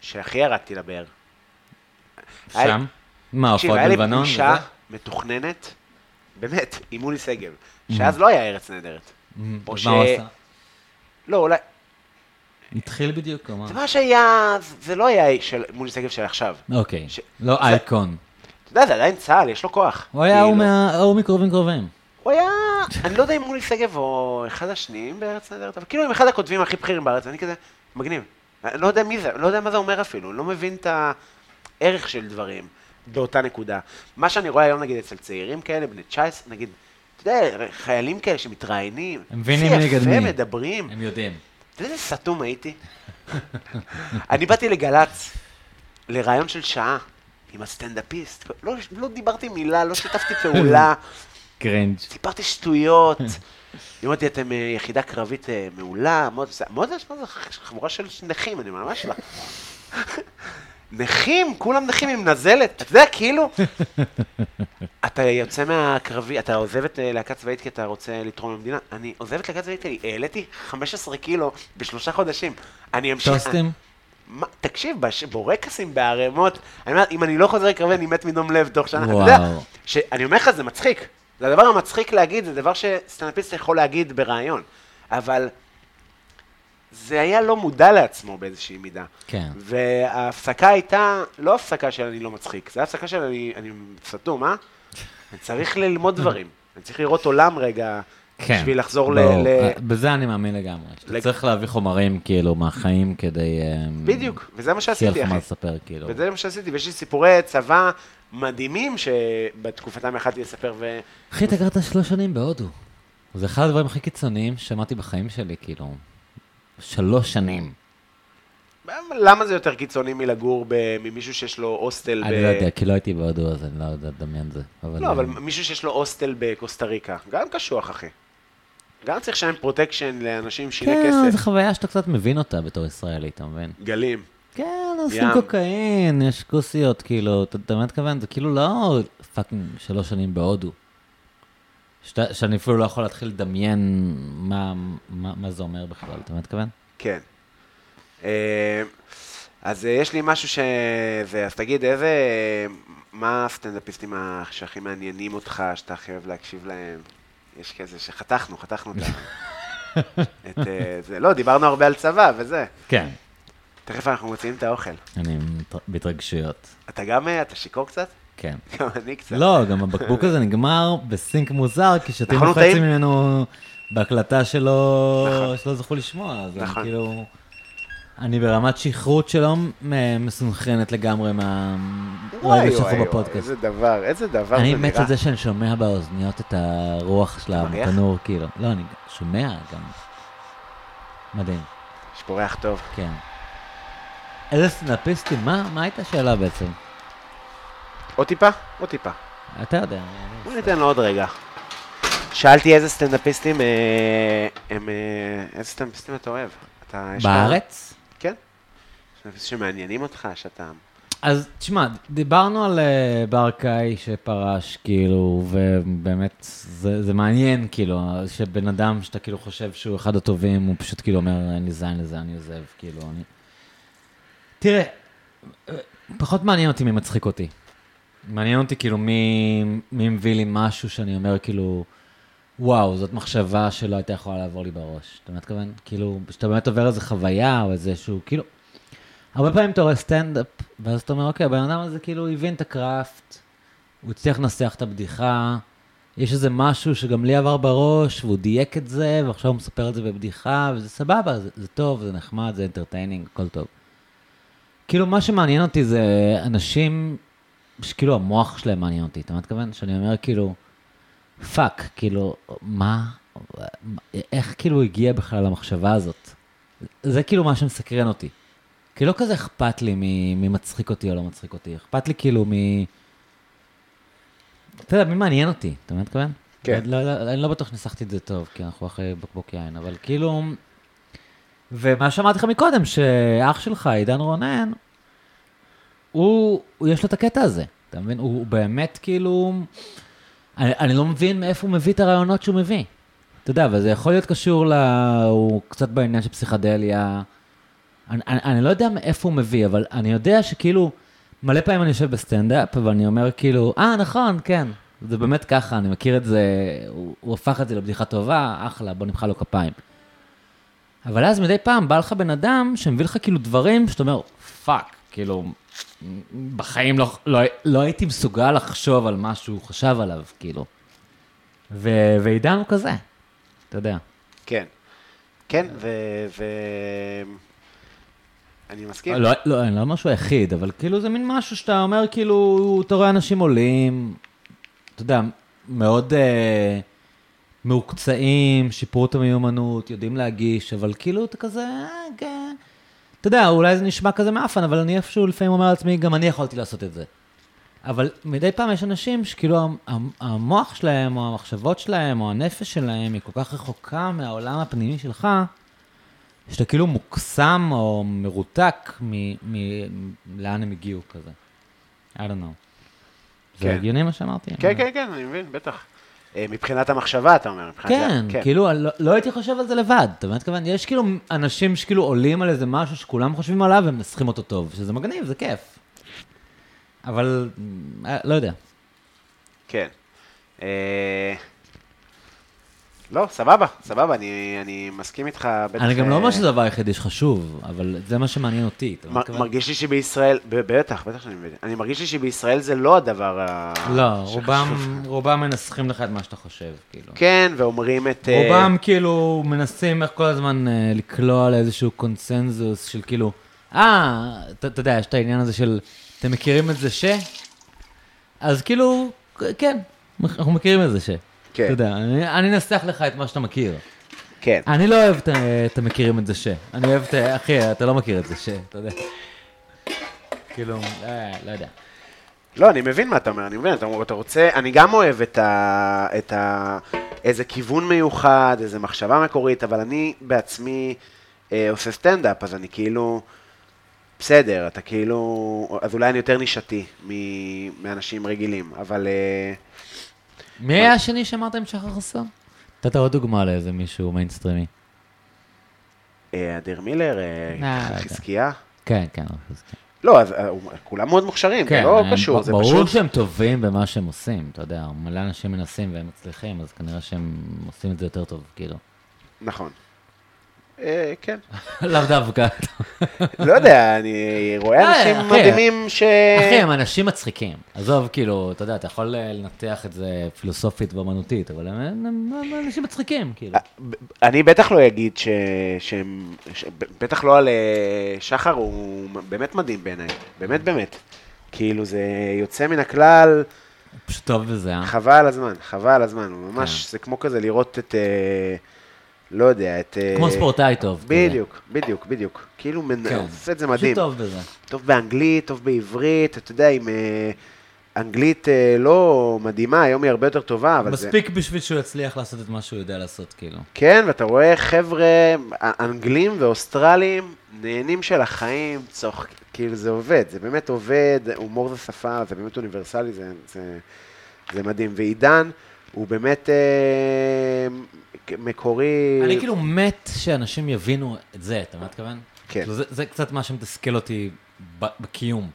[SPEAKER 3] שהכי ירדתי לבאר. היה לי-
[SPEAKER 2] שם? מה,
[SPEAKER 3] תקשיב,
[SPEAKER 2] הופעות
[SPEAKER 3] היה לי
[SPEAKER 2] בלבנון?
[SPEAKER 3] פגישה
[SPEAKER 2] וזה?
[SPEAKER 3] מתוכננת, באמת, עם מולי שגב, שאז לא היה ארץ נהדרת. או
[SPEAKER 2] אז
[SPEAKER 3] ש-
[SPEAKER 2] מה הוא עשה? אה.
[SPEAKER 3] לא, אולי...
[SPEAKER 2] התחיל בדיוק, או מה?
[SPEAKER 3] זה מה שהיה... זה לא היה של מולי שגב של עכשיו.
[SPEAKER 2] אוקיי,
[SPEAKER 3] ש-
[SPEAKER 2] לא
[SPEAKER 3] זה-
[SPEAKER 2] אייקון.
[SPEAKER 3] אתה יודע, זה עדיין צה"ל, יש לו כוח.
[SPEAKER 2] הוא היה ההוא
[SPEAKER 3] כאילו.
[SPEAKER 2] מה- ההוא מקרובים קרובים.
[SPEAKER 3] הוא היה, אני לא יודע אם מולי שגב או אחד השניים בארץ נהדרת, אבל כאילו הם אחד הכותבים הכי בכירים בארץ, ואני כזה, מגניב. אני לא יודע מי זה, לא יודע מה זה אומר אפילו, לא מבין את הערך של דברים באותה נקודה. מה שאני רואה היום נגיד אצל צעירים כאלה, בני 19, נגיד, אתה יודע, חיילים כאלה שמתראיינים,
[SPEAKER 2] הם מבינים מי נגד מי.
[SPEAKER 3] יפה מדברים,
[SPEAKER 2] הם יודעים.
[SPEAKER 3] אתה יודע איזה סתום הייתי? אני באתי לגל"צ, לראיון של שעה, עם הסטנדאפיסט, לא, לא דיברתי מילה,
[SPEAKER 2] <laughs>
[SPEAKER 3] לא שיתפתי פעולה.
[SPEAKER 2] קרינג'.
[SPEAKER 3] סיפרתי שטויות. היא אומרת לי, אתם אה, יחידה קרבית אה, מעולה, מאוד זה, מאוד זה, מה זה, חבורה של נכים, אני ממש לא. <laughs> נכים, כולם נכים עם נזלת, אתה יודע, <laughs> כאילו. אתה יוצא מהקרבי, אתה עוזב את אה, להקה צבאית כי אתה רוצה לתרום למדינה. אני עוזב את להקה צבאית כי העליתי 15 קילו בשלושה חודשים. אני אמשיך...
[SPEAKER 2] טוסטים?
[SPEAKER 3] מה, תקשיב, בש... בורקסים בערימות, אני אומר, אם אני לא חוזר לקרבי, אני מת מדום לב תוך שנה. אתה יודע,
[SPEAKER 2] וואו.
[SPEAKER 3] ש... אני אומר לך, זה מצחיק. זה הדבר המצחיק להגיד, זה דבר שסטנדאפיסט יכול להגיד בריאיון. אבל זה היה לא מודע לעצמו באיזושהי מידה.
[SPEAKER 2] כן.
[SPEAKER 3] וההפסקה הייתה לא הפסקה של אני לא מצחיק, זו הפסקה של אני, אני סתום, אה? אני צריך ללמוד דברים. אני צריך לראות עולם רגע,
[SPEAKER 2] כן.
[SPEAKER 3] בשביל לחזור ל...
[SPEAKER 2] ברור.
[SPEAKER 3] ל...
[SPEAKER 2] אה, בזה אני מאמין לגמרי.
[SPEAKER 3] לג-
[SPEAKER 2] שאתה צריך להביא חומרים, כאילו, מהחיים כדי... אה,
[SPEAKER 3] בדיוק, וזה מה
[SPEAKER 2] שיהיה
[SPEAKER 3] שעשיתי,
[SPEAKER 2] לך מה
[SPEAKER 3] אחי.
[SPEAKER 2] לספר, כאילו.
[SPEAKER 3] וזה מה שעשיתי, ויש לי סיפורי צבא מדהימים שבתקופתם יכלתי לספר, ו...
[SPEAKER 2] אחי, אתה גרת שלוש שנים בהודו. זה אחד הדברים הכי קיצוניים ששמעתי בחיים שלי, כאילו. שלוש שנים.
[SPEAKER 3] למה זה יותר קיצוני מלגור ב- ממישהו שיש לו הוסטל ב...
[SPEAKER 2] אני לא יודע, כי לא הייתי בהודו, אז אני לא יודע לדמיין זה. אבל...
[SPEAKER 3] לא, אבל
[SPEAKER 2] אה,
[SPEAKER 3] מישהו שיש לו הוסטל בקוסטה ריקה, גם קשוח, אחי. גם צריך לשלם פרוטקשן לאנשים שיהיה
[SPEAKER 2] כן, זו
[SPEAKER 3] כסף.
[SPEAKER 2] חוויה שאתה קצת מבין אותה בתור ישראלי, אתה מבין?
[SPEAKER 3] גלים.
[SPEAKER 2] כן, עושים
[SPEAKER 3] ים.
[SPEAKER 2] קוקאין, יש כוסיות, כאילו, אתה אתה מבין מתכוון? זה כאילו לא פאקינג שלוש שנים בהודו. שאתה- שאני אפילו לא יכול להתחיל לדמיין מה- מה מה זה אומר בכלל, אתה מבין מתכוון?
[SPEAKER 3] כן. אה, אז אה, יש לי משהו ש... זה, אז תגיד, איזה... מה הסטנדאפיסטים ה- שהכי מעניינים אותך, שאתה הכי אוהב להקשיב להם? יש כזה שחתכנו, חתכנו
[SPEAKER 2] <laughs>
[SPEAKER 3] את ה- את אה, זה. לא, דיברנו הרבה על צבא וזה.
[SPEAKER 2] כן.
[SPEAKER 3] תכף אנחנו מוציאים את האוכל.
[SPEAKER 2] אני מת- בהתרגשויות,
[SPEAKER 3] אתה גם, אה, אתה שיכור קצת? <laughs>
[SPEAKER 2] כן.
[SPEAKER 3] גם אני קצת.
[SPEAKER 2] לא, גם הבקבוק הזה נגמר בסינק מוזר, כי שתינו
[SPEAKER 3] נכון, הוא
[SPEAKER 2] חצי
[SPEAKER 3] טעים?
[SPEAKER 2] ממנו בהקלטה שלא
[SPEAKER 3] נכון.
[SPEAKER 2] שלא זכו לשמוע, אז אני
[SPEAKER 3] נכון.
[SPEAKER 2] כאילו... אני ברמת שכרות שלא מ- מסונכרנת לגמרי
[SPEAKER 3] וואי,
[SPEAKER 2] מהרגע
[SPEAKER 3] וואי,
[SPEAKER 2] שאנחנו
[SPEAKER 3] וואי,
[SPEAKER 2] לא בפודקאסט.
[SPEAKER 3] איזה דבר, איזה דבר זה
[SPEAKER 2] אני
[SPEAKER 3] נראה.
[SPEAKER 2] מת על זה שאני שומע באוזניות את הרוח של
[SPEAKER 3] אתה מריח?
[SPEAKER 2] התנור, כאילו. לא, אני שומע גם. מדהים,
[SPEAKER 3] יש פה ריח טוב.
[SPEAKER 2] כן. איזה סנאפיסטים, מה מה הייתה השאלה בעצם?
[SPEAKER 3] עוד טיפה? עוד טיפה.
[SPEAKER 2] אתה יודע.
[SPEAKER 3] בוא ניתן לו עוד רגע. שאלתי איזה סטנדאפיסטים, אה, הם, אה, איזה סטנדאפיסטים אתה אוהב? אתה, יש לך-
[SPEAKER 2] בארץ?
[SPEAKER 3] כן. סטנדאפיסטים שמעניינים אותך, שאתה...
[SPEAKER 2] אז תשמע, דיברנו על אה, ברקאי שפרש, כאילו, ובאמת, זה, זה מעניין, כאילו, שבן אדם שאתה כאילו חושב שהוא אחד הטובים, הוא פשוט כאילו אומר, אין לי זין לזה, אני עוזב, כאילו, אני... תראה, אה, פחות מעניין אותי מי מצחיק אותי. מעניין אותי כאילו מי, מי מביא לי משהו שאני אומר, כאילו, וואו, זאת מחשבה שלא הייתה יכולה לעבור לי בראש. אתה מבין מה אתכוון? כאילו, שאתה באמת עובר איזה חוויה או איזה שהוא, כאילו... הרבה פעמים אתה רואה סטנדאפ, ואז אתה אומר, אוקיי, הבן אדם הזה כאילו הבין את הקראפט, הוא הצליח לנסח את הבדיחה, יש איזה משהו שגם לי עבר בראש, והוא דייק את זה, ועכשיו הוא מספר את זה בבדיחה, וזה סבבה, זה, זה טוב, זה נחמד, זה אינטרטיינינג, הכל טוב. כאילו, מה שמעניין אותי זה אנשים שכאילו המוח שלהם מעניין אותי, אתה מתכוון? שאני אומר, כאילו, פאק, כאילו, מה, איך כאילו הגיע בכלל המחשבה הזאת? זה כאילו מה שמסקרן אותי. כי לא כזה אכפת לי מ- מי מצחיק אותי או לא מצחיק אותי, אכפת לי כאילו מ... אתה יודע, מי מעניין אותי, אתה מבין מה אני מתכוון?
[SPEAKER 3] כן.
[SPEAKER 2] לא, לא, אני לא בטוח שניסחתי את זה טוב, כי אנחנו אחרי בקבוק יין, אבל כאילו... ומה שאמרתי לך מקודם, שאח שלך, עידן רונן, הוא, הוא יש לו את הקטע הזה, אתה מבין? הוא, הוא באמת כאילו... אני, אני לא מבין מאיפה הוא מביא את הרעיונות שהוא מביא. אתה יודע, אבל זה יכול להיות קשור ל... הוא קצת בעניין של פסיכדליה. אני, אני, אני לא יודע מאיפה הוא מביא, אבל אני יודע שכאילו, מלא פעמים אני יושב בסטנדאפ, אבל אני אומר כאילו, אה, נכון, כן. זה באמת ככה, אני מכיר את זה, הוא, הוא הפך את זה לבדיחה טובה, אחלה, בוא נמחא לו כפיים. אבל אז מדי פעם בא לך בן אדם שמביא לך כאילו דברים שאתה אומר, פאק, כאילו, בחיים לא, לא, לא הייתי מסוגל לחשוב על מה שהוא חשב עליו, כאילו. ו, ועידן הוא כזה, אתה יודע.
[SPEAKER 3] כן. כן, ו... ו... אני מסכים.
[SPEAKER 2] לא, לא, אני לא אומר שהוא היחיד, אבל כאילו זה מין משהו שאתה אומר, כאילו, אתה רואה אנשים עולים, אתה יודע, מאוד אה, מעוקצעים, שיפרו את המיומנות, יודעים להגיש, אבל כאילו אתה כזה, אה, כן. אתה יודע, אולי זה נשמע כזה מאפן, אבל אני איפשהו לפעמים אומר לעצמי, גם אני יכולתי לעשות את זה. אבל מדי פעם יש אנשים שכאילו המ- המ- המוח שלהם, או המחשבות שלהם, או הנפש שלהם, היא כל כך רחוקה מהעולם הפנימי שלך, שאתה כאילו מוקסם או מרותק מלאן מ- מ- לאן הם הגיעו כזה. I don't know. זה
[SPEAKER 3] כן.
[SPEAKER 2] הגיוני מה שאמרתי?
[SPEAKER 3] כן, כן, כן, אני מבין, בטח. אה, מבחינת המחשבה, אתה אומר. מבחינת
[SPEAKER 2] כן,
[SPEAKER 3] זה-
[SPEAKER 2] כאילו, לא, לא הייתי חושב על זה לבד, אתה מבין? כיוון, יש כאילו אנשים שכאילו עולים על איזה משהו שכולם חושבים עליו והם מנסחים אותו טוב, שזה מגניב, זה כיף. אבל, אה, לא יודע.
[SPEAKER 3] כן. אה, לא, סבבה, סבבה, אני, אני מסכים איתך. בטח,
[SPEAKER 2] אני גם לא אומר
[SPEAKER 3] אה,
[SPEAKER 2] שזה הדבר היחידי שחשוב, אבל זה מה שמעניין אותי, אתה
[SPEAKER 3] מ-
[SPEAKER 2] מתכוון?
[SPEAKER 3] מרגיש לי שבישראל, ב- בטח, בטח שאני מבין. אני מרגיש לי שבישראל זה לא הדבר ה...
[SPEAKER 2] לא,
[SPEAKER 3] שחשוב.
[SPEAKER 2] רובם, רובם מנסחים לך את מה שאתה חושב, כאילו.
[SPEAKER 3] כן, ואומרים את... אה,
[SPEAKER 2] רובם כאילו מנסים איך כל הזמן אה, לקלוע לאיזשהו קונסנזוס של כאילו, אה, אתה אתה יודע, יש את העניין הזה של, אתם מכירים את זה ש? אז כאילו, כן, אנחנו מכירים את זה ש.
[SPEAKER 3] כן.
[SPEAKER 2] אתה יודע, אני- אני אנסח לך את מה שאתה מכיר.
[SPEAKER 3] כן.
[SPEAKER 2] אני לא אוהב את ה- את המכירים את זה ש. אני אוהב את ה... אחי, אתה לא מכיר את זה ש, אתה יודע. כאילו, אה, לא יודע.
[SPEAKER 3] לא, אני מבין מה אתה אומר, אני מבין, אתה, אתה רוצה, אני גם אוהב את ה... את ה... איזה כיוון מיוחד, איזה מחשבה מקורית, אבל אני בעצמי אה, עושה סטנדאפ, אז אני כאילו, בסדר, אתה כאילו, אז אולי אני יותר נישתי מ, מאנשים רגילים, אבל אה,
[SPEAKER 2] מי היה השני שאמרת עם שחר חסון? נתת עוד דוגמה לאיזה מישהו מיינסטרימי.
[SPEAKER 3] אה, אדיר מילר, אה,
[SPEAKER 2] אה, לא
[SPEAKER 3] חזקיה,
[SPEAKER 2] כן, כן, אז כן.
[SPEAKER 3] לא, אז, אה, הוא- כולם מאוד מוכשרים, זה לא
[SPEAKER 2] הם-
[SPEAKER 3] קשור, זה
[SPEAKER 2] ברור
[SPEAKER 3] פשוט,
[SPEAKER 2] שהם טובים במה שהם עושים, אתה יודע, מלא אנשים מנסים והם מצליחים, אז כנראה שהם עושים את זה יותר טוב, כאילו. <laughs>
[SPEAKER 3] נכון. אה, כן.
[SPEAKER 2] לאו דווקא.
[SPEAKER 3] לא יודע, אני רואה
[SPEAKER 2] <laughs> אה,
[SPEAKER 3] אנשים
[SPEAKER 2] אחי.
[SPEAKER 3] מדהימים ש...
[SPEAKER 2] אחי, הם אנשים מצחיקים. עזוב, כאילו, אתה יודע, אתה יכול אה, לנתח את זה פילוסופית ואומנותית, אבל הם- הם הם אנשים מצחיקים, כאילו.
[SPEAKER 3] אה, אני בטח לא אגיד ש... שהם... ש... בטח לא על אה, שחר, הוא באמת מדהים בעיניי, באמת באמת. כאילו זה יוצא מן הכלל,
[SPEAKER 2] פשוט טוב בזה, אה? כן.
[SPEAKER 3] חבל על הזמן, חבל על הזמן, הוא ממש, זה כמו כזה לראות את... אה, לא יודע, את... אה,
[SPEAKER 2] כמו ספורטאי טוב. כזה.
[SPEAKER 3] בדיוק, בדיוק, בדיוק. כאילו
[SPEAKER 2] כן.
[SPEAKER 3] מנפץ את זה
[SPEAKER 2] פשוט
[SPEAKER 3] מדהים.
[SPEAKER 2] טוב בזה.
[SPEAKER 3] טוב באנגלית, טוב בעברית, אתה יודע, עם אה, אנגלית אה, לא מדהימה, היום היא הרבה יותר טובה, אבל זה...
[SPEAKER 2] מספיק בשביל שהוא יצליח לעשות את מה שהוא יודע לעשות, כאילו.
[SPEAKER 3] כן, ואתה רואה חבר'ה אה, אנגלים ואוסטרלים נהנים של החיים, צוח, כאילו זה עובד, זה באמת עובד, הומור זה שפה, זה באמת אוניברסלי, זה, זה, זה מדהים. ועידן הוא באמת אה, מקורי...
[SPEAKER 2] אני כאילו מת שאנשים יבינו את זה, אתה מבין מה אתכוון?
[SPEAKER 3] כן.
[SPEAKER 2] כאילו, זה- זה קצת מה שמתסכל אותי ב- בקיום.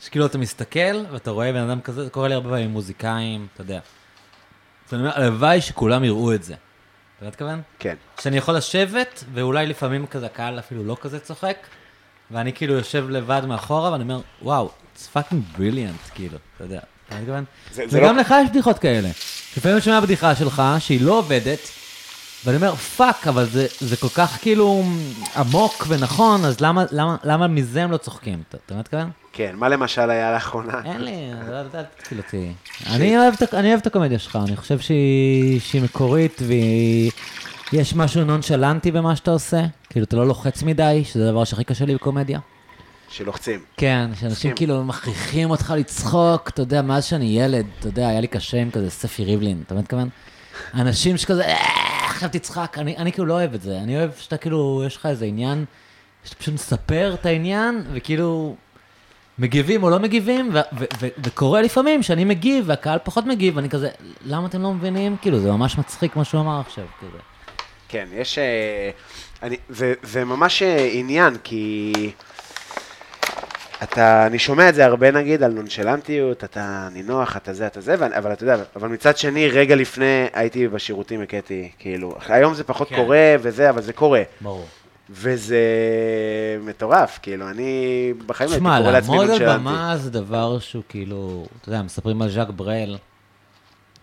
[SPEAKER 2] שכאילו אתה מסתכל ואתה רואה בן אדם כזה, זה קורה לי הרבה פעמים עם מוזיקאים, אתה יודע. אז אני אומר, הלוואי שכולם יראו את זה. אתה מבין מה אתכוון?
[SPEAKER 3] כן,
[SPEAKER 2] שאני יכול לשבת, ואולי לפעמים כזה הקהל אפילו לא כזה צוחק, ואני כאילו יושב לבד מאחורה, ואני אומר, וואו, it's fucking brilliant, כאילו, אתה יודע, אתה מתכוון?
[SPEAKER 3] זה- זה
[SPEAKER 2] וגם
[SPEAKER 3] לא-
[SPEAKER 2] לך יש בדיחות כאלה. לפעמים אני שומע בדיחה שלך, שהיא לא עובדת, ואני אומר, פאק, אבל זה, זה כל כך כאילו עמוק ונכון, אז למה, למה, למה מזה הם לא צוחקים? אתה אתה מתכוון?
[SPEAKER 3] כן, מה למשל היה <laughs> לאחרונה?
[SPEAKER 2] אין לי, אל- אל אל תתקיל אותי. אני אוהב את- אני אוהב את הקומדיה שלך, אני חושב שהיא שהיא מקורית והיא... יש משהו נונשלנטי במה שאתה עושה, כאילו אתה לא לוחץ מדי, שזה הדבר שהכי קשה לי בקומדיה.
[SPEAKER 3] שלוחצים.
[SPEAKER 2] כן, שאנשים כאילו מכריחים אותך לצחוק, אתה יודע, מאז שאני ילד, אתה יודע, היה לי קשה עם כזה ספי ריבלין, אתה מבין כמובן? אנשים שכזה, "אה, עכשיו תצחק, אני אני כאילו לא אוהב את זה, אני אוהב שאתה כאילו, יש לך איזה עניין, שאתה פשוט מספר את העניין, וכאילו, מגיבים או לא מגיבים, ו- ו- ו- וקורה לפעמים שאני מגיב, והקהל פחות מגיב, ואני כזה, למה אתם לא מבינים? כאילו, זה ממש מצחיק מה שהוא אמר עכשיו, כזה.
[SPEAKER 3] כן, יש... אה, אני, זה, זה ממש אה, עניין, כי... אתה, אני שומע את זה הרבה נגיד על נונשלנטיות, אתה נינוח, אתה זה, אתה זה, ואני- אבל אתה יודע, אבל מצד שני, רגע לפני הייתי בשירותים, הכיתי, כאילו, היום זה פחות
[SPEAKER 2] כן.
[SPEAKER 3] כן. קורה וזה, אבל זה קורה,
[SPEAKER 2] ברור.
[SPEAKER 3] וזה מטורף, כאילו, אני בחיים לא הייתי
[SPEAKER 2] תשמע,
[SPEAKER 3] קורא לעצמי
[SPEAKER 2] לעמוד
[SPEAKER 3] נונשלנטי.
[SPEAKER 2] על במה זה דבר שהוא כאילו, אתה יודע, מספרים על ז'אק ברל,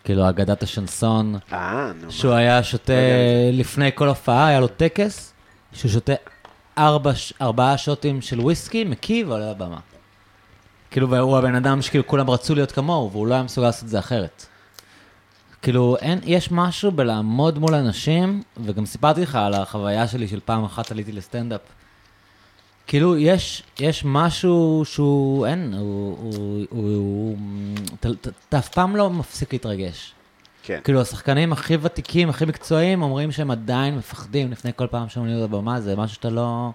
[SPEAKER 2] כאילו אגדת השנסון,
[SPEAKER 3] אה, נו,
[SPEAKER 2] שהוא היה שותה לפני כל הופעה, היה לו טקס, שהוא שותה ארבע, ש- ארבעה שוטים של וויסקי, מקיא ועולה לבמה. כאילו, והוא הבן אדם שכאילו כולם רצו להיות כמוהו, והוא לא היה מסוגל לעשות את זה אחרת. כאילו, אין, יש משהו בלעמוד מול אנשים, וגם סיפרתי לך על החוויה שלי של פעם אחת עליתי לסטנדאפ. כאילו, יש, יש משהו שהוא, אין, הוא, הוא, הוא, הוא, הוא אתה, אתה, אתה אף פעם לא מפסיק להתרגש.
[SPEAKER 3] כן,
[SPEAKER 2] כאילו, השחקנים הכי ותיקים, הכי מקצועיים, אומרים שהם עדיין מפחדים לפני כל פעם שהם עולים לבמה, זה משהו שאתה לא...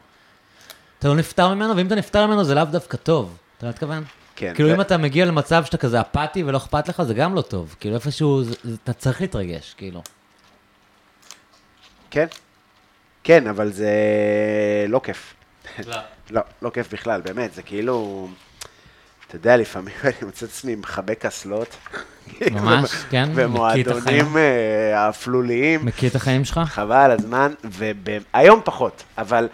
[SPEAKER 2] אתה לא נפטר ממנו, ואם אתה נפטר ממנו זה לאו דווקא טוב. אתה לא מתכוון?
[SPEAKER 3] כן,
[SPEAKER 2] כאילו,
[SPEAKER 3] זה-
[SPEAKER 2] אם אתה מגיע למצב שאתה כזה אפאתי ולא אכפת לך, זה גם לא טוב. כאילו, איפשהו, זה- זה- אתה צריך להתרגש, כאילו.
[SPEAKER 3] כן, כן, אבל זה לא כיף. <laughs> לא, לא כיף בכלל, באמת, זה כאילו... אתה יודע, לפעמים אני מוצא את עצמי מחבק אסלות.
[SPEAKER 2] ממש, כן, מקיא את החיים.
[SPEAKER 3] ומועדונים אה, האפלוליים,
[SPEAKER 2] מכיר את החיים שלך?
[SPEAKER 3] חבל על הזמן, והיום פחות, אבל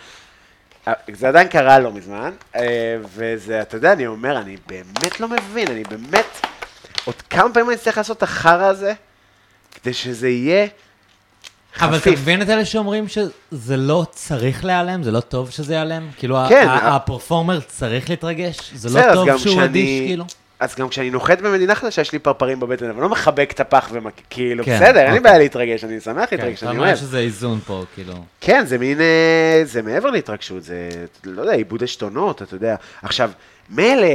[SPEAKER 3] אה, זה עדיין קרה לא מזמן, אה, וזה, אתה יודע, אני אומר, אני באמת לא מבין, אני באמת, עוד כמה פעמים אני אצטרך לעשות את החרא הזה, כדי שזה יהיה
[SPEAKER 2] אבל אתה
[SPEAKER 3] חפיף.
[SPEAKER 2] מבין את אלה שאומרים שזה לא צריך להיעלם, זה לא טוב שזה ייעלם? כאילו, ה-
[SPEAKER 3] כן,
[SPEAKER 2] ה-
[SPEAKER 3] ה-
[SPEAKER 2] הפרפורמר צריך להתרגש? זה
[SPEAKER 3] בסדר,
[SPEAKER 2] לא
[SPEAKER 3] אז
[SPEAKER 2] טוב
[SPEAKER 3] גם
[SPEAKER 2] שהוא
[SPEAKER 3] כשאני-
[SPEAKER 2] אדיש, כאילו?
[SPEAKER 3] אז גם כשאני נוחת במדינה חדשה, יש לי פרפרים בבטן, אבל לא מחבק את הפח ומק... כאילו,
[SPEAKER 2] כן,
[SPEAKER 3] בסדר, אין לי
[SPEAKER 2] אוקיי.
[SPEAKER 3] בעיה להתרגש, אני שמח
[SPEAKER 2] כן,
[SPEAKER 3] להתרגש,
[SPEAKER 2] אתה
[SPEAKER 3] אני
[SPEAKER 2] אומר
[SPEAKER 3] אוהב.
[SPEAKER 2] שזה איזון פה, כאילו.
[SPEAKER 3] כן, זה מין... אה, זה מעבר להתרגשות, זה, לא יודע, עיבוד עשתונות, אתה יודע. עכשיו, מילא...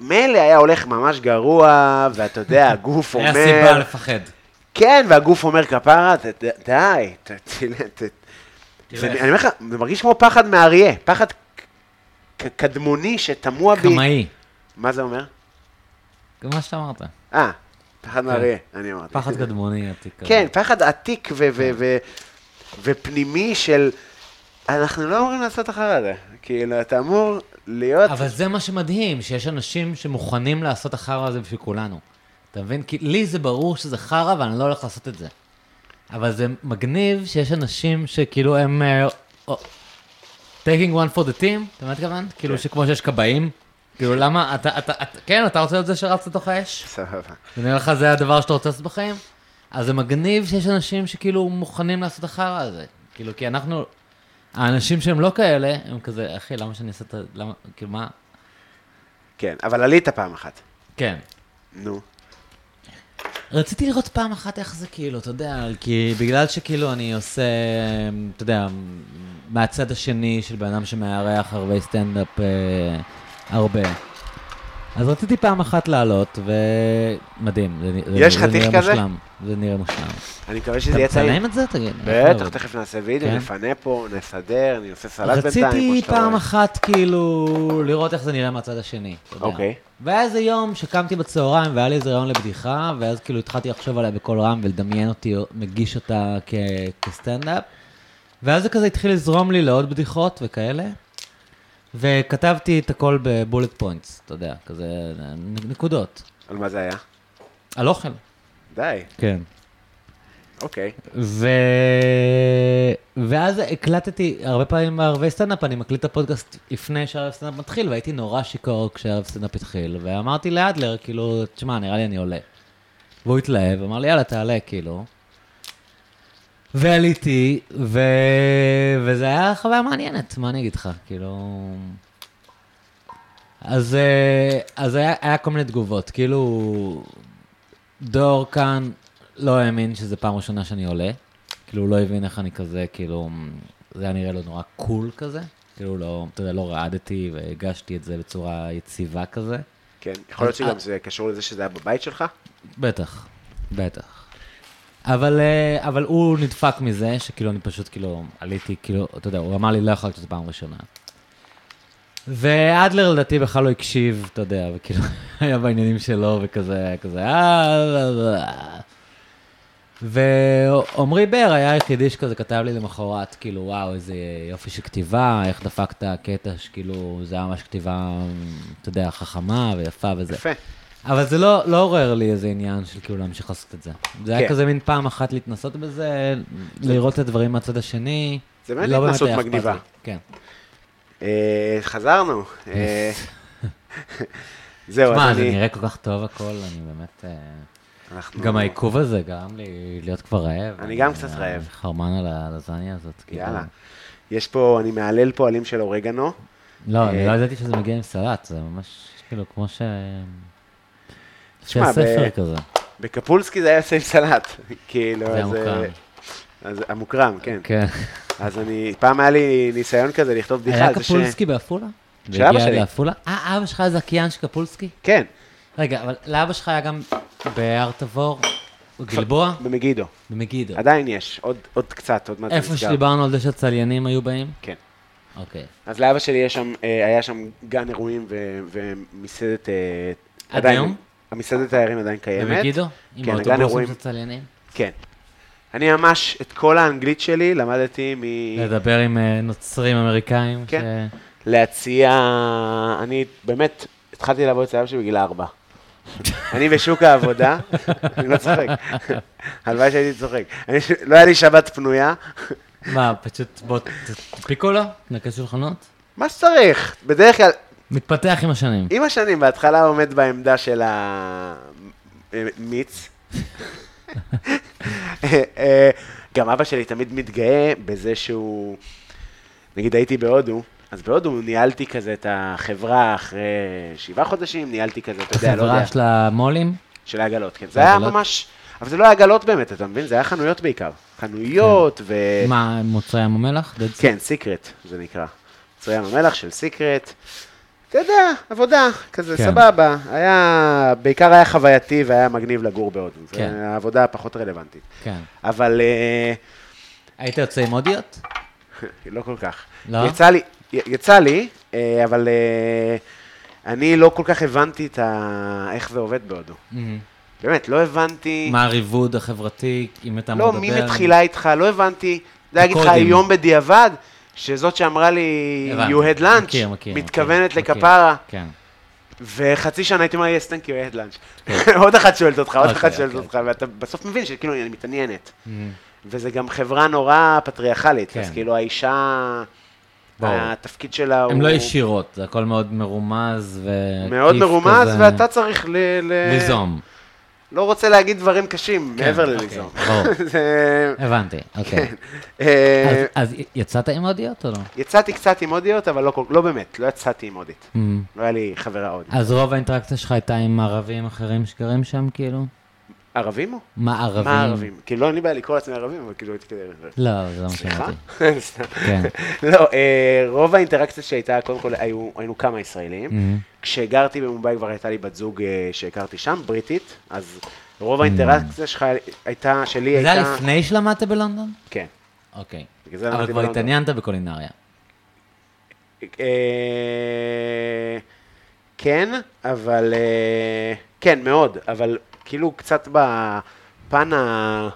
[SPEAKER 3] מילא היה הולך ממש גרוע,
[SPEAKER 2] <laughs>
[SPEAKER 3] ואתה יודע, הגוף אומר...
[SPEAKER 2] היה סיבה לפחד.
[SPEAKER 3] כן, והגוף אומר כפרה, ת- ת- די, ת- ת- ת... זה- אני אומר לך, זה מרגיש כמו פחד מאריה, פחד ק- קדמוני שתמוה בי.
[SPEAKER 2] קמאי.
[SPEAKER 3] מה זה אומר?
[SPEAKER 2] זה מה שאתה אמרת.
[SPEAKER 3] אה, פחד מאריה, אני אמרתי.
[SPEAKER 2] כן. פחד כן. קדמוני עתיק. כזה.
[SPEAKER 3] כן, פחד עתיק ו- ו- ו- ופנימי של... אנחנו לא אמורים לעשות אחר הזה. כאילו, אתה אמור להיות...
[SPEAKER 2] אבל זה מה שמדהים, שיש אנשים שמוכנים לעשות החרא הזה בשביל כולנו. אתה מבין? כי לי זה ברור שזה חרא ואני לא הולך לעשות את זה. אבל זה מגניב שיש אנשים שכאילו הם... אה, או- taking one for the team, אתה מבין מה התכוונת? כאילו שכמו שיש כבאים. כאילו למה, אתה, אתה, אתה, כן, אתה רוצה להיות זה שרץ לתוך האש?
[SPEAKER 3] סבבה.
[SPEAKER 2] ונראה לך זה הדבר שאתה רוצה לעשות בחיים? אז זה מגניב שיש אנשים שכאילו מוכנים לעשות החרא הזה. כאילו, כי אנחנו, האנשים שהם לא כאלה, הם כזה, אחי, למה שאני אעשה את ה... למה, כאילו, מה?
[SPEAKER 3] כן, אבל עלית פעם אחת.
[SPEAKER 2] כן.
[SPEAKER 3] נו.
[SPEAKER 2] רציתי לראות פעם אחת איך זה כאילו, אתה יודע, כי בגלל שכאילו אני עושה, אתה יודע, מהצד השני של בן אדם שמארח הרבה סטנדאפ, אה, הרבה. אז רציתי פעם אחת לעלות, ומדהים, זה, נ- זה-
[SPEAKER 3] יש
[SPEAKER 2] זה
[SPEAKER 3] חתיך
[SPEAKER 2] נראה
[SPEAKER 3] כזה?
[SPEAKER 2] מושלם. זה נראה מושלם.
[SPEAKER 3] אני מקווה
[SPEAKER 2] אתה
[SPEAKER 3] שזה יהיה טעים.
[SPEAKER 2] מצלם את זה? תגיד. איך
[SPEAKER 3] בטח,
[SPEAKER 2] לעבוד?
[SPEAKER 3] תכף נעשה וידאו,
[SPEAKER 2] כן.
[SPEAKER 3] נפנה פה, נסדר, אני עושה סלט בינתיים, כמו
[SPEAKER 2] רציתי
[SPEAKER 3] שאתה
[SPEAKER 2] פעם
[SPEAKER 3] רואה.
[SPEAKER 2] אחת כאילו לראות איך זה נראה מהצד השני. אתה יודע.
[SPEAKER 3] אוקיי.
[SPEAKER 2] והיה איזה יום שקמתי בצהריים והיה לי איזה רעיון לבדיחה, ואז כאילו התחלתי לחשוב עליה בקול רם ולדמיין אותי מגיש אותה כ- כסטנדאפ. ואז זה כזה התחיל לזרום לי לעוד בדיחות וכאלה. וכתבתי את הכל בבולט פוינטס, אתה יודע, כזה נ- נקודות.
[SPEAKER 3] על מה זה היה?
[SPEAKER 2] על אוכל.
[SPEAKER 3] די,
[SPEAKER 2] כן.
[SPEAKER 3] אוקיי.
[SPEAKER 2] ו... ואז הקלטתי, הרבה פעמים בערבי סטנדאפ, אני מקליט את הפודקאסט לפני שערב סטנדאפ מתחיל, והייתי נורא שיכור כשערב סטנדאפ התחיל, ואמרתי לאדלר, כאילו, תשמע, נראה לי אני עולה. והוא התלהב, אמר לי, יאללה, תעלה, כאילו. ועליתי, ו... וזה היה חוויה מעניינת, מה אני אגיד לך, כאילו... אז, אה, אז היה, היה כל מיני תגובות, כאילו, דור כאן לא האמין שזו פעם ראשונה שאני עולה, כאילו, הוא לא הבין איך אני כזה, כאילו, זה היה נראה לו נורא קול כזה, כאילו, לא, אתה יודע, לא רעדתי והגשתי את זה בצורה יציבה כזה,
[SPEAKER 3] כן,
[SPEAKER 2] אה,
[SPEAKER 3] יכול להיות שגם זה קשור לזה שזה היה בבית שלך?
[SPEAKER 2] בטח, בטח. אבל, אה, אבל הוא נדפק מזה, שכאילו אני פשוט כאילו עליתי, כאילו, אתה יודע, הוא אמר לי לא יכול להיות שזו פעם ראשונה. ואדלר לדעתי בכלל לא הקשיב, אתה יודע, וכאילו <laughs> היה בעניינים שלו וכזה, היה כזה, אה... לא, לא." ועמרי בר היה היחידי שכזה כתב לי למחרת, כאילו, וואו, איזה יופי של כתיבה, איך דפקת קטע שכאילו, זה היה ממש כתיבה, אתה יודע, חכמה ויפה וזה.
[SPEAKER 3] יפה.
[SPEAKER 2] אבל זה לא, לא עורר לי איזה עניין של כאילו להמשיך לעשות את זה. זה היה
[SPEAKER 3] כן.
[SPEAKER 2] כזה מין פעם אחת להתנסות בזה, לראות את הדברים מהצד השני.
[SPEAKER 3] זה באמת
[SPEAKER 2] לא
[SPEAKER 3] התנסות
[SPEAKER 2] היה אכפת
[SPEAKER 3] מגניבה.
[SPEAKER 2] לי. כן.
[SPEAKER 3] אה, חזרנו.
[SPEAKER 2] <laughs>
[SPEAKER 3] אה, זהו,
[SPEAKER 2] תשמע,
[SPEAKER 3] אז
[SPEAKER 2] זה
[SPEAKER 3] אני...
[SPEAKER 2] נראה כל כך טוב הכל, אני באמת... אה,
[SPEAKER 3] אנחנו-
[SPEAKER 2] גם העיכוב הזה גרם לי להיות כבר רעב. אה,
[SPEAKER 3] אני גם קצת רעב.
[SPEAKER 2] חרמן על הלזניה הזאת, כאילו.
[SPEAKER 3] יאללה. יש פה, אני מהלל פועלים של אורגנו.
[SPEAKER 2] לא,
[SPEAKER 3] אה,
[SPEAKER 2] אני לא ידעתי שזה מגיע עם סלט, זה ממש כאילו כמו ש... לפי
[SPEAKER 3] תשמע, ב-
[SPEAKER 2] הספר כזה.
[SPEAKER 3] בקפולסקי זה היה עושה עם סלט. <laughs> כאילו,
[SPEAKER 2] זה
[SPEAKER 3] אז... אה,
[SPEAKER 2] המוקרם.
[SPEAKER 3] אז המוקרם, כן.
[SPEAKER 2] כן.
[SPEAKER 3] אז אני, פעם היה לי ניסיון כזה לכתוב בדיחה.
[SPEAKER 2] היה
[SPEAKER 3] על זה ש-
[SPEAKER 2] קפולסקי בעפולה?
[SPEAKER 3] של אבא
[SPEAKER 2] והגיע
[SPEAKER 3] שלי.
[SPEAKER 2] לעפולה? אה, אבא שלך היה זכיין של קפולסקי?
[SPEAKER 3] כן,
[SPEAKER 2] רגע, אבל לאבא שלך היה גם בהר תבור, בגלבוע,
[SPEAKER 3] במגידו.
[SPEAKER 2] במגידו.
[SPEAKER 3] עדיין יש, עוד, עוד קצת, עוד מעט זה
[SPEAKER 2] איפה
[SPEAKER 3] נסגר.
[SPEAKER 2] שדיברנו על זה שהצליינים היו באים?
[SPEAKER 3] כן.
[SPEAKER 2] אוקיי.
[SPEAKER 3] אז לאבא שלי יש שם, אה, היה שם גן אירועים ו- ומסעדת... אה,
[SPEAKER 2] עד
[SPEAKER 3] עדיין-
[SPEAKER 2] היום?
[SPEAKER 3] המסעדת תיירים עדיין קיימת.
[SPEAKER 2] במגידו?
[SPEAKER 3] כן,
[SPEAKER 2] עם
[SPEAKER 3] הגן
[SPEAKER 2] האוטובוסים
[SPEAKER 3] אירועים.
[SPEAKER 2] של צליינים?
[SPEAKER 3] כן. אני ממש, את כל האנגלית שלי למדתי מ...
[SPEAKER 2] לדבר עם אה, נוצרים אמריקאים?
[SPEAKER 3] כן.
[SPEAKER 2] ש-
[SPEAKER 3] להציע... אני באמת, התחלתי לעבוד אצל אבא שלי בגיל ארבע. אני בשוק העבודה, אני לא צוחק. הלוואי שהייתי צוחק. אני ש- לא היה לי שבת פנויה.
[SPEAKER 2] מה, פשוט בוא, ת- תדפיקו לו? נקש שולחנות?
[SPEAKER 3] מה שצריך, בדרך כלל,
[SPEAKER 2] מתפתח עם השנים.
[SPEAKER 3] עם השנים, בהתחלה עומד בעמדה של אה, המיץ. אה, גם אבא שלי תמיד מתגאה בזה שהוא, נגיד הייתי בהודו, אז בהודו ניהלתי כזה את החברה אחרי שבעה חודשים, ניהלתי כזה, אתה יודע, לא יודע,
[SPEAKER 2] חברה של המו"לים?
[SPEAKER 3] של העגלות, כן. זה היה
[SPEAKER 2] העגלות?
[SPEAKER 3] ממש, אבל זה לא היה עגלות באמת, אתה מבין? זה היה חנויות בעיקר. חנויות ו...
[SPEAKER 2] מה, מוצרי ים המלח? That's-
[SPEAKER 3] כן, סיקרט, זה נקרא. מצרי ים המלח של סיקרט. אתה יודע, עבודה, כזה
[SPEAKER 2] כן.
[SPEAKER 3] סבבה. היה, בעיקר היה חווייתי והיה מגניב לגור בהודו.
[SPEAKER 2] כן.
[SPEAKER 3] זה העבודה הפחות רלוונטית.
[SPEAKER 2] כן.
[SPEAKER 3] אבל אה,
[SPEAKER 2] היית יוצא עם הודיות?
[SPEAKER 3] לא כל כך.
[SPEAKER 2] לא?
[SPEAKER 3] יצא לי, י- יצא לי, אה, אבל אה, אני לא כל כך הבנתי את ה... איך זה עובד בהודו. באמת, לא הבנתי.
[SPEAKER 2] מה הריבוד החברתי, אם אתה מדבר?
[SPEAKER 3] לא, מי מתחילה איתך? לא הבנתי. זה להגיד לך
[SPEAKER 2] הקודים.
[SPEAKER 3] היום בדיעבד, שזאת שאמרה לי,
[SPEAKER 2] הבנתי.
[SPEAKER 3] you had lunch,
[SPEAKER 2] מכיר, מכיר,
[SPEAKER 3] מתכוונת
[SPEAKER 2] מכיר,
[SPEAKER 3] לכפרה.
[SPEAKER 2] מכיר, כן.
[SPEAKER 3] וחצי שנה הייתי אומר, yes, thank you, I had lunch. <laughs> עוד אחת שואלת אותך, עוד
[SPEAKER 2] אוקיי,
[SPEAKER 3] אחת שואלת
[SPEAKER 2] אוקיי.
[SPEAKER 3] אותך, ואתה בסוף מבין שכאילו, היא מתעניינת. וזה גם חברה נורא פטריארכלית, אז
[SPEAKER 2] כן.
[SPEAKER 3] כאילו האישה,
[SPEAKER 2] ברור.
[SPEAKER 3] התפקיד שלה הוא...
[SPEAKER 2] הן לא ישירות, זה הכל מאוד מרומז ו...
[SPEAKER 3] מאוד מרומז, ואתה צריך ל... ל-
[SPEAKER 2] ליזום.
[SPEAKER 3] לא רוצה להגיד דברים קשים,
[SPEAKER 2] כן,
[SPEAKER 3] מעבר
[SPEAKER 2] אוקיי, <laughs>
[SPEAKER 3] לליזום.
[SPEAKER 2] ברור.
[SPEAKER 3] זה- כן.
[SPEAKER 2] הבנתי, אוקיי.
[SPEAKER 3] <laughs> אה,
[SPEAKER 2] אז- אז י- יצאת עם הודיות או לא?
[SPEAKER 3] יצאתי קצת עם הודיות, אבל לא, כל- לא באמת, לא יצאתי עם הודית.
[SPEAKER 2] אמ,
[SPEAKER 3] לא היה לי חברה הודית.
[SPEAKER 2] אז רוב האינטראקציה שלך הייתה עם ערבים אחרים שגרים שם, כאילו?
[SPEAKER 3] ערבים הוא?
[SPEAKER 2] מערבים.
[SPEAKER 3] מה ערבים? כאילו, לא, אין לי בעיה לקרוא לעצמי ערבים, אבל כאילו הייתי כזה...
[SPEAKER 2] לא, זה לא מה
[SPEAKER 3] סליחה?
[SPEAKER 2] שאמרתי.
[SPEAKER 3] סתם.
[SPEAKER 2] כן.
[SPEAKER 3] <laughs> לא, אה, רוב האינטראקציה שהייתה, קודם כל, היו- היינו כמה
[SPEAKER 2] Mm.
[SPEAKER 3] ישראלים. כשגרתי במומבאי כבר הייתה לי בת זוג אה, שהכרתי שם, בריטית, אז רוב האינטראקציה שלך הייתה, שלי
[SPEAKER 2] Mm. זה
[SPEAKER 3] הייתה...
[SPEAKER 2] היה לפני שלמדת בלונדון?
[SPEAKER 3] כן.
[SPEAKER 2] אוקיי.
[SPEAKER 3] בגלל זה
[SPEAKER 2] אבל
[SPEAKER 3] למדתי
[SPEAKER 2] כבר
[SPEAKER 3] בלונדון.
[SPEAKER 2] התעניינת בקולינריה.
[SPEAKER 3] אה, כן, אבל... אה, כן, מאוד, אבל כאילו קצת בפן ה...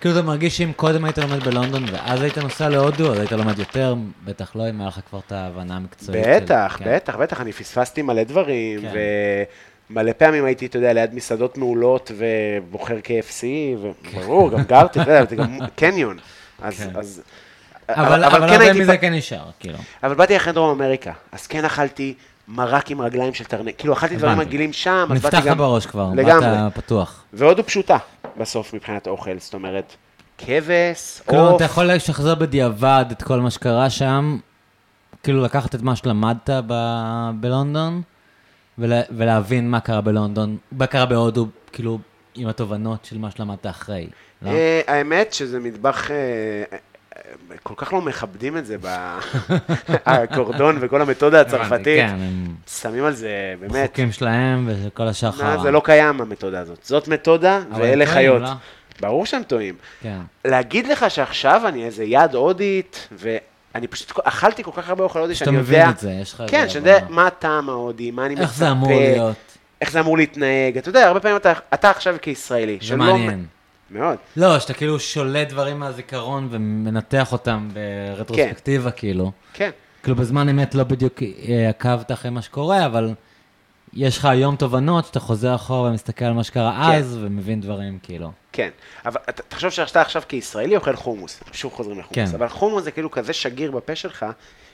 [SPEAKER 2] כאילו אתה מרגיש שאם קודם היית לומד בלונדון ואז היית נוסע להודו, אז היית לומד יותר, בטח לא אם היה לך כבר את ההבנה המקצועית. של-
[SPEAKER 3] בטח,
[SPEAKER 2] כן.
[SPEAKER 3] בטח, בטח, אני פספסתי מלא דברים,
[SPEAKER 2] כן.
[SPEAKER 3] ומלא פעמים הייתי, אתה יודע, ליד מסעדות מעולות ובוחר KFC, וברור, גם גרתי, אתה יודע, זה גם קניון. אז,
[SPEAKER 2] כן.
[SPEAKER 3] אז...
[SPEAKER 2] אבל אבל הרבה מזה כן נשאר, כאילו.
[SPEAKER 3] אבל באתי אחרי דרום אמריקה, אז כן אכלתי מרק עם רגליים של טרנק, כאילו אכלתי דברים
[SPEAKER 2] הבנתי.
[SPEAKER 3] מגעילים שם, אז באתי
[SPEAKER 2] נפתח לך
[SPEAKER 3] גם...
[SPEAKER 2] בראש כבר,
[SPEAKER 3] לגמרי.
[SPEAKER 2] באת פתוח.
[SPEAKER 3] והודו פשוטה בסוף מבחינת אוכל, זאת אומרת, כבש,
[SPEAKER 2] כאילו,
[SPEAKER 3] עוף,
[SPEAKER 2] אתה יכול לשחזר בדיעבד את כל מה שקרה שם, כאילו לקחת את מה שלמדת ב- בלונדון, ולה- ולהבין מה קרה בלונדון, מה קרה בהודו, כאילו, עם התובנות של מה שלמדת אחרי. לא?
[SPEAKER 3] אה, האמת שזה מטבח, אה, אה, אה, כל כך לא מכבדים את זה, ב-
[SPEAKER 2] <laughs>
[SPEAKER 3] הקורדון וכל המתודה הצרפתית.
[SPEAKER 2] כן, הם-
[SPEAKER 3] שמים על זה, באמת,
[SPEAKER 2] חוקים שלהם וכל השאר
[SPEAKER 3] מה,
[SPEAKER 2] חרא.
[SPEAKER 3] זה לא קיים המתודה הזאת. זאת מתודה
[SPEAKER 2] אבל
[SPEAKER 3] ואלה
[SPEAKER 2] הם טועים,
[SPEAKER 3] חיות.
[SPEAKER 2] לא?
[SPEAKER 3] ברור שהם טועים.
[SPEAKER 2] כן.
[SPEAKER 3] להגיד לך שעכשיו אני איזה יד הודית, ואני פשוט אכלתי כל כך הרבה אוכל הודי
[SPEAKER 2] שאתה
[SPEAKER 3] שאני יודע...
[SPEAKER 2] מבין את זה, יש לך
[SPEAKER 3] כן,
[SPEAKER 2] איזה
[SPEAKER 3] שאני יודע
[SPEAKER 2] הבנה.
[SPEAKER 3] מה הטעם ההודי, מה אני מצפה.
[SPEAKER 2] איך זה אמור להיות?
[SPEAKER 3] איך זה אמור להתנהג. אתה יודע, הרבה פעמים אתה, אתה עכשיו כישראלי.
[SPEAKER 2] זה
[SPEAKER 3] שלא-
[SPEAKER 2] מעניין.
[SPEAKER 3] מאוד.
[SPEAKER 2] לא, שאתה כאילו שולט דברים מהזיכרון ומנתח אותם ברטרוספקטיבה, כאילו.
[SPEAKER 3] כן,
[SPEAKER 2] כאילו בזמן אמת לא בדיוק אה, עקבת אחרי מה שקורה, אבל יש לך היום תובנות שאתה חוזר אחורה ומסתכל על מה שקרה
[SPEAKER 3] כן.
[SPEAKER 2] אז ומבין דברים, כאילו.
[SPEAKER 3] כן. אבל אתה- תחשוב שאתה עכשיו כישראלי אוכל חומוס. שוב חוזרים לחומוס.
[SPEAKER 2] כן.
[SPEAKER 3] אבל חומוס זה כאילו כזה שגיר בפה שלך,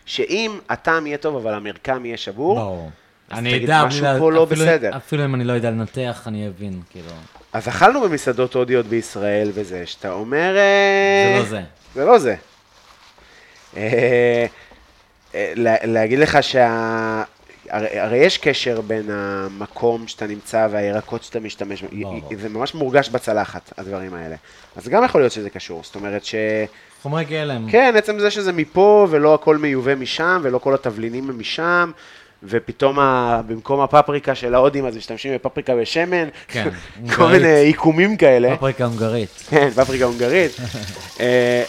[SPEAKER 3] שאם הטעם יהיה טוב, אבל המרקם יהיה שבור, אז
[SPEAKER 2] אני
[SPEAKER 3] תגיד,
[SPEAKER 2] אדע,
[SPEAKER 3] משהו
[SPEAKER 2] בלי לה-
[SPEAKER 3] פה לא
[SPEAKER 2] אפילו-
[SPEAKER 3] בסדר.
[SPEAKER 2] אפילו אם אני לא יודע לנתח, אני אבין, כאילו.
[SPEAKER 3] אז אכלנו במסעדות הודיות בישראל וזה, שאתה אומר... אה,
[SPEAKER 2] זה לא זה.
[SPEAKER 3] זה לא זה. אה, אה, לה- להגיד לך שה... הרי, הרי יש קשר בין המקום שאתה נמצא והירקות שאתה משתמש, בהם.
[SPEAKER 2] לא, ברור.
[SPEAKER 3] זה ממש מורגש בצלחת, הדברים האלה. אז גם יכול להיות שזה קשור, זאת אומרת ש...
[SPEAKER 2] חומרי גלם.
[SPEAKER 3] כן, עצם זה שזה מפה, ולא הכל מיובא משם, ולא כל התבלינים הם משם, ופתאום ה... במקום הפפריקה של ההודים, אז משתמשים בפפריקה ושמן,
[SPEAKER 2] כן,
[SPEAKER 3] <laughs> כל
[SPEAKER 2] הונגרית.
[SPEAKER 3] מיני עיקומים כאלה.
[SPEAKER 2] פפריקה לא הונגרית.
[SPEAKER 3] כן, פפריקה הונגרית. אה,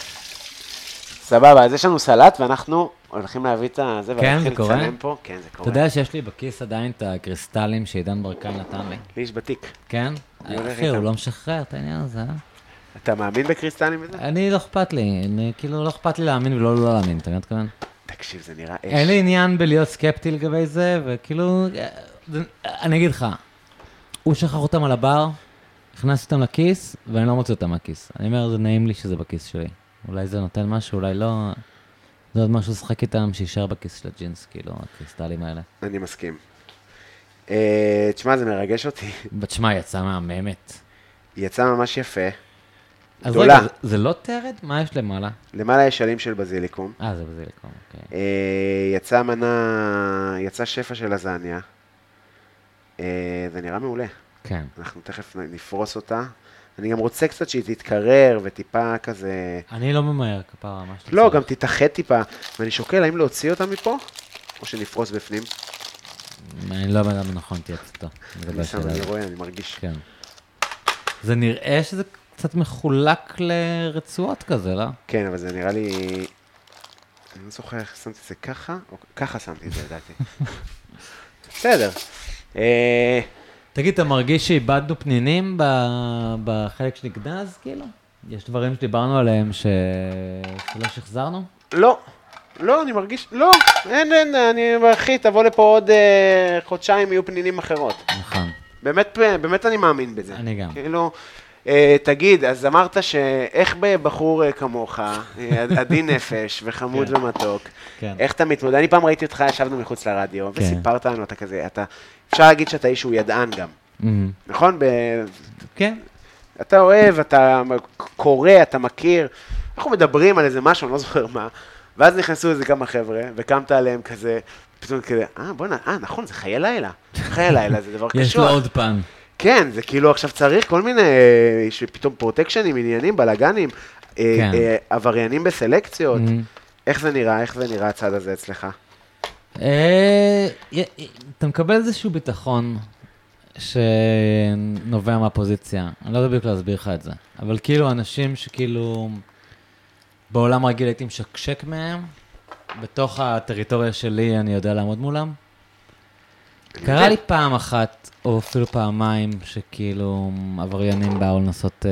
[SPEAKER 3] סבבה, אז יש לנו סלט, ואנחנו הולכים להביא את הזה,
[SPEAKER 2] כן,
[SPEAKER 3] ולהתחיל
[SPEAKER 2] זה קורה?
[SPEAKER 3] לצלם פה. כן, זה
[SPEAKER 2] אתה
[SPEAKER 3] קורה.
[SPEAKER 2] יודע שיש לי בכיס עדיין את הקריסטלים שעידן ברקן נתן לי,
[SPEAKER 3] לי יש בתיק.
[SPEAKER 2] כן?
[SPEAKER 3] הולך
[SPEAKER 2] אחי, הוא
[SPEAKER 3] איתם.
[SPEAKER 2] לא משחרר את העניין הזה, אה?
[SPEAKER 3] אתה מאמין בקריסטלים וזה?
[SPEAKER 2] אני, לא אכפת לי, אני, כאילו, לא אכפת לי להאמין ולא לא להאמין, אתה מבין מה אני מתכוון?
[SPEAKER 3] תקשיב, זה נראה אש.
[SPEAKER 2] אין לי עניין בלהיות סקפטי לגבי זה, וכאילו, אה, זה- אני אגיד לך, הוא שכח אותם על הבר, הכנסתי אותם לכיס, ואני לא מוצא אותם מהכיס. אני אומר, זה נעים לי שזה בכיס שלי. אולי זה נותן משהו, אולי לא... זה עוד משהו לשחק איתם, שיישאר בכיס של הג'ינס, כאילו, הקריסטלים האלה.
[SPEAKER 3] אני מסכים. אה, תשמע, זה מרגש אותי. <laughs>
[SPEAKER 2] תשמע, יצאה מהממת.
[SPEAKER 3] יצא ממש יפה.
[SPEAKER 2] אז
[SPEAKER 3] גדולה.
[SPEAKER 2] רגע, זה- זה לא טרד? מה יש למעלה?
[SPEAKER 3] למעלה יש עלים של בזיליקום.
[SPEAKER 2] אה, זה בזיליקום, אוקיי.
[SPEAKER 3] אה, יצא מנה, יצא שפע של לזניה. אה, זה נראה מעולה.
[SPEAKER 2] כן.
[SPEAKER 3] אנחנו תכף נ- נפרוס אותה. אני גם רוצה קצת שהיא תתקרר וטיפה כזה...
[SPEAKER 2] אני לא ממהר, כפרה, מה שאתה
[SPEAKER 3] לא,
[SPEAKER 2] צריך.
[SPEAKER 3] גם תתאחד טיפה. ואני שוקל האם להוציא אותה מפה, או שנפרוס בפנים.
[SPEAKER 2] אני לא יודע אם נכון תהיה צאתה. לגבי
[SPEAKER 3] אני שם,
[SPEAKER 2] השאלה
[SPEAKER 3] אני
[SPEAKER 2] הזאת.
[SPEAKER 3] רואה, אני מרגיש.
[SPEAKER 2] כן. זה נראה שזה קצת מחולק לרצועות כזה, לא?
[SPEAKER 3] כן, אבל זה נראה לי... אני לא זוכר איך שמתי את זה ככה, או ככה שמתי את זה, לדעתי. בסדר. אה,
[SPEAKER 2] תגיד, אתה מרגיש שאיבדנו פנינים ב- בחלק שנגנז, כאילו? יש דברים שדיברנו עליהם ש... שלא שחזרנו?
[SPEAKER 3] לא. לא, אני מרגיש, לא, אין, אין, אני, אחי, תבוא לפה עוד אה, חודשיים, יהיו פנינים אחרות.
[SPEAKER 2] נכון.
[SPEAKER 3] באמת, באמת אני מאמין בזה.
[SPEAKER 2] אני גם.
[SPEAKER 3] כאילו, אה, תגיד, אז אמרת שאיך בבחור אה, כמוך, אה, עדין
[SPEAKER 2] <laughs>
[SPEAKER 3] נפש וחמוד
[SPEAKER 2] כן.
[SPEAKER 3] ומתוק,
[SPEAKER 2] כן.
[SPEAKER 3] איך אתה מתמודד? אני פעם ראיתי אותך, ישבנו מחוץ לרדיו,
[SPEAKER 2] כן.
[SPEAKER 3] וסיפרת לנו, אתה כזה, אתה, אפשר להגיד שאתה איש שהוא ידען גם,
[SPEAKER 2] מהמם.
[SPEAKER 3] נכון? ב,
[SPEAKER 2] כן.
[SPEAKER 3] אתה אוהב, אתה קורא, אתה מכיר, אנחנו מדברים על איזה משהו, אני לא זוכר מה, ואז נכנסו איזה כמה חבר'ה, וקמת עליהם
[SPEAKER 2] <laughs>
[SPEAKER 3] כזה, פתאום כזה, אה, בוא'נה, אה, נכון, זה חיי לילה. חיי לילה זה דבר קשור.
[SPEAKER 2] יש לו עוד פן.
[SPEAKER 3] כן, זה כאילו עכשיו צריך כל מיני, יש פתאום פרוטקשנים, עניינים, בלאגנים, אה,
[SPEAKER 2] כן.
[SPEAKER 3] אה, עבריינים בסלקציות.
[SPEAKER 2] Mhm.
[SPEAKER 3] איך זה נראה? איך זה נראה הצד הזה אצלך?
[SPEAKER 2] אה, י- י- אתה מקבל איזשהו ביטחון שנובע מהפוזיציה. אני לא יודע בדיוק להסביר לך את זה. אבל כאילו, אנשים שכאילו בעולם רגיל הייתי משקשק מהם, בתוך הטריטוריה שלי אני יודע לעמוד מולם. קרה לי פעם אחת, או אפילו פעמיים, שכאילו עבריינים באו לנסות אה,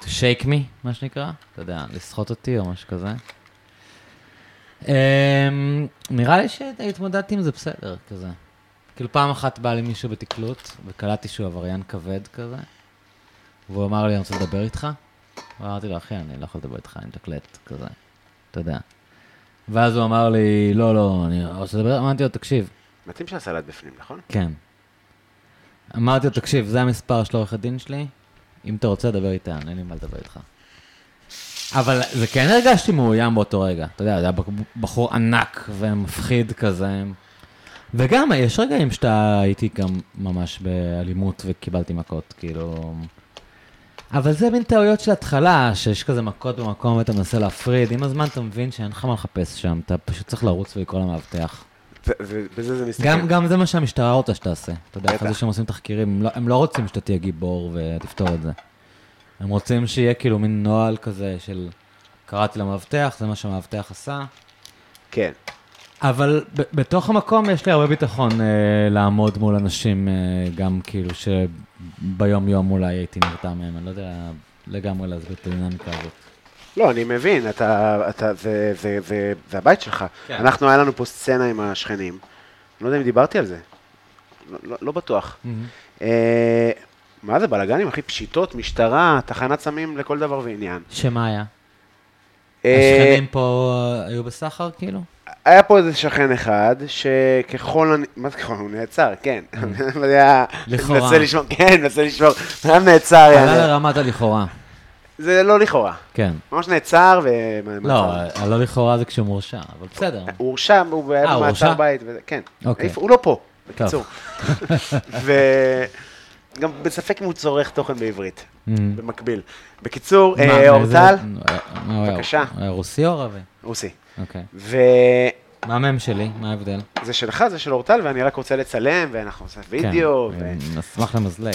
[SPEAKER 2] to shake me, מה שנקרא, אתה יודע, לסחוט אותי או משהו כזה. אמ, נראה לי שהתמודדתי עם זה בסדר, כזה. כאילו פעם אחת בא לי מישהו בתקלוט, וקלטתי שהוא עבריין כבד כזה, והוא אמר לי, אני רוצה לדבר איתך. ואמרתי לו, אחי, אני לא יכול לדבר איתך, אני מתקלט, כזה, אתה יודע. ואז הוא אמר לי, לא, לא, אני רוצה לדבר, אמרתי לו, תקשיב,
[SPEAKER 3] מתאים שהסלט בפנים, נכון?
[SPEAKER 2] כן. אמרתי לו, תקשיב, זה המספר של עורך הדין שלי, אם אתה רוצה, דבר איתה, אין לי מה לדבר איתך. אבל זה כן הרגשתי מאוים באותו רגע. אתה יודע, זה היה בחור ענק ומפחיד כזה. וגם, יש רגעים שאתה הייתי גם ממש באלימות וקיבלתי מכות, כאילו... אבל זה מין טעויות של התחלה, שיש כזה מכות במקום ואתה מנסה להפריד. עם הזמן אתה מבין שאין לך מה לחפש שם, אתה פשוט צריך לרוץ ולקרוא למאבטח.
[SPEAKER 3] זה- זה- בזה זה מסתכל.
[SPEAKER 2] גם, גם זה מה שהמשטרה רוצה שתעשה. אתה יודע,
[SPEAKER 3] בטח.
[SPEAKER 2] אחרי זה שהם עושים תחקירים, הם לא, הם לא רוצים שאתה תהיה גיבור ותפתור את זה. הם רוצים שיהיה כאילו מין נוהל כזה של קראתי למאבטח, זה מה שהמאבטח עשה.
[SPEAKER 3] כן.
[SPEAKER 2] אבל ב- בתוך המקום יש לי הרבה ביטחון אה, לעמוד מול אנשים, אה, גם כאילו שביום-יום אולי הייתי נרתם מהם, אני לא יודע לגמרי להסביר את הדינמיקה הזאת.
[SPEAKER 3] לא, אני מבין, אתה, אתה, זה, זה, זה, זה הבית שלך.
[SPEAKER 2] כן.
[SPEAKER 3] כן. אנחנו, היה לנו פה סצנה עם השכנים. אני לא יודע אם דיברתי על זה. לא, לא, לא בטוח.
[SPEAKER 2] Mm. Mm-hmm.
[SPEAKER 3] אה, מה זה בלאגנים, אחי? פשיטות, משטרה, תחנת סמים לכל דבר ועניין.
[SPEAKER 2] שמה היה?
[SPEAKER 3] אה,
[SPEAKER 2] השכנים פה אה, היו בסחר כאילו?
[SPEAKER 3] היה פה איזה שכן אחד, שככל הנ... מה זה ככל? הוא נעצר, כן. לא יודע...
[SPEAKER 2] לכאורה.
[SPEAKER 3] מנסה לשמור, כן, מנסה לשמור. בן אדם נעצר,
[SPEAKER 2] עלה
[SPEAKER 3] יאללה.
[SPEAKER 2] לרמת הלכאורה,
[SPEAKER 3] זה לא לכאורה.
[SPEAKER 2] כן.
[SPEAKER 3] ממש נעצר ו...
[SPEAKER 2] לא, הלא לכאורה זה כשהוא מורשע, אבל בסדר.
[SPEAKER 3] הוא הורשע, הוא היה
[SPEAKER 2] אה, הוא
[SPEAKER 3] במעצר
[SPEAKER 2] הורשע?
[SPEAKER 3] בית, וזה- כן.
[SPEAKER 2] אוקיי.
[SPEAKER 3] איפה- הוא לא פה, בקיצור. <laughs> וגם בספק אם הוא צורך תוכן בעברית,
[SPEAKER 2] אמ.
[SPEAKER 3] במקביל. בקיצור, אה,
[SPEAKER 2] מה,
[SPEAKER 3] אורטל,
[SPEAKER 2] מאיזה- מה הוא היה?
[SPEAKER 3] בבקשה.
[SPEAKER 2] הוא היה אה, רוסי או ערבי?
[SPEAKER 3] רוסי.
[SPEAKER 2] אוקיי.
[SPEAKER 3] וזה
[SPEAKER 2] מה המם שלי? מה ההבדל?
[SPEAKER 3] שלך, זה של אורטל, ואני רק רוצה לצלם, ואנחנו עושים וידאו,
[SPEAKER 2] כן,
[SPEAKER 3] ו...
[SPEAKER 2] אני אשמח למזלג.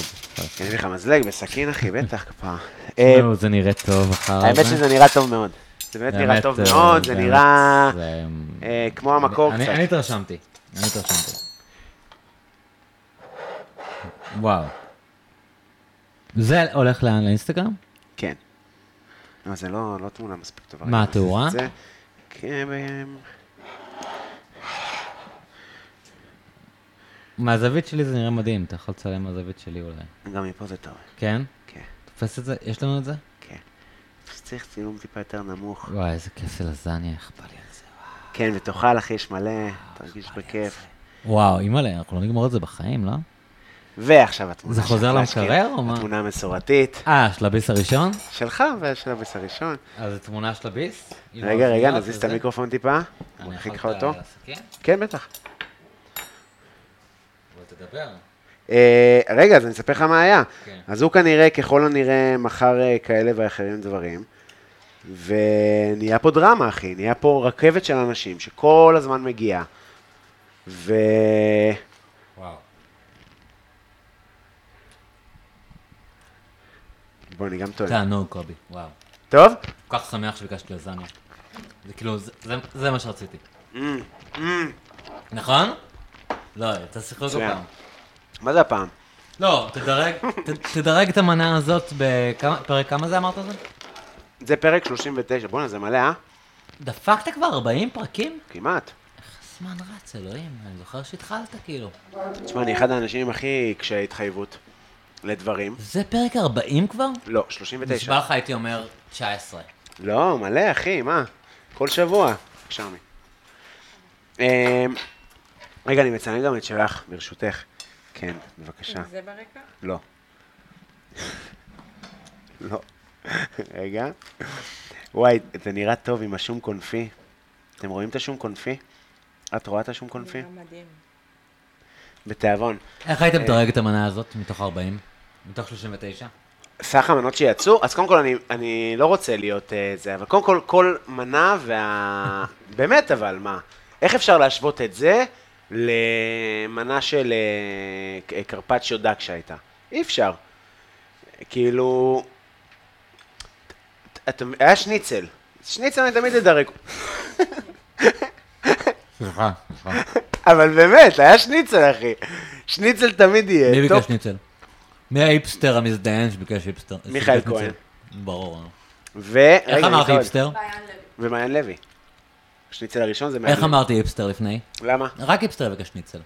[SPEAKER 3] אני אביא לך מזלג בסכין, אחי, בטח, כפרה. אה,
[SPEAKER 2] נו, זה נראה טוב אחר הרבה.
[SPEAKER 3] האמת שזה נראה טוב מאוד. זה באמת נראה
[SPEAKER 2] באמת,
[SPEAKER 3] טוב
[SPEAKER 2] אה,
[SPEAKER 3] מאוד, זה
[SPEAKER 2] באמת,
[SPEAKER 3] נראה
[SPEAKER 2] זה-
[SPEAKER 3] אה, כמו המקור
[SPEAKER 2] אני-
[SPEAKER 3] קצת.
[SPEAKER 2] אני התרשמתי. אני התרשמתי. וואו. זה הולך לאן? לאינסטגרם?
[SPEAKER 3] כן. לא, זה לא לא תמונה מספיק טובה.
[SPEAKER 2] מה,
[SPEAKER 3] אני עושה את
[SPEAKER 2] התאורה?
[SPEAKER 3] זה. כן, אמ,
[SPEAKER 2] מהזווית שלי זה נראה מדהים, אתה יכול לצלם מהזווית שלי אולי.
[SPEAKER 3] גם מפה זה טוב.
[SPEAKER 2] כן?
[SPEAKER 3] כן,
[SPEAKER 2] תופס את זה? יש לנו את זה?
[SPEAKER 3] כן. צריך צילום טיפה יותר נמוך.
[SPEAKER 2] וואי, איזה כיף זה לזניה, איך בא לי על זה.
[SPEAKER 3] כן, ותאכל, אחי, יש מלא, תרגיש בכיף.
[SPEAKER 2] וואו, אימא'לה, אנחנו לא נגמור את זה בחיים, לא?
[SPEAKER 3] ועכשיו התמונה
[SPEAKER 2] זה
[SPEAKER 3] שלך,
[SPEAKER 2] חוזר
[SPEAKER 3] להשכיר.
[SPEAKER 2] למקרר או מה?
[SPEAKER 3] התמונה המסורתית.
[SPEAKER 2] אה, של הביס הראשון?
[SPEAKER 3] שלך ושל הביס הראשון.
[SPEAKER 2] אז זו תמונה של הביס? היא לא
[SPEAKER 3] רגע, רגע,
[SPEAKER 2] מופיעה,
[SPEAKER 3] נזיז את
[SPEAKER 2] וזה.
[SPEAKER 3] המיקרופון טיפה.
[SPEAKER 2] אני
[SPEAKER 3] מרחיק לך
[SPEAKER 2] יכול את
[SPEAKER 3] אותו.
[SPEAKER 2] הסכין?
[SPEAKER 3] כן, בטח.
[SPEAKER 2] בוא תדבר.
[SPEAKER 3] אה, רגע, אז אני אספר לך מה היה.
[SPEAKER 2] כן.
[SPEAKER 3] אז הוא כנראה, ככל הנראה, מכר אה, כאלה ואחרים דברים, ונהיה פה דרמה, אחי. נהיה פה רכבת של אנשים שכל הזמן מגיעה. ו...
[SPEAKER 2] וואו.
[SPEAKER 3] בוא, אני גם טועה.
[SPEAKER 2] תענוג, קובי, וואו.
[SPEAKER 3] טוב?
[SPEAKER 2] כל כך שמח שביקשתי לזניה. זה כאילו, זה- זה- זה מה שרציתי.
[SPEAKER 3] Mm,
[SPEAKER 2] נכון? לא, יצא שיחוק
[SPEAKER 3] מצוין.
[SPEAKER 2] הפעם.
[SPEAKER 3] מה זה הפעם?
[SPEAKER 2] לא, תדרג, ת- תדרג את המנה הזאת בפרק כמה זה אמרת זה?
[SPEAKER 3] זה פרק 39. בואנה, זה מלא, אה?
[SPEAKER 2] דפקת כבר 40 פרקים?
[SPEAKER 3] כמעט.
[SPEAKER 2] הזמן רץ, אלוהים, אני זוכר שהתחלת כאילו.
[SPEAKER 3] תשמע, אני אחד האנשים הכי קשי התחייבות לדברים.
[SPEAKER 2] זה פרק 40 כבר?
[SPEAKER 3] לא, 39.
[SPEAKER 2] נשבע לך הייתי אומר 19.
[SPEAKER 3] לא, מלא, אחי, מה? כל שבוע. שרמי. אמ, רגע, אני מצלם גם את שלך, ברשותך. כן, בבקשה.
[SPEAKER 5] זה ברקע?
[SPEAKER 3] לא. לא. רגע. וואי, זה נראה טוב עם השום קונפי. אתם רואים את השום קונפי? את רואה את השום קונפי?
[SPEAKER 5] נראה מדהים.
[SPEAKER 3] בתיאבון.
[SPEAKER 2] איך
[SPEAKER 3] אה.
[SPEAKER 2] הייתם מדרג את המנה הזאת מתוך 40? מתוך 39?
[SPEAKER 3] סך המנות שיצאו, אז קודם כל אני, אני לא רוצה להיות אה, זה, אבל קודם כל כל מנה וה... <laughs> באמת אבל, מה? איך אפשר להשוות את זה למנה של אה, ק- קרפצ'יו דק שהייתה? אי אפשר. כאילו... אתה, היה שניצל. שניצל אני תמיד אדרג.
[SPEAKER 2] סליחה, סליחה.
[SPEAKER 3] אבל באמת, היה שניצל, אחי. שניצל תמיד יהיה.
[SPEAKER 2] מי
[SPEAKER 3] אה, טוב,
[SPEAKER 2] ביקש ניצל? מי האיפסטר המזדיין שביקש היפסטר?
[SPEAKER 3] מיכאל
[SPEAKER 2] שביקש
[SPEAKER 3] כהן.
[SPEAKER 2] ניצל? ברור.
[SPEAKER 3] ו...
[SPEAKER 2] איך
[SPEAKER 3] רגע,
[SPEAKER 2] אמרתי
[SPEAKER 3] מיכאל,
[SPEAKER 2] היפסטר?
[SPEAKER 5] בעיין לב.
[SPEAKER 3] ומעיין לוי. השניצל הראשון זה מעיין
[SPEAKER 2] איך
[SPEAKER 3] לוי.
[SPEAKER 2] אמרתי היפסטר לפני?
[SPEAKER 3] למה?
[SPEAKER 2] רק היפסטר ביקש ניצל.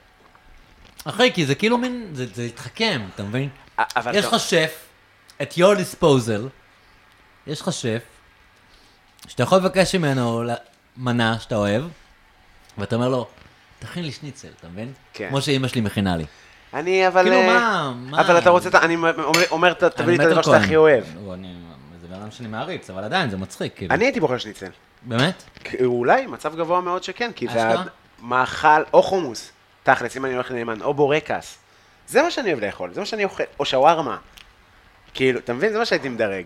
[SPEAKER 2] אחי, כי זה כאילו מין, זה זה התחכם, אתה מבין?
[SPEAKER 3] אבל
[SPEAKER 2] יש
[SPEAKER 3] אתה-
[SPEAKER 2] לך שף, at your disposal, יש לך שף, שאתה יכול לבקש ממנו ל- מנה שאתה אוהב, ואתה אומר לו, תכין לי שניצל, אתה מבין?
[SPEAKER 3] כן.
[SPEAKER 2] כמו שאימא שלי מכינה לי.
[SPEAKER 3] אני אבל...
[SPEAKER 2] כאילו,
[SPEAKER 3] אה,
[SPEAKER 2] מה- מה-
[SPEAKER 3] אבל אתה רוצה... את ה- אני אומר- אומר, ת- תביא לי
[SPEAKER 2] אני
[SPEAKER 3] את
[SPEAKER 2] מת על
[SPEAKER 3] הדבר שאתה
[SPEAKER 2] כהן.
[SPEAKER 3] הכי אוהב.
[SPEAKER 2] הוא, אני- זה בן אדם שאני מעריץ, אבל עדיין, זה מצחיק, כאילו.
[SPEAKER 3] אני הייתי בוחר שניצל.
[SPEAKER 2] באמת?
[SPEAKER 3] כי- אולי, מצב גבוה מאוד שכן, כי זה
[SPEAKER 2] אשכרה?
[SPEAKER 3] מאכל או חומוס, תכלס, אם אני הולך לנאמן, או בורקס. זה מה שאני אוהב לאכול, זה מה שאני אוכל, או שווארמה. כאילו, אתה מבין? זה מה שהייתי מדרג.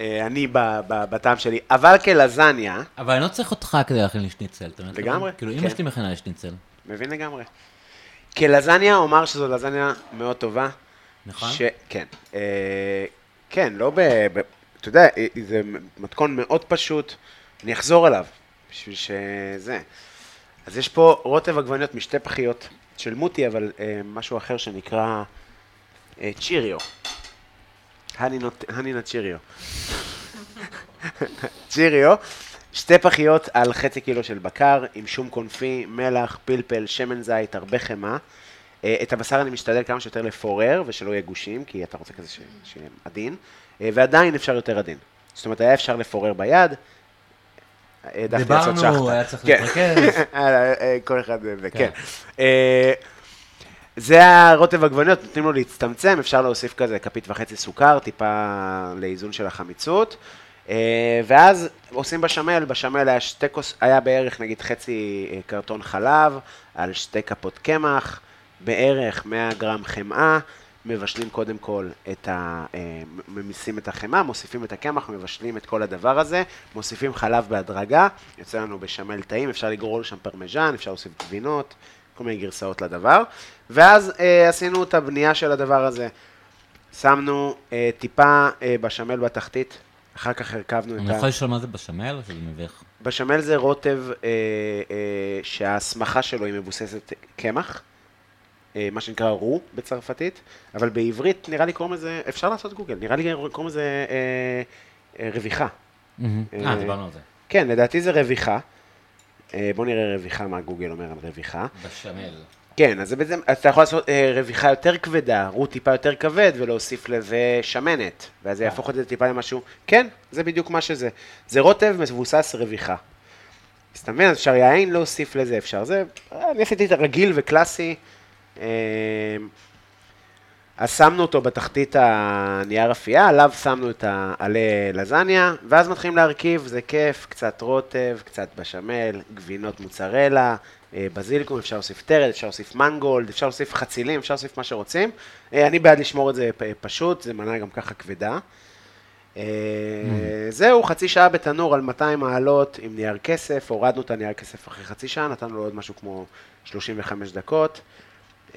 [SPEAKER 3] אה, אני ב- ב- בטעם שלי, אבל כלזניה,
[SPEAKER 2] אבל אני לא צריך אותך כדי להכין לי שניצל, אתה מבין?
[SPEAKER 3] לגמרי,
[SPEAKER 2] כאילו,
[SPEAKER 3] כן.
[SPEAKER 2] אימא שלי מכינה לי שניצל,
[SPEAKER 3] מבין לגמרי. כלזניה אומר שזו לזניה מאוד טובה.
[SPEAKER 2] נכון?
[SPEAKER 3] ש... כן. אה, כן, לא ב... ב... אתה יודע, אה, זה מתכון מאוד פשוט, אני אחזור עליו, בשביל שזה. אז יש פה רוטב עגבניות משתי פחיות של מוטי, אבל אה, משהו אחר שנקרא אה, צ'יריו. הנינה צ'יריו. צ'יריו, שתי פחיות על חצי קילו של בקר, עם שום קונפי, מלח, פלפל, שמן זית, הרבה חמאה. אה, את הבשר אני משתדל כמה שיותר לפורר, ושלא יהיה גושים, כי אתה רוצה כזה ש- שיהיה עדין, אה, ועדיין אפשר יותר עדין. זאת אומרת, היה אפשר לפורר ביד, העדפתי לעשות שחטה.
[SPEAKER 2] דיברנו, היה צריך
[SPEAKER 3] כן.
[SPEAKER 2] להתרכז.
[SPEAKER 3] <laughs> אה, אה, כל אחד זה,
[SPEAKER 2] כן.
[SPEAKER 3] כן. אה, זה הרוטב עגבניות, נותנים לו להצטמצם, אפשר להוסיף כזה כפית וחצי סוכר, טיפה לאיזון של החמיצות. אה, ואז עושים בשמל, בשמל היה שתי כוס, היה בערך נגיד חצי אה, קרטון חלב, על שתי כפות קמח, בערך 100 גרם חמאה, מבשלים קודם כל את ה... אה, מ- ממיסים את החמאה, מוסיפים את הקמח, מבשלים את כל הדבר הזה, מוסיפים חלב בהדרגה, יוצא לנו בשמל טעים, אפשר לגרור שם פרמיז'ן, אפשר להוסיף גבינות, כל מיני גרסאות לדבר, ואז אה, עשינו את הבנייה של הדבר הזה. שמנו אה, טיפה אה, בשמל בתחתית, אחר כך הרכבנו
[SPEAKER 2] אני
[SPEAKER 3] את ה...
[SPEAKER 2] יכול לשאול מה זה בשמל? או שזה מביך.
[SPEAKER 3] בשמל זה רוטב אה, אה, שההסמכה שלו היא מבוססת קמח, אה, מה שנקרא רו בצרפתית, אבל בעברית נראה לי קוראים לזה, אפשר לעשות גוגל, נראה לי קוראים לזה אה, אה, רוויחה.
[SPEAKER 2] אה, דיברנו על זה.
[SPEAKER 3] כן, לדעתי זה רוויחה. אה, בואו נראה רוויחה, מה גוגל אומר על רוויחה.
[SPEAKER 2] בשמל.
[SPEAKER 3] כן, אז זה בעצם, אז אתה יכול לעשות אה, רוויחה יותר כבדה, רות טיפה יותר כבד, ולהוסיף לזה שמנת, ואז זה יהפוך את זה טיפה למשהו, כן, זה בדיוק מה שזה. זה רוטב מבוסס רוויחה. אז אתה מבין, אז אפשר יין להוסיף לזה, אפשר זה, אה, אני עשיתי את הרגיל וקלאסי. אה, אז שמנו אותו בתחתית הנייר אפייה, עליו שמנו את העלה לזניה, ואז מתחילים להרכיב, זה כיף, קצת רוטב, קצת בשמל, גבינות מוצרלה, אה, בזיליקום, אפשר להוסיף טרד, אפשר להוסיף מנגולד, אפשר להוסיף חצילים, אפשר להוסיף מה שרוצים. אה, אני בעד לשמור את זה פ- פשוט, זה מנה גם ככה כבדה. אה, זהו, חצי שעה בתנור על 200 מעלות עם נייר כסף, הורדנו את הנייר כסף אחרי חצי שעה, נתנו לו עוד משהו כמו 35 דקות,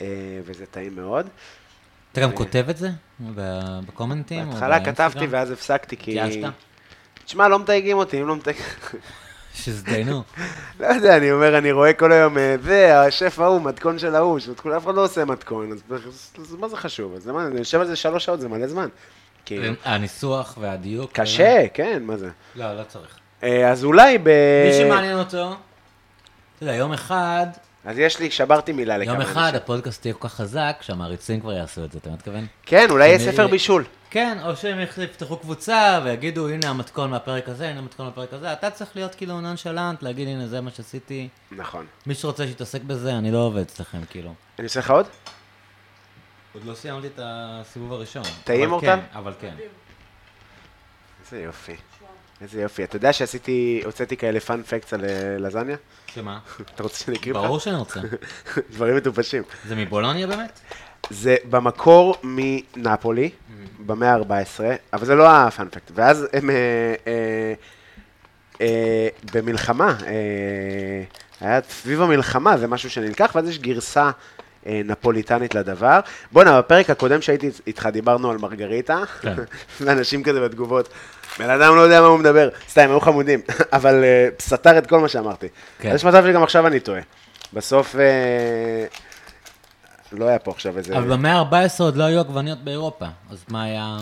[SPEAKER 3] אה, וזה טעים מאוד.
[SPEAKER 2] אתה גם כותב את זה? ב- בקומנטים? או
[SPEAKER 3] בהתחלה
[SPEAKER 2] באינסטגרם?
[SPEAKER 3] כתבתי ואז הפסקתי כי...
[SPEAKER 2] התייאשת?
[SPEAKER 3] תשמע, לא מתייגים אותי, אם לא מתייגים...
[SPEAKER 2] שהזדיינו.
[SPEAKER 3] <laughs> לא יודע, אני אומר, אני רואה כל היום, אה, זה, השף ההוא, מתכון של ההוא, שמתכון- אף אחד לא עושה מתכון, אז- אז מה זה חשוב? אז למה, אני יושב על זה שלוש שעות, זה מלא זמן.
[SPEAKER 2] כן.
[SPEAKER 3] כאילו,
[SPEAKER 2] הניסוח והדיוק.
[SPEAKER 3] קשה, כן, מה זה?
[SPEAKER 2] לא, לא צריך.
[SPEAKER 3] אה, אז אולי ב...
[SPEAKER 2] מי שמעניין אותו, אתה יודע, יום אחד,
[SPEAKER 3] אז יש לי, שברתי מילה לכמה
[SPEAKER 2] יום
[SPEAKER 3] אנשים.
[SPEAKER 2] אחד הפודקאסט יהיה כל כך חזק, שהמעריצים כבר יעשו את זה, אתה מתכוון?
[SPEAKER 3] כן, אולי יהיה
[SPEAKER 2] אני-
[SPEAKER 3] ספר בישול.
[SPEAKER 2] כן, או שהם יפתחו קבוצה ויגידו, הנה המתכון מהפרק הזה, הנה המתכון מהפרק הזה, אתה צריך להיות כאילו נונשלנט, להגיד, הנה זה מה שעשיתי.
[SPEAKER 3] נכון.
[SPEAKER 2] מי שרוצה שיתעסק בזה, אני לא עובד אצלכם, כאילו.
[SPEAKER 3] אני עושה לך עוד?
[SPEAKER 2] עוד לא סיימתי את הסיבוב הראשון.
[SPEAKER 3] טעים,
[SPEAKER 2] אבל
[SPEAKER 3] אורטל?
[SPEAKER 2] כן, אבל כן.
[SPEAKER 3] איזה יופי. איזה יופי. אתה יודע שעשיתי, הוצאתי כאלה פאנפקטס על אה, לזניה?
[SPEAKER 2] שמה?
[SPEAKER 3] אתה רוצה שאני אקריא לך?
[SPEAKER 2] ברור שאני רוצה.
[SPEAKER 3] <laughs> דברים מטופשים.
[SPEAKER 2] זה מבולוניה באמת?
[SPEAKER 3] זה במקור מנפולי,
[SPEAKER 2] Mm-hmm.
[SPEAKER 3] במאה ה-14, אבל זה לא הפאנפקט. ואז הם אה, אה, אה, במלחמה, אה, היה סביב המלחמה, זה משהו שנלקח, ואז יש גרסה אה, נפוליטנית לדבר. בואנה, בפרק הקודם שהייתי איתך דיברנו על מרגריטה,
[SPEAKER 2] כן.
[SPEAKER 3] <laughs> ואנשים כזה בתגובות. בן אדם לא יודע מה הוא מדבר, סתם, היו חמודים, <laughs> אבל אה, סתר את כל מה שאמרתי.
[SPEAKER 2] כן.
[SPEAKER 3] כן. יש מצב שגם עכשיו אני טועה. בסוף, אה, לא היה פה עכשיו איזה...
[SPEAKER 2] אבל במאה ה-14 עוד לא היו עגבניות באירופה, אז מה היה...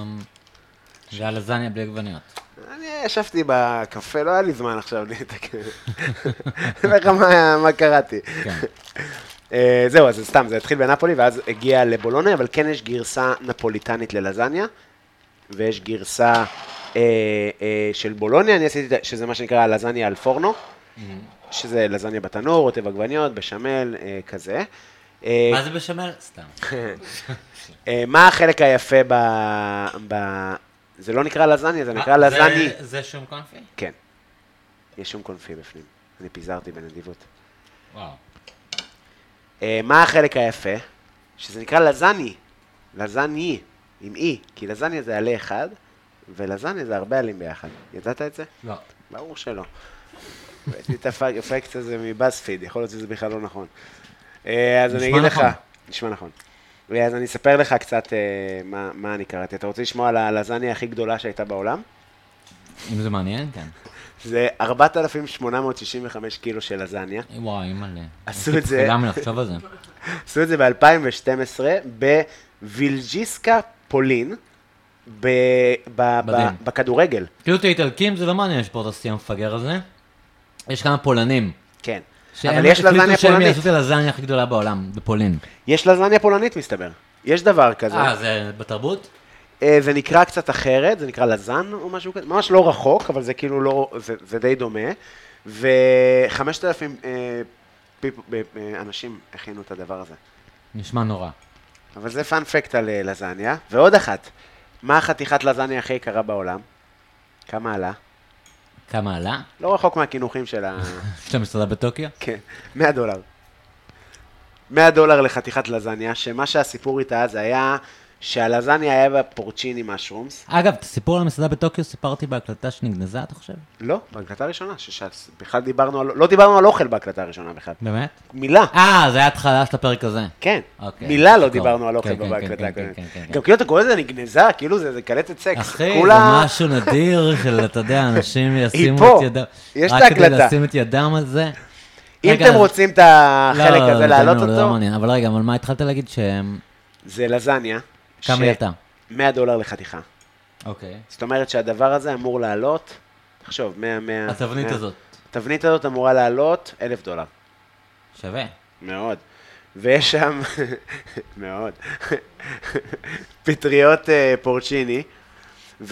[SPEAKER 2] זה היה לזניה בלי עגבניות.
[SPEAKER 3] אני ישבתי בקפה, לא היה לי זמן עכשיו להתקן. אני אומר לך מה- מה קראתי.
[SPEAKER 2] כן.
[SPEAKER 3] אה, זהו, אז סתם, זה התחיל בנפולי, ואז הגיע לבולוניה, אבל כן יש גרסה נפוליטנית ללזניה, ויש גרסה אה, אה, של בולוניה, אני עשיתי, את ה- שזה מה שנקרא הלזניה על פורנו,
[SPEAKER 2] Mm-hmm.
[SPEAKER 3] שזה לזניה בתנור, רוטב עגבניות, בשמל, אה, כזה. אה,
[SPEAKER 2] מה זה בשמל? סתם.
[SPEAKER 3] <laughs> אה, מה החלק היפה ב... ב- זה לא נקרא לזניה, זה נקרא
[SPEAKER 2] מה, זה-
[SPEAKER 3] לזני.
[SPEAKER 2] אה, זה שום קונפי?
[SPEAKER 3] כן. יש שום קונפי בפנים. אני פיזרתי בנדיבות.
[SPEAKER 2] וואו.
[SPEAKER 3] אה, מה החלק היפה? שזה נקרא לזני. לזני, עם אי. כי לזניה זה עלה אחד, ולזניה זה הרבה עלים ביחד. ידעת את זה?
[SPEAKER 2] לא.
[SPEAKER 3] ברור שלא. ראיתי את האפקט הזה מבאספיד, יכול להיות שזה בכלל לא נכון. אה, אז אני
[SPEAKER 2] נשמע
[SPEAKER 3] אגיד לך...
[SPEAKER 2] נכון.
[SPEAKER 3] נשמע נכון. אה, אז אני אספר לך קצת אה, מה מה אני קראתי. אתה רוצה לשמוע על הלזניה הכי גדולה שהייתה בעולם?
[SPEAKER 2] אם זה מעניין, כן.
[SPEAKER 3] זה 4,865 קילו של לזניה.
[SPEAKER 2] וואי, אימא'לה.
[SPEAKER 3] עשו
[SPEAKER 2] יש לי
[SPEAKER 3] את זה.
[SPEAKER 2] תפילה מלחשוב על זה.
[SPEAKER 3] עשו את זה ב-2012 בווילג'יסקה פולין, ב- ב-
[SPEAKER 2] מדהים.
[SPEAKER 3] ב- בכדורגל.
[SPEAKER 2] כאילו את האיטלקים זה לא מעניין לספורט השיא המפגר הזה. יש כמה פולנים.
[SPEAKER 3] כן.
[SPEAKER 2] שהם
[SPEAKER 3] אבל יש לזניה
[SPEAKER 2] החליטו שהם
[SPEAKER 3] פולנית.
[SPEAKER 2] יעשו את הלזניה הכי גדולה בעולם, בפולין.
[SPEAKER 3] יש לזניה פולנית מסתבר. יש דבר כזה.
[SPEAKER 2] אה, זה בתרבות?
[SPEAKER 3] אה, זה נקרא קצת אחרת, זה נקרא לזן או משהו כזה, ממש לא רחוק, אבל זה כאילו לא, זה, זה די דומה. ו-5,000 אה, פיפ- אה, אה, אנשים הכינו את הדבר הזה.
[SPEAKER 2] נשמע נורא.
[SPEAKER 3] אבל זה פאנפקט על אה, לזניה. ועוד אחת, מה החתיכת לזניה הכי יקרה בעולם? כמה עלה?
[SPEAKER 2] כמה עלה? <laughs>
[SPEAKER 3] לא רחוק מהקינוחים של ה... <laughs>
[SPEAKER 2] שאתה מסתדר בטוקיו?
[SPEAKER 3] כן, 100 דולר. 100 דולר לחתיכת לזניה, שמה שהסיפור איתה זה היה שהלזניה היה בה פורצ'יני משרומס.
[SPEAKER 2] אגב, את הסיפור על המסעדה בטוקיו סיפרתי בהקלטה שנגנזה, אתה חושב?
[SPEAKER 3] לא, בהקלטה הראשונה, שבכלל דיברנו על... לא דיברנו על אוכל בהקלטה הראשונה בכלל.
[SPEAKER 2] באמת?
[SPEAKER 3] מילה.
[SPEAKER 2] אה, זה היה התחלה של הפרק הזה.
[SPEAKER 3] כן,
[SPEAKER 2] אוקיי.
[SPEAKER 3] מילה לא
[SPEAKER 2] טוב.
[SPEAKER 3] דיברנו על
[SPEAKER 2] כן,
[SPEAKER 3] אוכל
[SPEAKER 2] כן, כן,
[SPEAKER 3] בהקלטה
[SPEAKER 2] כן,
[SPEAKER 3] הקודמת.
[SPEAKER 2] כן, כן, כן.
[SPEAKER 3] גם כאילו אתה קורא לזה נגנזה, כאילו זה זה קלטת סקס.
[SPEAKER 2] אחי, זה
[SPEAKER 3] כולה...
[SPEAKER 2] משהו נדיר של, אתה יודע,
[SPEAKER 3] <laughs>
[SPEAKER 2] אנשים ישימו
[SPEAKER 3] פה.
[SPEAKER 2] את ידם.
[SPEAKER 3] יש את
[SPEAKER 2] רק כדי
[SPEAKER 3] ההקלטה.
[SPEAKER 2] לשים את ידם על זה.
[SPEAKER 3] אם
[SPEAKER 2] רגע,
[SPEAKER 3] אתם
[SPEAKER 2] אז-
[SPEAKER 3] רוצים את
[SPEAKER 2] לא,
[SPEAKER 3] החלק
[SPEAKER 2] לא,
[SPEAKER 3] הזה
[SPEAKER 2] לא,
[SPEAKER 3] להעלות
[SPEAKER 2] לא, לא
[SPEAKER 3] אותו,
[SPEAKER 2] מעניין, אבל רגע, אבל מה התחלת להגיד שהם...
[SPEAKER 3] זה לזניה.
[SPEAKER 2] כמה
[SPEAKER 3] ש-
[SPEAKER 2] היא עלתה?
[SPEAKER 3] 100 דולר לחתיכה.
[SPEAKER 2] אוקיי.
[SPEAKER 3] זאת אומרת שהדבר הזה אמור לעלות, תחשוב, 100, 100...
[SPEAKER 2] התבנית
[SPEAKER 3] 100.
[SPEAKER 2] הזאת.
[SPEAKER 3] התבנית הזאת אמורה לעלות 1,000 דולר.
[SPEAKER 2] שווה.
[SPEAKER 3] מאוד. ויש שם, <laughs> מאוד, פטריות אה, פורצ'יני אה,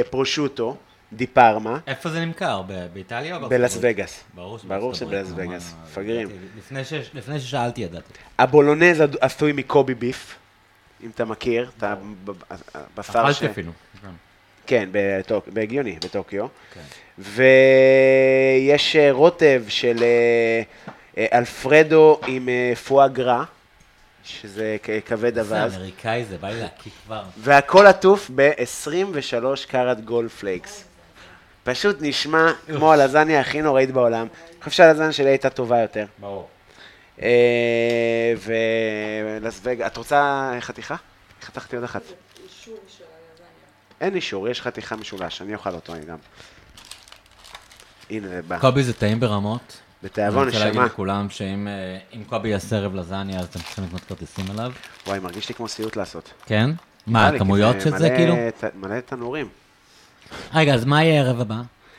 [SPEAKER 3] ופרושוטו, אה, די פרמה,
[SPEAKER 2] איפה זה נמכר? ב- באיטליה או בארצות
[SPEAKER 3] בלאס
[SPEAKER 2] הברית?
[SPEAKER 3] וגאס.
[SPEAKER 2] ברור שבארצות
[SPEAKER 3] ברור
[SPEAKER 2] הברית,
[SPEAKER 3] שבלאס
[SPEAKER 2] נו, מה,
[SPEAKER 3] וגאס,
[SPEAKER 2] מה,
[SPEAKER 3] מפגרים.
[SPEAKER 2] ידעתי. לפני ש- לפני ששאלתי ידעתי.
[SPEAKER 3] הבולונז עד- עשוי מקובי ביף, אם אתה מכיר, אתה בשר ש...
[SPEAKER 2] אכלתי אפילו.
[SPEAKER 3] כן, בטוק- בהגיוני, בטוקיו.
[SPEAKER 2] כן.
[SPEAKER 3] ויש אה, רוטב של אה, אה, אלפרדו עם אה, פואה גרא, שזה כ- כבד
[SPEAKER 2] זה
[SPEAKER 3] אווז,
[SPEAKER 2] אמריקאי זה, בא לי להקיא כבר.
[SPEAKER 3] והכל עטוף ב-23 קארט גולד פלייקס. פשוט נשמע כמו הלזניה הכי נוראית בעולם. אני חושב שהלזניה שלי הייתה טובה יותר.
[SPEAKER 2] ברור.
[SPEAKER 3] אה, ולס וגאס, את רוצה חתיכה? חתכתי עוד אחת. אישור של הלזניה. אין אישור, יש חתיכה משולש, אני אוכל אותו אני גם. הנה זה בא.
[SPEAKER 2] קובי זה טעים ברמות.
[SPEAKER 3] בתיאבון,
[SPEAKER 2] אני רוצה
[SPEAKER 3] נשמה.
[SPEAKER 2] להגיד לכולם שאם אה, אם קובי יעשה ערב לזניה, אז אתם צריכים לקנות כרטיסים אליו.
[SPEAKER 3] וואי, מרגיש לי כמו סיוט לעשות.
[SPEAKER 2] כן? מה,
[SPEAKER 3] נראה לי, כי
[SPEAKER 2] הכמויות של זה
[SPEAKER 3] מלא
[SPEAKER 2] כאילו?
[SPEAKER 3] ת- מלא תנורים.
[SPEAKER 2] רגע, אז מה יהיה הערב הבא?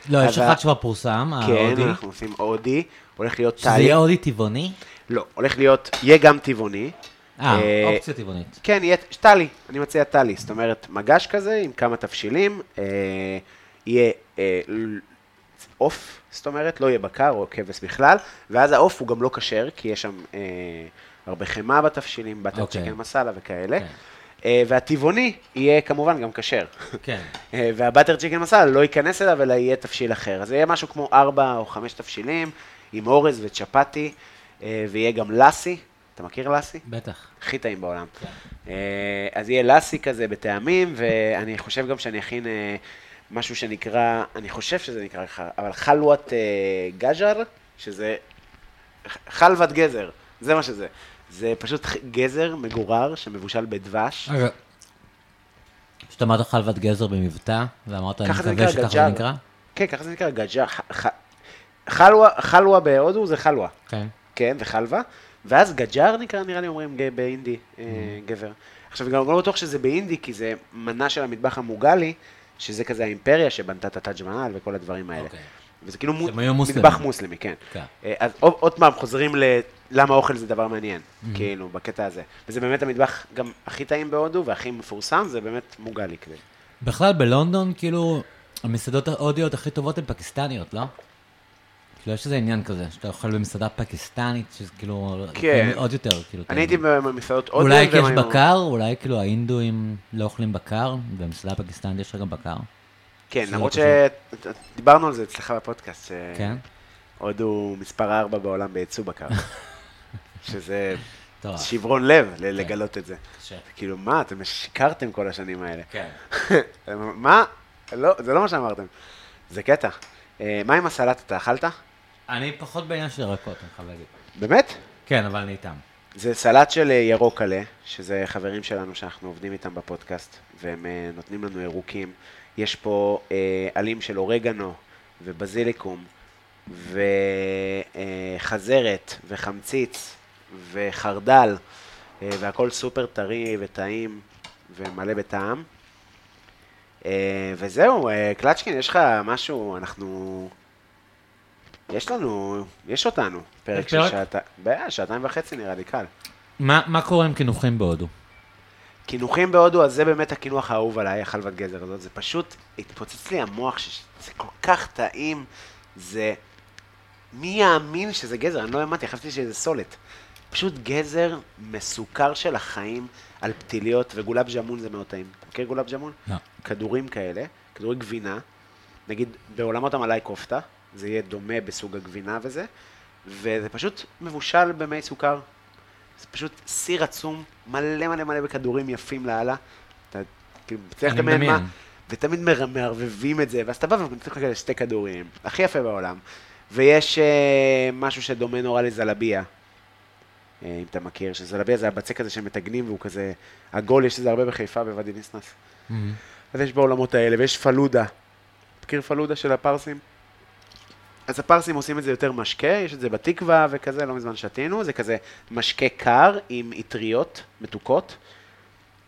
[SPEAKER 2] לא, יש
[SPEAKER 3] אז ה-
[SPEAKER 2] אחד שכבר פורסם,
[SPEAKER 3] כן,
[SPEAKER 2] ההודי.
[SPEAKER 3] אנחנו עושים הודי, הולך להיות
[SPEAKER 2] אה, שזה
[SPEAKER 3] טאי.
[SPEAKER 2] יהיה הודי טבעוני?
[SPEAKER 3] לא, הולך להיות, יהיה גם טבעוני.
[SPEAKER 2] אה, אופציה טבעונית.
[SPEAKER 3] כן, יהיה טלי, אני מציע טלי, זאת אומרת, מגש כזה עם כמה תבשילים, אה, יהיה אה, ל- עוף, זאת אומרת, לא יהיה בקר או כבש בכלל, ואז העוף הוא גם לא כשר, כי יש שם אה, הרבה חמאה בתבשילים, בטר
[SPEAKER 2] אוקיי.
[SPEAKER 3] צ'יקן מסאלה וכאלה.
[SPEAKER 2] כן.
[SPEAKER 3] אה, והטבעוני יהיה כמובן גם כשר.
[SPEAKER 6] כן.
[SPEAKER 3] אה, והבאטר צ'יקן מסאלה לא ייכנס אליו, אלא יהיה תבשיל אחר. אז זה יהיה משהו כמו ארבע או חמש תבשילים, עם אורז וצ'פאטי, אה, ויהיה גם לאסי. אתה מכיר לאסי?
[SPEAKER 2] בטח.
[SPEAKER 3] הכי טעים בעולם. אה, אז יהיה לאסי כזה בטעמים, ואני חושב גם שאני אכין אה, משהו שנקרא, אני חושב שזה נקרא, ח- אבל חלואת אה, גז'ר, שזה ח- חלבת גזר, זה מה שזה. זה פשוט ח- גזר מגורר שמבושל בדבש.
[SPEAKER 2] רגע. פשוט אמרת חלבת גזר במבטא, ואמרת, אני
[SPEAKER 3] ככה זה
[SPEAKER 2] מקווה
[SPEAKER 3] נקרא
[SPEAKER 2] שככה זה
[SPEAKER 3] גג'אר.
[SPEAKER 2] נקרא.
[SPEAKER 3] כן, ככה זה נקרא גג'ר. ח- ח- חלווה, חלווה בהודו זה חלווה.
[SPEAKER 2] כן.
[SPEAKER 3] כן, וחלווה, ואז גג'אר נקרא, נראה לי אומרים ג- באינדי, אה,
[SPEAKER 2] Mm.
[SPEAKER 3] גבר. עכשיו, גם לא בטוח שזה באינדי, כי זה מנה של המטבח המוגלי, שזה כזה האימפריה שבנתה את הטאג' מהל וכל הדברים האלה.
[SPEAKER 2] אוקיי.
[SPEAKER 3] וזה כאילו מו-
[SPEAKER 2] הם היו מוסלמים.
[SPEAKER 3] מטבח מוסלמי, כן.
[SPEAKER 2] כן.
[SPEAKER 3] אה, אז עוד- עוד פעם, חוזרים ללמה אוכל זה דבר מעניין,
[SPEAKER 2] Mm-hmm.
[SPEAKER 3] כאילו, בקטע הזה. וזה באמת המטבח גם הכי טעים בהודו והכי מפורסם, זה באמת מוגלי כזה.
[SPEAKER 2] אוקיי. בכלל, בלונדון, כאילו, המסעדות ההודיות הכי טובות הן פקיסטניות, לא? כאילו, יש איזה עניין כזה, שאתה אוכל במסעדה פקיסטנית, שזה כאילו...
[SPEAKER 3] כן.
[SPEAKER 2] עוד יותר, כאילו... אתה-
[SPEAKER 3] אני הייתי במסעדות הודיות.
[SPEAKER 2] אולי כי
[SPEAKER 3] והם
[SPEAKER 2] יש
[SPEAKER 3] היו-
[SPEAKER 2] בקר, אולי כאילו ההינדואים לא אוכלים בקר, במסעדה הפקיסטנית יש לך גם בקר.
[SPEAKER 3] כן,
[SPEAKER 2] שזה
[SPEAKER 3] למרות
[SPEAKER 2] לא כזה.
[SPEAKER 3] שדיברנו על זה אצלך בפודקאסט. אה, ש-
[SPEAKER 2] כן?
[SPEAKER 3] הודו מספר 4 בעולם בייצוא בקר. שזה
[SPEAKER 2] טוב.
[SPEAKER 3] שברון לב ל- לגלות את זה.
[SPEAKER 2] קשה.
[SPEAKER 3] כאילו, מה, אתם שיקרתם כל השנים האלה. <laughs>
[SPEAKER 2] כן.
[SPEAKER 3] מה? לא, זה לא מה שאמרתם. זה קטע. אה, מה עם הסלט אתה אכלת?
[SPEAKER 2] אני פחות בעניין של ירקות, אני חייב להגיד.
[SPEAKER 3] באמת?
[SPEAKER 2] כן, אבל אני איתם.
[SPEAKER 3] זה סלט של אה, ירוק עלה, שזה חברים שלנו שאנחנו עובדים איתם בפודקאסט, והם אה, נותנים לנו ירוקים. יש פה אה, עלים של אורגנו ובזיליקום וחזרת וחמציץ וחרדל, אה, והכל סופר טרי וטעים ומלא בטעם. אה, וזהו, אה, קלצ'קין, יש לך משהו, אנחנו... יש לנו, יש אותנו, פרק
[SPEAKER 2] יש
[SPEAKER 3] של
[SPEAKER 2] פרק?
[SPEAKER 3] שעתיים, בעיה, שעתיים וחצי נראה לי קל.
[SPEAKER 2] מה מה קורה עם קינוחים בהודו?
[SPEAKER 3] קינוחים בהודו, אז זה באמת הקינוח האהוב עליי, החלבת גזר הזאת, זה פשוט התפוצץ לי המוח, שזה כל כך טעים, זה... מי יאמין שזה גזר? אני לא האמנתי, חשבתי שזה סולת. פשוט גזר מסוכר של החיים על פתיליות, וגולאב ג'מון זה מאוד טעים. מכיר גולאב ג'מון?
[SPEAKER 2] לא.
[SPEAKER 3] כדורים כאלה, כדורי גבינה, נגיד בעולמות המלאי כופתה, זה יהיה דומה בסוג הגבינה וזה, וזה פשוט מבושל במי סוכר. זה פשוט סיר עצום, מלא מלא מלא בכדורים יפים לאללה. אתה כאילו מצליח
[SPEAKER 2] אני
[SPEAKER 3] לדמיין מה,
[SPEAKER 2] מדמיין.
[SPEAKER 3] ותמיד מר- מערבבים את זה, ואז אתה בא ונותן לך כאלה שתי כדורים, הכי יפה בעולם. ויש אה, משהו שדומה נורא לזלביה, אה, אם אתה מכיר, שזלביה זה הבצק הזה שמתגנים והוא כזה עגול, יש לזה הרבה בחיפה בוואדי ניסנס. אז יש בעולמות האלה, ויש פלודה. מכיר פלודה של הפרסים? אז הפרסים עושים את זה יותר משקה, יש את זה בתקווה וכזה, לא מזמן שתינו, זה כזה משקה קר עם אטריות מתוקות,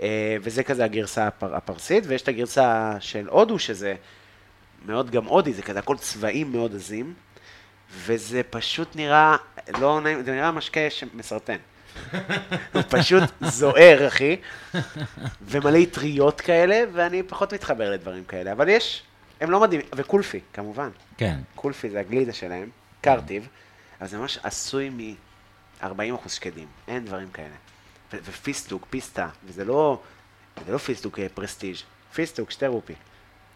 [SPEAKER 3] אה, וזה כזה הגרסה הפר, הפרסית, ויש את הגרסה של הודו, שזה מאוד גם הודי, זה כזה הכל צבעים מאוד עזים, וזה פשוט נראה, לא נעים, זה נראה משקה שמסרטן. הוא פשוט זוהר, אחי. ומלא אטריות כאלה, ואני פחות מתחבר לדברים כאלה, אבל יש, הם לא מדהימים, וקולפי, כמובן,
[SPEAKER 2] כן.
[SPEAKER 3] קולפי זה הגלידה שלהם, קרטיב, אבל זה ממש עשוי מ-40% שקדים, אין דברים כאלה. ו- ופיסטוק, פיסטה, וזה לא, זה לא פיסטוק אה, פרסטיג', פיסטוק, שתי רופי.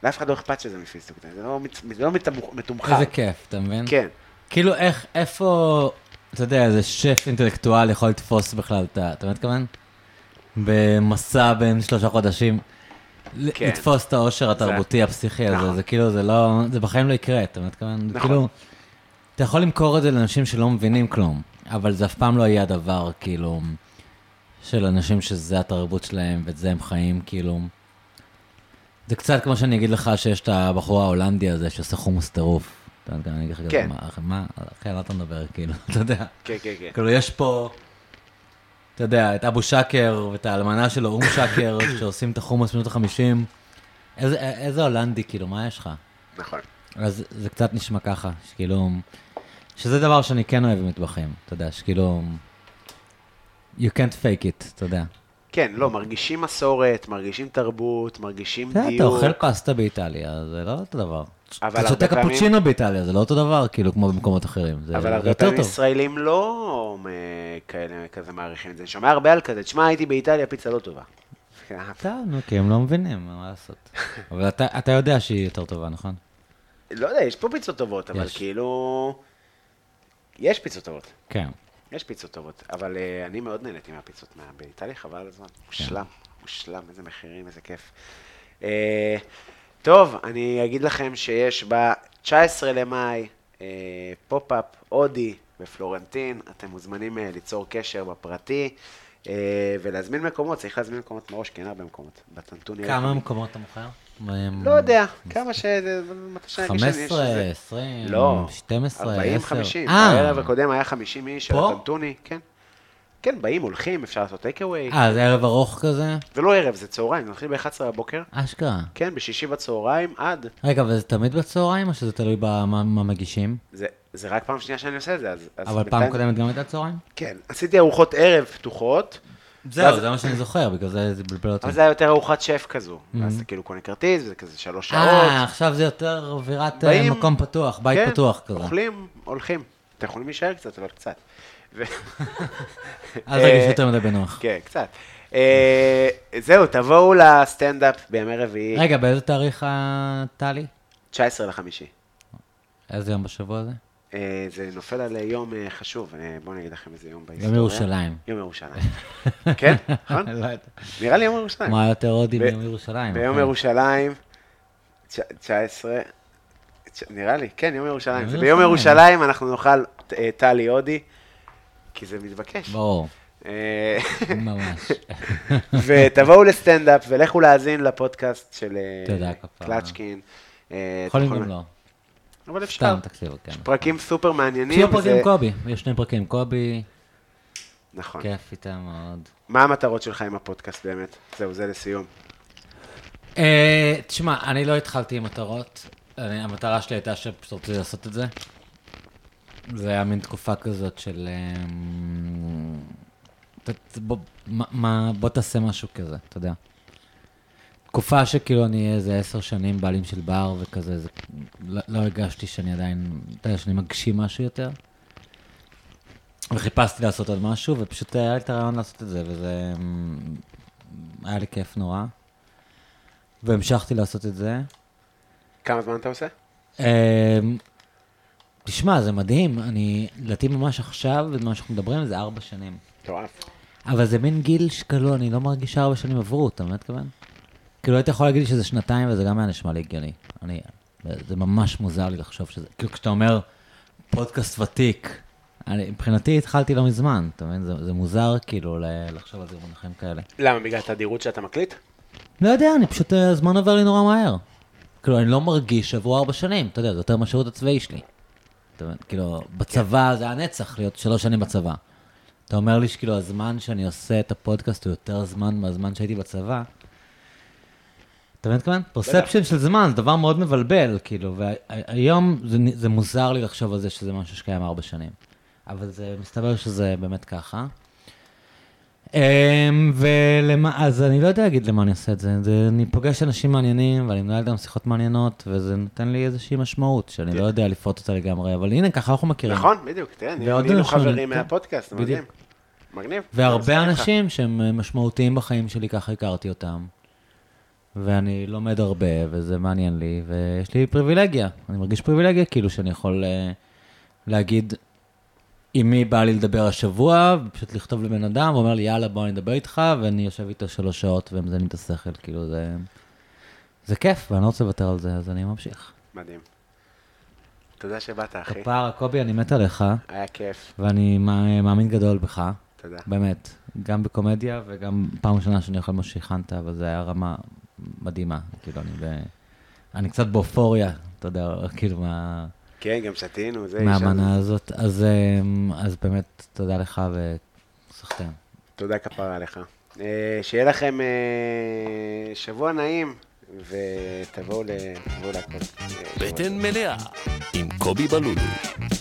[SPEAKER 3] לאף אחד לא אכפת שזה מפיסטוק, זה לא, מצ- זה לא מתמוכ- מתומחר.
[SPEAKER 2] איזה כיף, אתה מבין?
[SPEAKER 3] כן.
[SPEAKER 2] כאילו, איך, איפה, אתה יודע, איזה שף אינטלקטואל יכול לתפוס בכלל את ה... אתה מבין מה אני מתכוון? במסע בין שלושה חודשים. ל-
[SPEAKER 3] כן.
[SPEAKER 2] לתפוס את העושר התרבותי הפסיכי הזה,
[SPEAKER 3] נכון.
[SPEAKER 2] זה כאילו, זה לא, זה בחיים לא יקרה, אתה מבין מה אני מתכוון? זה
[SPEAKER 3] נכון.
[SPEAKER 2] כאילו, אתה יכול למכור את זה לאנשים שלא מבינים כלום, אבל זה אף פעם לא יהיה הדבר, כאילו, של אנשים שזה התרבות שלהם ואת זה הם חיים, כאילו. זה קצת כמו שאני אגיד לך שיש את הבחור ההולנדי הזה שעושה חומוס טירוף. אתה יודע, אני אגיד לך כזה,
[SPEAKER 3] כן.
[SPEAKER 2] מה, אחי, מה, אחי, על מה אתה מדבר, כאילו, <laughs> אתה יודע.
[SPEAKER 3] כן, כן, כן.
[SPEAKER 2] כאילו, יש פה, אתה יודע, את אבו שקר ואת האלמנה שלו, אום שקר, <coughs> שעושים את החומוס בשנות החמישים. איזה- איזה הולנדי, כאילו, מה יש לך?
[SPEAKER 3] נכון.
[SPEAKER 2] אז זה קצת נשמע ככה, שכאילו, שזה דבר שאני כן אוהב במטבחים, אתה יודע, שכאילו, you can't fake it, אתה יודע.
[SPEAKER 3] כן, לא, מרגישים מסורת, מרגישים תרבות, מרגישים
[SPEAKER 2] אתה יודע,
[SPEAKER 3] דיוק.
[SPEAKER 2] אתה אוכל פסטה באיטליה, זה לא אותו דבר.
[SPEAKER 3] אבל
[SPEAKER 2] אתה שותה
[SPEAKER 3] הרבה פעמים-
[SPEAKER 2] קפוצ'ינו באיטליה, זה לא אותו דבר, כאילו, כמו במקומות אחרים. זה
[SPEAKER 3] אבל
[SPEAKER 2] זה
[SPEAKER 3] הרבה
[SPEAKER 2] יותר
[SPEAKER 3] פעמים
[SPEAKER 2] טוב.
[SPEAKER 3] ישראלים לא אה, כאלה, כזה מעריכים את זה. אני שומע הרבה על כזה, תשמע, הייתי באיטליה, פיצה לא טובה. כן, אהבתי.
[SPEAKER 2] טוב, נו, כי הם לא מבינים, מה
[SPEAKER 3] <laughs>
[SPEAKER 2] לעשות. אבל אתה, אתה יודע שהיא יותר טובה, נכון?
[SPEAKER 3] לא יודע, יש פה פיצות טובות, אבל
[SPEAKER 2] יש.
[SPEAKER 3] כאילו... יש פיצות טובות.
[SPEAKER 2] כן.
[SPEAKER 3] יש פיצות טובות, אבל אה, אני מאוד נהניתי מהפיצות מה- באיטליה, חבל על הזמן. מושלם, מושלם, איזה מחירים, איזה כיף. אה, טוב, אני אגיד לכם שיש ב-19 למאי אה, פופ-אפ הודי בפלורנטין, אתם מוזמנים אה, ליצור קשר בפרטי. אה, ולהזמין מקומות, צריך להזמין מקומות מראש, כי אין הרבה מקומות. בטנטוניה.
[SPEAKER 2] כמה מקומות אתה מוכר?
[SPEAKER 3] לא יודע, כמה ש... מתי שאני ארגיש שאני-
[SPEAKER 2] 15,
[SPEAKER 3] שזה-
[SPEAKER 2] 20,
[SPEAKER 3] לא,
[SPEAKER 2] 12,
[SPEAKER 3] 40,
[SPEAKER 2] 10.
[SPEAKER 3] 50.
[SPEAKER 2] אה,
[SPEAKER 3] הערב הקודם היה 50 איש,
[SPEAKER 2] פה?
[SPEAKER 3] הטנטוני, כן. כן, באים, הולכים, אפשר לעשות טייק אווי.
[SPEAKER 2] אה, זה ערב ארוך כזה?
[SPEAKER 3] זה לא ערב, זה צהריים, נתחיל ב-11 בבוקר.
[SPEAKER 2] אשכרה.
[SPEAKER 3] כן, בשישי בצהריים עד...
[SPEAKER 2] רגע, אבל זה תמיד בצהריים או שזה תלוי במה מה מגישים?
[SPEAKER 3] זה, זה רק פעם שנייה שאני עושה את זה, אז... אז
[SPEAKER 2] אבל פעם
[SPEAKER 3] בינתיים-
[SPEAKER 2] קודמת גם הייתה צהריים?
[SPEAKER 3] כן, עשיתי ארוחות ערב פתוחות,
[SPEAKER 2] כן. זהו, זה מה שאני זוכר, בגלל זה זה בלבל אותי.
[SPEAKER 3] אבל זה היה יותר ארוחת שף כזו. ואז אתה כאילו קונה כרטיס, וזה כזה שלוש
[SPEAKER 2] Mm-hmm. אה,
[SPEAKER 3] שעות.
[SPEAKER 2] עכשיו זה יותר אווירת אה,
[SPEAKER 3] באים-
[SPEAKER 2] מקום פתוח, בית
[SPEAKER 3] כן,
[SPEAKER 2] פתוח כזה.
[SPEAKER 3] אוכלים, הולכים. אתם יכולים להישאר קצת, אבל קצת. ו-
[SPEAKER 2] <laughs> אז רגיש יותר מדי בנוח.
[SPEAKER 3] כן, קצת. אה, זהו, תבואו לסטנדאפ בימי רביעי,
[SPEAKER 2] רגע, באיזה תאריך אה, טלי?
[SPEAKER 3] 19 לחמישי.
[SPEAKER 2] איזה יום בשבוע זה?
[SPEAKER 3] אה, זה נופל על אה, יום אה, חשוב, אה, בואו אני אגיד לכם איזה יום בהיסטוריה.
[SPEAKER 2] יום ירושלים.
[SPEAKER 3] יום ירושלים.
[SPEAKER 2] <laughs>
[SPEAKER 3] כן, נכון?
[SPEAKER 2] לא יודע.
[SPEAKER 3] נראה לי יום ירושלים.
[SPEAKER 2] מה יותר הודי
[SPEAKER 3] ב-
[SPEAKER 2] ביום ירושלים?
[SPEAKER 3] ביום
[SPEAKER 2] אחי?
[SPEAKER 3] ירושלים, תש- 19, תש- נראה לי, כן, יום ירושלים.
[SPEAKER 2] יום
[SPEAKER 3] זה ביום
[SPEAKER 2] ירושלים.
[SPEAKER 3] ירושלים אנחנו נאכל אה, טלי הודי, כי זה מתבקש.
[SPEAKER 2] ברור,
[SPEAKER 3] אה, <laughs>
[SPEAKER 2] ממש.
[SPEAKER 3] ותבואו לסטנדאפ ולכו להאזין לפודקאסט של אה,
[SPEAKER 2] תודה, כפרה.
[SPEAKER 3] קלצ'קין. אה,
[SPEAKER 2] <laughs> יכולים
[SPEAKER 3] אתם
[SPEAKER 2] גם לא.
[SPEAKER 3] אבל אפשר.
[SPEAKER 2] סתם תקשיבו, כן.
[SPEAKER 3] יש פרקים סופר מעניינים.
[SPEAKER 2] תהיו פרקים
[SPEAKER 3] וזה-
[SPEAKER 2] עם קובי, יש שני פרקים עם קובי,
[SPEAKER 3] נכון.
[SPEAKER 2] כיף איתם מאוד.
[SPEAKER 3] מה המטרות שלך עם הפודקאסט באמת? זהו, זה לסיום.
[SPEAKER 2] אה, תשמע, אני לא התחלתי עם מטרות. אני, המטרה שלי הייתה שפשוט רציתי לעשות את זה. זה היה מין תקופה כזאת של... אמ, ת- ת- בוא, מה- מה, בוא תעשה משהו כזה, אתה יודע. תקופה שכאילו אני אהיה איזה עשר שנים בעלים של בר וכזה, זה, לא, לא הרגשתי שאני עדיין, אתה יודע, שאני מגשים משהו יותר. וחיפשתי לעשות עוד משהו, ופשוט היה לי את הרעיון לעשות את זה, וזה... אמ, היה לי כיף נורא. והמשכתי לעשות את זה.
[SPEAKER 3] כמה זמן אתה עושה?
[SPEAKER 2] אמ, תשמע, זה מדהים, אני, לדעתי ממש עכשיו, במה שאנחנו מדברים, זה ארבע שנים.
[SPEAKER 3] מטורף.
[SPEAKER 2] אבל זה מין גיל שכאילו, אני לא מרגיש שארבע שנים עברו, אתה מבין מה אתכוון? כאילו, היית יכול להגיד לי שזה שנתיים, וזה גם היה נשמע לי הגיוני. אני, זה ממש מוזר לי לחשוב שזה, כאילו, כשאתה אומר, פודקאסט ותיק, אני, מבחינתי התחלתי לא מזמן, אתה מבין? זה, זה מוזר כאילו ל- לחשוב על זה במונחים כאלה.
[SPEAKER 3] למה, בגלל התדירות שאתה מקליט?
[SPEAKER 2] לא יודע, אני פשוט, אה, הזמן עובר לי נורא מהר. כאילו, אני לא מרגיש שעברו ארבע שנים, אתה יודע, זה יותר מהשירות הצבאי שלי. אתה מבין? כאילו, בצבא זה היה נצח להיות שלוש שנים בצבא. אתה אומר לי שכאילו הזמן שאני עושה את הפודקאסט הוא יותר זמן מהזמן שהייתי בצבא. אתה מבין כמובן? פרספשן של זמן זה דבר מאוד מבלבל, כאילו, והיום זה, נ- זה מוזר לי לחשוב על זה שזה משהו שקיים ארבע שנים. אבל זה מסתבר שזה באמת ככה. אמ, ולמה, אז אני לא יודע להגיד למה אני עושה את זה. זה אני פוגש אנשים מעניינים, ואני מנהל גם שיחות מעניינות, וזה נותן לי איזושהי משמעות, שאני לא יודע לפרוט אותה לגמרי, אבל הנה, ככה אנחנו מכירים.
[SPEAKER 3] נכון, בדיוק, תראה,
[SPEAKER 2] כן. ועוד
[SPEAKER 3] נהיינו
[SPEAKER 2] אנשים,
[SPEAKER 3] חברים
[SPEAKER 2] כן.
[SPEAKER 3] מהפודקאסט, זה מדהים.
[SPEAKER 2] בדיוק.
[SPEAKER 3] מגניב.
[SPEAKER 2] והרבה
[SPEAKER 3] אני מסכים
[SPEAKER 2] אנשים שהם אה, משמעותיים בחיים שלי, ככה הכרתי אותם. ואני לומד הרבה, וזה מעניין לי, ויש לי פריבילגיה. אני מרגיש פריבילגיה, כאילו שאני יכול אה, להגיד עם מי בא לי לדבר השבוע, ופשוט לכתוב לבן אדם, ואומר לי, יאללה, בוא אני אדבר איתך, ואני יושב איתו שלוש שעות, ומזיין לי את השכל, כאילו זה... זה כיף, ואני לא רוצה לוותר על זה, אז אני ממשיך.
[SPEAKER 3] איתך. מדהים. תודה שבאת, אחי.
[SPEAKER 2] כפרה, קובי, אני מת עליך,
[SPEAKER 3] היה כיף,
[SPEAKER 2] ואני מא- מאמין גדול בך.
[SPEAKER 3] תודה.
[SPEAKER 2] באמת, גם בקומדיה וגם פעם ראשונה שאני אוכל מה שהכנת, אבל זה היה רמה מדהימה. כאילו, אני, ב... אני קצת באופוריה, אתה יודע, כאילו, מה...
[SPEAKER 3] כן, גם שתינו, זה...
[SPEAKER 2] מהמנה
[SPEAKER 3] ישן.
[SPEAKER 2] הזאת. אז, אמ, אז באמת, תודה לך וסחטיין.
[SPEAKER 3] תודה כפרה לך. אה, שיהיה לכם אה, שבוע נעים, ותבואו ל... תבואו להכל. אה, שבוע טוב.
[SPEAKER 1] בטן מלאה עם קובי בלולו.